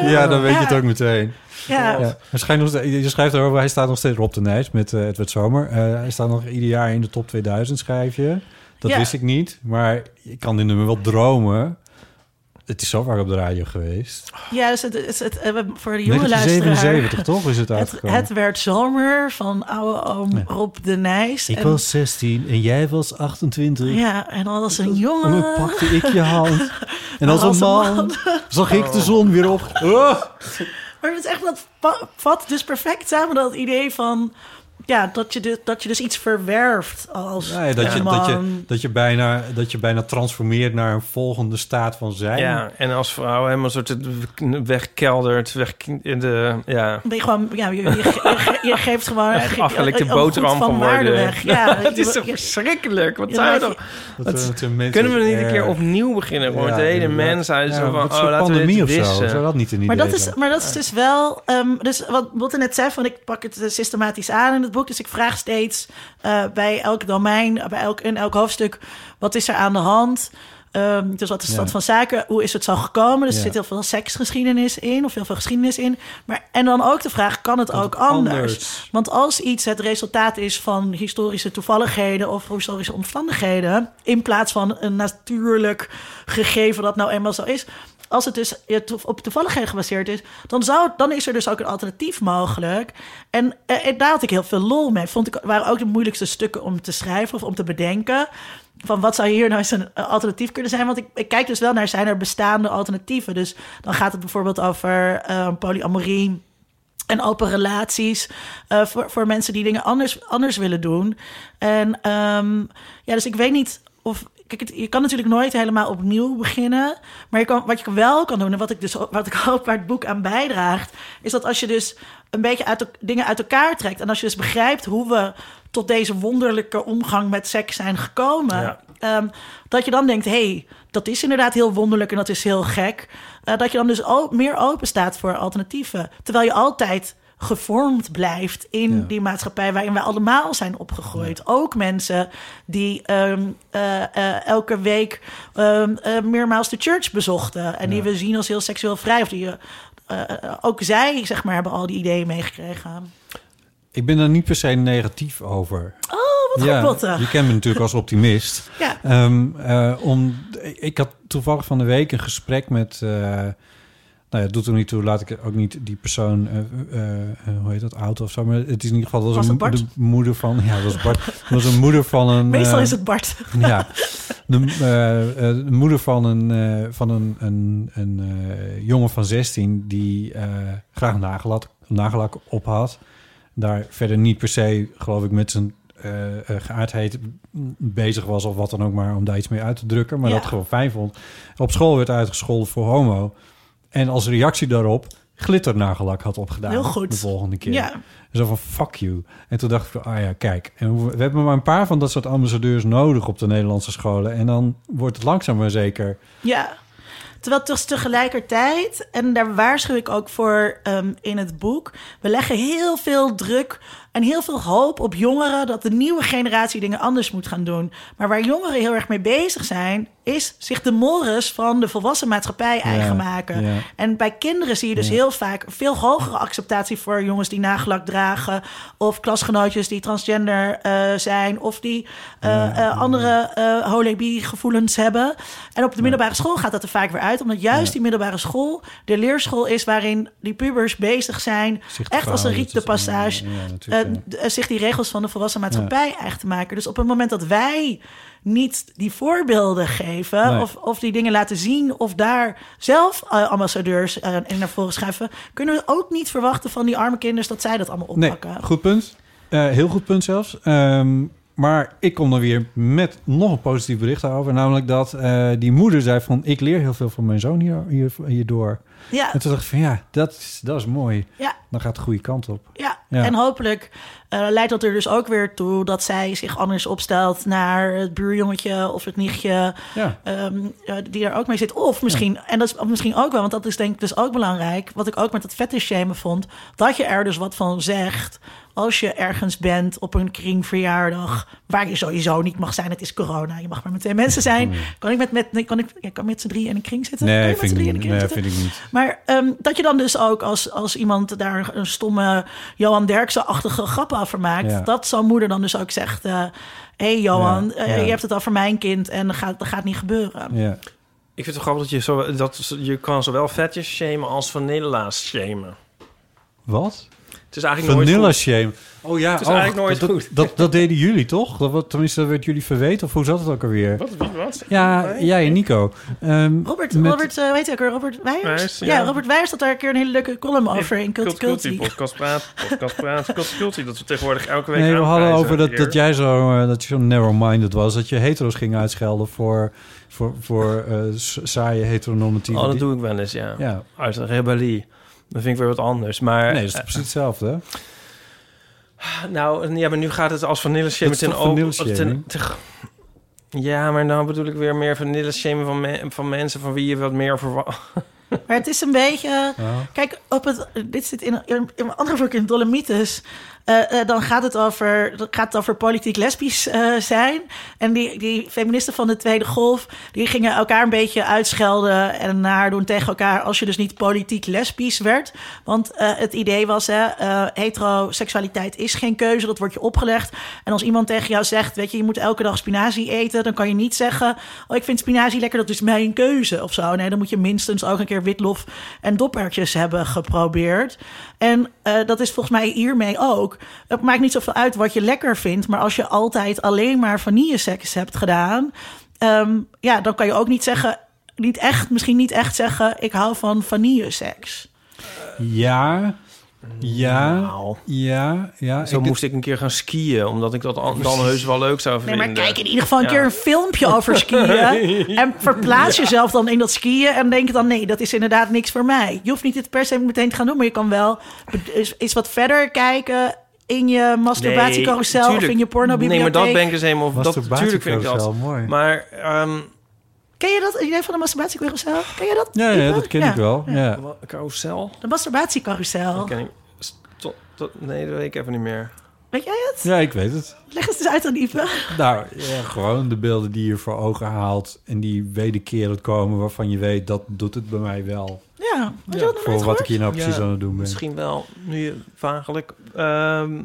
Speaker 4: Ja, dan weet je het ook meteen.
Speaker 2: Ja.
Speaker 4: Ja. Hij schijnt nog steeds- je schrijft erover, hij staat nog steeds Rob de Nijs met eh, Edward Zomer. Eh, hij staat nog ieder jaar in de top 2000, schrijf je. Dat
Speaker 2: Ja.
Speaker 4: wist ik niet, maar ik kan dit nummer wel dromen. Het is zo vaak op de radio geweest.
Speaker 2: Ja, dus het, het, het, eh, voor de jonge luisteraar.
Speaker 4: 1977, toch, is het
Speaker 2: Het,
Speaker 4: uitgekomen?
Speaker 2: het werd zomer van oude oom
Speaker 4: Ja.
Speaker 2: Rob de Nijs.
Speaker 4: ik
Speaker 2: En-
Speaker 4: was 16 en jij was 28.
Speaker 2: Ja, en dan was een
Speaker 4: En
Speaker 2: jongen.
Speaker 4: dan pakte ik je hand. En als een
Speaker 2: Als een
Speaker 4: man
Speaker 2: man.
Speaker 4: zag ik de zon weer op.
Speaker 2: Maar het is echt dat pa- vat dus perfect samen dat idee van. Ja, dat je, dus, dat je dus iets verwerft als
Speaker 4: Ja, ja, dat, je,
Speaker 2: man.
Speaker 4: dat, je, dat, je bijna, dat je bijna transformeert naar een volgende staat van zijn.
Speaker 3: Ja, en als vrouw helemaal soort het wegkeldert, weg in de ja.
Speaker 2: Ben je gewoon, ja, je, je, je- je geeft gewoon
Speaker 3: Echt afgelekte
Speaker 2: een- een
Speaker 3: boterham
Speaker 2: goed
Speaker 3: van
Speaker 2: waarde
Speaker 3: worden.
Speaker 2: weg. Ja,
Speaker 3: het is
Speaker 2: je-
Speaker 3: toch
Speaker 2: je-
Speaker 3: verschrikkelijk. Wat
Speaker 2: Ja,
Speaker 3: zou je
Speaker 2: dat-
Speaker 3: toch?
Speaker 4: Dat
Speaker 3: Het-
Speaker 4: we het een mens
Speaker 3: Kunnen we niet een keer
Speaker 4: erg-
Speaker 3: opnieuw beginnen? Gewoon
Speaker 4: Ja,
Speaker 3: de hele
Speaker 4: inderdaad.
Speaker 3: mensheid.
Speaker 4: Ja,
Speaker 3: zo van,
Speaker 4: wat
Speaker 3: oh,
Speaker 4: soort
Speaker 3: laten we dit
Speaker 4: pandemie of zo.
Speaker 3: wissen.
Speaker 4: Zou dat niet een idee
Speaker 2: Maar dat, is,
Speaker 4: zijn?
Speaker 2: maar dat is dus wel. ehm, dus wat Botte net zei, van ik pak het eh, systematisch aan in het boek. Dus ik vraag steeds eh, bij elk domein, bij elk, in elk hoofdstuk, wat is er aan de hand? Ehm, dus wat is de
Speaker 4: Ja.
Speaker 2: stand van zaken? Hoe is het zo gekomen? Dus
Speaker 4: Ja.
Speaker 2: er zit heel veel seksgeschiedenis in, of heel veel geschiedenis in. Maar, en dan ook de vraag, kan het ook anders?
Speaker 4: anders?
Speaker 2: Want als iets het resultaat is van historische toevalligheden of historische omstandigheden, in plaats van een natuurlijk gegeven dat nou eenmaal zo is, als het dus ja, to- op toevalligheden gebaseerd is, dan, zou, dan is er dus ook een alternatief mogelijk. En, eh, eh, daar had ik heel veel lol mee. Vond ik waren ook de moeilijkste stukken om te schrijven of om te bedenken. Van wat zou hier nou eens een eh, alternatief kunnen zijn? Want ik, ik kijk dus wel naar zijn er bestaande alternatieven. Dus dan gaat het bijvoorbeeld over eh, polyamorie en open relaties eh, voor, voor mensen die dingen anders, anders willen doen. En ehm, ja, dus ik weet niet of. Kijk, het- je kan natuurlijk nooit helemaal opnieuw beginnen. Maar je kan, wat je wel kan doen, en wat ik, dus, wat ik hoop waar het boek aan bijdraagt, is dat als je dus een beetje uit, elk- dingen uit elkaar trekt. En als je dus begrijpt hoe we tot deze wonderlijke omgang met seks zijn gekomen.
Speaker 3: Ja.
Speaker 2: Ehm, dat je dan denkt, hey, dat is inderdaad heel wonderlijk en dat is heel gek. Eh, dat je dan dus ook meer open staat voor alternatieven. Terwijl je altijd gevormd blijft in
Speaker 4: Ja.
Speaker 2: die maatschappij waarin wij allemaal zijn opgegroeid. Ook mensen die ehm, eh, eh, elke week ehm, eh, meermaals de church bezochten. En die we zien als heel seksueel vrij. Of die, eh, eh, eh, ook zij, zeg maar, hebben al die ideeën meegekregen.
Speaker 4: Ik ben daar niet per se negatief over.
Speaker 2: Oh, wat
Speaker 4: ja,
Speaker 2: goed, Botte.
Speaker 4: je kent me natuurlijk als optimist.
Speaker 2: Ja.
Speaker 4: Ehm, eh, om, ik had toevallig van de week een gesprek met... eh, nou ja, doet er niet toe, laat ik ook niet die persoon, eh, eh, eh, hoe heet dat, oud of zo. Maar het is in ieder geval, dat was,
Speaker 2: Was
Speaker 4: een
Speaker 2: het Bart?
Speaker 4: de moeder van, ja, dat was Bart. Dat was een moeder van een...
Speaker 2: Meestal
Speaker 4: eh,
Speaker 2: is het Bart.
Speaker 4: Ja, de, eh, eh, de moeder van een, eh, van een, een, een eh, jongen van 16 die eh, graag nagellak, nagellak op had. Daar verder niet per se, geloof ik, met zijn eh, eh, geaardheid bezig was of wat dan ook maar om daar iets mee uit te drukken. Maar
Speaker 2: Ja.
Speaker 4: dat gewoon fijn vond. Op school werd uitgescholden voor homo. En als reactie daarop glitternagellak had opgedaan.
Speaker 2: Heel goed.
Speaker 4: De volgende keer.
Speaker 2: Ja.
Speaker 4: Zo van, fuck you. En toen dacht ik, ah ja, kijk. En hoe- we hebben maar een paar van dat soort ambassadeurs nodig op de Nederlandse scholen. En dan wordt het langzaam maar zeker.
Speaker 2: Ja. Terwijl het is tegelijkertijd, en daar waarschuw ik ook voor ehm, in het boek, we leggen heel veel druk en heel veel hoop op jongeren dat de nieuwe generatie dingen anders moet gaan doen. Maar waar jongeren heel erg mee bezig zijn, is zich de mores van de volwassen maatschappij eigen maken.
Speaker 4: ja.
Speaker 2: En bij kinderen zie je dus heel vaak een veel hogere acceptatie voor jongens die nagelak dragen. Of klasgenootjes die transgender eh, zijn. Of die eh, eh, andere eh holibi-gevoelens hebben. En op de middelbare school gaat dat er vaak weer uit. Omdat juist die middelbare school de leerschool is waarin die pubers bezig zijn.
Speaker 4: Zich te
Speaker 2: echt als een
Speaker 4: verhouden
Speaker 2: riet de
Speaker 4: tussen-
Speaker 2: passage.
Speaker 4: ja, ja, natuurlijk,
Speaker 2: eh,
Speaker 4: ja.
Speaker 2: d- eh, zich die regels van de volwassen maatschappij eigen te maken. Dus op het moment dat wij niet die voorbeelden geven
Speaker 4: Nee.
Speaker 2: of, of die dingen laten zien of daar zelf eh, ambassadeurs eh, in naar voren schuiven, kunnen we ook niet verwachten van die arme kinders dat zij dat allemaal
Speaker 4: Nee,
Speaker 2: oppakken.
Speaker 4: goed punt. Eh, heel goed punt zelfs. Ehm, Maar ik kom er weer met nog een positief bericht over. Namelijk dat eh, die moeder zei van... ik leer heel veel van mijn zoon hier, hier, hierdoor.
Speaker 2: Ja,
Speaker 4: En toen dacht ik van ja, dat is, dat is mooi.
Speaker 2: ja,
Speaker 4: Dan gaat de goede kant op.
Speaker 2: ja.
Speaker 4: Ja.
Speaker 2: En hopelijk eh, leidt dat er dus ook weer toe dat zij zich anders opstelt naar het buurjongetje of het nichtje.
Speaker 4: Ja,
Speaker 2: ehm, eh, die er ook mee zit. Of misschien, en dat is misschien ook wel, want dat is denk ik dus ook belangrijk. Wat ik ook met dat fetish shamen vond. Dat je er dus wat van zegt. Als je ergens bent op een kringverjaardag. Waar je sowieso niet mag zijn. Het is corona. Je mag maar met twee mensen zijn. Kan ik met, met, nee, kan ik, ja, kan ik met z'n drie in een kring zitten? Kan
Speaker 4: Mm. nee,
Speaker 2: je met
Speaker 4: vind
Speaker 2: z'n
Speaker 4: ik,
Speaker 2: drieën
Speaker 4: niet,
Speaker 2: in een
Speaker 4: nee
Speaker 2: kring
Speaker 4: vind
Speaker 2: zitten?
Speaker 4: ik niet.
Speaker 2: Maar ehm, dat je dan dus ook als, als iemand daar een stomme Johan Derksen-achtige grap over maakt...
Speaker 4: Ja.
Speaker 2: dat zo'n moeder dan dus ook zegt... eh, Hé hey Johan,
Speaker 4: Ja,
Speaker 2: eh,
Speaker 4: ja.
Speaker 2: je hebt het al voor mijn kind en dat gaat, dat gaat niet gebeuren.
Speaker 4: Ja.
Speaker 3: Ik vind het grappig dat je, zo, dat je kan zowel vetjes shamen als vanilla's shamen.
Speaker 4: Wat?
Speaker 3: Het is eigenlijk
Speaker 4: Vanilla
Speaker 3: nooit goed.
Speaker 4: shame. Oh ja,
Speaker 3: Het is
Speaker 4: oh,
Speaker 3: eigenlijk nooit
Speaker 4: dat,
Speaker 3: goed.
Speaker 4: Dat, dat deden jullie toch? Dat, wat- tenminste, dat werd jullie verweten. Of hoe zat het ook alweer?
Speaker 3: Wat? Wie, wat?
Speaker 4: Ja, jij en Nico. Ehm,
Speaker 2: Robert,
Speaker 4: met-
Speaker 2: Robert eh, weet je ook weer, Robert Wijers?
Speaker 3: Wijers,
Speaker 2: ja.
Speaker 3: ja.
Speaker 2: Robert Wijers had daar een keer een hele leuke column over in Cult Cultie.
Speaker 3: Podcast praat, podcast praat, Cult Cultie. Dat we tegenwoordig elke week
Speaker 4: Nee, we hadden
Speaker 3: aanprijzen
Speaker 4: over dat,
Speaker 3: hier.
Speaker 4: dat jij zo, eh, dat je zo narrow-minded was. Dat je hetero's ging uitschelden voor, voor, voor eh, s- saaie heteronormatieve...
Speaker 3: Oh, dat
Speaker 4: di-
Speaker 3: doe ik wel eens, ja.
Speaker 4: Ja,
Speaker 3: Uit de rebellie. Dat vind ik weer wat anders. Maar, eh,
Speaker 4: nee, dat is toch precies hetzelfde. hè?
Speaker 3: Nou, ja, maar nu gaat het als vanille shamen
Speaker 4: Dat is
Speaker 3: ten
Speaker 4: toch vanille
Speaker 3: over-
Speaker 4: shaming?
Speaker 3: ten- ja, maar nou bedoel ik weer meer vanille shamen van, me- van mensen van wie je wat meer verwacht.
Speaker 2: Maar het is een beetje...
Speaker 3: eh.
Speaker 4: Ja.
Speaker 2: Kijk, op het, dit zit in, in, in mijn andere boek in Dolomites. Eh, eh, dan gaat het over, dan gaat het over politiek lesbisch eh, zijn. En die, die feministen van de Tweede Golf... die gingen elkaar een beetje uitschelden en naar doen tegen elkaar... als je dus niet politiek lesbisch werd. Want eh, het idee was, hè, eh, heteroseksualiteit is geen keuze. Dat wordt je opgelegd. En als iemand tegen jou zegt, weet je, je moet elke dag spinazie eten... dan kan je niet zeggen, oh, ik vind spinazie lekker, dat is mijn keuze of zo. Nee, dan moet je minstens ook een keer witlof en doppertjes hebben geprobeerd. En eh, dat is volgens mij hiermee ook. Het maakt niet zoveel uit wat je lekker vindt... maar als je altijd alleen maar vanilleseks hebt gedaan... ehm, ja, dan kan je ook niet zeggen... Niet echt, misschien niet echt zeggen, ik hou van vanilleseks.
Speaker 4: Ja, ja,
Speaker 3: Nou,
Speaker 4: ja. ja.
Speaker 3: zo
Speaker 4: Ik-
Speaker 3: moest ik een keer gaan skiën, omdat ik dat al- dan heus wel leuk zou
Speaker 2: Nee,
Speaker 3: vinden.
Speaker 2: maar kijk in ieder geval een
Speaker 3: Ja.
Speaker 2: keer een filmpje over skiën. En verplaats jezelf dan in dat skiën. En denk dan, nee, dat is inderdaad niks voor mij. Je hoeft niet het per se meteen te gaan doen. Maar je kan wel eens, eens wat verder kijken in je masturbatiecarousel of
Speaker 3: tuurlijk.
Speaker 2: in je
Speaker 3: Nee, maar
Speaker 2: pornobibliotheek.
Speaker 3: dat ben ik dus helemaal... Dat, natuurlijk vind ik
Speaker 4: Masturbatiecarousel,
Speaker 3: dat.
Speaker 4: mooi.
Speaker 3: Maar ehm
Speaker 2: Ken je dat? idee van de masturbatiecarousel? Ken je dat?
Speaker 4: Ja, ja,
Speaker 2: Ipe?
Speaker 4: dat ken
Speaker 2: Ja.
Speaker 4: ik wel. Ja.
Speaker 3: wat- carousel?
Speaker 2: De masturbatiecarousel.
Speaker 3: Dat ken ik. Stop, dat, nee, dat weet ik even niet meer.
Speaker 2: Weet jij het?
Speaker 4: ja, ik weet het.
Speaker 2: Leg eens eens uit aan Ipe.
Speaker 4: Nou, ja, gewoon de beelden die je voor ogen haalt... en die wederkerend komen waarvan je weet... dat doet het bij mij wel.
Speaker 2: Ja, had je dat nog nooit
Speaker 4: Voor wat ik
Speaker 2: gehoord?
Speaker 4: hier nou precies
Speaker 3: Ja,
Speaker 4: aan het doen ben.
Speaker 3: Misschien wel, nu je- vagelijk. Ehm,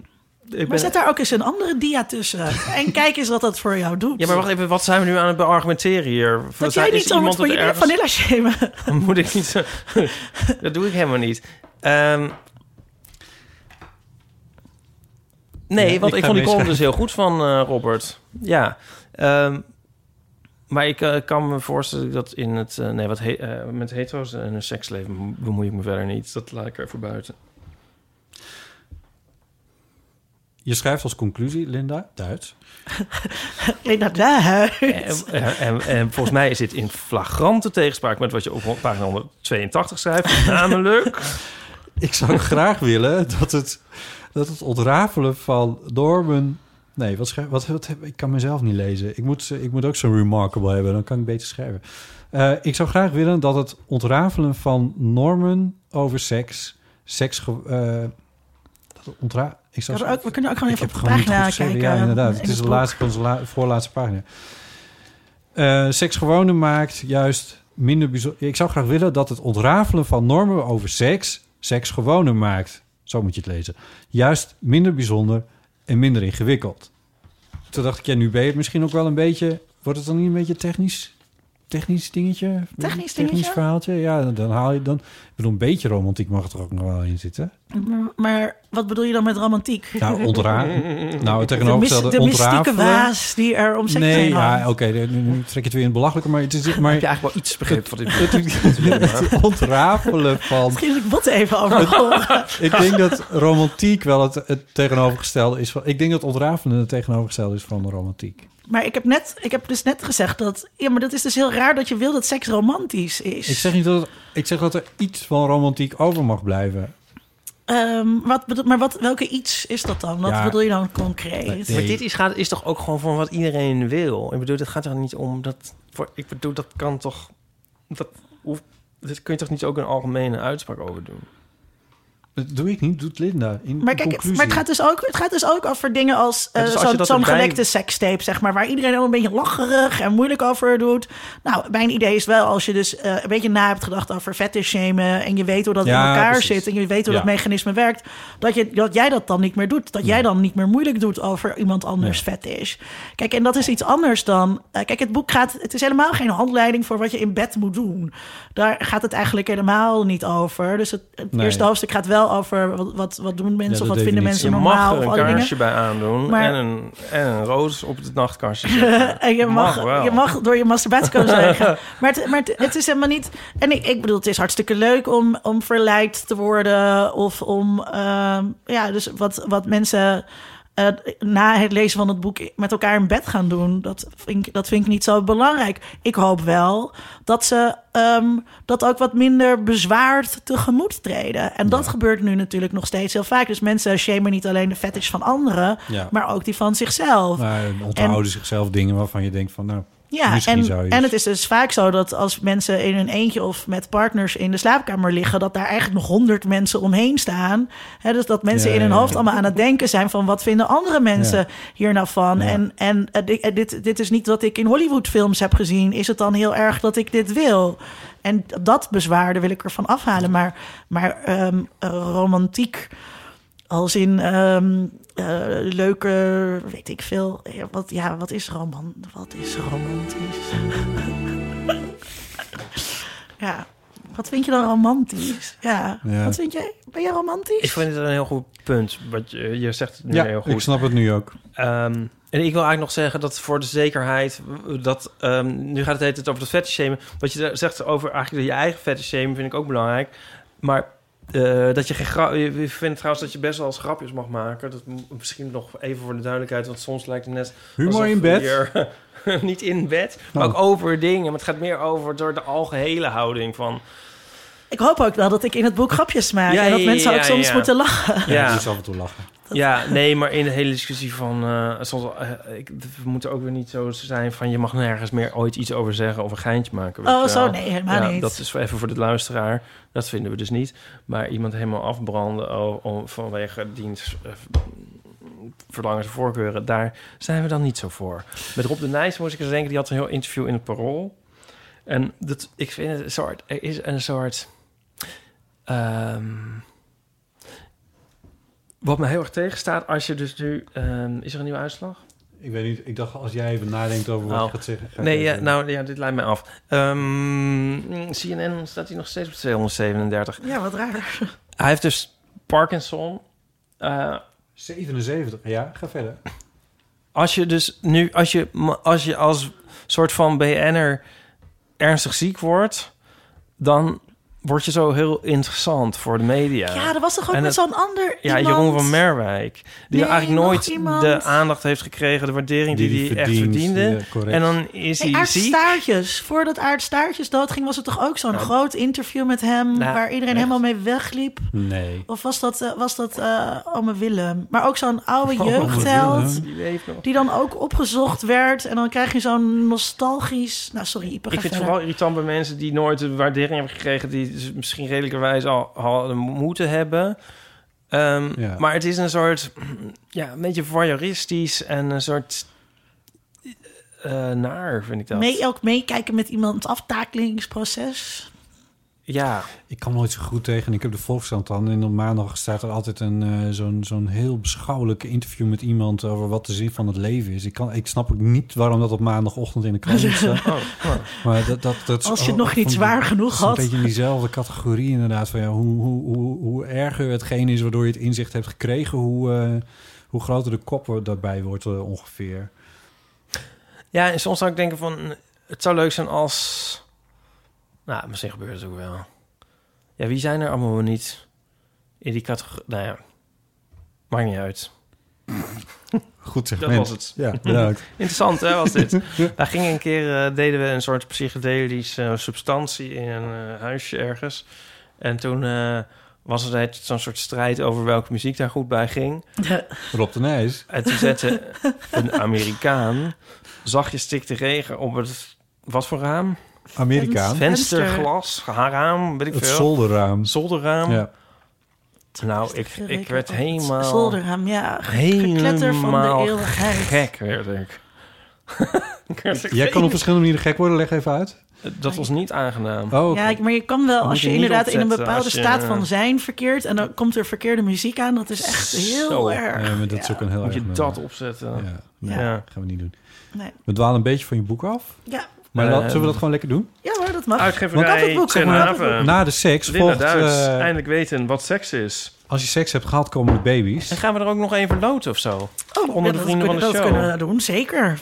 Speaker 3: ik
Speaker 2: Maar
Speaker 3: ben,
Speaker 2: zet daar ook eens een andere dia tussen. En kijk eens wat dat voor jou doet.
Speaker 3: ja, maar wacht even, wat zijn we nu aan het beargumenteren hier?
Speaker 2: Dat jij niet zo moet van je vanilla shamen.
Speaker 3: Dan moet ik niet zo... dat doe ik helemaal niet. Ehm, nee,
Speaker 4: Ja,
Speaker 3: want
Speaker 4: ik
Speaker 3: ik,
Speaker 4: ga
Speaker 3: vond die
Speaker 4: mee
Speaker 3: column dus heel goed van eh, Robert. Ja. ehm, maar ik eh, kan me voorstellen dat in het... eh, nee, wat he- eh, met hetero's en hun seksleven bemoei ik me verder niet. Dat laat ik er voor buiten.
Speaker 4: Je schrijft als conclusie, Linda, Duits.
Speaker 2: Inderdaad.
Speaker 3: En, en, en- en volgens mij is dit in flagrante tegenspraak met wat je op pagina 182 schrijft. Namelijk.
Speaker 4: Ik zou graag willen dat het, dat het ontrafelen van normen... Nee, wat schrijf, wat, wat heb, ik kan mezelf niet lezen. Ik moet, ik moet ook zo'n remarkable hebben, dan kan ik beter schrijven. Eh, ik zou graag willen dat het ontrafelen van normen over seks... seks ge- eh, dat het ontra, ik
Speaker 2: Ja,
Speaker 4: zou
Speaker 2: maar ook- we kunnen ook gewoon
Speaker 4: Ik
Speaker 2: even
Speaker 4: heb
Speaker 2: op de
Speaker 4: gewoon niet goed
Speaker 2: pagina
Speaker 4: geschreven.
Speaker 2: kijken. eh,
Speaker 4: Ja, inderdaad.
Speaker 2: In
Speaker 4: Het is de
Speaker 2: boek.
Speaker 4: laatste, onze la- voorlaatste pagina. Eh seks gewone maakt juist minder bijzonder. Ik zou graag willen dat het ontrafelen van normen over seks seks gewone maakt. Zo moet je het lezen. Juist minder bijzonder en minder ingewikkeld. Toen dacht ik, ja, nu ben je het misschien ook wel een beetje. Wordt het dan niet een beetje technisch? Technisch dingetje?
Speaker 2: Technisch
Speaker 4: Technisch
Speaker 2: dingetje?
Speaker 4: verhaaltje? Ja, dan, dan haal je dan. Ik bedoel, een beetje romantiek mag er ook nog wel in zitten.
Speaker 2: Maar- Maar wat bedoel je dan met romantiek?
Speaker 4: Nou, ontra nou, het
Speaker 2: de, mis-
Speaker 4: tegenovergestelde
Speaker 2: de mystieke
Speaker 4: ontrafelen.
Speaker 2: waas die er om seks
Speaker 4: Nee,
Speaker 2: heen
Speaker 4: ja,
Speaker 2: hangt.
Speaker 4: oké, nu, nu trek je het weer in het belachelijke, maar het is maar
Speaker 3: Heb je eigenlijk wel iets begrepen van dit boek?
Speaker 4: het ontrafelen van.
Speaker 2: Misschien moet ik wat even over horen.
Speaker 4: Ik denk dat romantiek wel het, het tegenovergestelde is van. Ik denk dat ontrafelen het tegenovergestelde is van de romantiek.
Speaker 2: Maar ik heb, net, ik heb dus net gezegd dat... Ja, maar dat is dus heel raar dat je wil dat seks romantisch is.
Speaker 4: Ik zeg niet dat het- ik zeg dat er iets van romantiek over mag blijven.
Speaker 2: Ehm, wat bedoel, maar wat, welke iets is dat dan? Wat
Speaker 4: Ja.
Speaker 2: bedoel je dan concreet?
Speaker 4: Nee.
Speaker 3: Maar dit is, gaat, is toch ook gewoon van wat iedereen wil? Ik bedoel, dit gaat er niet om dat... Voor, ik bedoel, dat kan toch... Dat, hoeft, dit kun je toch niet ook een algemene uitspraak over doen?
Speaker 4: Dat doe ik niet, doet Linda. In
Speaker 2: Maar kijk,
Speaker 4: conclusie.
Speaker 2: maar het, gaat dus ook, het gaat dus ook over dingen als eh,
Speaker 3: Ja, dus als je
Speaker 2: zo'n
Speaker 3: dat
Speaker 2: zo'n
Speaker 3: erbij-
Speaker 2: gelekte sekstape, zeg maar, waar iedereen al een beetje lacherig en moeilijk over doet. Nou, mijn idee is wel, als je dus eh, een beetje na hebt gedacht over fetish shamen en je weet hoe dat
Speaker 4: Ja,
Speaker 2: in elkaar
Speaker 4: precies.
Speaker 2: zit en je weet hoe
Speaker 4: Ja.
Speaker 2: dat mechanisme werkt, dat, je, dat jij dat dan niet meer doet. Dat jij dan niet meer moeilijk doet over iemand anders fetish. Kijk, en dat is iets anders dan... eh, kijk, het boek gaat... Het is helemaal geen handleiding voor wat je in bed moet doen. Daar gaat het eigenlijk helemaal niet over. Dus het, het
Speaker 4: Nee.
Speaker 2: eerste hoofdstuk gaat wel over wat, wat, wat doen mensen
Speaker 4: Ja,
Speaker 2: of
Speaker 4: de
Speaker 2: wat vinden mensen
Speaker 4: definitie. Je
Speaker 2: je
Speaker 3: Je mag
Speaker 2: normaal
Speaker 3: er
Speaker 2: of
Speaker 3: een
Speaker 2: al die dingen.
Speaker 3: kaarsje bij aandoen
Speaker 2: Maar-
Speaker 3: en, een, en een roos op het nachtkastje zetten.
Speaker 2: En eh, je mag,
Speaker 3: wel.
Speaker 2: je mag door je masturbatie komen zeggen. Maar, het, maar het, het is helemaal niet. En ik, ik bedoel, het is hartstikke leuk om, om verleid te worden. Of om. ehm, ja, dus wat, wat mensen. eh, na het lezen van het boek met elkaar in bed gaan doen. Dat vind ik, dat vind ik niet zo belangrijk. Ik hoop wel dat ze ehm, dat ook wat minder bezwaard tegemoet treden. En dat gebeurt nu natuurlijk nog steeds heel vaak. Dus mensen shamen niet alleen de fetish van anderen,
Speaker 4: Ja.
Speaker 2: maar ook die van zichzelf.
Speaker 4: Maar onthouden zichzelf dingen waarvan je denkt van nou.
Speaker 2: Ja,
Speaker 4: misschien
Speaker 2: en,
Speaker 4: zou je
Speaker 2: en het is dus vaak zo dat als mensen in hun eentje of met partners in de slaapkamer liggen, dat daar eigenlijk nog honderd mensen omheen staan. Hè, dus dat mensen
Speaker 4: Ja,
Speaker 2: in hun
Speaker 4: ja,
Speaker 2: hoofd
Speaker 4: ja.
Speaker 2: allemaal aan het denken zijn van wat vinden andere mensen
Speaker 4: Ja.
Speaker 2: hier nou van.
Speaker 4: Ja.
Speaker 2: En, en eh, di- eh, dit, dit is niet wat ik in Hollywoodfilms heb gezien. Is het dan heel erg dat ik dit wil? En dat bezwaarde wil ik ervan afhalen. Maar, maar ehm, eh, romantiek als in ehm, eh, leuke, weet ik veel. Ja, Wat, ja, wat is roman? Wat is romantisch? ja, wat vind je dan romantisch? Ja,
Speaker 4: Ja.
Speaker 2: wat vind jij? Ben je romantisch?
Speaker 3: Ik vind het een heel goed punt. Wat je, je zegt het nu
Speaker 4: Ja,
Speaker 3: heel goed.
Speaker 4: ik snap het nu ook.
Speaker 3: Ehm, en ik wil eigenlijk nog zeggen dat voor de zekerheid... Dat, ehm, nu gaat het de hele tijd over dat fetish shamen. Wat je daar zegt over eigenlijk je eigen fetish shamen vind ik ook belangrijk. Maar eh, dat je geen grap... Ik vind trouwens dat je best wel eens grapjes mag maken. Dat m- misschien nog even voor de duidelijkheid. Want soms lijkt het net...
Speaker 4: Humor
Speaker 3: alsof
Speaker 4: in bed.
Speaker 3: hier- niet in bed, maar
Speaker 4: Oh.
Speaker 3: ook over dingen. Maar het gaat meer over door de algehele houding van...
Speaker 2: Ik hoop ook wel dat ik in het boek grapjes maak.
Speaker 3: Ja,
Speaker 2: en dat
Speaker 3: ja,
Speaker 2: mensen
Speaker 3: ja,
Speaker 2: ook soms
Speaker 3: ja.
Speaker 2: moeten lachen.
Speaker 4: Ja, dus af en toe lachen.
Speaker 3: Ja, nee, maar in de hele discussie van... eh, soms, eh, ik, we moeten ook weer niet zo zijn van... je mag nergens meer ooit iets over zeggen of een geintje maken. weet
Speaker 2: Oh,
Speaker 3: je wel.
Speaker 2: zo nee, helemaal
Speaker 3: ja,
Speaker 2: niet.
Speaker 3: Dat is even voor de luisteraar. Dat vinden we dus niet. Maar iemand helemaal afbranden o- om- vanwege diens... eh, verlangens en voorkeuren, daar zijn we dan niet zo voor. Met Rob de Nijs moest ik eens denken... die had een heel interview in het Parool. En dat, ik vind het een soort... Er is een soort... ehm, wat me heel erg tegenstaat, als je dus nu... ehm, is er een nieuwe uitslag?
Speaker 4: Ik weet niet, ik dacht als jij even nadenkt over wat
Speaker 3: Oh.
Speaker 4: je gaat zeggen. ga ik
Speaker 3: Nee,
Speaker 4: even-
Speaker 3: ja, nou ja, dit leidt mij af. Ehm, CNN staat hier nog steeds op 237.
Speaker 2: Ja, wat raar.
Speaker 3: Hij heeft dus Parkinson. Eh,
Speaker 4: 77, ja, ga verder.
Speaker 3: als je dus nu, als je als, je als soort van BN'er ernstig ziek wordt, dan word je zo heel interessant voor de media.
Speaker 2: Ja, er was toch ook
Speaker 3: En
Speaker 2: met
Speaker 3: het-
Speaker 2: zo'n ander
Speaker 3: Ja,
Speaker 2: iemand?
Speaker 3: Jeroen van Merwijk. Die
Speaker 2: Nee,
Speaker 3: eigenlijk nooit
Speaker 2: nog iemand.
Speaker 3: de aandacht heeft gekregen, de waardering die hij echt verdiende.
Speaker 4: eh,
Speaker 3: en dan is
Speaker 2: Hey,
Speaker 3: hij
Speaker 2: Aart
Speaker 3: ziek.
Speaker 2: Staartjes. Voordat Aart Staartjes doodging, was het toch ook zo'n groot interview met hem...
Speaker 3: Nou,
Speaker 2: waar iedereen
Speaker 3: echt.
Speaker 2: helemaal mee wegliep?
Speaker 4: Nee.
Speaker 2: Of was dat, eh, was dat eh Ome Willem? Maar ook zo'n oude
Speaker 3: Ome
Speaker 2: jeugdheld...
Speaker 4: Willem.
Speaker 3: Die leeft nog.
Speaker 2: die dan ook opgezocht werd. En dan krijg je zo'n nostalgisch... Nou, sorry, Ipe, ga
Speaker 3: Ik vind het
Speaker 2: verder.
Speaker 3: vooral irritant bij mensen die nooit de waardering hebben gekregen... die ze misschien redelijkerwijs al hadden moeten hebben. Ehm,
Speaker 4: Ja.
Speaker 3: Maar het is een soort... Ja, een beetje voyeuristisch en een soort... eh, naar, vind ik dat.
Speaker 2: Mee, ook meekijken met iemands aftakelingsproces.
Speaker 3: Ja,
Speaker 4: Ik kan nooit zo goed tegen. Ik heb de Volkskrant dan. En op maandag staat er altijd een, eh, zo'n, zo'n heel beschouwelijk interview met iemand over wat de zin van het leven is. Ik, kan, ik snap ook niet waarom dat op maandagochtend in de krant staat.
Speaker 3: Oh,
Speaker 4: Maar dat, dat, dat is
Speaker 2: Als je het
Speaker 4: ook
Speaker 2: nog niet
Speaker 4: van-
Speaker 2: zwaar genoeg
Speaker 4: dat is Een
Speaker 2: had.
Speaker 4: beetje in diezelfde categorie inderdaad. Van, ja, hoe, hoe, hoe, hoe erger hetgeen is waardoor je het inzicht hebt gekregen, hoe, eh, hoe groter de kop daarbij wordt eh, ongeveer.
Speaker 3: ja en soms zou ik denken van... Het zou leuk zijn als... Nou, misschien gebeurt het ook wel. Ja, wie zijn er allemaal niet in die categorie? Nou ja, maakt niet uit.
Speaker 4: Goed zeg.
Speaker 3: Dat was het.
Speaker 4: Ja, bedankt.
Speaker 3: Interessant, hè, was dit? Daar gingen een keer, eh, deden we een soort psychedelische eh, substantie in een eh, huisje ergens. En toen eh, was er net zo'n soort strijd over welke muziek daar goed bij ging.
Speaker 4: Rob de Nijs.
Speaker 3: En toen zette een Amerikaan zachtjes stikte regen op het, wat voor raam?
Speaker 4: Amerikaan.
Speaker 2: Venster.
Speaker 3: Vensterglas, haar raam, weet ik
Speaker 4: Het
Speaker 3: veel.
Speaker 4: zolderraam.
Speaker 3: Zolderraam.
Speaker 4: Ja.
Speaker 3: Nou, ik, ik werd helemaal...
Speaker 2: Zolderham, ja. Gekletter van de
Speaker 3: Helemaal
Speaker 2: eeuwigheid.
Speaker 3: gek werd ik. Ik werd er
Speaker 4: Jij kan op
Speaker 3: geen-
Speaker 4: verschillende manieren gek worden. Leg even uit.
Speaker 3: Dat was niet aangenaam.
Speaker 4: Oh,
Speaker 2: Ja, ik- maar je kan wel,
Speaker 3: moet
Speaker 2: als
Speaker 3: je
Speaker 2: je
Speaker 3: niet
Speaker 2: inderdaad in een
Speaker 3: opzetten
Speaker 2: bepaalde
Speaker 3: als je-
Speaker 2: staat van zijn verkeert... en dan komt er verkeerde muziek aan, dat is echt heel
Speaker 3: Zo.
Speaker 2: erg.
Speaker 4: Nee, maar dat is ook een heel
Speaker 3: Moet
Speaker 4: erg
Speaker 3: je
Speaker 4: nummer.
Speaker 3: dat opzetten?
Speaker 4: Ja, nee,
Speaker 3: Ja.
Speaker 4: dat gaan we niet doen.
Speaker 2: Nee.
Speaker 4: We dwalen een beetje van je boek af.
Speaker 2: Ja.
Speaker 4: Maar
Speaker 3: Eh,
Speaker 4: laten zullen we dat gewoon lekker doen?
Speaker 2: ja hoor, dat mag. Want dat
Speaker 3: Uitgeverij
Speaker 2: boek,
Speaker 3: Ten
Speaker 2: maar dat
Speaker 3: Haven.
Speaker 4: Na de seks
Speaker 3: eh, Linda
Speaker 4: Nou, volgt...
Speaker 3: Duits.
Speaker 4: eh,
Speaker 3: Eindelijk weten wat seks is.
Speaker 4: als je seks hebt gehad, komen de baby's.
Speaker 3: En gaan we er ook nog één verloten of zo?
Speaker 2: Oh,
Speaker 3: Onder de
Speaker 2: dat
Speaker 3: vrienden
Speaker 2: kunnen-
Speaker 3: van de show.
Speaker 2: Dat kunnen we doen, zeker.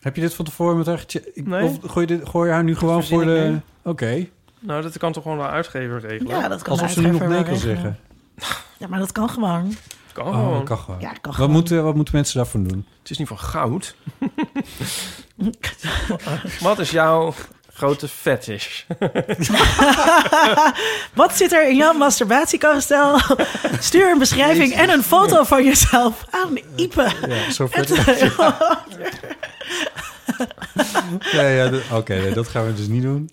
Speaker 4: Heb je dit van tevoren met haar gecheckt? Ik-
Speaker 3: Nee.
Speaker 4: Of gooi je, dit, gooi je haar nu gewoon
Speaker 3: verzin
Speaker 4: voor
Speaker 3: ik
Speaker 4: de...
Speaker 3: nu.
Speaker 4: Oké,
Speaker 3: Nou, dat kan toch gewoon de uitgever regelen?
Speaker 2: Ja, dat kan de
Speaker 4: alsof ze nu nog
Speaker 2: uitgever
Speaker 4: nee
Speaker 2: wel
Speaker 4: kan
Speaker 2: regelen.
Speaker 4: zeggen.
Speaker 2: Ja, maar dat kan gewoon.
Speaker 3: Dat kan
Speaker 4: Oh,
Speaker 3: gewoon.
Speaker 4: dat kan gewoon.
Speaker 2: Ja, dat kan
Speaker 4: Wat
Speaker 2: gewoon.
Speaker 4: moeten, wat moeten mensen daarvoor doen?
Speaker 3: Het is niet van goud. wat is jouw grote fetish?
Speaker 2: Wat zit er in jouw masturbatiekastel? Stuur een beschrijving en een foto van jezelf aan Ipe.
Speaker 4: Ja, zo ver. ja, ja, dat- Oké, nee, dat gaan we dus niet doen.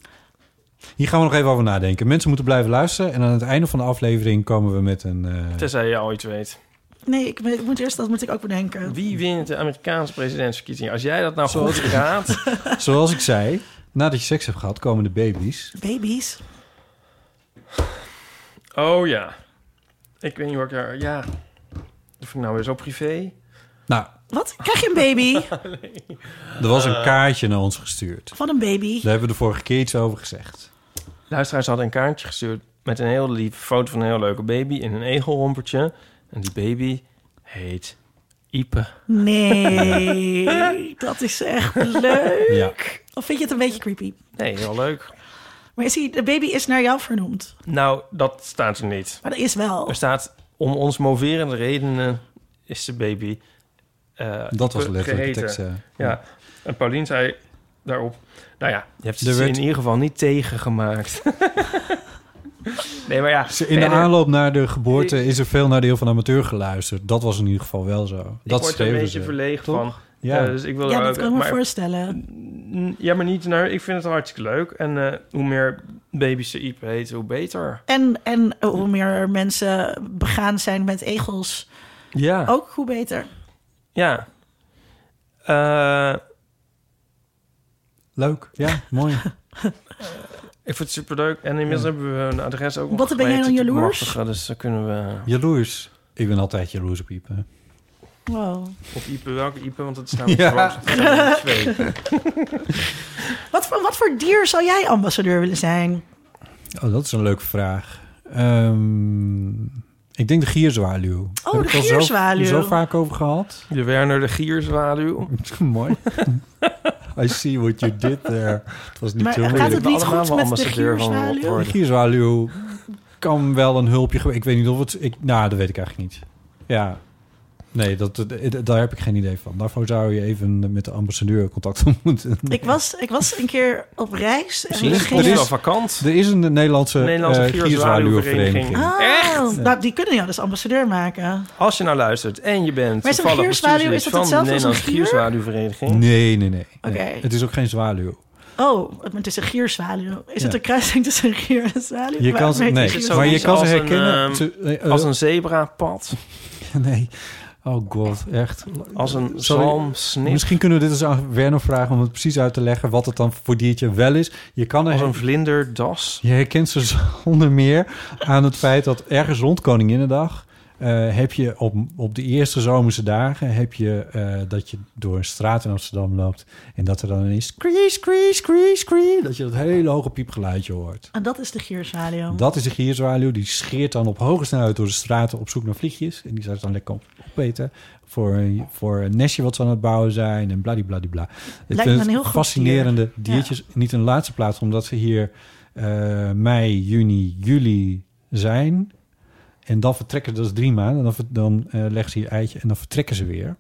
Speaker 4: Hier gaan we nog even over nadenken. Mensen moeten blijven luisteren. En aan het einde van de aflevering komen we met een... eh,
Speaker 3: Tenzij je al iets weet.
Speaker 2: Nee, ik moet- moet eerst, dat moet ik ook bedenken.
Speaker 3: Wie wint de Amerikaanse presidentsverkiezingen? Als jij dat nou goed raadt...
Speaker 4: zoals ik zei, nadat je seks hebt gehad, komen de baby's.
Speaker 2: Baby's.
Speaker 3: Oh ja. Ik weet niet waar ik daar... Ja. Of ik nou weer zo privé...
Speaker 4: Nou,
Speaker 2: Wat? Krijg je een baby?
Speaker 4: er was
Speaker 3: Eh.
Speaker 4: een kaartje naar ons gestuurd.
Speaker 2: Van een baby.
Speaker 4: Daar hebben we de vorige keer iets over gezegd.
Speaker 3: Luisteraars hadden een kaartje gestuurd met een heel lieve foto van een heel leuke baby in een egelrompertje. En die baby heet Ipe.
Speaker 2: Nee, dat is echt leuk.
Speaker 4: Ja.
Speaker 2: Of vind je het een beetje creepy?
Speaker 3: Nee, heel leuk.
Speaker 2: Maar is hij, de baby is naar jou vernoemd.
Speaker 3: Nou, dat staat er niet.
Speaker 2: Maar dat is wel.
Speaker 3: Er staat, om ons moverende redenen is de baby eh,
Speaker 4: Dat was
Speaker 3: Ipe
Speaker 4: letterlijk de
Speaker 3: geheten.
Speaker 4: tekst. eh.
Speaker 3: Ja, en Paulien zei daarop... Nou ja, je hebt
Speaker 4: Er
Speaker 3: het
Speaker 4: werd-
Speaker 3: in ieder geval niet tegengemaakt. nee, maar ja.
Speaker 4: In de
Speaker 3: verder-
Speaker 4: aanloop naar de geboorte is er veel naar de heel van amateur geluisterd. Dat was in ieder geval wel zo.
Speaker 3: Ik
Speaker 4: Dat
Speaker 3: word er een
Speaker 4: schreven
Speaker 3: beetje
Speaker 4: ze.
Speaker 3: verlegen
Speaker 4: toch?
Speaker 3: van.
Speaker 4: Ja.
Speaker 3: Eh, dus ik wil
Speaker 2: ja,
Speaker 3: er
Speaker 2: dat
Speaker 3: ook-
Speaker 2: kan ik me
Speaker 3: maar-
Speaker 2: voorstellen.
Speaker 3: N- Ja, maar niet. Nou, ik vind het hartstikke leuk. En eh, hoe meer baby's de Iep heet, hoe beter.
Speaker 2: En, en eh, hoe meer mensen begaan zijn met egels,
Speaker 3: Ja.
Speaker 2: ook hoe beter.
Speaker 3: Ja. Eh,
Speaker 4: Leuk, ja, mooi.
Speaker 3: ik vind het superleuk. En inmiddels hebben we een adres ook nog
Speaker 2: Wat, ben jij
Speaker 3: geweten
Speaker 2: dan
Speaker 3: te
Speaker 2: jaloers?
Speaker 3: bemachtigen, Dus dan kunnen we...
Speaker 4: Jaloers. Ik ben altijd jaloers op Ipe.
Speaker 2: Wow.
Speaker 3: Op Iep, welke Iep? Want het staan we
Speaker 4: Ja.
Speaker 3: ja. twee.
Speaker 2: Wat, voor- wat voor dier zou jij ambassadeur willen zijn?
Speaker 4: Oh, dat is een leuke vraag. Ehm, ik denk de gierzwaluw.
Speaker 3: Oh,
Speaker 4: Daar
Speaker 2: Oh, de
Speaker 4: ik al zo-
Speaker 2: gierzwaluw.
Speaker 4: Zo, vaak over gehad.
Speaker 3: De Werner de Gierzwaluw.
Speaker 4: Mooi. I see what you did there. Het was niet
Speaker 2: Maar
Speaker 4: zo
Speaker 2: gaat
Speaker 4: moeilijk.
Speaker 2: het niet
Speaker 3: Allemaal
Speaker 2: goed
Speaker 3: wel
Speaker 2: met de
Speaker 3: ambassadeur van
Speaker 2: gierzwaluw?
Speaker 4: De
Speaker 3: worden?
Speaker 4: gierzwaluw kan wel een hulpje... gewe- Ik weet niet of het... Ik, nou, dat weet ik eigenlijk niet. Ja. Nee, dat, dat- daar heb ik geen idee van. Daarvoor zou je even met de ambassadeur contact op moeten.
Speaker 2: Ik was, ik was een keer op reis. En
Speaker 3: Misschien
Speaker 2: we
Speaker 3: is
Speaker 4: er
Speaker 3: het
Speaker 2: gingen...
Speaker 3: wel vakant.
Speaker 4: Er is een Nederlandse,
Speaker 3: Nederlandse
Speaker 4: eh,
Speaker 3: gierzwaluwvereniging.
Speaker 4: gierzwaluwvereniging.
Speaker 2: Oh,
Speaker 3: Echt?
Speaker 2: Nou, die kunnen jou dus ambassadeur maken.
Speaker 3: Als je nou luistert en je bent
Speaker 2: Maar is een
Speaker 3: toevallig
Speaker 2: gierzwaluw,
Speaker 3: bestuurslid
Speaker 2: is dat
Speaker 3: van de
Speaker 2: hetzelfde als een
Speaker 3: Nederlandse
Speaker 2: gier?
Speaker 3: Gierzwaluwvereniging...
Speaker 4: Nee, nee, nee.
Speaker 2: Oké.
Speaker 4: Nee. Het is ook geen zwaluw.
Speaker 2: Oh, het is een gierzwaluw. Is
Speaker 4: Ja.
Speaker 2: het een kruising tussen een gier en een zwaluw?
Speaker 4: Je
Speaker 2: Maar-
Speaker 4: kan ze,
Speaker 2: maar-
Speaker 4: nee,
Speaker 3: het
Speaker 4: maar je
Speaker 3: zoiets
Speaker 4: kan ze
Speaker 3: ehm, als een,
Speaker 4: herkennen.
Speaker 3: ehm,
Speaker 4: ze- eh, eh,
Speaker 3: Als een zebrapad.
Speaker 4: nee. Oh god, echt.
Speaker 3: Als een
Speaker 4: Sorry.
Speaker 3: zalm snip,
Speaker 4: Misschien kunnen we dit eens aan Werner vragen om het precies uit te leggen wat het dan voor diertje wel is. Je, kan
Speaker 3: als
Speaker 4: er,
Speaker 3: een vlinderdas.
Speaker 4: je herkent ze zonder meer aan het feit dat ergens rond Koninginnedag eh, heb je op, op de eerste zomerse dagen heb je eh, dat je door een straat in Amsterdam loopt en dat er dan ineens skree, skree, skree, skree, dat je dat hele hoge piepgeluidje hoort.
Speaker 2: En dat is de gierzwaluw.
Speaker 4: Dat is de gierzwaluw. Die scheert dan op hoge snelheid door de straten op zoek naar vliegjes. En die zou ze dan lekker opeten voor, een- voor een nestje wat ze aan het bouwen zijn en bladibladibla. Ik
Speaker 2: Lijkt
Speaker 4: vind
Speaker 2: me
Speaker 4: het
Speaker 2: een heel goed
Speaker 4: fascinerende
Speaker 2: dier.
Speaker 4: diertjes. Niet in de laatste plaats, omdat ze hier eh, mei, juni, juli zijn. En dan vertrekken, dat is drie maanden. Dan, ver- dan eh, leggen ze hier eitje en dan vertrekken ze weer.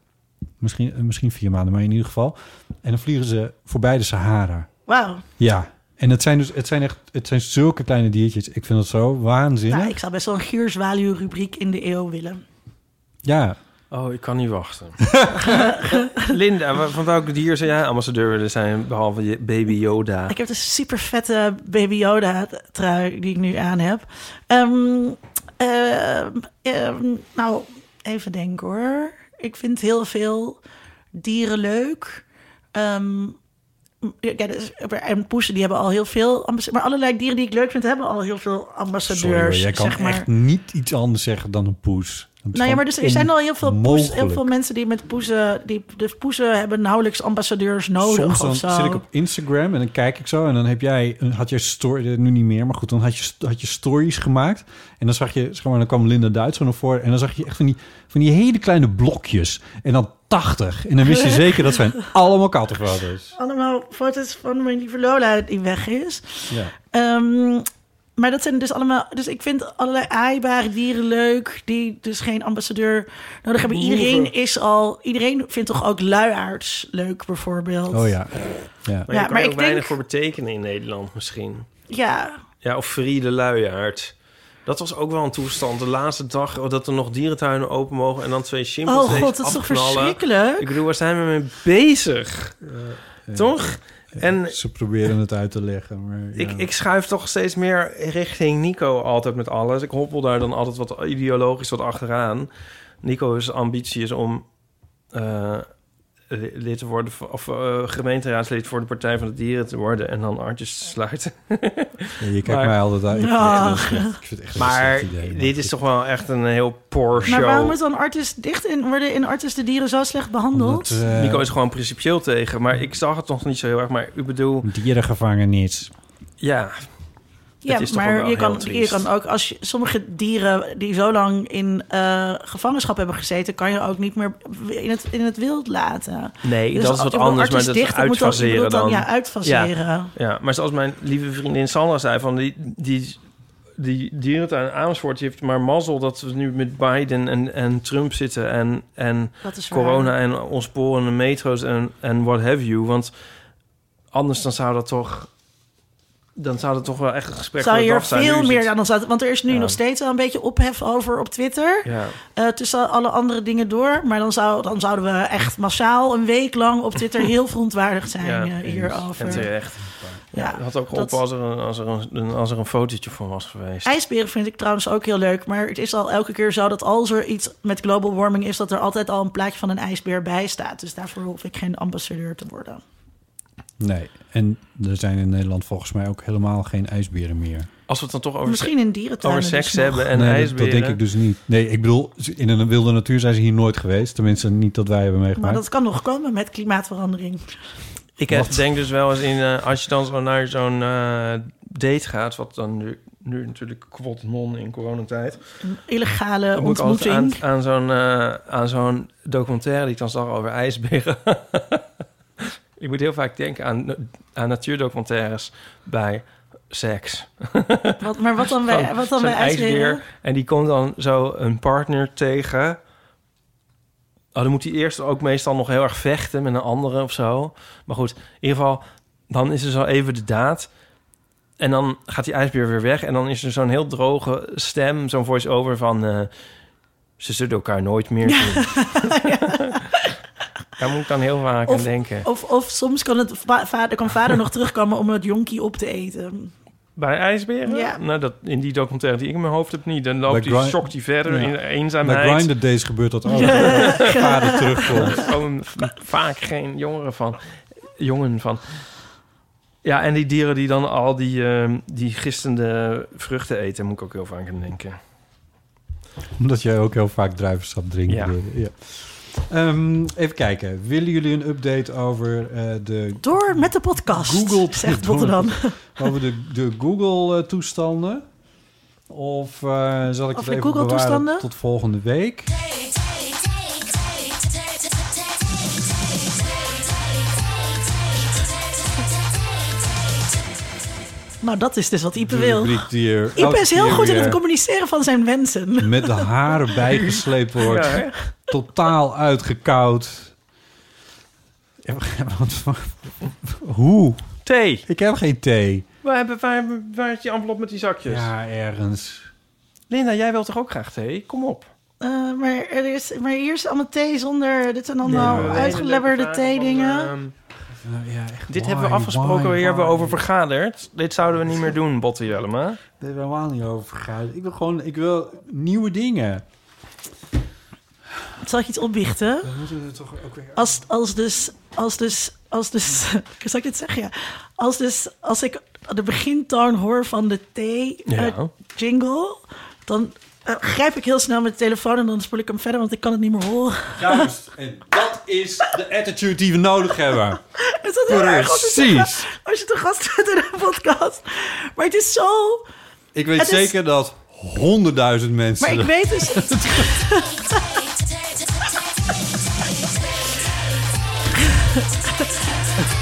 Speaker 4: Misschien, eh, misschien vier maanden, maar in ieder geval. En dan vliegen ze voorbij de Sahara.
Speaker 2: Wauw.
Speaker 4: Ja, en het zijn dus het zijn echt het zijn zulke kleine diertjes. Ik vind het zo waanzinnig.
Speaker 2: Nou, ik zou best wel een gierzwaluw-rubriek in de eeuw willen.
Speaker 4: Ja,
Speaker 3: Oh, ik kan niet wachten. Linda, wa- van welk dier zou jij ambassadeur willen zijn, behalve je baby Yoda?
Speaker 2: Ik heb dus een super vette Baby Yoda trui die ik nu aan heb. Ehm, ehm, ehm, nou, even denken hoor. Ik vind heel veel dieren leuk. Ehm, ja, dus, en poezen die hebben al heel veel ambassadeurs. Maar allerlei dieren die ik leuk vind hebben al heel veel
Speaker 4: sorry hoor,
Speaker 2: ambassadeurs.
Speaker 4: jij kan
Speaker 2: zeg maar.
Speaker 4: echt niet iets anders zeggen dan een poes. Dat is
Speaker 2: Nou ja, maar dus,
Speaker 4: gewoon
Speaker 2: er zijn al heel veel, poes, heel
Speaker 4: onmogelijk.
Speaker 2: veel mensen die met poezen... Die, de poezen hebben nauwelijks ambassadeurs nodig
Speaker 4: Soms
Speaker 2: of
Speaker 4: dan
Speaker 2: zo.
Speaker 4: zit ik op Instagram en dan kijk ik zo en dan heb jij een- had je story eh, nu niet meer, maar goed, dan had je had je stories gemaakt en dan zag je zeg maar dan kwam Linda Duits zo naar voren en dan zag je echt van die van die hele kleine blokjes en dan 80 en dan wist je zeker dat zijn allemaal kattenfoto's.
Speaker 2: Allemaal foto's van mijn lieve Lola die weg is.
Speaker 4: Ja.
Speaker 2: Ehm, maar dat zijn dus allemaal... Dus ik vind allerlei aaibare dieren leuk... die dus geen ambassadeur nodig hebben. Iedereen is al... Iedereen vindt toch ook luiaards leuk, bijvoorbeeld.
Speaker 4: Oh ja. Ja.
Speaker 3: Maar
Speaker 2: Ja,
Speaker 3: je kan
Speaker 2: maar
Speaker 3: er ook
Speaker 2: ik
Speaker 3: weinig
Speaker 2: denk-
Speaker 3: voor betekenen in Nederland misschien.
Speaker 2: Ja,
Speaker 3: Ja, of Friede Luiaard. Dat was ook wel een toestand. De laatste dag oh, dat er nog dierentuinen open mogen... en dan twee chimpansees
Speaker 2: Oh god, dat is toch
Speaker 3: afknallen.
Speaker 2: verschrikkelijk?
Speaker 3: Ik bedoel, waar zijn we mee bezig? Toch? En
Speaker 4: Ze proberen het uit te leggen, maar
Speaker 3: ik,
Speaker 4: ja.
Speaker 3: ik schuif toch steeds meer richting Nico altijd met alles. Ik hoppel daar dan altijd wat ideologisch wat achteraan. Nico's ambitie is om eh, li- lid te worden... van- of eh, gemeenteraadslid voor de Partij van de Dieren te worden... en dan artjes te sluiten.
Speaker 4: Ja, je kijkt
Speaker 3: Maar- Ah.
Speaker 4: mij altijd uit. Ik
Speaker 2: Ja.
Speaker 4: vind het echt een slecht- ik vind het echt een
Speaker 3: Maar
Speaker 4: slecht idee,
Speaker 3: dit
Speaker 4: maar
Speaker 3: is toch wel echt een heel poor show.
Speaker 2: maar waarom moet dan artiest dicht in worden... in artiest de dieren zo slecht behandeld?
Speaker 4: Omdat, eh,
Speaker 3: Nico is gewoon principieel tegen, maar ik zag het nog niet zo heel erg. Maar ik bedoel,
Speaker 4: dierengevangenis.
Speaker 3: ja,
Speaker 2: Ja,
Speaker 3: Het is toch ook
Speaker 2: maar
Speaker 3: wel
Speaker 2: je kan,
Speaker 3: heel
Speaker 2: je
Speaker 3: triest.
Speaker 2: kan ook als je, sommige dieren die zo lang in eh, gevangenschap hebben gezeten, kan je ook niet meer in het, in het wild laten.
Speaker 3: nee,
Speaker 2: Dus
Speaker 3: dat is
Speaker 2: als-
Speaker 3: wat
Speaker 2: ik bedoel,
Speaker 3: anders, maar
Speaker 2: artis
Speaker 3: dat is
Speaker 2: dicht, moet dan- je
Speaker 3: uitfaseren
Speaker 2: bedoelt
Speaker 3: dan.
Speaker 2: Ja,
Speaker 3: Ja.
Speaker 2: uitfaseren.
Speaker 3: maar zoals mijn lieve vriendin Sandra zei, van die, die, die dierentuin Amersfoort, die heeft maar mazzel dat we nu met Biden en, en Trump zitten en, en
Speaker 2: Dat is waar.
Speaker 3: corona en ontsporende metro's en, en what have you. Want anders dan zou dat toch, dan zou dat toch wel echt een gesprek
Speaker 2: Zou
Speaker 3: van de
Speaker 2: hier
Speaker 3: dag zijn. Nu
Speaker 2: veel
Speaker 3: is
Speaker 2: meer
Speaker 3: het-
Speaker 2: aan dan zaten. Want er is nu
Speaker 3: Ja.
Speaker 2: nog steeds wel een beetje ophef over op Twitter.
Speaker 3: Ja.
Speaker 2: eh, tussen alle andere dingen door. Maar dan, zou, dan zouden we echt massaal een week lang op Twitter heel verontwaardigd zijn
Speaker 3: Ja,
Speaker 2: eh, hierover.
Speaker 3: En terecht.
Speaker 2: ja,
Speaker 3: Het had ook
Speaker 2: dat-
Speaker 3: op als er, een, als, er een, als er een fotootje van was geweest.
Speaker 2: IJsberen vind ik trouwens ook heel leuk. Maar het is al elke keer zo dat als er iets met global warming is... dat er altijd al een plaatje van een ijsbeer bij staat. Dus daarvoor hoef ik geen ambassadeur te worden.
Speaker 4: Nee, en er zijn in Nederland volgens mij ook helemaal geen ijsberen meer.
Speaker 3: Als we het dan toch over,
Speaker 2: Misschien in dierentuinen.
Speaker 3: over
Speaker 2: dus
Speaker 3: seks
Speaker 2: nog.
Speaker 3: hebben en
Speaker 4: nee, dat-
Speaker 3: ijsberen.
Speaker 4: dat denk ik dus niet. Nee, ik bedoel, ze- in een wilde natuur zijn ze hier nooit geweest. Tenminste, niet dat wij hebben
Speaker 2: Maar
Speaker 4: meegemaakt.
Speaker 2: dat kan nog komen met klimaatverandering.
Speaker 3: Ik heb- denk dus wel eens in... eh, als je dan zo naar zo'n eh, date gaat... wat dan nu, nu natuurlijk kwot non in coronatijd...
Speaker 2: Een illegale
Speaker 3: dan moet ik altijd
Speaker 2: Eh, ontmoeting.
Speaker 3: aan, aan zo'n eh, aan zo'n documentaire... die ik dan zag over ijsberen. ik moet heel vaak denken aan, aan natuurdocumentaires bij seks.
Speaker 2: Wat, maar wat dan bij,
Speaker 3: Van
Speaker 2: wat dan bij
Speaker 3: zo'n
Speaker 2: ijsberen?
Speaker 3: ijsbeer. En die komt dan zo een partner tegen. Oh, dan moet hij eerst ook meestal nog heel erg vechten met een andere of zo. Maar goed, in ieder geval, dan is er zo even de daad. En dan gaat die ijsbeer weer weg. En dan is er zo'n heel droge stem, zo'n voice-over van... eh, ze zullen elkaar nooit meer zien. Daar moet ik dan heel vaak aan denken.
Speaker 2: Of, of soms kan, het va- vader, kan vader nog terugkomen om het jonkie op te eten.
Speaker 3: Bij ijsberen?
Speaker 2: Ja.
Speaker 3: Nou, dat, in die documentaire die ik in mijn hoofd heb niet. Dan loopt
Speaker 4: Bij
Speaker 3: die,
Speaker 4: Gri-
Speaker 3: schokt die verder
Speaker 4: Ja.
Speaker 3: in de
Speaker 4: Bij
Speaker 3: eenzaamheid.
Speaker 4: Grindr Days gebeurt dat ook. Vader terugkomt.
Speaker 3: gewoon vaak geen jongeren van. Jongen van. Ja, en die dieren die dan al die, ehm, die gistende vruchten eten, moet ik ook heel vaak aan denken.
Speaker 4: Omdat jij ook heel vaak druivensap drinkt.
Speaker 3: Ja.
Speaker 4: bedoel je. Ja. Ehm, even kijken. Willen jullie een update over eh, de
Speaker 2: Door met de podcast,
Speaker 4: Google-
Speaker 2: zegt Botte dan.
Speaker 4: Over de, de Google-toestanden? Of eh, zal ik
Speaker 2: Of
Speaker 4: het
Speaker 2: de
Speaker 4: even
Speaker 2: Google-toestanden?
Speaker 4: bewaren tot volgende week?
Speaker 2: Nou, dat is dus wat Ipe
Speaker 4: De
Speaker 2: wil.
Speaker 4: rubriek die er
Speaker 2: Ipe
Speaker 4: elke
Speaker 2: is heel
Speaker 4: keer
Speaker 2: goed in het
Speaker 4: weer
Speaker 2: communiceren van zijn wensen.
Speaker 4: Met de haren bijgesleept wordt. Totaal uitgekoud. Ja, maar wat voor- Hoe?
Speaker 3: Thee.
Speaker 4: Ik heb geen thee.
Speaker 3: Waar, hebben, waar, hebben- waar is die envelop met die zakjes?
Speaker 4: Ja, ergens.
Speaker 3: Linda, jij wilt toch ook graag thee? Kom op.
Speaker 2: Eh, maar, er is, maar hier is allemaal thee zonder... Dit zijn allemaal
Speaker 4: maar-
Speaker 2: uitgelebberde theedingen.
Speaker 3: Ehm,
Speaker 4: Nou ja, echt,
Speaker 3: dit
Speaker 4: why,
Speaker 3: hebben we afgesproken,
Speaker 4: why,
Speaker 3: hier hebben we
Speaker 4: why?
Speaker 3: over vergaderd. Dit zouden we niet meer doen, Botte Jellema.
Speaker 4: Daar hebben we helemaal niet over gegaan. Ik wil gewoon, ik wil nieuwe dingen. eh,
Speaker 2: Zal ik iets opbiechten?
Speaker 4: Dan moeten we toch ook weer...
Speaker 2: Als, als dus, als dus, als dus, zal ik dit zeggen? Ja. Als dus, als ik de begintoon hoor van de
Speaker 3: Ja.
Speaker 2: thee-jingle, dan eh, grijp ik heel snel mijn telefoon en dan spoel ik hem verder, want ik kan het niet meer horen.
Speaker 4: Juist, en dat is de attitude die we nodig hebben.
Speaker 2: Is dat heel erg om te zeggen
Speaker 4: Precies.
Speaker 2: als je te gast bent in een podcast? Maar het is zo...
Speaker 4: Ik weet
Speaker 2: Het is-
Speaker 4: zeker dat honderdduizend mensen...
Speaker 2: Maar ik weet dus...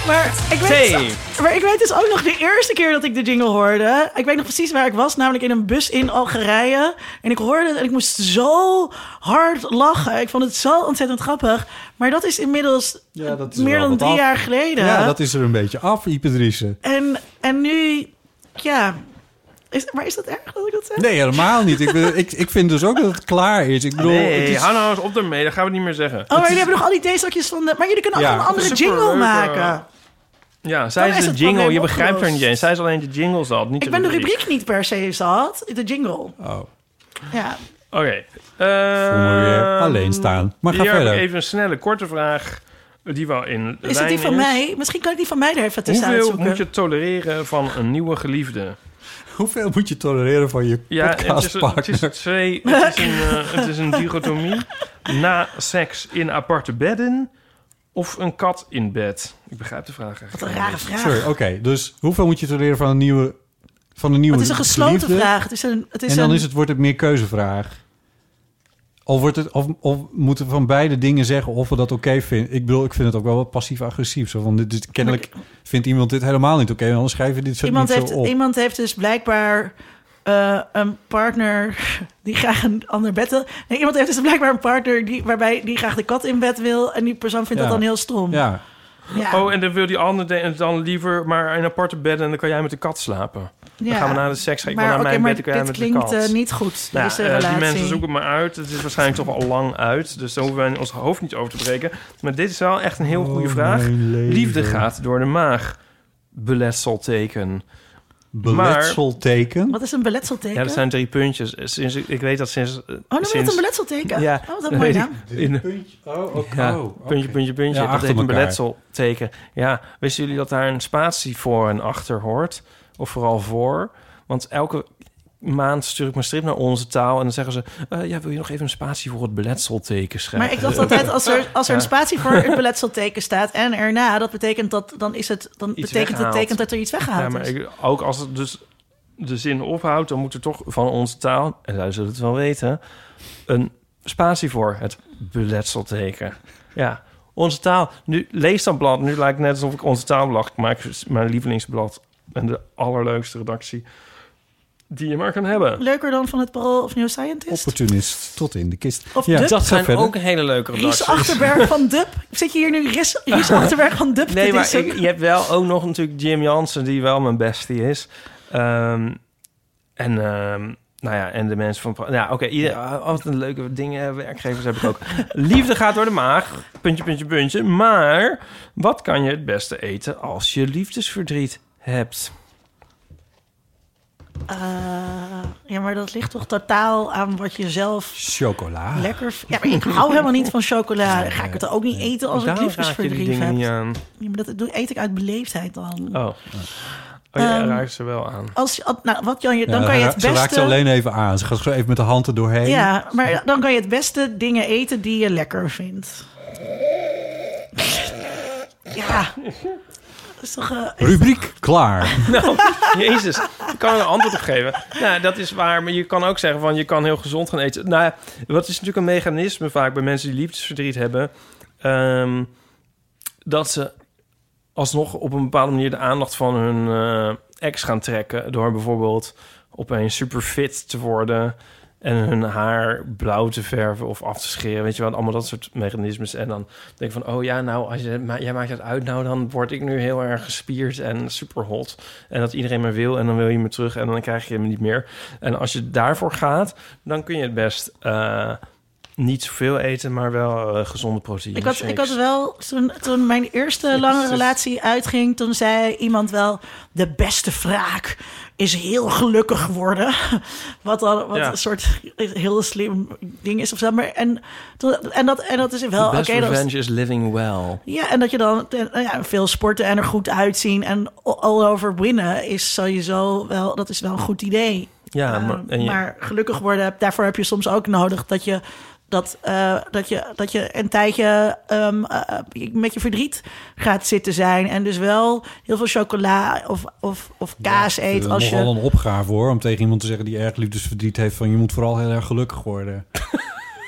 Speaker 2: Maar ik,
Speaker 3: Thee.
Speaker 2: weet, maar ik weet dus ook nog de eerste keer dat ik de jingle hoorde. Ik weet nog precies waar ik was, namelijk in een bus in Algerije. En ik hoorde het en ik moest zo hard lachen. Ik vond het zo ontzettend grappig. Maar dat is inmiddels
Speaker 4: Ja, dat is
Speaker 2: meer
Speaker 4: wel
Speaker 2: dan
Speaker 4: wat
Speaker 2: drie
Speaker 4: af.
Speaker 2: jaar geleden.
Speaker 4: Ja, dat is er een beetje af, Ipedrice.
Speaker 2: en, en nu, ja. Is, maar is dat erg dat ik dat zeg? Oh,
Speaker 4: Nee, helemaal niet. Ik, ben, ik, ik vind dus ook dat het klaar is. Ik bedoel, het
Speaker 3: Nee,
Speaker 4: is-
Speaker 3: hou nou eens op ermee, dat gaan we niet meer zeggen.
Speaker 2: Oh, maar jullie hebben nog al die theezakjes van de... Maar jullie kunnen ook
Speaker 4: Ja.
Speaker 2: gewoon een andere
Speaker 3: Superleuk,
Speaker 2: jingle
Speaker 3: eh,
Speaker 2: maken.
Speaker 3: Ja, zij
Speaker 2: Dan
Speaker 3: is
Speaker 2: is
Speaker 3: de
Speaker 2: het
Speaker 3: jingle.
Speaker 2: probleem
Speaker 3: Je begrijpt haar niet
Speaker 2: opgelost.
Speaker 3: eens. Zij is alleen de jingle zat, niet
Speaker 2: Ik ben de rubriek niet per se zat. De jingle.
Speaker 4: Oh,
Speaker 2: Ja.
Speaker 3: Oké. ehm,
Speaker 4: voel me weer alleen staan. Maar ga
Speaker 3: hier heb
Speaker 4: verder.
Speaker 3: ik even een snelle, korte vraag. Die wel in
Speaker 2: Is het die van mij? Misschien kan ik die van mij er even tussen
Speaker 3: Hoeveel
Speaker 2: uitzoeken.
Speaker 3: moet je tolereren van een nieuwe geliefde?
Speaker 4: Hoeveel moet je tolereren van je
Speaker 3: het is, het
Speaker 4: podcastpartner?
Speaker 3: is twee. Het is een, eh, het is een dichotomie. Na seks in aparte bedden of een kat in bed? Ik begrijp de vraag
Speaker 2: Wat een
Speaker 3: eigenlijk.
Speaker 2: rare vraag.
Speaker 4: Sorry, oké. dus hoeveel moet je tolereren van een nieuwe... Van een nieuwe
Speaker 2: het is een gesloten
Speaker 4: liefde?
Speaker 2: vraag. Het is een, het is
Speaker 4: en dan
Speaker 2: een,
Speaker 4: is het, wordt het meer keuzevraag. Of, wordt het, of, of moeten we van beide dingen zeggen of we dat oké vinden. Ik bedoel, ik vind het ook wel wat passief-agressief. Zo, want dit, dit- kennelijk vindt iemand dit helemaal niet oké. en anders schrijven we dit zo
Speaker 2: iemand,
Speaker 4: niet
Speaker 2: heeft,
Speaker 4: zo op.
Speaker 2: iemand heeft dus blijkbaar eh, een partner die graag een ander bed wil. Nee, iemand heeft dus blijkbaar een partner die, waarbij die graag de kat in bed wil. En die persoon vindt
Speaker 4: Ja.
Speaker 2: dat dan heel stom.
Speaker 4: Ja,
Speaker 2: Ja.
Speaker 3: Oh, en dan wil die ander de- en dan liever maar in aparte bedden en dan kan jij met de kat slapen.
Speaker 2: Ja.
Speaker 3: Dan gaan we naar de seks, ga ik
Speaker 2: maar
Speaker 3: wel naar
Speaker 2: oké,
Speaker 3: mijn
Speaker 2: maar
Speaker 3: bed, dan kan jij
Speaker 2: dit
Speaker 3: met de
Speaker 2: klinkt
Speaker 3: kat.
Speaker 2: eh, niet goed,
Speaker 3: Nou,
Speaker 2: deze
Speaker 3: eh,
Speaker 2: relatie.
Speaker 3: die mensen zoeken me uit. Het is waarschijnlijk toch al lang uit. Dus daar hoeven wij ons hoofd niet over te breken. Maar dit is wel echt een heel
Speaker 4: Oh,
Speaker 3: goede vraag.
Speaker 4: mijn leven.
Speaker 3: Liefde gaat door de maag. Beletselteken.
Speaker 4: beletselteken.
Speaker 2: Wat is een beletselteken?
Speaker 3: Ja, dat zijn drie puntjes. Sinds, ik ik weet dat sinds... Oh,
Speaker 2: Oh, noem je dat
Speaker 3: sinds,
Speaker 2: een beletselteken?
Speaker 3: Ja.
Speaker 2: Oh, wat een mooie
Speaker 3: Weet
Speaker 2: naam.
Speaker 3: In,
Speaker 4: Oh,
Speaker 3: ja, puntje, puntje, puntje.
Speaker 4: Ja,
Speaker 3: dat
Speaker 4: achter
Speaker 3: heet een
Speaker 4: elkaar.
Speaker 3: beletselteken. Ja, wisten jullie dat daar een spatie voor en achter hoort? Of vooral voor? Want elke maand stuur ik mijn strip naar onze taal... en dan zeggen ze... eh, ja, wil je nog even een spatie voor het beletselteken schrijven?
Speaker 2: Maar ik dacht altijd, als er, als er een spatie voor het beletselteken staat en erna, dat betekent dat, dan is het, dan betekent het
Speaker 3: weggehaald.
Speaker 2: teken dat er iets
Speaker 3: Ja,
Speaker 2: weggehaald
Speaker 3: maar
Speaker 2: is.
Speaker 3: ik- ook als het dus de zin ophoudt, dan moet er toch van onze taal, en zij zullen het wel weten, een spatie voor het beletselteken. Ja, onze taal. Nu lees dat blad. Nu lijkt het net alsof ik onze taal blad. Ik maak dus mijn lievelingsblad en de allerleukste redactie die je maar kan hebben.
Speaker 2: Leuker dan van het Parool of New Scientist?
Speaker 4: Opportunist tot in de kist.
Speaker 2: Of de-
Speaker 4: ga verder.
Speaker 3: hele leuke
Speaker 2: Ries Achterberg van Dub. Zit je hier nu Ries, Ries Achterberg van Dub
Speaker 3: Nee,
Speaker 2: te
Speaker 3: maar
Speaker 2: dissen?
Speaker 3: ik- je hebt wel ook nog natuurlijk Jim Jansen, die wel mijn bestie is. Ehm, en, ehm, nou ja, en de mensen van... Pro- Ja, oké, ieder- Ah, altijd een leuke dingen, eh, werkgevers heb ik ook. Liefde gaat door de maag, puntje, puntje, puntje. Maar wat kan je het beste eten als je liefdesverdriet hebt?
Speaker 2: Eh, ja, maar dat ligt toch totaal aan wat je zelf
Speaker 4: Chocola.
Speaker 2: lekker... v- Ja, maar ik hou helemaal niet van chocola. Ga ik het ook niet eten als ik
Speaker 3: Daarom raak je die
Speaker 2: liefdesverdriet
Speaker 3: dingen
Speaker 2: heb?
Speaker 3: niet
Speaker 2: Ja,
Speaker 3: aan.
Speaker 2: maar dat doe- eet ik uit beleefdheid dan.
Speaker 3: Oh. Oh, je
Speaker 2: Ehm,
Speaker 3: raakt ze wel aan.
Speaker 2: Als, je- nou, wat Jan, je- dan
Speaker 4: Ja,
Speaker 2: kan je het
Speaker 4: Eh, Ze raakt ze
Speaker 2: beste...
Speaker 4: alleen even aan. Ze gaat zo even met de hand er doorheen.
Speaker 2: Ja, maar dan kan je het beste dingen eten die je lekker vindt. Ja. Dat is toch... eh,
Speaker 4: Rubriek klaar.
Speaker 3: Nou, Jezus, ik kan er een antwoord op geven. Nou, dat is waar, maar je kan ook zeggen van je kan heel gezond gaan eten. Nou, ja, wat is natuurlijk een mechanisme vaak bij mensen die liefdesverdriet hebben, ehm, dat ze alsnog op een bepaalde manier de aandacht van hun eh, ex gaan trekken door bijvoorbeeld opeens super fit te worden en hun haar blauw te verven of af te scheren, weet je wel, allemaal dat soort mechanismes. En dan denk ik van, oh ja, nou als je, ma- jij maakt dat uit, nou dan word ik nu heel erg gespierd en super hot. En dat iedereen me wil en dan wil je me terug en dan krijg je me niet meer. En als je daarvoor gaat, dan kun je het best eh, niet zoveel eten, maar wel eh, gezonde proteïne.
Speaker 2: Ik had, ik
Speaker 3: shakes.
Speaker 2: had wel, toen, toen mijn eerste lange relatie uitging, toen zei iemand wel: de beste wraak is heel gelukkig worden. Wat dan wat
Speaker 3: Ja.
Speaker 2: een soort heel slim ding is of zo. Maar en, toen- en, dat, en dat is wel.
Speaker 3: The best
Speaker 2: Oh, oké, dat is-
Speaker 3: revenge is living well.
Speaker 2: ja, en dat je dan eh, nou ja, veel sporten en er goed uitzien en all over winnen is sowieso wel, dat is wel een goed idee.
Speaker 3: Ja,
Speaker 2: Eh,
Speaker 3: maar, en je-
Speaker 2: maar gelukkig worden, daarvoor heb je soms ook nodig dat je, dat, eh, dat je, dat je een tijdje ehm, eh, eh, met je verdriet gaat zitten zijn. En dus wel heel veel chocola of, of, of kaas
Speaker 4: Het
Speaker 2: eet
Speaker 4: is
Speaker 2: als
Speaker 4: nogal
Speaker 2: je...
Speaker 4: een opgave hoor, om tegen iemand te zeggen die erg liefdesverdriet heeft van je moet vooral heel erg gelukkig worden.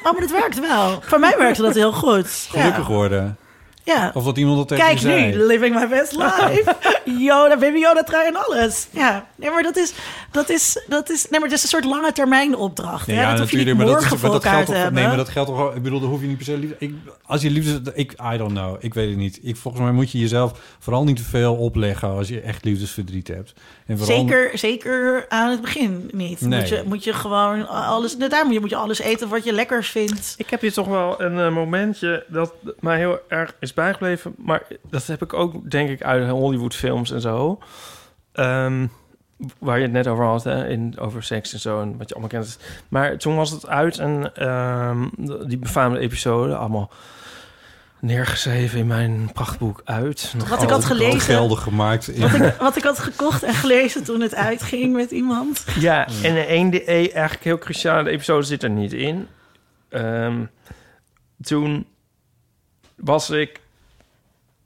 Speaker 2: Oh, maar het werkt wel. Voor mij werkte dat heel goed. Ja.
Speaker 4: Gelukkig worden.
Speaker 2: Ja.
Speaker 4: Of dat iemand dat tegen
Speaker 2: Kijk
Speaker 4: je zei.
Speaker 2: nu, living my best life. Yoda, baby Yoda, trui en alles. Ja, nee, maar dat is, dat is, dat is, nee, maar dat is een soort lange termijn opdracht.
Speaker 4: Nee,
Speaker 2: hè? dat hoef je niet
Speaker 4: maar dat,
Speaker 2: morgen
Speaker 4: is, maar
Speaker 2: voor
Speaker 4: dat
Speaker 2: elkaar
Speaker 4: geldt
Speaker 2: te
Speaker 4: toch.
Speaker 2: hebben.
Speaker 4: Nee, maar dat geldt toch. wel- Ik bedoel, daar hoef je niet per se liefde. Ik, als je liefde, ik, I don't know. Ik weet het niet. Ik, volgens mij moet je jezelf vooral niet te veel opleggen als je echt liefdesverdriet hebt. En vooral,
Speaker 2: Zeker, zeker aan het begin niet.
Speaker 4: Nee.
Speaker 2: Moet, je, moet je gewoon alles... Nou, daar moet je, moet je alles eten wat je lekker vindt.
Speaker 3: Ik heb hier toch wel een eh, momentje dat mij heel erg is bijgebleven. Maar dat heb ik ook, denk ik, uit Hollywoodfilms en zo. Ehm, waar je het net over had, hè, in, over seks en zo en wat je allemaal kent. Maar toen was het uit en ehm, die befaamde episode, allemaal neergeschreven in mijn prachtboek uit. Nog
Speaker 2: Wat ik had
Speaker 3: altijd-
Speaker 4: Al
Speaker 2: gelezen...
Speaker 4: geldig gemaakt. In,
Speaker 2: Wat ik, wat ik had gekocht en gelezen toen het uitging met iemand.
Speaker 3: Ja, en de één, de E, eigenlijk heel cruciale episode zit er niet in. Ehm, toen was ik...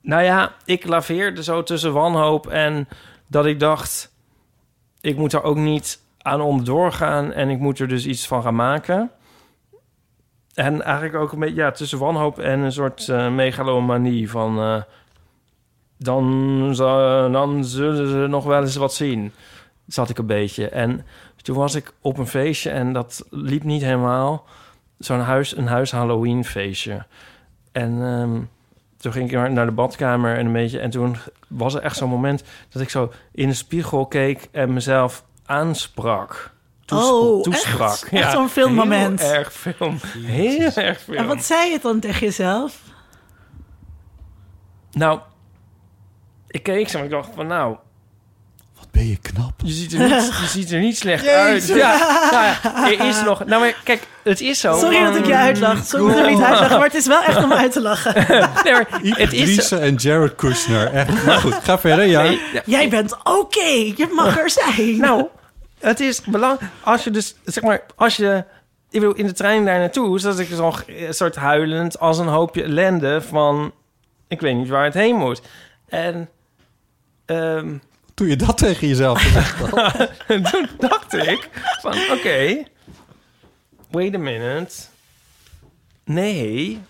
Speaker 3: Nou ja, ik laveerde zo tussen wanhoop en dat ik dacht... ik moet er ook niet aan onderdoor gaan en ik moet er dus iets van gaan maken. En eigenlijk ook een beetje ja, tussen wanhoop en een soort eh, megalomanie van... eh, dan, zal- dan zullen ze nog wel eens wat zien zat ik een beetje. En toen was ik op een feestje en dat liep niet helemaal. Zo'n huis, een huis Halloween feestje. En ehm, toen ging ik naar- naar de badkamer en een beetje. En toen was er echt zo'n moment dat ik zo in de spiegel keek en mezelf aansprak. Toes-
Speaker 2: Oh,
Speaker 3: toesprak.
Speaker 2: echt? Echt zo'n filmmoment.
Speaker 3: Heel erg film. Heel erg film.
Speaker 2: En wat zei je dan tegen jezelf?
Speaker 3: Nou, ik keek ze en ik dacht van nou,
Speaker 4: wat ben je knap?
Speaker 3: Je ziet er niet, je ziet er niet slecht uit. Ja, nou ja, er is nog. Nou, maar kijk, het is
Speaker 4: Oh,
Speaker 3: zo.
Speaker 2: Sorry dat ik je uitlacht. Sorry dat ik niet uitlachen, maar het is wel echt om uit te lachen.
Speaker 3: Nee, maar het is zo.
Speaker 4: Idrisse en Jared Kushner. Echt. Maar goed, ga verder. Ja.
Speaker 2: Jij bent oké, je mag er zijn.
Speaker 3: Nou, het is belangrijk. Als je dus, zeg maar, als je. Ik bedoel, in de trein daar naartoe zat ik zo een soort huilend als een hoopje ellende van. Ik weet niet waar het heen moet. En. ehm,
Speaker 4: Doe je dat tegen jezelf? gezegd?
Speaker 3: toen dacht ik van, oké, wait a minute. Nee,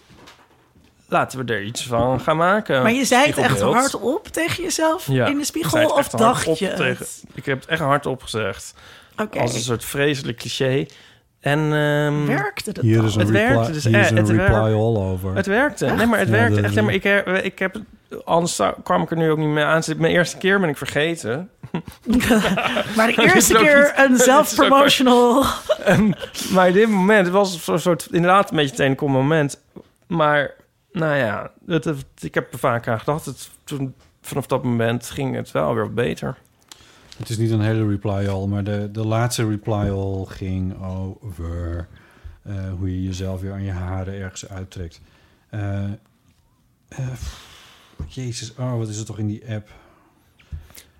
Speaker 3: laten we er iets van gaan maken.
Speaker 2: maar je zei het echt
Speaker 3: Spiegelbeeld.
Speaker 2: hardop tegen jezelf
Speaker 3: Ja,
Speaker 2: in de
Speaker 3: ik zei
Speaker 2: spiegel
Speaker 3: het
Speaker 2: of
Speaker 3: echt hardop
Speaker 2: dacht je het?
Speaker 3: tegen- ik heb het echt hardop gezegd.
Speaker 2: Oké,
Speaker 3: Als een soort vreselijk cliché. En ehm,
Speaker 2: werkte dat
Speaker 4: Hier
Speaker 2: dan?
Speaker 4: is een
Speaker 3: Het
Speaker 4: reply,
Speaker 3: werkte dus
Speaker 4: hier
Speaker 3: echt,
Speaker 4: is een
Speaker 3: het
Speaker 4: reply
Speaker 3: werkte.
Speaker 4: all over.
Speaker 3: het werkte. Nee, maar het
Speaker 4: Ja,
Speaker 3: werkte
Speaker 4: dat-
Speaker 3: echt. Nee, maar ik, heb- ik heb het, anders zou- kwam ik er nu ook niet meer aan. Mijn eerste keer ben ik vergeten.
Speaker 2: Maar de
Speaker 3: is
Speaker 2: eerste
Speaker 3: ook
Speaker 2: keer
Speaker 3: niet-
Speaker 2: een
Speaker 3: dat is ook
Speaker 2: zelfpromotional.
Speaker 3: Maar dit moment het was een soort, inderdaad een beetje het enkel moment. Maar nou ja, het, het- ik heb er vaak aan gedacht. Het, toen, vanaf dat moment ging het wel weer beter.
Speaker 4: Het is niet een hele reply all, maar de, de laatste reply all ging over eh, hoe je jezelf weer aan je haren ergens uittrekt. Eh, eh, pff, jezus, oh, wat is het toch in die app?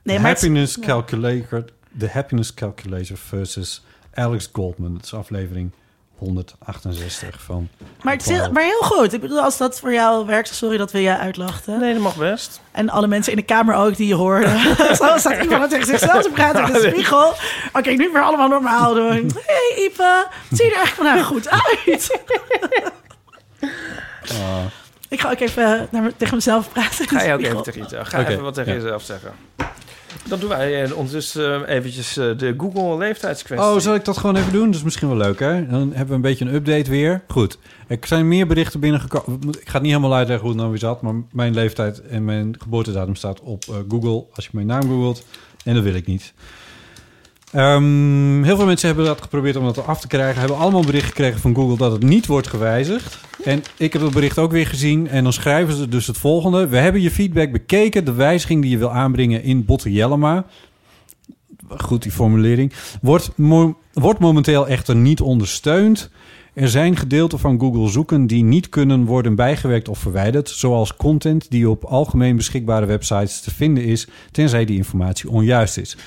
Speaker 2: Nee,
Speaker 4: The
Speaker 2: maar het-
Speaker 4: happiness calculator, The Happiness Calculator versus Alex Goldman. Dat is aflevering 168 van.
Speaker 2: Maar het is
Speaker 4: Reply
Speaker 2: heel,
Speaker 4: All.
Speaker 2: maar heel goed. Ik bedoel, als dat voor jou werkt, sorry dat we je uitlachten.
Speaker 5: Nee, dat mag best.
Speaker 2: En alle mensen in de kamer ook die je hoorden. Zo staat iemand tegen zichzelf te praten in de spiegel. Oké, nu weer allemaal normaal doen. Hé hey, Ipe, het ziet er echt vandaag goed uit.
Speaker 4: Ah,
Speaker 2: Ik ga ook even naar me- tegen mezelf praten. in de
Speaker 5: Ga je ook
Speaker 2: spiegel.
Speaker 5: even tegen jezelf. Ga
Speaker 4: Oké,
Speaker 5: even wat tegen
Speaker 4: ja.
Speaker 5: jezelf zeggen. Dan doen wij eh, ondertussen eh, eventjes eh, de Google leeftijdskwestie.
Speaker 4: Oh, zal ik dat gewoon even doen? Dat is misschien wel leuk, hè? Dan hebben we een beetje een update weer. Goed. Er zijn meer berichten binnengekomen. Ik ga het niet helemaal uitleggen hoe het nou weer zat... maar mijn leeftijd en mijn geboortedatum staat op eh, Google... als je mijn naam googelt. En dat wil ik niet. Ehm, heel veel mensen hebben dat geprobeerd om dat af te krijgen. Hebben allemaal bericht gekregen van Google dat het niet wordt gewijzigd. En ik heb dat bericht ook weer gezien. En dan schrijven ze dus het volgende. We hebben je feedback bekeken. De wijziging die je wil aanbrengen in Botte Jellema. Goed, die formulering. Wordt, mo- wordt momenteel echter niet ondersteund. Er zijn gedeelten van Google zoeken die niet kunnen worden bijgewerkt of verwijderd. Zoals content die op algemeen beschikbare websites te vinden is. Tenzij die informatie onjuist is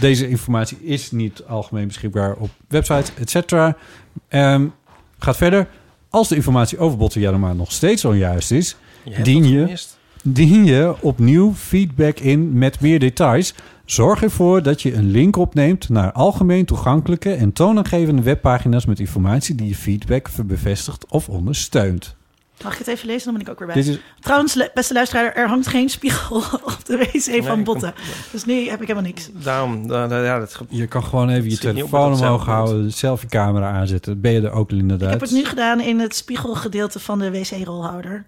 Speaker 4: deze informatie is niet algemeen beschikbaar op websites, et cetera. Ehm, gaat verder. Als de informatie over Botte Jellema nog steeds onjuist is,
Speaker 5: Je hebt
Speaker 4: dien
Speaker 5: dat
Speaker 4: je-
Speaker 5: gemist.
Speaker 4: dien je opnieuw feedback in met meer details. Zorg ervoor dat je een link opneemt naar algemeen toegankelijke en toonaangevende webpagina's met informatie die je feedback bevestigt of ondersteunt.
Speaker 2: Mag ik het even lezen? Dan ben ik ook weer bij.
Speaker 4: Dit is,
Speaker 2: Trouwens, le- beste luisteraar, er hangt geen spiegel op de wc van
Speaker 5: ik-
Speaker 2: Botten. Dus nu heb ik helemaal niks.
Speaker 5: Daarom, da- da- ja, dat ge-
Speaker 4: je kan gewoon even je
Speaker 5: Schiet niet op
Speaker 4: telefoon
Speaker 5: met dat
Speaker 4: omhoog
Speaker 5: zelfbeeld.
Speaker 4: houden, zelf je camera aanzetten. Dan Ben je er ook inderdaad.
Speaker 2: Ik heb het nu gedaan in het spiegelgedeelte van de wc-rolhouder.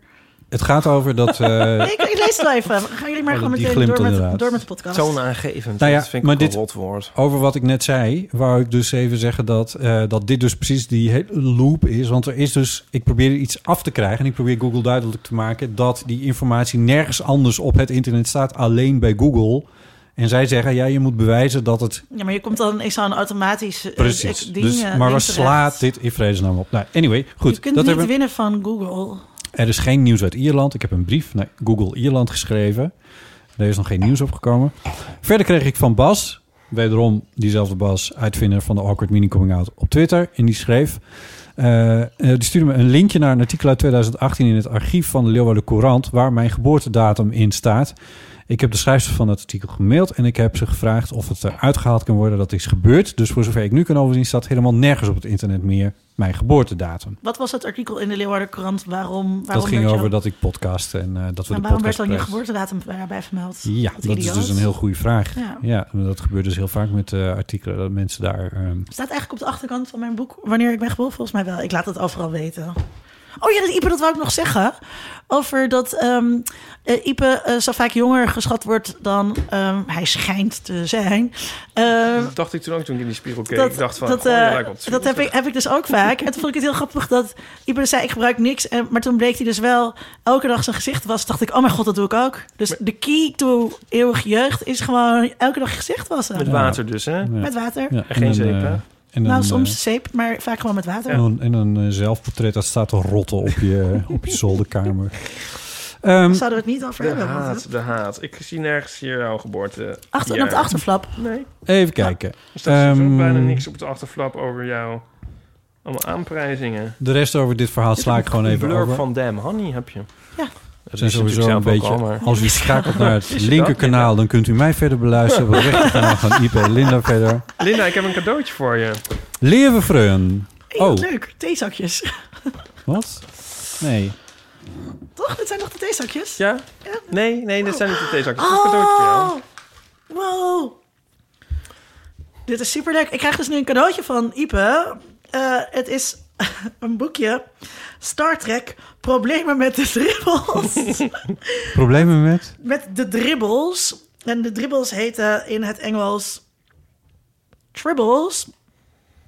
Speaker 4: Het gaat over dat... eh,
Speaker 2: Nee, ik, ik lees het wel even. Gaan jullie maar
Speaker 4: Oh,
Speaker 2: gewoon
Speaker 4: die
Speaker 2: meteen
Speaker 4: glimt
Speaker 2: door met,
Speaker 4: inderdaad.
Speaker 2: door met de podcast.
Speaker 5: toonaangevend.
Speaker 4: Nou ja,
Speaker 5: dat vind ik
Speaker 4: maar
Speaker 5: ook een
Speaker 4: dit-
Speaker 5: rot woord.
Speaker 4: Over wat ik net zei, wou ik dus even zeggen dat, eh, dat dit dus precies die hele loop is. Want er is dus, ik probeer iets af te krijgen en ik probeer Google duidelijk te maken dat die informatie nergens anders op het internet staat, alleen bij Google. En zij zeggen, ja, je moet bewijzen dat het
Speaker 2: Ja, maar je komt dan in zo'n automatisch eh,
Speaker 4: precies
Speaker 2: ding,
Speaker 4: Dus,
Speaker 2: eh,
Speaker 4: maar
Speaker 2: ding
Speaker 4: waar
Speaker 2: terecht.
Speaker 4: slaat dit in vredesnaam op? Nou, anyway, goed.
Speaker 2: Je kunt
Speaker 4: dat
Speaker 2: niet
Speaker 4: hebben-
Speaker 2: winnen van Google.
Speaker 4: Er is geen nieuws uit Ierland. Ik heb een brief naar Google Ierland geschreven. Er is nog geen nieuws opgekomen. Verder kreeg ik van Bas, wederom diezelfde Bas, uitvinder van de Awkward Mini Coming Out op Twitter. En die schreef, eh, eh, die stuurde me een linkje naar een artikel uit 2018 in het archief van de Leeuwarden Courant, waar mijn geboortedatum in staat. Ik heb de schrijfster van het artikel gemaild en ik heb ze gevraagd of het eruit gehaald kan worden dat is gebeurd. Dus voor zover ik nu kan overzien staat helemaal nergens op het internet meer mijn geboortedatum.
Speaker 2: Wat was het artikel in de Leeuwarden Courant? Waarom, waarom
Speaker 4: Dat ging
Speaker 2: werd
Speaker 4: over
Speaker 2: jou-
Speaker 4: dat ik podcast en eh, dat we
Speaker 2: Nou,
Speaker 4: de
Speaker 2: waarom werd
Speaker 4: podcast
Speaker 2: dan je
Speaker 4: prijs-
Speaker 2: geboortedatum daarbij vermeld?
Speaker 4: Ja,
Speaker 2: Wat
Speaker 4: dat
Speaker 2: idioot.
Speaker 4: is dus een heel goede vraag.
Speaker 2: Ja.
Speaker 4: Ja, maar dat gebeurt dus heel vaak met eh, artikelen dat mensen daar. ehm,
Speaker 2: Staat eigenlijk op de achterkant van mijn boek wanneer ik ben geboren? Volgens mij wel. Ik laat het overal weten. Oh ja, dat Ipe, dat wou ik nog zeggen. Over dat ehm eh, Ipe eh, zo vaak jonger geschat wordt dan ehm, hij schijnt te zijn. Ehm,
Speaker 5: Dat dacht ik toen ook toen ik in die spiegel keek.
Speaker 2: dat,
Speaker 5: ik dacht van, oh
Speaker 2: dat,
Speaker 5: goh, je
Speaker 2: eh,
Speaker 5: lijkt op het
Speaker 2: dat heb, ik, heb ik dus ook vaak. En toen vond ik het heel grappig dat Iber zei, ik gebruik niks. En, maar toen bleek hij dus wel elke dag zijn gezicht was. dacht ik, oh mijn god, dat doe ik ook. Dus de key to eeuwige jeugd is gewoon elke dag je gezicht wassen.
Speaker 5: Met
Speaker 2: Met,
Speaker 5: water dus, hè?
Speaker 4: ja.
Speaker 2: water.
Speaker 4: Ja,
Speaker 5: En geen
Speaker 4: een,
Speaker 5: zeep,
Speaker 4: eh,
Speaker 5: hè?
Speaker 4: en
Speaker 2: Nou,
Speaker 4: een,
Speaker 2: soms
Speaker 4: eh,
Speaker 2: zeep, maar vaak gewoon met water.
Speaker 4: en een, en een eh, zelfportret dat staat te rotten op je, op je zolderkamer. Ehm,
Speaker 2: Zouden we het niet over
Speaker 5: Hm. De
Speaker 2: hebben. want,
Speaker 5: haat,
Speaker 2: hè?
Speaker 5: de haat. Ik zie nergens hier jouw geboorte.
Speaker 2: Achter,
Speaker 5: jaar.
Speaker 2: Op de achterflap.
Speaker 5: Nee.
Speaker 4: even kijken.
Speaker 5: Er staat sowieso
Speaker 4: Ehm,
Speaker 5: bijna niks op de achterflap over jou. Allemaal aanprijzingen.
Speaker 4: De rest over dit verhaal sla ik gewoon even
Speaker 5: blurb
Speaker 4: over.
Speaker 5: van Damn Honey heb je.
Speaker 2: Ja.
Speaker 5: Dat
Speaker 4: zijn
Speaker 5: is natuurlijk
Speaker 4: sowieso een
Speaker 5: zelf ook
Speaker 4: beetje.
Speaker 5: al, maar-
Speaker 4: Als u schakelt naar het linkerkanaal,
Speaker 5: niet,
Speaker 4: dan kunt u mij verder beluisteren. Op het rechterkanaal gaan Ipe en Linda verder.
Speaker 5: Linda, ik heb een cadeautje voor je.
Speaker 4: Leven vreun.
Speaker 2: Hey,
Speaker 4: Oh,
Speaker 2: wat Leuk, theezakjes.
Speaker 4: wat? Nee.
Speaker 2: Toch? Dit zijn nog de theezakjes?
Speaker 5: Ja? Nee, nee, dit zijn niet de theezakjes. Dit is een cadeautje voor jou.
Speaker 2: Oh, wow. Dit is superleuk. Ik krijg dus nu een cadeautje van Ipe. Eh, het is een boekje. Star Trek, problemen met de dribbels.
Speaker 4: Problemen met?
Speaker 2: met de dribbels. En de dribbels heten in het Engels tribbles.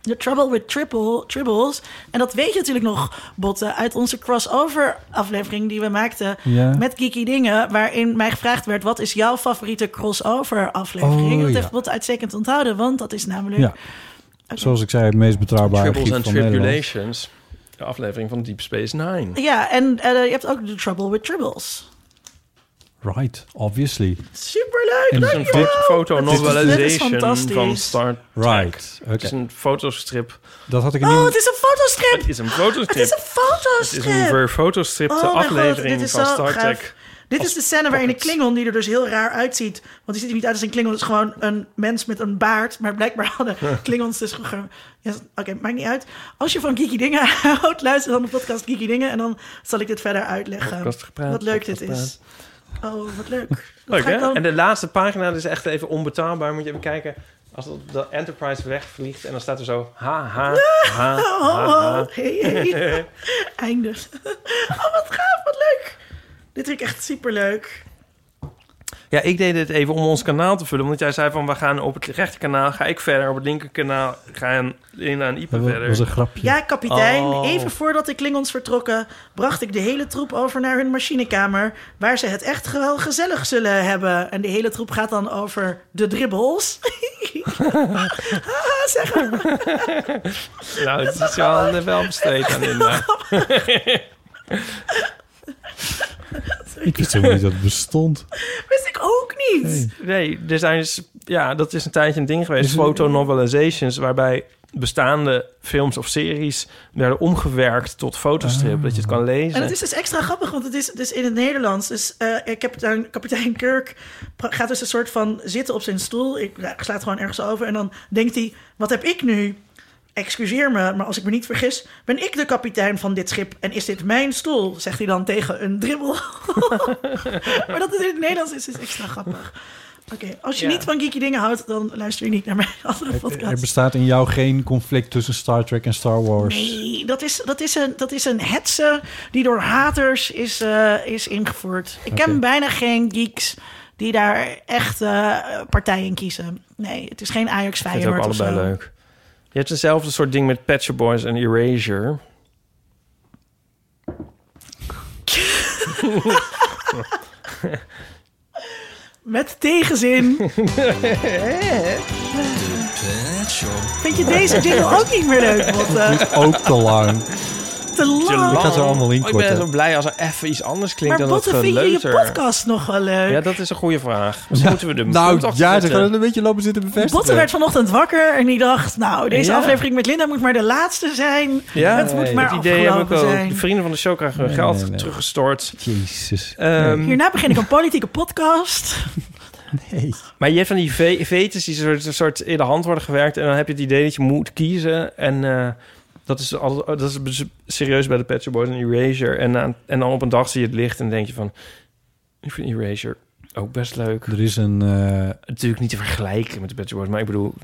Speaker 2: The Trouble with triple, Tribbles. En dat weet je natuurlijk nog, Botten, uit onze crossover-aflevering die we maakten
Speaker 4: Ja.
Speaker 2: met Geeky Dingen. Waarin mij gevraagd werd: wat is jouw favoriete crossover-aflevering?
Speaker 4: Oh,
Speaker 2: dat
Speaker 4: ja.
Speaker 2: heeft Botten uitstekend onthouden, want dat is namelijk.
Speaker 4: Ja. Zoals ik zei, het meest betrouwbare
Speaker 3: Tribbles
Speaker 4: giet
Speaker 3: and
Speaker 4: van Nederland.
Speaker 3: Tribulations. De aflevering van Deep Space Nine.
Speaker 2: Ja, en eh, je hebt ook The Trouble with Tribbles.
Speaker 4: Right, obviously.
Speaker 2: Superleuk!
Speaker 3: Het is
Speaker 2: dankjewel.
Speaker 3: een fo-
Speaker 2: Dit is
Speaker 3: fotonovelization
Speaker 2: fantastisch.
Speaker 3: van Star Trek.
Speaker 4: Right,
Speaker 3: Het is
Speaker 4: oké.
Speaker 3: een fotostrip.
Speaker 4: Dat had ik
Speaker 2: Oh,
Speaker 4: niet...
Speaker 2: het is een fotostrip!
Speaker 3: Het is een
Speaker 2: Het is een
Speaker 3: fotostrip. Het
Speaker 2: fotostrip!
Speaker 3: is een ver fotostrip, de
Speaker 2: Oh mijn god,
Speaker 3: aflevering
Speaker 2: dit is
Speaker 3: van
Speaker 2: zo
Speaker 3: Star
Speaker 2: gaaf.
Speaker 3: Trek.
Speaker 2: Dit is
Speaker 3: Als
Speaker 2: de scène waarin de
Speaker 3: pocket.
Speaker 2: Klingon, die er dus heel raar uitziet... want die ziet er niet uit als een Klingon, het is gewoon een mens met een baard. Maar blijkbaar hadden Klingons dus... vroeger- Ja, Oké, maakt niet uit. Als je van Geeky Dingen houdt, luister dan de podcast Geeky Dingen... en dan zal ik dit verder uitleggen.
Speaker 3: Podcast gepraat,
Speaker 2: wat leuk dit
Speaker 3: podcast
Speaker 2: is. Oh, wat leuk. Wat
Speaker 3: Leuk,
Speaker 2: ga ik
Speaker 3: hè?
Speaker 2: dan-
Speaker 3: En de laatste pagina is echt even onbetaalbaar. Moet je even kijken. Als dat- de Enterprise wegvliegt en dan staat er zo... Ha, ha, ha, ha,
Speaker 2: Oh,
Speaker 3: ha.
Speaker 2: oh, hey, hey. Einde. Oh, wat gaaf, wat leuk. Dit vind ik echt superleuk.
Speaker 3: Ja, ik deed dit even om ons kanaal te vullen. Omdat jij zei van, we gaan op het rechterkanaal, ga ik verder. Op het linkerkanaal gaan Lina en Ipe
Speaker 4: Dat was- was
Speaker 3: verder.
Speaker 4: een grapje.
Speaker 2: Ja, kapitein.
Speaker 3: Oh.
Speaker 2: Even voordat de Klingons vertrokken, bracht ik de hele troep over naar hun machinekamer. Waar ze het echt wel gezellig zullen hebben. En de hele troep gaat dan over de dribbels. Haha, zeg maar.
Speaker 3: Nou, het is wel, eh, wel besteed aan Linda.
Speaker 4: Ik wist helemaal niet dat het bestond.
Speaker 2: Wist ik ook niet.
Speaker 3: Nee, er zijn dus, ja, dat is een tijdje een ding geweest. Fotonovelizations, waarbij bestaande films of series werden omgewerkt tot fotostrip. Dat je het kan lezen.
Speaker 2: En het is dus extra grappig, want het is dus in het Nederlands. Dus eh, eh, kapitein, kapitein Kirk pra- gaat dus een soort van zitten op zijn stoel. Ik ja, ik sla het gewoon ergens over. En dan denkt hij, wat heb ik nu? Excuseer me, maar als ik me niet vergis, ben ik de kapitein van dit schip. En is dit mijn stoel? Zegt hij dan tegen een dribbel. maar dat het in het Nederlands is, is extra grappig. Oké, als je
Speaker 3: Ja. eh,
Speaker 2: niet van geeky dingen houdt, dan luister je niet naar mijn andere
Speaker 4: Er
Speaker 2: podcast.
Speaker 4: bestaat in jou geen conflict tussen Star Trek en Star Wars.
Speaker 2: Nee, dat is, dat is, een, dat is een hetze die door haters is, eh, is ingevoerd. Ik
Speaker 4: Oké.
Speaker 2: ken bijna geen geeks die daar echt eh, partij in kiezen. Nee, het is geen ajax
Speaker 3: Ik vind het ook
Speaker 2: Feyenoord of
Speaker 3: allebei
Speaker 2: zo.
Speaker 3: leuk. Je hebt hetzelfde soort ding met Patcher Boys en Erasure.
Speaker 2: Met tegenzin. Vind je deze jingle ook niet meer leuk, Botte?
Speaker 4: Ook te lang.
Speaker 2: Te lang.
Speaker 4: Ik had er allemaal in
Speaker 3: Oh, ik ben
Speaker 4: korten.
Speaker 3: zo blij als er even iets anders klinkt
Speaker 2: Maar
Speaker 3: dan dat
Speaker 2: Botte, vind je je
Speaker 3: geleuter.
Speaker 2: podcast nog wel leuk?
Speaker 3: Ja, dat is een goede vraag. Misschien moeten we de
Speaker 4: Nou,
Speaker 3: moeten we
Speaker 4: ja, ze
Speaker 3: achter
Speaker 4: gaan
Speaker 3: zetten.
Speaker 4: het een beetje lopen zitten bevestigen.
Speaker 2: Botte werd vanochtend wakker en die dacht... nou, deze
Speaker 3: Ja.
Speaker 2: aflevering met Linda moet maar de laatste zijn.
Speaker 3: Ja,
Speaker 2: het moet
Speaker 4: nee,
Speaker 2: maar
Speaker 3: het idee heb ik
Speaker 2: afgelopen
Speaker 3: ook.
Speaker 2: zijn.
Speaker 3: De vrienden van de show krijgen hun
Speaker 4: Nee,
Speaker 3: geld
Speaker 4: nee, nee.
Speaker 3: teruggestort.
Speaker 4: Jezus.
Speaker 3: Ehm,
Speaker 2: Hierna begin ik een politieke podcast.
Speaker 4: Nee.
Speaker 3: Maar je hebt van die ve- vetes die soort, soort in de hand worden gewerkt. En dan heb je het idee dat je moet kiezen. En eh, dat, is altijd, dat is bes- serieus bij de Pet Shop Boys en Erasure. En, aan- en dan op een dag zie je het licht en denk je van... Ik vind Erasure ook best leuk.
Speaker 4: Er is een... eh,
Speaker 3: Natuurlijk niet te vergelijken met de Pet Shop Boys. Maar ik bedoel, het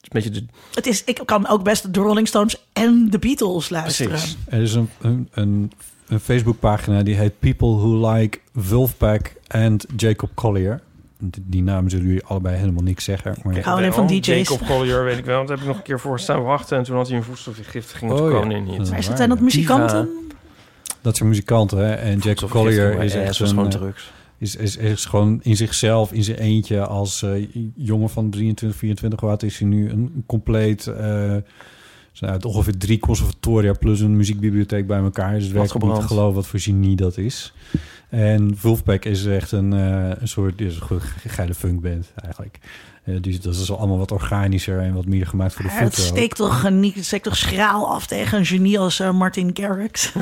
Speaker 3: is een beetje de...
Speaker 2: Het is, ik kan ook best de Rolling Stones en de Beatles luisteren.
Speaker 3: Precies.
Speaker 4: Er is een, een, een, een Facebookpagina die heet People Who Like Vulfpack and Jacob Collier. Die, die namen zullen jullie allebei helemaal niks zeggen. Maar
Speaker 2: hou alleen van
Speaker 3: Wel,
Speaker 2: DJ's.
Speaker 3: eh, oh, Jacob Collier, weet ik wel. Dat heb ik nog een keer voor staan wachten. En toen had hij een voedselvergiftiging. Oh,
Speaker 4: Oh,
Speaker 3: toen
Speaker 4: ja.
Speaker 3: kon hij niet.
Speaker 4: Ja.
Speaker 2: Maar is dat, zijn dat muzikanten?
Speaker 4: dat zijn muzikanten. Hè? En Jacob Collier is
Speaker 3: Ja,
Speaker 4: echt
Speaker 3: was
Speaker 4: een,
Speaker 3: gewoon
Speaker 4: eh,
Speaker 3: drugs.
Speaker 4: is, is, is gewoon in zichzelf, in zijn eentje als eh, jongen van 23, 24 wat is hij nu een compleet... eh zijn uit ongeveer drie conservatoria plus een muziekbibliotheek bij elkaar. Dus het werkt niet te
Speaker 3: Platgebrand.
Speaker 4: geloven wat voor genie dat is. En Wolfpack is echt een, eh, een soort is een goe- geile funkband eigenlijk. Eh, dus dat is allemaal wat organischer en wat meer gemaakt voor de
Speaker 2: Ja, Het
Speaker 4: voeten. ook.
Speaker 2: steekt toch, eh, niet, het steekt toch schraal af tegen een genie als eh, Martin Garrix.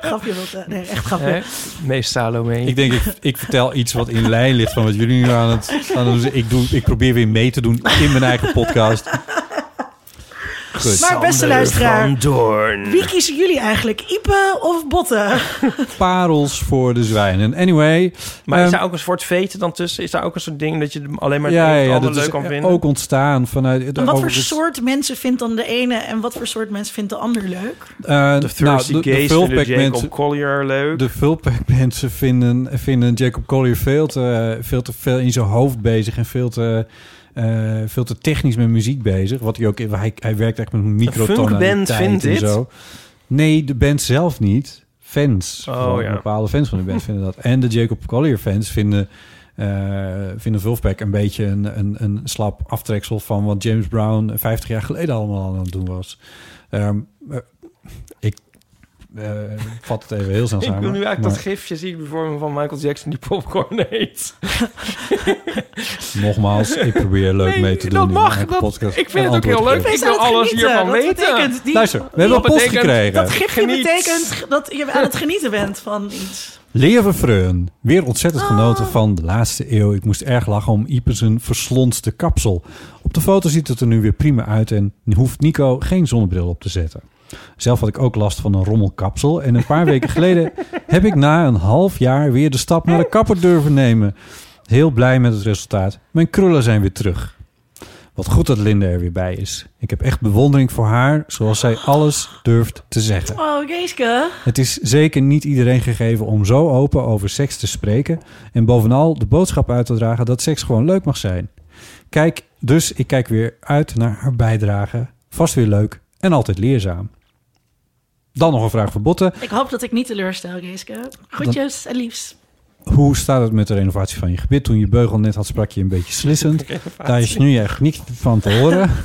Speaker 2: grapje, wat, eh, nee, echt grapje.
Speaker 3: Hè? Meest Salome.
Speaker 4: Ik denk, ik, ik vertel iets wat in lijn ligt van wat jullie nu aan het aan het doen. Ik, doe, ik probeer weer mee te doen in mijn eigen podcast. Goed.
Speaker 2: maar beste luisteraar,
Speaker 3: Doorn.
Speaker 2: wie kiezen jullie eigenlijk? Ipe of Botten?
Speaker 4: parels voor de zwijnen. Anyway.
Speaker 3: Maar
Speaker 4: ehm,
Speaker 3: is daar ook een soort veten dan tussen? Is daar ook een soort ding dat je hem alleen maar
Speaker 4: ja,
Speaker 3: het een
Speaker 4: ja,
Speaker 3: of het
Speaker 4: ja,
Speaker 3: ander
Speaker 4: dat is
Speaker 3: leuk kan vinden?
Speaker 4: ook ontstaan vanuit...
Speaker 2: En wat voor
Speaker 4: overigens,
Speaker 2: soort mensen vindt dan de ene en wat voor soort mensen vindt de ander leuk?
Speaker 4: eh,
Speaker 3: de Thirsty
Speaker 4: nou, de- de
Speaker 3: Gaze vinden
Speaker 4: Vulpec
Speaker 3: Jacob
Speaker 4: mensen- Dus-
Speaker 3: Collier leuk.
Speaker 4: De Vulpec mensen vinden, vinden Jacob Collier veel te, veel te veel in zijn hoofd bezig en veel te, eh, eh, veel te technisch met muziek bezig. Wat hij ook, hij, hij werkt echt met een microtonaliteit
Speaker 5: funkband vindt
Speaker 4: en
Speaker 5: dit?
Speaker 4: zo. Nee, de band zelf niet. Fans.
Speaker 5: Oh,
Speaker 4: Gewoon
Speaker 5: ja.
Speaker 4: Bepaalde fans van de band vinden dat. En de Jacob Collier fans vinden, eh vinden Vulfpack een beetje een, een, een slap aftreksel van wat James Brown 50 jaar geleden allemaal aan het doen was. Ehm, eh, ik eh, ik vat het even heel snel
Speaker 5: Ik
Speaker 4: samen.
Speaker 5: wil nu eigenlijk
Speaker 4: maar
Speaker 5: dat gifje zie ik bijvoorbeeld van Michael Jackson die popcorn eet.
Speaker 4: Nogmaals, ik probeer leuk
Speaker 5: Nee,
Speaker 4: mee te doen.
Speaker 5: dat
Speaker 4: in
Speaker 5: mag,
Speaker 4: mijn
Speaker 5: dat-
Speaker 4: podcast
Speaker 5: ik vind
Speaker 4: en
Speaker 5: het ook
Speaker 4: antwoord
Speaker 5: heel leuk.
Speaker 4: geven.
Speaker 5: Ik wil
Speaker 2: zou het
Speaker 5: alles
Speaker 2: genieten.
Speaker 5: hiervan
Speaker 2: Dat
Speaker 5: weten.
Speaker 2: betekent die-
Speaker 4: Luister, we hebben een
Speaker 5: Dat
Speaker 4: post
Speaker 5: betekent-
Speaker 4: gekregen.
Speaker 2: Dat gifje
Speaker 5: Geniet.
Speaker 2: betekent dat je aan het genieten bent van iets.
Speaker 4: Leven Freun. Weer ontzettend genoten van de laatste eeuw. Ik moest erg lachen om Ipensen verslonste kapsel. Op de foto ziet het er nu weer prima uit en hoeft Nico geen zonnebril op te zetten. Zelf had ik ook last van een rommelkapsel. En een paar weken geleden heb ik na een half jaar weer de stap naar de kapper durven nemen. Heel blij met het resultaat. Mijn krullen zijn weer terug. Wat goed dat Linda er weer bij is. Ik heb echt bewondering voor haar, zoals zij alles durft te zeggen.
Speaker 2: Oh, Geeske.
Speaker 4: Het is zeker niet iedereen gegeven om zo open over seks te spreken en bovenal de boodschap uit te dragen dat seks gewoon leuk mag zijn. Kijk, dus ik kijk weer uit naar haar bijdrage. Vast weer leuk en altijd leerzaam. Dan nog een vraag voor Botten.
Speaker 2: Ik hoop dat ik niet teleurstel, Geeske. Groetjes en liefs.
Speaker 4: Hoe staat het met de renovatie van je gebit? Toen je beugel net had, sprak je een beetje slissend. Daar is nu echt niks van te horen.
Speaker 2: Ja, dat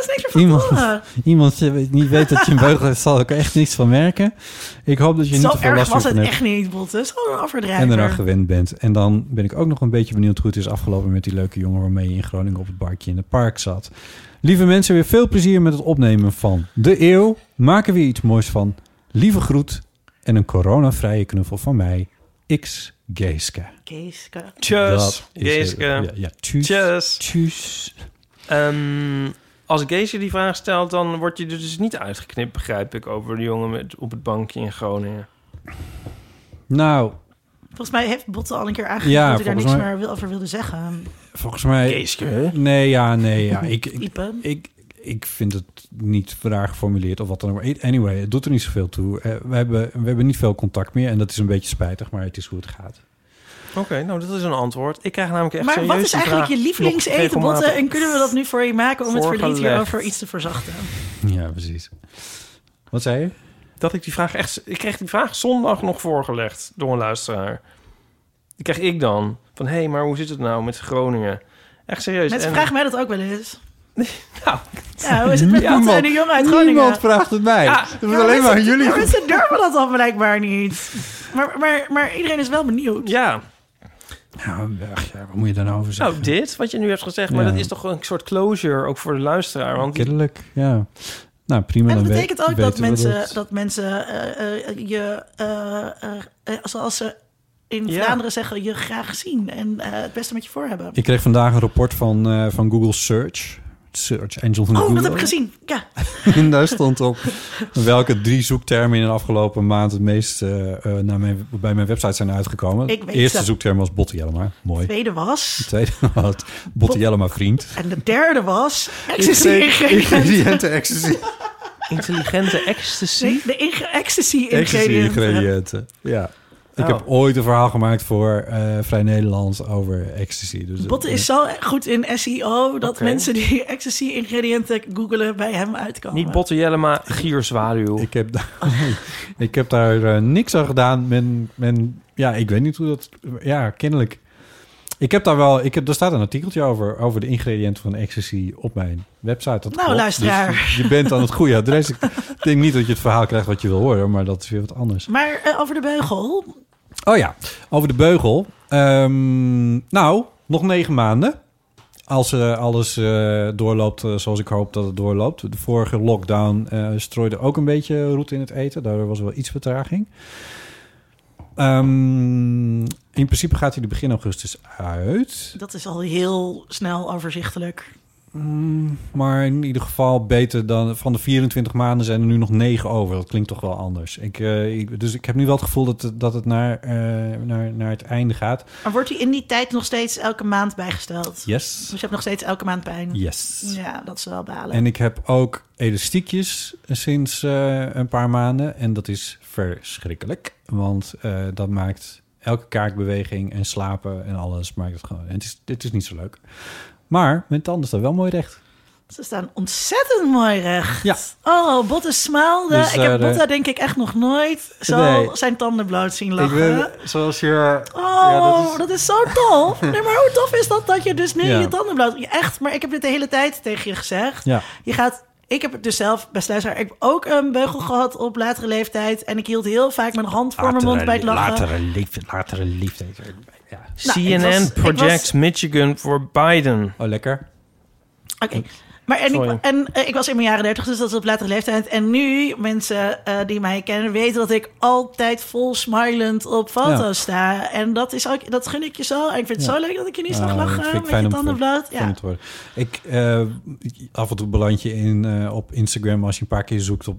Speaker 2: is niks meer van
Speaker 4: Iemand,
Speaker 2: tevoren.
Speaker 4: iemand die niet weet dat je een beugel hebt, zal ook echt niks van merken. Ik hoop dat je niet
Speaker 2: Zo
Speaker 4: te veel
Speaker 2: erg
Speaker 4: last
Speaker 2: was
Speaker 4: hiervan
Speaker 2: het
Speaker 4: hebt.
Speaker 2: echt niet, Botte. Zo'n
Speaker 4: En eraan
Speaker 2: afverdrijver.
Speaker 4: gewend bent. En dan ben ik ook nog een beetje benieuwd hoe het is afgelopen met die leuke jongen waarmee je in Groningen op het barkje in het park zat. Lieve mensen, weer veel plezier met het opnemen van de eeuw. Maak er weer iets moois van. Lieve groet en een coronavrije knuffel van mij, X Geeske.
Speaker 2: Geeske.
Speaker 5: Tjus,
Speaker 4: Dat is-
Speaker 5: Geeske.
Speaker 4: Ja, ja, tjus.
Speaker 5: Tjus.
Speaker 4: Tjus.
Speaker 5: Ehm, als Geesje die vraag stelt, dan word je er dus niet uitgeknipt, begrijp ik, over de jongen met, op het bankje in Groningen.
Speaker 4: Nou,
Speaker 2: Volgens mij heeft Botte al een keer aangegeven
Speaker 4: Ja,
Speaker 2: dat hij daar niks
Speaker 4: volgens mij-
Speaker 2: meer wil- over wilde zeggen.
Speaker 4: volgens mij...
Speaker 5: Geeske?
Speaker 4: Nee, ja, nee, ja. Ik, ik,
Speaker 2: Ipe.
Speaker 4: Ik, ik vind het niet raar geformuleerd of wat dan ook. E- Anyway, het doet er niet zoveel toe. Eh, we, hebben, we hebben niet veel contact meer en dat is een beetje spijtig, maar het is hoe het gaat.
Speaker 5: Oké, nou dat is een antwoord. Ik krijg namelijk echt
Speaker 2: Maar
Speaker 5: serieus
Speaker 2: wat is
Speaker 5: die
Speaker 2: eigenlijk je
Speaker 5: vraag nog
Speaker 2: lievelingseten,
Speaker 5: regelmatig.
Speaker 2: Botte? En kunnen we dat nu voor je maken om het verdriet
Speaker 5: Voorgelegd.
Speaker 2: hierover iets te verzachten?
Speaker 4: Ja, precies. Wat zei je?
Speaker 5: Dat ik die vraag echt... Ik kreeg die vraag zondag nog voorgelegd door een luisteraar. Die kreeg ik dan. Van, hé, hey, maar hoe zit het nou met Groningen? Echt
Speaker 4: Dus
Speaker 5: serieus.
Speaker 2: Mensen
Speaker 5: en-
Speaker 2: vragen mij dat ook wel eens.
Speaker 5: Nou.
Speaker 2: Ja, hoe is het met Botte en de jongen uit Groningen? Ah,
Speaker 4: niemand vraagt het mij. Het is
Speaker 2: Ja,
Speaker 4: alleen maar
Speaker 2: mensen-
Speaker 4: jullie.
Speaker 2: ja, Mensen durven dat dan blijkbaar niet. Maar, maar, maar iedereen is wel benieuwd.
Speaker 5: Ja,
Speaker 4: Nou, ach ja, wat moet je dan over zeggen?
Speaker 5: nou
Speaker 2: Oh,
Speaker 5: dit, wat je nu hebt gezegd. Maar
Speaker 4: Ja.
Speaker 5: dat is toch een soort closure ook voor de luisteraar. Want die-
Speaker 4: Kennelijk, ja. Nou, prima.
Speaker 2: en dat
Speaker 4: dan weet-
Speaker 2: betekent ook dat
Speaker 4: weten we
Speaker 2: mensen,
Speaker 4: het-
Speaker 2: dat mensen eh, eh, je, eh, eh, eh, zoals ze in
Speaker 5: Ja.
Speaker 2: Vlaanderen zeggen, je graag zien en eh, het beste met je voor hebben.
Speaker 4: Ik kreeg vandaag een rapport van, eh, van Google Search. Search Engine van
Speaker 2: oh,
Speaker 4: Google.
Speaker 2: dat heb ik gezien. Ja,
Speaker 4: En daar stond op welke drie zoektermen in de afgelopen maand het meest eh, eh, naar mijn, bij mijn website zijn uitgekomen.
Speaker 2: Ik weet
Speaker 4: Eerste
Speaker 2: ze.
Speaker 4: zoekterm was Botte Jellema. Mooi.
Speaker 2: tweede was.
Speaker 4: Tweede was Botte Jellema vriend.
Speaker 2: En de derde was.
Speaker 4: Integ-
Speaker 2: Ecstasy-ingrediënten.
Speaker 4: Ingrediënten ecstasy.
Speaker 5: intelligente ecstasy.
Speaker 2: Nee, De ing- ecstasy-ingrediënten.
Speaker 4: Ecstasy-ingrediënten. Ja. Ik
Speaker 5: Oh.
Speaker 4: heb ooit een verhaal gemaakt voor eh, Vrij Nederland over ecstasy. Dus
Speaker 2: Botte is zo goed in SEO dat
Speaker 5: Oké.
Speaker 2: mensen die ecstasy-ingrediënten googelen bij hem uitkomen.
Speaker 5: Niet Botte Jellema, Gierzwaluw.
Speaker 4: Ik heb, daar, ik heb daar eh, niks aan gedaan. Men, men, ja, ik weet niet hoe dat... Ja, kennelijk. Ik heb daar wel... Ik heb, er staat een artikeltje over, over de ingrediënten van ecstasy op mijn website. Dat klopt.
Speaker 2: luisteraar.
Speaker 4: Dus je bent aan het goede adres. Ik denk niet dat je het verhaal krijgt wat je wil horen, maar dat is weer wat anders.
Speaker 2: Maar eh, over de beugel.
Speaker 4: Oh ja, over de beugel. Ehm, nou, nog negen maanden. Als eh, alles eh, doorloopt eh, zoals ik hoop dat het doorloopt. De vorige lockdown eh, strooide ook een beetje roet in het eten. Daardoor was er wel iets vertraging. Ehm, in principe gaat hij er begin augustus uit.
Speaker 2: Dat is al heel snel overzichtelijk.
Speaker 4: Mm, maar in ieder geval beter dan... Van de 24 maanden zijn er nu nog negen over. Dat klinkt toch wel anders. Ik, eh, ik- dus ik heb nu wel het gevoel dat, het- dat het naar, eh, naar, naar het einde gaat.
Speaker 2: Maar wordt hij in die tijd nog steeds elke maand bijgesteld?
Speaker 4: Yes.
Speaker 2: Dus je hebt nog steeds elke maand pijn?
Speaker 4: Yes.
Speaker 2: Ja, dat is wel balen.
Speaker 4: En ik heb ook elastiekjes sinds eh, een paar maanden. En dat is verschrikkelijk. Want eh, dat maakt elke kaakbeweging en slapen en alles. Maar ik dacht gewoon, het is, dit is niet zo leuk. Maar mijn tanden staan wel mooi recht.
Speaker 2: Ze staan ontzettend mooi recht.
Speaker 4: Ja.
Speaker 2: Oh, Botte smaalde.
Speaker 4: Dus,
Speaker 2: ik
Speaker 4: eh,
Speaker 2: heb
Speaker 4: de-
Speaker 2: Botta denk ik echt nog nooit zo
Speaker 4: Nee.
Speaker 2: zijn tanden bloot zien
Speaker 4: Ik
Speaker 2: lachen.
Speaker 4: ben, zoals je...
Speaker 2: Oh,
Speaker 4: Ja,
Speaker 2: dat, is... zo tof. Nee, maar hoe tof is dat dat je dus nu
Speaker 4: Ja.
Speaker 2: je tanden bloot... Ja, Echt, maar ik heb dit de hele tijd tegen je gezegd.
Speaker 4: Ja.
Speaker 2: Je gaat... Ik heb het dus zelf, best luisteraar, ik heb ook een beugel gehad op latere leeftijd. En ik hield heel vaak mijn hand voor mijn mond bij het lachen.
Speaker 4: Latere liefde, latere liefde. Ja.
Speaker 2: Nou, ik
Speaker 5: CNN
Speaker 2: was- ik
Speaker 5: projects Michigan voor Biden.
Speaker 4: Oh, lekker.
Speaker 2: Oké. Maar en,
Speaker 5: Sorry.
Speaker 2: ik, en eh, ik was in mijn jaren 30, dus dat is op latere leeftijd. En nu, mensen eh, die mij kennen, weten dat ik altijd vol smilend op foto's
Speaker 4: Ja.
Speaker 2: sta. En dat, is ook, dat gun ik je zo. En ik vind het
Speaker 4: Ja.
Speaker 2: zo leuk dat ik je niet
Speaker 4: Ah,
Speaker 2: zag
Speaker 4: dat vind ik
Speaker 2: lachen met
Speaker 4: fijn
Speaker 2: je
Speaker 4: om
Speaker 2: tanden
Speaker 4: voor-
Speaker 2: bloot.
Speaker 4: Van
Speaker 2: Ja.
Speaker 4: het worden. Ik, eh, af en toe beland je in, eh, op Instagram als je een paar keer zoekt op...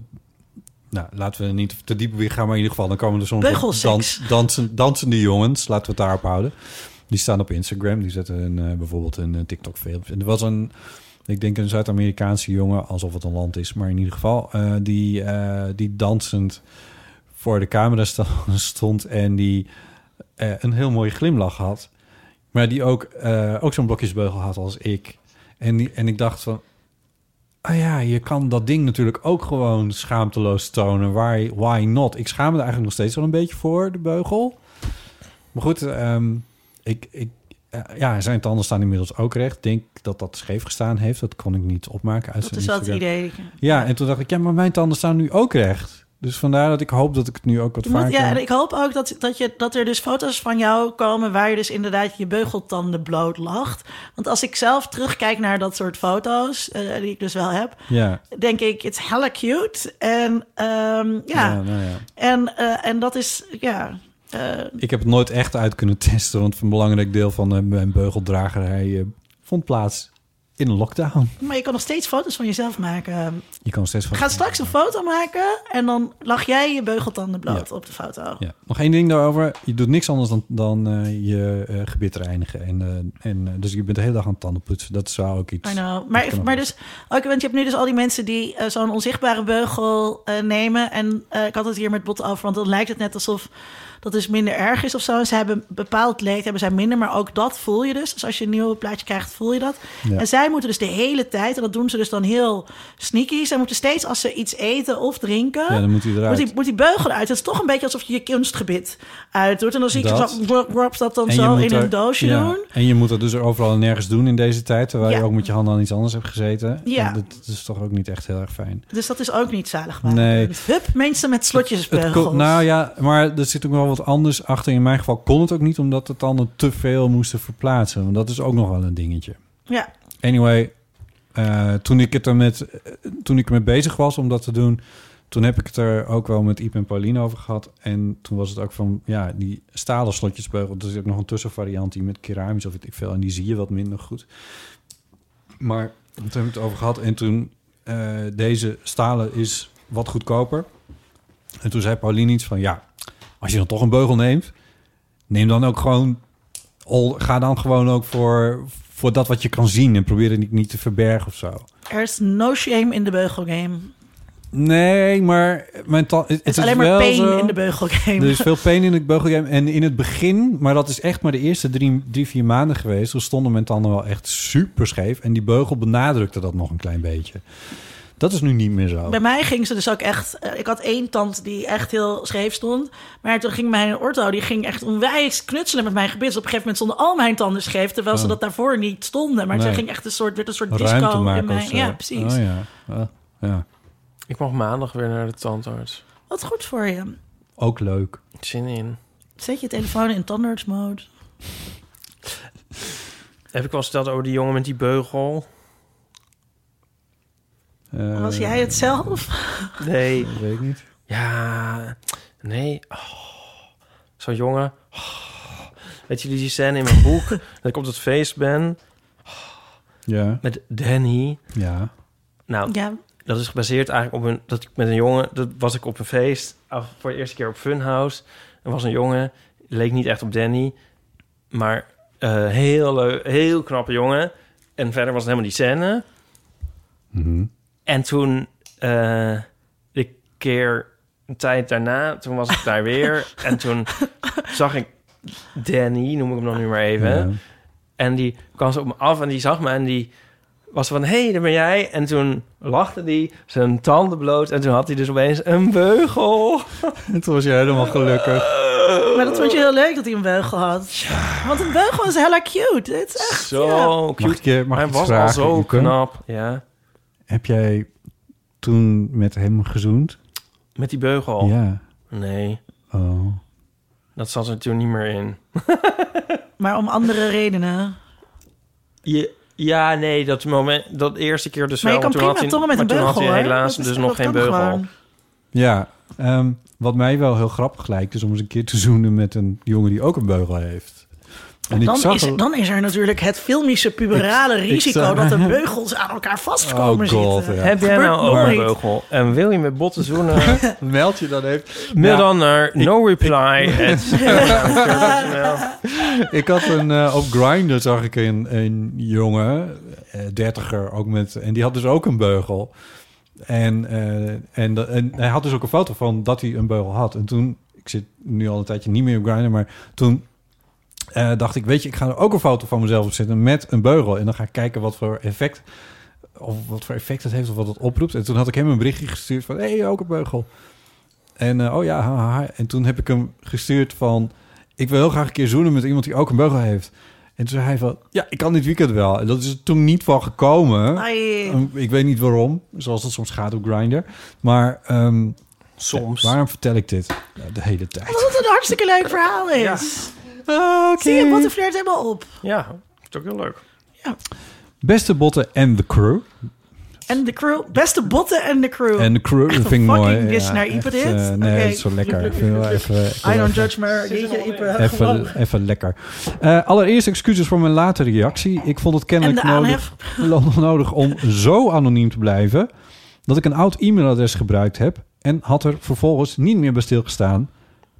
Speaker 4: Nou, laten we er niet te diep op weer gaan, maar in ieder geval... dan komen er soms wat
Speaker 2: Beugelseks.
Speaker 4: dansen, dansende jongens, laten we het daarop houden. Die staan op Instagram, die zetten een, eh, bijvoorbeeld een TikTok-film. En er was een, ik denk een Zuid-Amerikaanse jongen, alsof het een land is... maar in ieder geval, eh, die, eh, die dansend voor de camera sta- stond... en die eh, een heel mooie glimlach had. Maar die ook, eh, ook zo'n blokjesbeugel had als ik. En, die, en ik dacht van... Ah ja, je kan dat ding natuurlijk ook gewoon schaamteloos tonen. Why, why not? Ik schaam me er eigenlijk nog steeds wel een beetje voor, de beugel. Maar goed, ehm, ik, ik, eh, ja, zijn tanden staan inmiddels ook recht. Ik denk dat dat scheef gestaan heeft. Dat kon ik niet opmaken. Uit
Speaker 2: Dat
Speaker 4: zijn
Speaker 2: is wel het
Speaker 4: Instagram.
Speaker 2: idee.
Speaker 4: Ja, en toen dacht ik, ja, maar mijn tanden staan nu ook recht. Dus vandaar dat ik hoop dat ik het nu ook wat
Speaker 2: Je moet,
Speaker 4: vaker...
Speaker 2: ja, en ik hoop ook dat, dat, je, dat er dus foto's van jou komen waar je dus inderdaad je beugeltanden bloot lacht. Want als ik zelf terugkijk naar dat soort foto's, eh, die ik dus wel heb,
Speaker 4: ja,
Speaker 2: denk ik, it's hella cute. En ehm,
Speaker 4: ja,
Speaker 2: ja,
Speaker 4: nou ja.
Speaker 2: En, eh, en dat is, ja. eh,
Speaker 4: Ik heb het nooit echt uit kunnen testen, want een belangrijk deel van eh, mijn beugeldragerij eh, vond plaats in een lockdown.
Speaker 2: maar je kan nog steeds foto's van jezelf maken.
Speaker 4: Je kan steeds van.
Speaker 2: Ga straks een foto maken en dan lag jij je beugeltanden bloot op de foto.
Speaker 4: Ja. Nog één ding daarover. Je doet niks anders dan, dan eh, je eh, gebit reinigen. En, eh, en, eh, dus je bent de hele dag aan het tanden poetsen. Dat zou ook iets.
Speaker 2: I know.
Speaker 4: dat kan
Speaker 2: Maar,
Speaker 4: ook
Speaker 2: maar
Speaker 4: best.
Speaker 2: dus, ook, want je hebt nu dus al die mensen die eh, zo'n onzichtbare beugel eh, nemen. En eh, ik had het hier met Bot over, want dan lijkt het net alsof dat dus minder erg is of zo. En ze hebben bepaald leed, hebben zij minder, maar ook dat voel je dus. Dus als je een nieuw plaatje krijgt, voel je dat.
Speaker 4: Ja.
Speaker 2: En zij moeten dus de hele tijd, en dat doen ze dus dan heel sneaky. Zij moeten steeds als ze iets eten of drinken,
Speaker 4: Ja, dan moet hij eruit.
Speaker 2: moet die, moet die beugel uit. Het is toch een beetje alsof je je kunstgebit uit doet. En dan zie ik
Speaker 4: Dat.
Speaker 2: dat, wop, wop, dat dan
Speaker 4: En je
Speaker 2: zo
Speaker 4: moet
Speaker 2: in
Speaker 4: er-
Speaker 2: een doosje
Speaker 4: ja.
Speaker 2: doen.
Speaker 4: En je moet dat dus overal en nergens doen in deze tijd. Terwijl
Speaker 2: Ja.
Speaker 4: je ook met je handen aan iets anders hebt gezeten.
Speaker 2: Ja.
Speaker 4: En Dat is toch ook niet echt heel erg fijn.
Speaker 2: Dus dat is ook niet zalig. Maar
Speaker 4: Nee.
Speaker 2: Hup, mensen met
Speaker 4: Het
Speaker 2: slotjesbeugels.
Speaker 4: kon- nou ja, maar er zit ook wel wat anders achter. In mijn geval kon het ook niet, omdat de tanden te veel moesten verplaatsen. Want dat is ook nog wel een dingetje.
Speaker 2: ja.
Speaker 4: Anyway, eh, toen, ik het er met, eh, toen ik ermee bezig was om dat te doen... toen heb ik het er ook wel met Iep en Pauline over gehad. En toen was het ook van, ja, die stalen slotjesbeugel... er zit nog een tussenvariant die met keramisch of weet ik veel... en die zie je wat minder goed. Maar toen hebben we het over gehad. En toen, eh, deze stalen is wat goedkoper. En toen zei Pauline iets van, ja, als je dan toch een beugel neemt... neem dan ook gewoon al, ga dan gewoon ook voor, voor dat wat je kan zien en probeer het niet, niet te verbergen of zo.
Speaker 2: Er is no shame in de beugelgame.
Speaker 4: Nee, maar mijn ta- het,
Speaker 2: Het is
Speaker 4: is
Speaker 2: alleen maar
Speaker 4: wel
Speaker 2: pain
Speaker 4: zo- Dus-
Speaker 2: in de beugelgame.
Speaker 4: Er is veel pain in het beugelgame. En in het begin, maar dat is echt maar de eerste drie, drie vier maanden geweest... toen stonden mijn tanden wel echt super scheef. En die beugel benadrukte dat nog een klein beetje. Dat is nu niet meer zo.
Speaker 2: Bij mij ging ze dus ook echt... eh, ik had één tand die echt heel scheef stond. Maar toen ging mijn ortho, die ging echt onwijs knutselen met mijn gebit. Dus op een gegeven moment stonden al mijn tanden scheef... terwijl ze
Speaker 4: Oh.
Speaker 2: dat daarvoor niet stonden. Maar toen
Speaker 4: Nee.
Speaker 2: ging echt een soort, werd een soort disco
Speaker 4: Ruimte
Speaker 2: in
Speaker 4: maken of
Speaker 2: mijn...
Speaker 4: zo.
Speaker 2: Ja, precies.
Speaker 4: Oh, ja. Ah, ja.
Speaker 5: Ik mag maandag weer naar de tandarts.
Speaker 2: Wat goed voor je.
Speaker 4: Ook leuk.
Speaker 5: Zin in.
Speaker 2: Zet je telefoon in tandarts mode.
Speaker 5: Heb ik al verteld over die jongen met die beugel?
Speaker 4: Eh,
Speaker 2: Was jij het zelf?
Speaker 5: Nee.
Speaker 4: Weet ik niet.
Speaker 5: Ja, nee. Oh, Zo'n jongen. Oh. Weet jullie die scène in mijn boek? dat ik op dat feest ben
Speaker 4: Ja,
Speaker 5: met Danny.
Speaker 4: ja.
Speaker 5: Nou,
Speaker 2: Ja,
Speaker 5: dat is gebaseerd eigenlijk op een... Dat ik met een jongen... Dat was ik op een feest. af- Voor de eerste keer op Funhouse. Er was een jongen. Leek niet echt op Danny. Maar eh, heel leuk. Heel knappe jongen. En verder was het helemaal die scène.
Speaker 4: Mhm.
Speaker 5: En toen eh, de keer een tijd daarna, toen was ik daar weer. en toen zag ik
Speaker 3: Danny, noem ik hem dan nu maar even.
Speaker 4: Ja.
Speaker 3: En die kwam ze op me af en die zag me en die was van... Hé, hey, daar ben jij. En toen lachte die zijn tanden bloot. En toen had hij dus opeens een beugel.
Speaker 4: En toen was je helemaal gelukkig.
Speaker 2: Maar dat vond je heel leuk dat hij een beugel had. Want een beugel is hella cute. Het is echt...
Speaker 3: Zo
Speaker 4: Mag
Speaker 3: cute.
Speaker 4: ik je, mag
Speaker 3: Hij
Speaker 4: ik iets
Speaker 3: was al
Speaker 4: vragen,
Speaker 3: zo
Speaker 4: Ipe?
Speaker 3: knap. Ja,
Speaker 4: Heb jij toen met hem gezoend?
Speaker 3: met die beugel.
Speaker 4: Ja.
Speaker 3: Nee,
Speaker 4: Oh.
Speaker 3: dat zat er toen niet meer in.
Speaker 2: Maar om andere redenen.
Speaker 3: Je, ja, nee, dat moment, dat eerste keer dus
Speaker 2: Maar je
Speaker 3: wel.
Speaker 2: kan
Speaker 3: maar toen
Speaker 2: prima
Speaker 3: had hij,
Speaker 2: tongen met
Speaker 3: maar
Speaker 2: een
Speaker 3: toen
Speaker 2: beugel,
Speaker 3: had hij
Speaker 2: hoor.
Speaker 3: helaas
Speaker 2: Dat is-
Speaker 3: dus nog
Speaker 2: dat
Speaker 3: geen
Speaker 2: kan
Speaker 3: beugel.
Speaker 2: gewoon.
Speaker 4: Ja, ehm, wat mij wel heel grappig lijkt... is om eens een keer te zoenen met een jongen die ook een beugel heeft. En ik
Speaker 2: Dan
Speaker 4: zag
Speaker 2: is,
Speaker 4: al-
Speaker 2: dan is er natuurlijk het filmische puberale
Speaker 4: Ik- ik
Speaker 2: risico...
Speaker 4: zag-
Speaker 2: dat de beugels aan elkaar vastkomen
Speaker 4: Oh god,
Speaker 2: zitten.
Speaker 4: ja.
Speaker 3: Heb jij nou ook een
Speaker 2: Gebeurt nooit.
Speaker 3: beugel? En wil je met botten zoenen?
Speaker 4: Meld je dan even.
Speaker 3: Mail
Speaker 4: Ja.
Speaker 3: dan naar no reply.
Speaker 4: Ik had een eh, op Grindr zag ik een, een jongen, eh, dertiger ook met, en die had dus ook een beugel. En, eh, en, da- en hij had dus ook een foto van dat hij een beugel had. En toen, ik zit nu al een tijdje niet meer op Grindr, maar toen eh, dacht ik, weet je, ik ga er ook een foto van mezelf op zetten met een beugel. En dan ga ik kijken wat voor effect, of wat voor effect het heeft of wat het oproept. En toen had ik hem een berichtje gestuurd van, hé, hey, ook een beugel. En eh, oh ja, haha. En toen heb ik hem gestuurd van... Ik wil heel graag een keer zoenen met iemand die ook een beugel heeft. En toen zei hij van... Ja, ik kan dit weekend wel. En dat is er toen niet van gekomen.
Speaker 2: Ai.
Speaker 4: Um, Ik weet niet waarom. Zoals dat soms gaat op Grindr. Maar ehm,
Speaker 3: Soms.
Speaker 4: waarom vertel ik dit Nou, de hele tijd? Ah,
Speaker 2: Omdat het een hartstikke leuk verhaal is. Zie je, wat de flirt helemaal op.
Speaker 3: Ja, dat is ook heel leuk.
Speaker 4: Beste botten en de crew.
Speaker 2: En de crew, beste botten en de crew.
Speaker 4: En de crew, dat vind ik
Speaker 2: fucking
Speaker 4: mooi.
Speaker 2: dis naar Ipe
Speaker 4: echt,
Speaker 2: dit.
Speaker 4: eh, nee,
Speaker 2: Oké.
Speaker 4: dat is zo lekker. Ik vind wel even, ik wil
Speaker 2: I don't
Speaker 4: even-
Speaker 2: judge me. Jeetje, Ipe, gewoon.
Speaker 4: Even, even lekker. Eh, allereerst excuses voor mijn late reactie. Ik vond het kennelijk
Speaker 2: En de
Speaker 4: nodig, nodig om zo anoniem te blijven... dat ik een oud e-mailadres gebruikt heb... en had er vervolgens niet meer bij stilgestaan...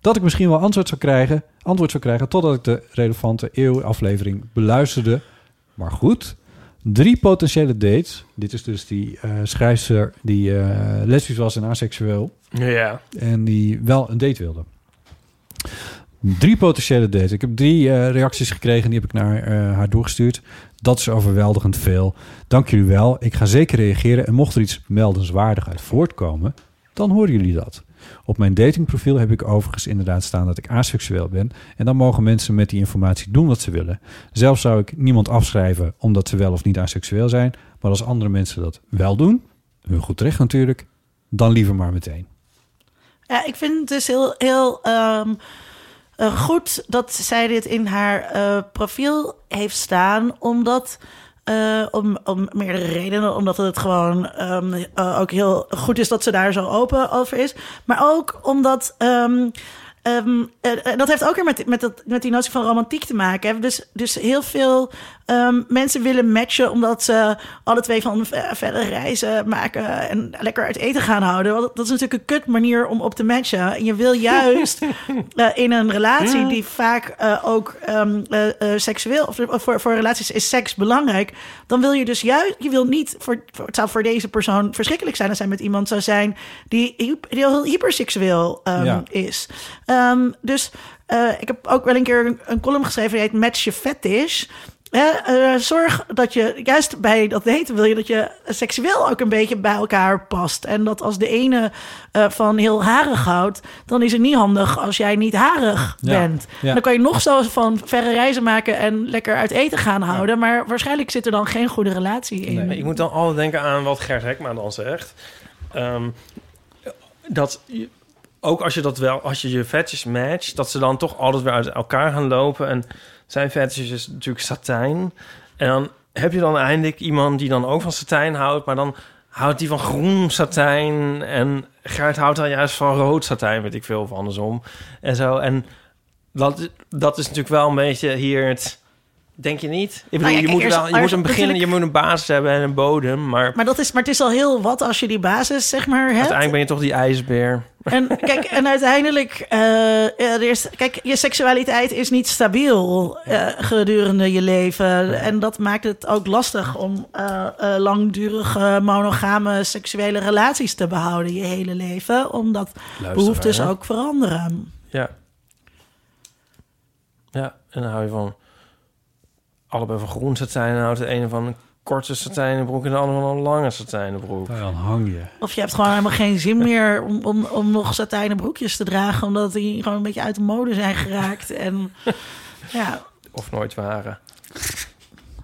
Speaker 4: dat ik misschien wel antwoord zou krijgen, antwoord zou krijgen... totdat ik de relevante eeuwaflevering beluisterde. Maar goed, drie potentiële dates. Dit is dus die eh schrijfster die eh, lesbisch was en aseksueel...
Speaker 3: Ja.
Speaker 4: En die wel een date wilde. Drie potentiële dates. Ik heb drie eh, reacties gekregen. Die heb ik naar eh, haar doorgestuurd. Dat is overweldigend veel. Dank jullie wel. Ik ga zeker reageren. En mocht er iets meldenswaardig uit voortkomen, dan horen jullie dat. Op mijn datingprofiel heb ik overigens inderdaad staan dat ik aseksueel ben. En dan mogen mensen met die informatie doen wat ze willen. Zelf zou ik niemand afschrijven omdat ze wel of niet aseksueel zijn. Maar als andere mensen dat wel doen, hun goed recht natuurlijk, dan liever maar meteen.
Speaker 2: Ja, ik vind het dus heel, heel ehm, eh, goed dat zij dit in haar eh, profiel heeft staan, omdat. eh, om, om meerdere redenen. Omdat het gewoon ehm, eh, ook heel goed is dat ze daar zo open over is. Maar ook omdat. ehm, ehm, eh, eh, dat heeft ook weer met, met, dat, met die notie van romantiek te maken. Hè? Dus, dus heel veel ehm, mensen willen matchen omdat ze alle twee van eh, verre reizen maken en lekker uit eten gaan houden. Want dat is natuurlijk een kut manier om op te matchen. En je wil juist eh, in een relatie die vaak eh, ook ehm, eh, eh, seksueel of of voor, voor relaties is seks belangrijk. Dan wil je dus juist, je wil niet voor, voor- het zou voor deze persoon verschrikkelijk zijn als zij met iemand zou zijn die, hy- die heel hyperseksueel ehm,
Speaker 4: Ja.
Speaker 2: is. Ehm, dus eh, ik heb ook wel een keer een, een column geschreven die heet Match je fetish. Hè, eh, zorg dat je juist bij dat daten wil je dat je seksueel ook een beetje bij elkaar past. En dat als de ene eh, van heel harig houdt, dan is het niet handig als jij niet harig
Speaker 4: Ja,
Speaker 2: bent.
Speaker 4: ja.
Speaker 2: Dan kan je nog zo van verre reizen maken en lekker uit eten gaan houden. Maar waarschijnlijk zit er dan geen goede relatie in.
Speaker 3: Ik moet dan altijd denken aan wat Gert Hekma dan zegt. Ehm, dat je- ook als je dat wel, als je je vetjes matcht, dat ze dan toch altijd weer uit elkaar gaan lopen. En zijn vetjes is natuurlijk satijn. En dan heb je dan eindelijk iemand die dan ook van satijn houdt, maar dan houdt die van groen satijn. En Gert houdt dan juist van rood satijn, weet ik veel, of andersom. En zo. En dat, dat is natuurlijk wel een beetje hier het. Denk je niet? Ik bedoel,
Speaker 2: Nou ja,
Speaker 3: je,
Speaker 2: kijk,
Speaker 3: moet
Speaker 2: er is-
Speaker 3: wel,
Speaker 2: er
Speaker 3: je
Speaker 2: is
Speaker 3: moet een begin en je
Speaker 2: natuurlijk-
Speaker 3: moet een basis hebben en een bodem. Maar,
Speaker 2: Maar, dat is, maar het is al heel wat als je die basis zeg maar hebt.
Speaker 3: uiteindelijk ben je toch die ijsbeer.
Speaker 2: En kijk, en uiteindelijk, eh, eh, er is, kijk, je seksualiteit is niet stabiel eh, gedurende je leven. En dat maakt het ook lastig om eh, eh, langdurige monogame seksuele relaties te behouden je hele leven. Omdat behoeftes
Speaker 3: hè?
Speaker 2: ook veranderen.
Speaker 3: Ja. Ja, en dan hou je van allebei van groen satijn. En houdt de ene van een korte satijnen broek en de andere van een lange satijnen broek.
Speaker 4: Dan hang je.
Speaker 2: Of je hebt gewoon helemaal geen zin meer om, om, om nog satijnen broekjes te dragen. Omdat die gewoon een beetje uit de mode zijn geraakt. En ja,
Speaker 3: Of nooit waren.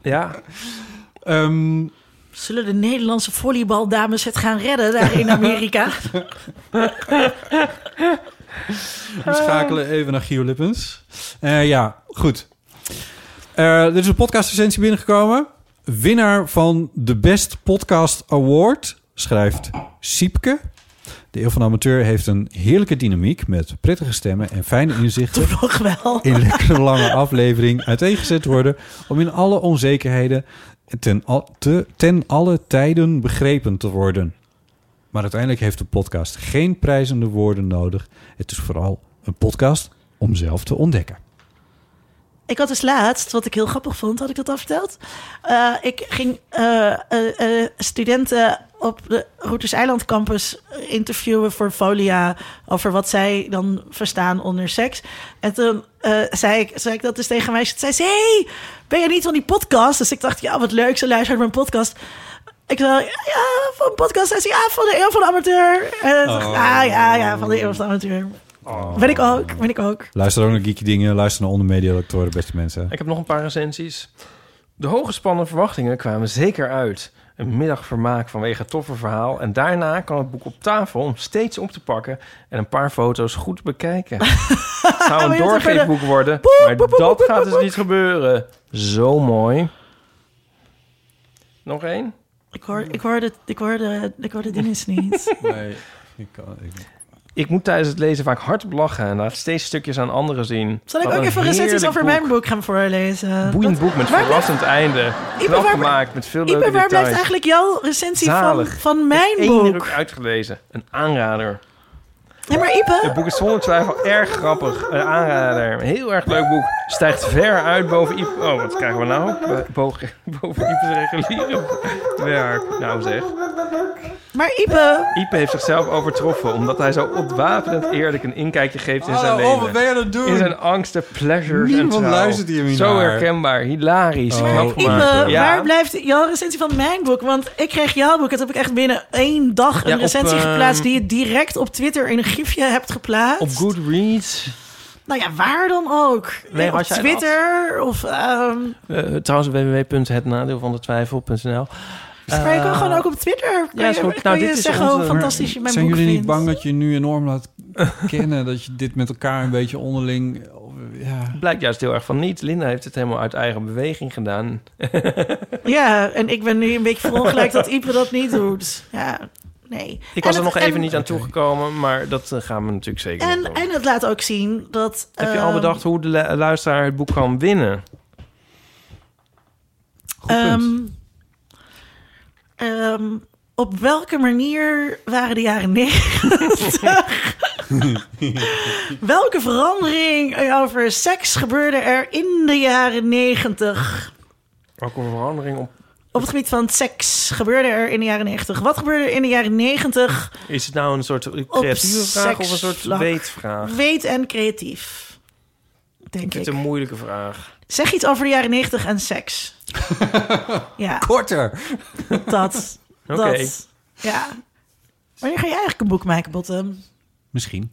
Speaker 3: Ja,
Speaker 4: Ehm,
Speaker 2: zullen de Nederlandse volleybaldames het gaan redden daar in Amerika?
Speaker 4: we schakelen even naar Gio Lippens. Eh, ja, goed. Eh, er is een podcastrecensie binnengekomen. Winnaar van de Best Podcast Award schrijft Siepke. De Eeuw van de Amateur heeft een heerlijke dynamiek met prettige stemmen en fijne inzichten.
Speaker 2: Toch wel.
Speaker 4: in lekkere lange aflevering uiteengezet worden om in alle onzekerheden ten, al- te, ten alle tijden begrepen te worden. Maar uiteindelijk heeft de podcast geen prijzende woorden nodig. Het is vooral een podcast om zelf te ontdekken.
Speaker 2: Ik had dus laatst, wat ik heel grappig vond, had ik dat al verteld. Eh, ik ging eh, eh, eh, studenten op de Routers Eiland Campus interviewen voor Folia over wat zij dan verstaan onder seks. En toen eh, zei, ik, zei ik dat dus tegen mij. Ze zei ze, hey, ben je niet van die podcast? Dus ik dacht, ja, wat leuk, ze luistert naar mijn podcast. Ik zei, ja, van een podcast. Hij zei, ja, van de Eeuw van de Amateur. En toen dacht ik, ah, ja, ja, van de Eeuw van de Amateur. Ben ik ook, ben ik ook.
Speaker 4: Luister ook naar geeky dingen, luister naar ondermedialectoren, beste mensen.
Speaker 3: ik heb nog een paar recensies. De hooggespannen verwachtingen kwamen zeker uit. Een middagvermaak vanwege het toffe verhaal. En daarna kan het boek op tafel om steeds op te pakken en een paar foto's goed te bekijken. Het zou
Speaker 2: Maar
Speaker 3: een
Speaker 2: Oh, je hebt er verder-
Speaker 3: doorgeefboek worden,
Speaker 2: Boek,
Speaker 3: maar
Speaker 2: boek, boek, boek,
Speaker 3: dat gaat
Speaker 2: boek,
Speaker 3: dus
Speaker 2: boek.
Speaker 3: niet gebeuren. Zo mooi. Nog één?
Speaker 2: Ik hoor, ik hoor, de, ik hoor, de, ik hoor de Dennis niet.
Speaker 3: Ik moet tijdens het lezen vaak hardop lachen en laat steeds stukjes aan anderen zien.
Speaker 2: Zal ik
Speaker 3: Wat
Speaker 2: ook even recensies
Speaker 3: heerlijk
Speaker 2: over mijn boek gaan voorlezen?
Speaker 3: Boeiend boek met
Speaker 2: waar
Speaker 3: verrassend einde. Knap
Speaker 2: waar-
Speaker 3: gemaakt met veel
Speaker 2: Ik
Speaker 3: leuke
Speaker 2: ben, waar blijft
Speaker 3: details.
Speaker 2: eigenlijk jouw recensie van,
Speaker 3: Zalig.
Speaker 2: van
Speaker 3: Eén
Speaker 2: mijn boek?
Speaker 3: druk uitgelezen. Een aanrader.
Speaker 2: Nee, maar
Speaker 3: Het
Speaker 2: Ipe,
Speaker 3: boek is zonder twijfel erg grappig. Een aanrader. Een heel erg leuk boek. Stijgt ver uit boven Iep. Oh, wat krijgen we nou? Bo- Boven, boven Iep's reguliere werk. Nou zeg.
Speaker 2: maar Ipe,
Speaker 3: Iep heeft zichzelf overtroffen omdat hij zo ontwapenend eerlijk een inkijkje geeft in zijn
Speaker 2: oh,
Speaker 3: leven.
Speaker 4: aan het
Speaker 3: In zijn angsten, pleasures en
Speaker 4: Niemand
Speaker 3: trouw.
Speaker 4: luistert hier meer
Speaker 3: Zo
Speaker 4: naar.
Speaker 3: herkenbaar, hilarisch,
Speaker 4: Oh.
Speaker 3: knap gemaakt.
Speaker 2: Ipe,
Speaker 3: Ja.
Speaker 2: waar blijft jouw recensie van mijn boek? Want ik kreeg jouw boek, dat heb ik echt binnen één dag een
Speaker 3: Ja, op,
Speaker 2: recensie
Speaker 3: eh,
Speaker 2: geplaatst... die je direct op Twitter in een gifje hebt geplaatst.
Speaker 3: Op Goodreads.
Speaker 2: Nou ja, waar dan ook.
Speaker 3: Nee,
Speaker 2: op
Speaker 3: als jij-
Speaker 2: Twitter of... ehm
Speaker 3: Eh, trouwens, www.hetnadeelvandetwijfel.nl.
Speaker 2: maar je kan gewoon ook op Twitter. Kan
Speaker 3: Eh, ja, is
Speaker 2: je,
Speaker 3: goed.
Speaker 2: kan
Speaker 3: Nou,
Speaker 2: je
Speaker 3: dit is
Speaker 2: zeggen
Speaker 3: onze-
Speaker 2: hoe fantastisch je mijn
Speaker 4: Zijn
Speaker 2: boek
Speaker 4: jullie niet
Speaker 2: vindt.
Speaker 4: bang dat je nu enorm laat kennen dat je dit met elkaar een beetje onderling... Ja.
Speaker 3: Blijkt juist heel erg van niet. Linda heeft het helemaal uit eigen beweging gedaan.
Speaker 2: Ja, en ik ben nu een beetje verongelijkt dat Ipe dat niet doet. Ja, nee.
Speaker 3: Ik was
Speaker 2: En
Speaker 3: er
Speaker 2: het-
Speaker 3: nog even
Speaker 2: en-
Speaker 3: niet aan toegekomen, maar dat eh, gaan we natuurlijk zeker nog
Speaker 2: En,
Speaker 3: doen.
Speaker 2: en het laat ook zien dat...
Speaker 3: Heb je al
Speaker 2: ehm,
Speaker 3: bedacht hoe de lu- luisteraar het boek kan winnen?
Speaker 4: Goed punt.
Speaker 2: ehm, ehm, op welke manier waren de jaren negentig? welke verandering over seks gebeurde er in de jaren negentig?
Speaker 3: Ook een verandering op...
Speaker 2: Op het gebied van seks gebeurde er in de jaren negentig. Wat gebeurde er in de jaren negentig?
Speaker 3: Is het nou een soort creatieve vraag of een soort
Speaker 2: seksvlak.
Speaker 3: weetvraag?
Speaker 2: Weet en creatief. Denk
Speaker 3: Ik vind
Speaker 2: ik.
Speaker 3: het een moeilijke vraag.
Speaker 2: Zeg iets over de jaren negentig en seks. ja,
Speaker 4: Korter.
Speaker 2: dat.
Speaker 3: Oké.
Speaker 2: Dat. Ja. Wanneer ga je eigenlijk een boek maken, Bottom?
Speaker 4: Misschien.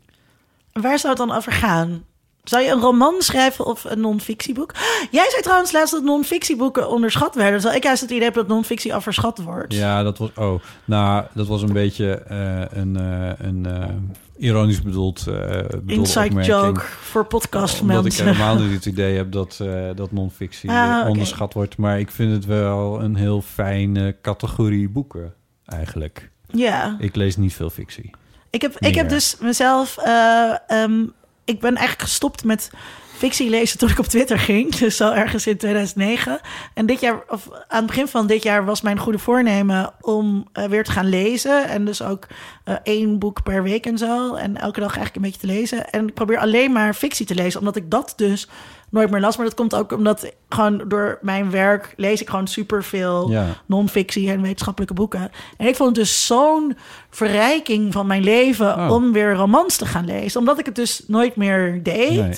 Speaker 2: En waar zou het dan over gaan? Zou je een roman schrijven of een non-fictieboek? Jij zei trouwens laatst dat non-fictieboeken onderschat werden. Terwijl ik juist het idee heb dat non-fictie overschat wordt.
Speaker 4: Ja, dat was. Oh, nou, dat was een beetje eh, een, eh, een eh, ironisch bedoeld. eh bedoelde
Speaker 2: Inside
Speaker 4: opmerking.
Speaker 2: joke voor
Speaker 4: Omdat ik
Speaker 2: podcastmensen.
Speaker 4: helemaal niet het idee heb dat, eh, dat non-fictie
Speaker 2: Ah,
Speaker 4: eh,
Speaker 2: oké.
Speaker 4: onderschat wordt. Maar ik vind het wel een heel fijne categorie boeken, eigenlijk.
Speaker 2: Ja.
Speaker 4: Ik lees niet veel fictie.
Speaker 2: Ik heb, ik
Speaker 4: Meer.
Speaker 2: heb dus mezelf. eh, ehm, ik ben eigenlijk gestopt met fictie lezen toen ik op Twitter ging. Dus zo ergens in 2009. En dit jaar, of aan het begin van dit jaar, was mijn goede voornemen om eh, weer te gaan lezen. En dus ook eh, één boek per week en zo. En elke dag eigenlijk een beetje te lezen. En ik probeer alleen maar fictie te lezen, omdat ik dat dus nooit meer las. Maar dat komt ook omdat gewoon door mijn werk lees ik gewoon superveel
Speaker 4: Ja.
Speaker 2: non-fictie en wetenschappelijke boeken. En ik vond het dus zo'n verrijking van mijn leven
Speaker 4: Oh.
Speaker 2: om weer romans te gaan lezen. Omdat ik het dus nooit meer deed.
Speaker 4: Nee.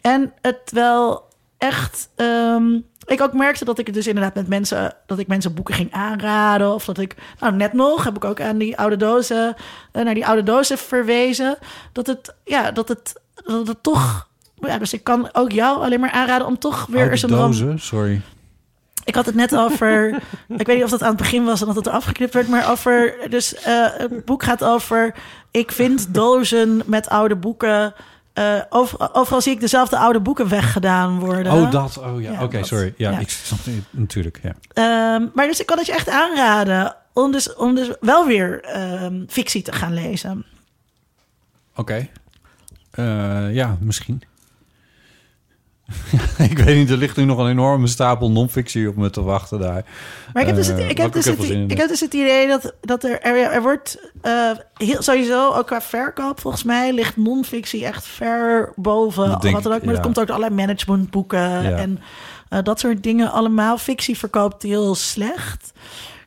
Speaker 2: En het wel echt. ehm, ik ook merkte dat ik het dus inderdaad met mensen. dat ik mensen boeken ging aanraden. Of dat ik. Nou, net nog heb ik ook aan die oude dozen. eh, naar die oude dozen verwezen. Dat het. Ja, dat het. Dat het toch. Ja, dus ik kan ook jou alleen maar aanraden om toch weer eens
Speaker 4: Oude
Speaker 2: een rom-
Speaker 4: dozen, sorry.
Speaker 2: ik had het net over. ik weet niet of dat aan het begin was en dat het er afgeknipt werd, maar over. Dus eh, het boek gaat over. Ik vind dozen met oude boeken. eh, over- overal zie ik dezelfde oude boeken weggedaan worden.
Speaker 4: Oh, dat. Oh ja,
Speaker 2: Ja,
Speaker 4: oké,
Speaker 2: dat.
Speaker 4: sorry. Ja,
Speaker 2: Ja.
Speaker 4: ik snap het natuurlijk. Ja.
Speaker 2: Ehm, maar dus ik kan het je echt aanraden om dus, om dus wel weer ehm, fictie te gaan lezen.
Speaker 4: Oké. Eh, ja, misschien. ik weet niet, er ligt nu nog een enorme stapel non-fictie op me te wachten daar.
Speaker 2: Maar ik heb dus het,
Speaker 4: Eh,
Speaker 2: ik
Speaker 4: maar
Speaker 2: heb
Speaker 4: ik
Speaker 2: dus
Speaker 4: heb
Speaker 2: het,
Speaker 4: wel zin in
Speaker 2: ik
Speaker 4: het.
Speaker 2: heb dus het idee dat, dat er, er, er wordt eh, heel, sowieso ook qua verkoop, volgens mij ligt non-fictie echt ver boven.
Speaker 4: Dat denk
Speaker 2: Wat dan ook,
Speaker 4: ik,
Speaker 2: maar
Speaker 4: ja.
Speaker 2: het komt ook door allerlei managementboeken en eh, dat soort dingen allemaal. Fictie verkoopt heel slecht.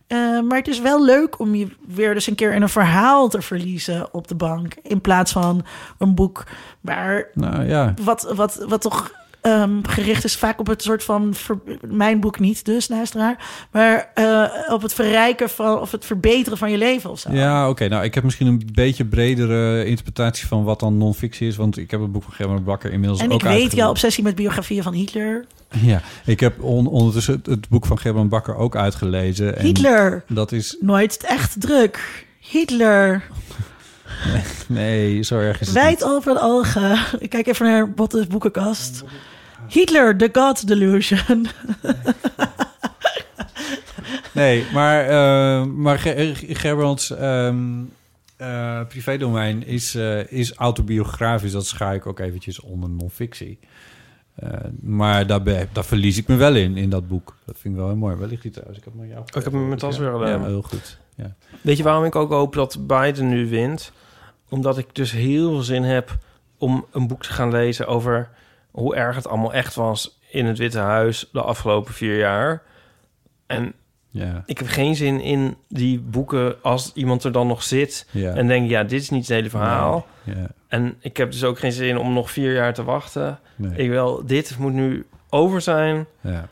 Speaker 2: Eh, maar het is wel leuk om je weer dus een keer in een verhaal te verliezen op de bank. In plaats van een boek waar
Speaker 4: Nou ja,
Speaker 2: wat, wat, wat toch ehm, gericht is vaak op het soort van... ver- mijn boek niet dus, luisteraar. Maar eh, op het verrijken van... of het verbeteren van je leven of zo.
Speaker 4: Ja, oké. Nou, ik heb misschien een beetje bredere interpretatie van wat dan non-fictie is. Want ik heb het boek van Gerben Bakker inmiddels
Speaker 2: en
Speaker 4: ook
Speaker 2: ik weet jouw
Speaker 4: uitgelezen.
Speaker 2: obsessie met biografieën van Hitler.
Speaker 4: Ja, ik heb on- ondertussen het, het boek van Gerben Bakker ook uitgelezen. En
Speaker 2: Hitler!
Speaker 4: Dat is...
Speaker 2: Nooit echt druk. Hitler,
Speaker 4: Nee, zo erg is het
Speaker 2: wijd
Speaker 4: niet.
Speaker 2: open de ogen. Ik kijk even naar Bottes boekenkast. Hitler, The God Delusion.
Speaker 4: Nee, maar, eh maar Ger- Gerbrands ehm, eh, privédomein is, eh, is autobiografisch. Dat schaar ik ook eventjes onder non-fictie. Eh, maar daar, be- daar verlies ik me wel in, in dat boek. Dat vind ik wel heel mooi. Waar ligt die trouwens? Ik heb hem aan jou
Speaker 3: heb hem in mijn tas weer
Speaker 4: Ja,
Speaker 3: gedaan.
Speaker 4: heel goed. Ja.
Speaker 3: Weet je waarom ik ook hoop dat Biden nu wint? Omdat ik dus heel veel zin heb om een boek te gaan lezen over hoe erg het allemaal echt was in het Witte Huis de afgelopen vier jaar. En
Speaker 4: Ja,
Speaker 3: ik heb geen zin in die boeken als iemand er dan nog zit
Speaker 4: ja,
Speaker 3: en denkt, ja, dit is niet het hele verhaal.
Speaker 4: ja,
Speaker 3: En ik heb dus ook geen zin om nog vier jaar te wachten.
Speaker 4: nee,
Speaker 3: Ik wil, dit moet nu over zijn.
Speaker 4: ja,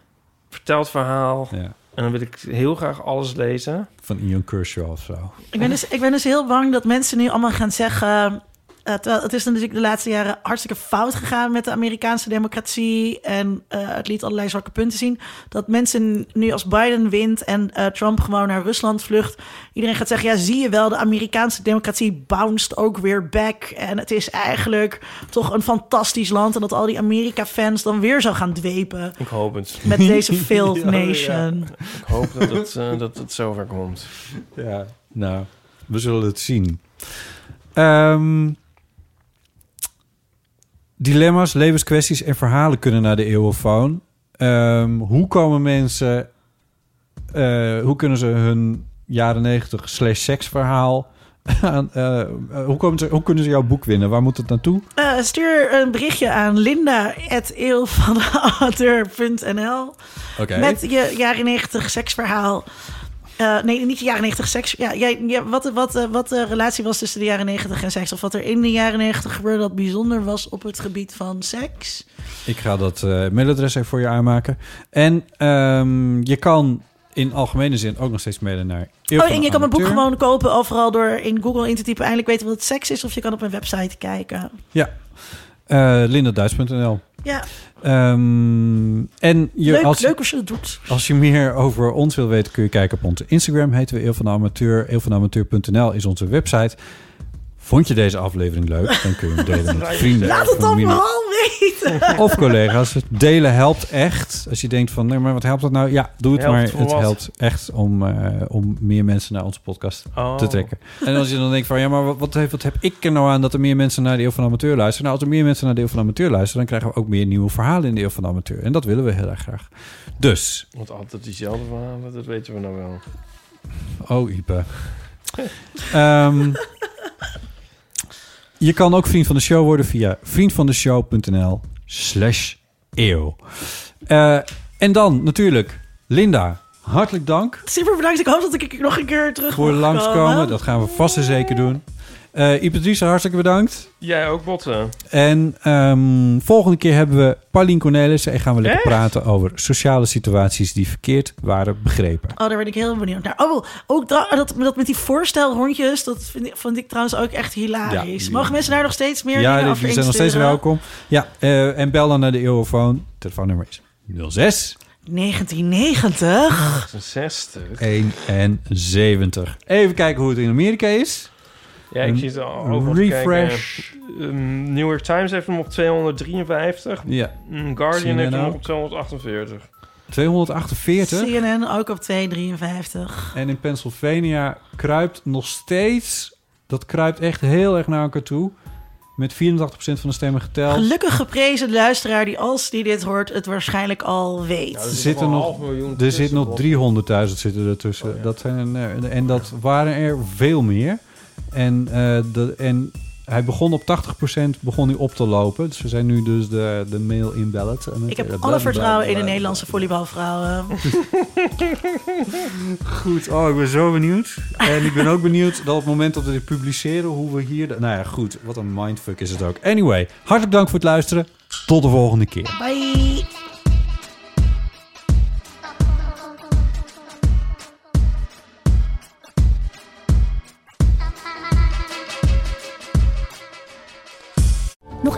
Speaker 3: Vertel het verhaal.
Speaker 4: ja.
Speaker 3: En dan wil ik heel graag alles lezen.
Speaker 4: Van Ian Kershaw of zo.
Speaker 2: Ik ben, dus, ik ben dus heel bang dat mensen nu allemaal gaan zeggen. eh, terwijl het is natuurlijk de laatste jaren hartstikke fout gegaan met de Amerikaanse democratie. En eh, het liet allerlei zwakke punten zien. Dat mensen nu als Biden wint en eh, Trump gewoon naar Rusland vlucht. Iedereen gaat zeggen: ja, zie je wel, de Amerikaanse democratie bounced ook weer back. En het is eigenlijk toch een fantastisch land. En dat al die Amerika-fans dan weer zou gaan dwepen
Speaker 3: Ik hoop het.
Speaker 2: met deze failed nation.
Speaker 3: Ik hoop dat het, eh, dat het zover komt.
Speaker 4: Ja, nou, we zullen het zien. Ehm, dilemma's, levenskwesties en verhalen kunnen naar de eeuwofoon. Ehm, hoe komen mensen... eh, hoe kunnen ze hun jaren 90 slash seksverhaal... Aan, eh, eh, hoe, komen ze, hoe kunnen ze jouw boek winnen? Waar moet het naartoe?
Speaker 2: Eh, stuur een berichtje aan linda.eelvandeamateur.nl
Speaker 4: Oké.
Speaker 2: met je jaren 90 seksverhaal. Eh, nee, niet je jaren 90 seks. Ja, jij, ja, wat, de- wat, de- wat de relatie was tussen de jaren 90 en seks. Of wat er in de jaren 90 gebeurde dat bijzonder was op het gebied van seks.
Speaker 4: Ik ga dat eh, mailadres even voor je aanmaken. En ehm, je kan in algemene zin ook nog steeds mailen naar... Eeuw
Speaker 2: Oh,
Speaker 4: van
Speaker 2: en
Speaker 4: de
Speaker 2: je kan mijn boek
Speaker 4: Amateur.
Speaker 2: gewoon kopen overal door in Google in te typen. Eindelijk weten wat seks is. Of je kan op mijn website kijken.
Speaker 4: eh lindaduits.nl.
Speaker 2: Ja,
Speaker 4: Ehm, en je,
Speaker 2: leuk,
Speaker 4: als,
Speaker 2: leuk als je het doet.
Speaker 4: als je meer over ons wil weten, kun je kijken op onze Instagram. Heten we Eeuw van de Amateur. Eeuwvandeamateur.nl is onze website. Vond je deze aflevering leuk? Dan kun je hem delen met vrienden.
Speaker 2: Laat
Speaker 4: of
Speaker 2: het dan
Speaker 4: familie
Speaker 2: vooral weten.
Speaker 4: of collega's. Delen helpt echt. Als je denkt van, nee, maar wat helpt dat nou? Ja, doe het,
Speaker 3: Helpt
Speaker 4: maar
Speaker 3: voor
Speaker 4: het
Speaker 3: wat?
Speaker 4: helpt echt om, eh, om meer mensen naar onze podcast
Speaker 3: Oh.
Speaker 4: te trekken. En als je dan denkt van, ja, maar wat, wat, heeft, wat heb ik er nou aan... dat er meer mensen naar de Eeuw van de Amateur luisteren? Nou, als er meer mensen naar de Eeuw van de Amateur luisteren... dan krijgen we ook meer nieuwe verhalen in de Eeuw van de Amateur. En dat willen we heel erg graag. Dus,
Speaker 3: Want altijd diezelfde verhalen, dat weten we nou wel.
Speaker 4: oh Ipe. Ehm, je kan ook vriend van de show worden via vriendvandeshow.nl slash eeuw. Eh, en dan natuurlijk, Linda, hartelijk dank
Speaker 2: Super bedankt. Ik hoop dat ik nog een keer terug
Speaker 4: voor
Speaker 2: mag
Speaker 4: langskomen.
Speaker 2: komen.
Speaker 4: Dat gaan we vast en zeker doen. Eh Ipe Driessen, hartstikke bedankt.
Speaker 5: Jij ook, Botten.
Speaker 4: En ehm, volgende keer hebben we Paulien Cornelissen en gaan we lekker praten over sociale situaties die verkeerd waren begrepen.
Speaker 2: Oh, daar ben ik heel benieuwd naar. Oh, ook da- dat, dat met die voorstelrondjes, dat vind, ik- vond ik trouwens ook echt hilarisch.
Speaker 4: Ja.
Speaker 2: Mogen mensen daar nog steeds meer
Speaker 4: ja,
Speaker 2: dingen
Speaker 4: die-
Speaker 2: over
Speaker 4: jullie zijn nog steeds
Speaker 2: insturen?
Speaker 4: welkom. Ja, eh, en bel dan naar de Eurofoon. Telefoonnummer is 06
Speaker 2: 1990?
Speaker 5: 60.
Speaker 4: 71. Even kijken hoe het in Amerika is.
Speaker 5: Ja, ik
Speaker 4: Een
Speaker 5: zie het al overal te
Speaker 4: Refresh.
Speaker 5: kijken. Ehm, New York Times heeft hem op 253.
Speaker 4: Ja,
Speaker 5: Mm,
Speaker 4: Zie je
Speaker 5: Guardian heeft hem
Speaker 4: nou?
Speaker 5: nog op 248.
Speaker 4: 248.
Speaker 2: CNN ook op 253.
Speaker 4: En in Pennsylvania kruipt nog steeds... Dat kruipt echt heel erg naar elkaar toe. Met 84% van de stemmen geteld.
Speaker 2: Gelukkig geprezen luisteraar die als die dit hoort het waarschijnlijk al
Speaker 4: Er
Speaker 5: Nou,
Speaker 2: weet.
Speaker 4: zitten
Speaker 5: nog een half
Speaker 4: nog,
Speaker 5: miljoen
Speaker 4: er zit
Speaker 5: tussen,
Speaker 4: nog
Speaker 5: Bob.
Speaker 4: 300.000 zitten ertussen.
Speaker 2: Oh
Speaker 4: dat zijn, er- en dat waren er veel meer. En, eh, dat, en hij begon op 80% begon hij op te lopen. Dus we zijn nu dus de, de mail in ballot. En het-
Speaker 2: Ik heb
Speaker 4: eh,
Speaker 2: alle vertrouwen in de
Speaker 4: blablabla.
Speaker 2: Nederlandse volleybalvrouwen.
Speaker 4: Goed, oh, ik ben zo benieuwd. En ik ben ook benieuwd dat op het moment dat we dit publiceren, hoe we hier... de- nou ja, goed, wat een mindfuck is het ook. Anyway, hartelijk dank voor het luisteren. Tot de volgende keer.
Speaker 2: Bye!
Speaker 1: Nog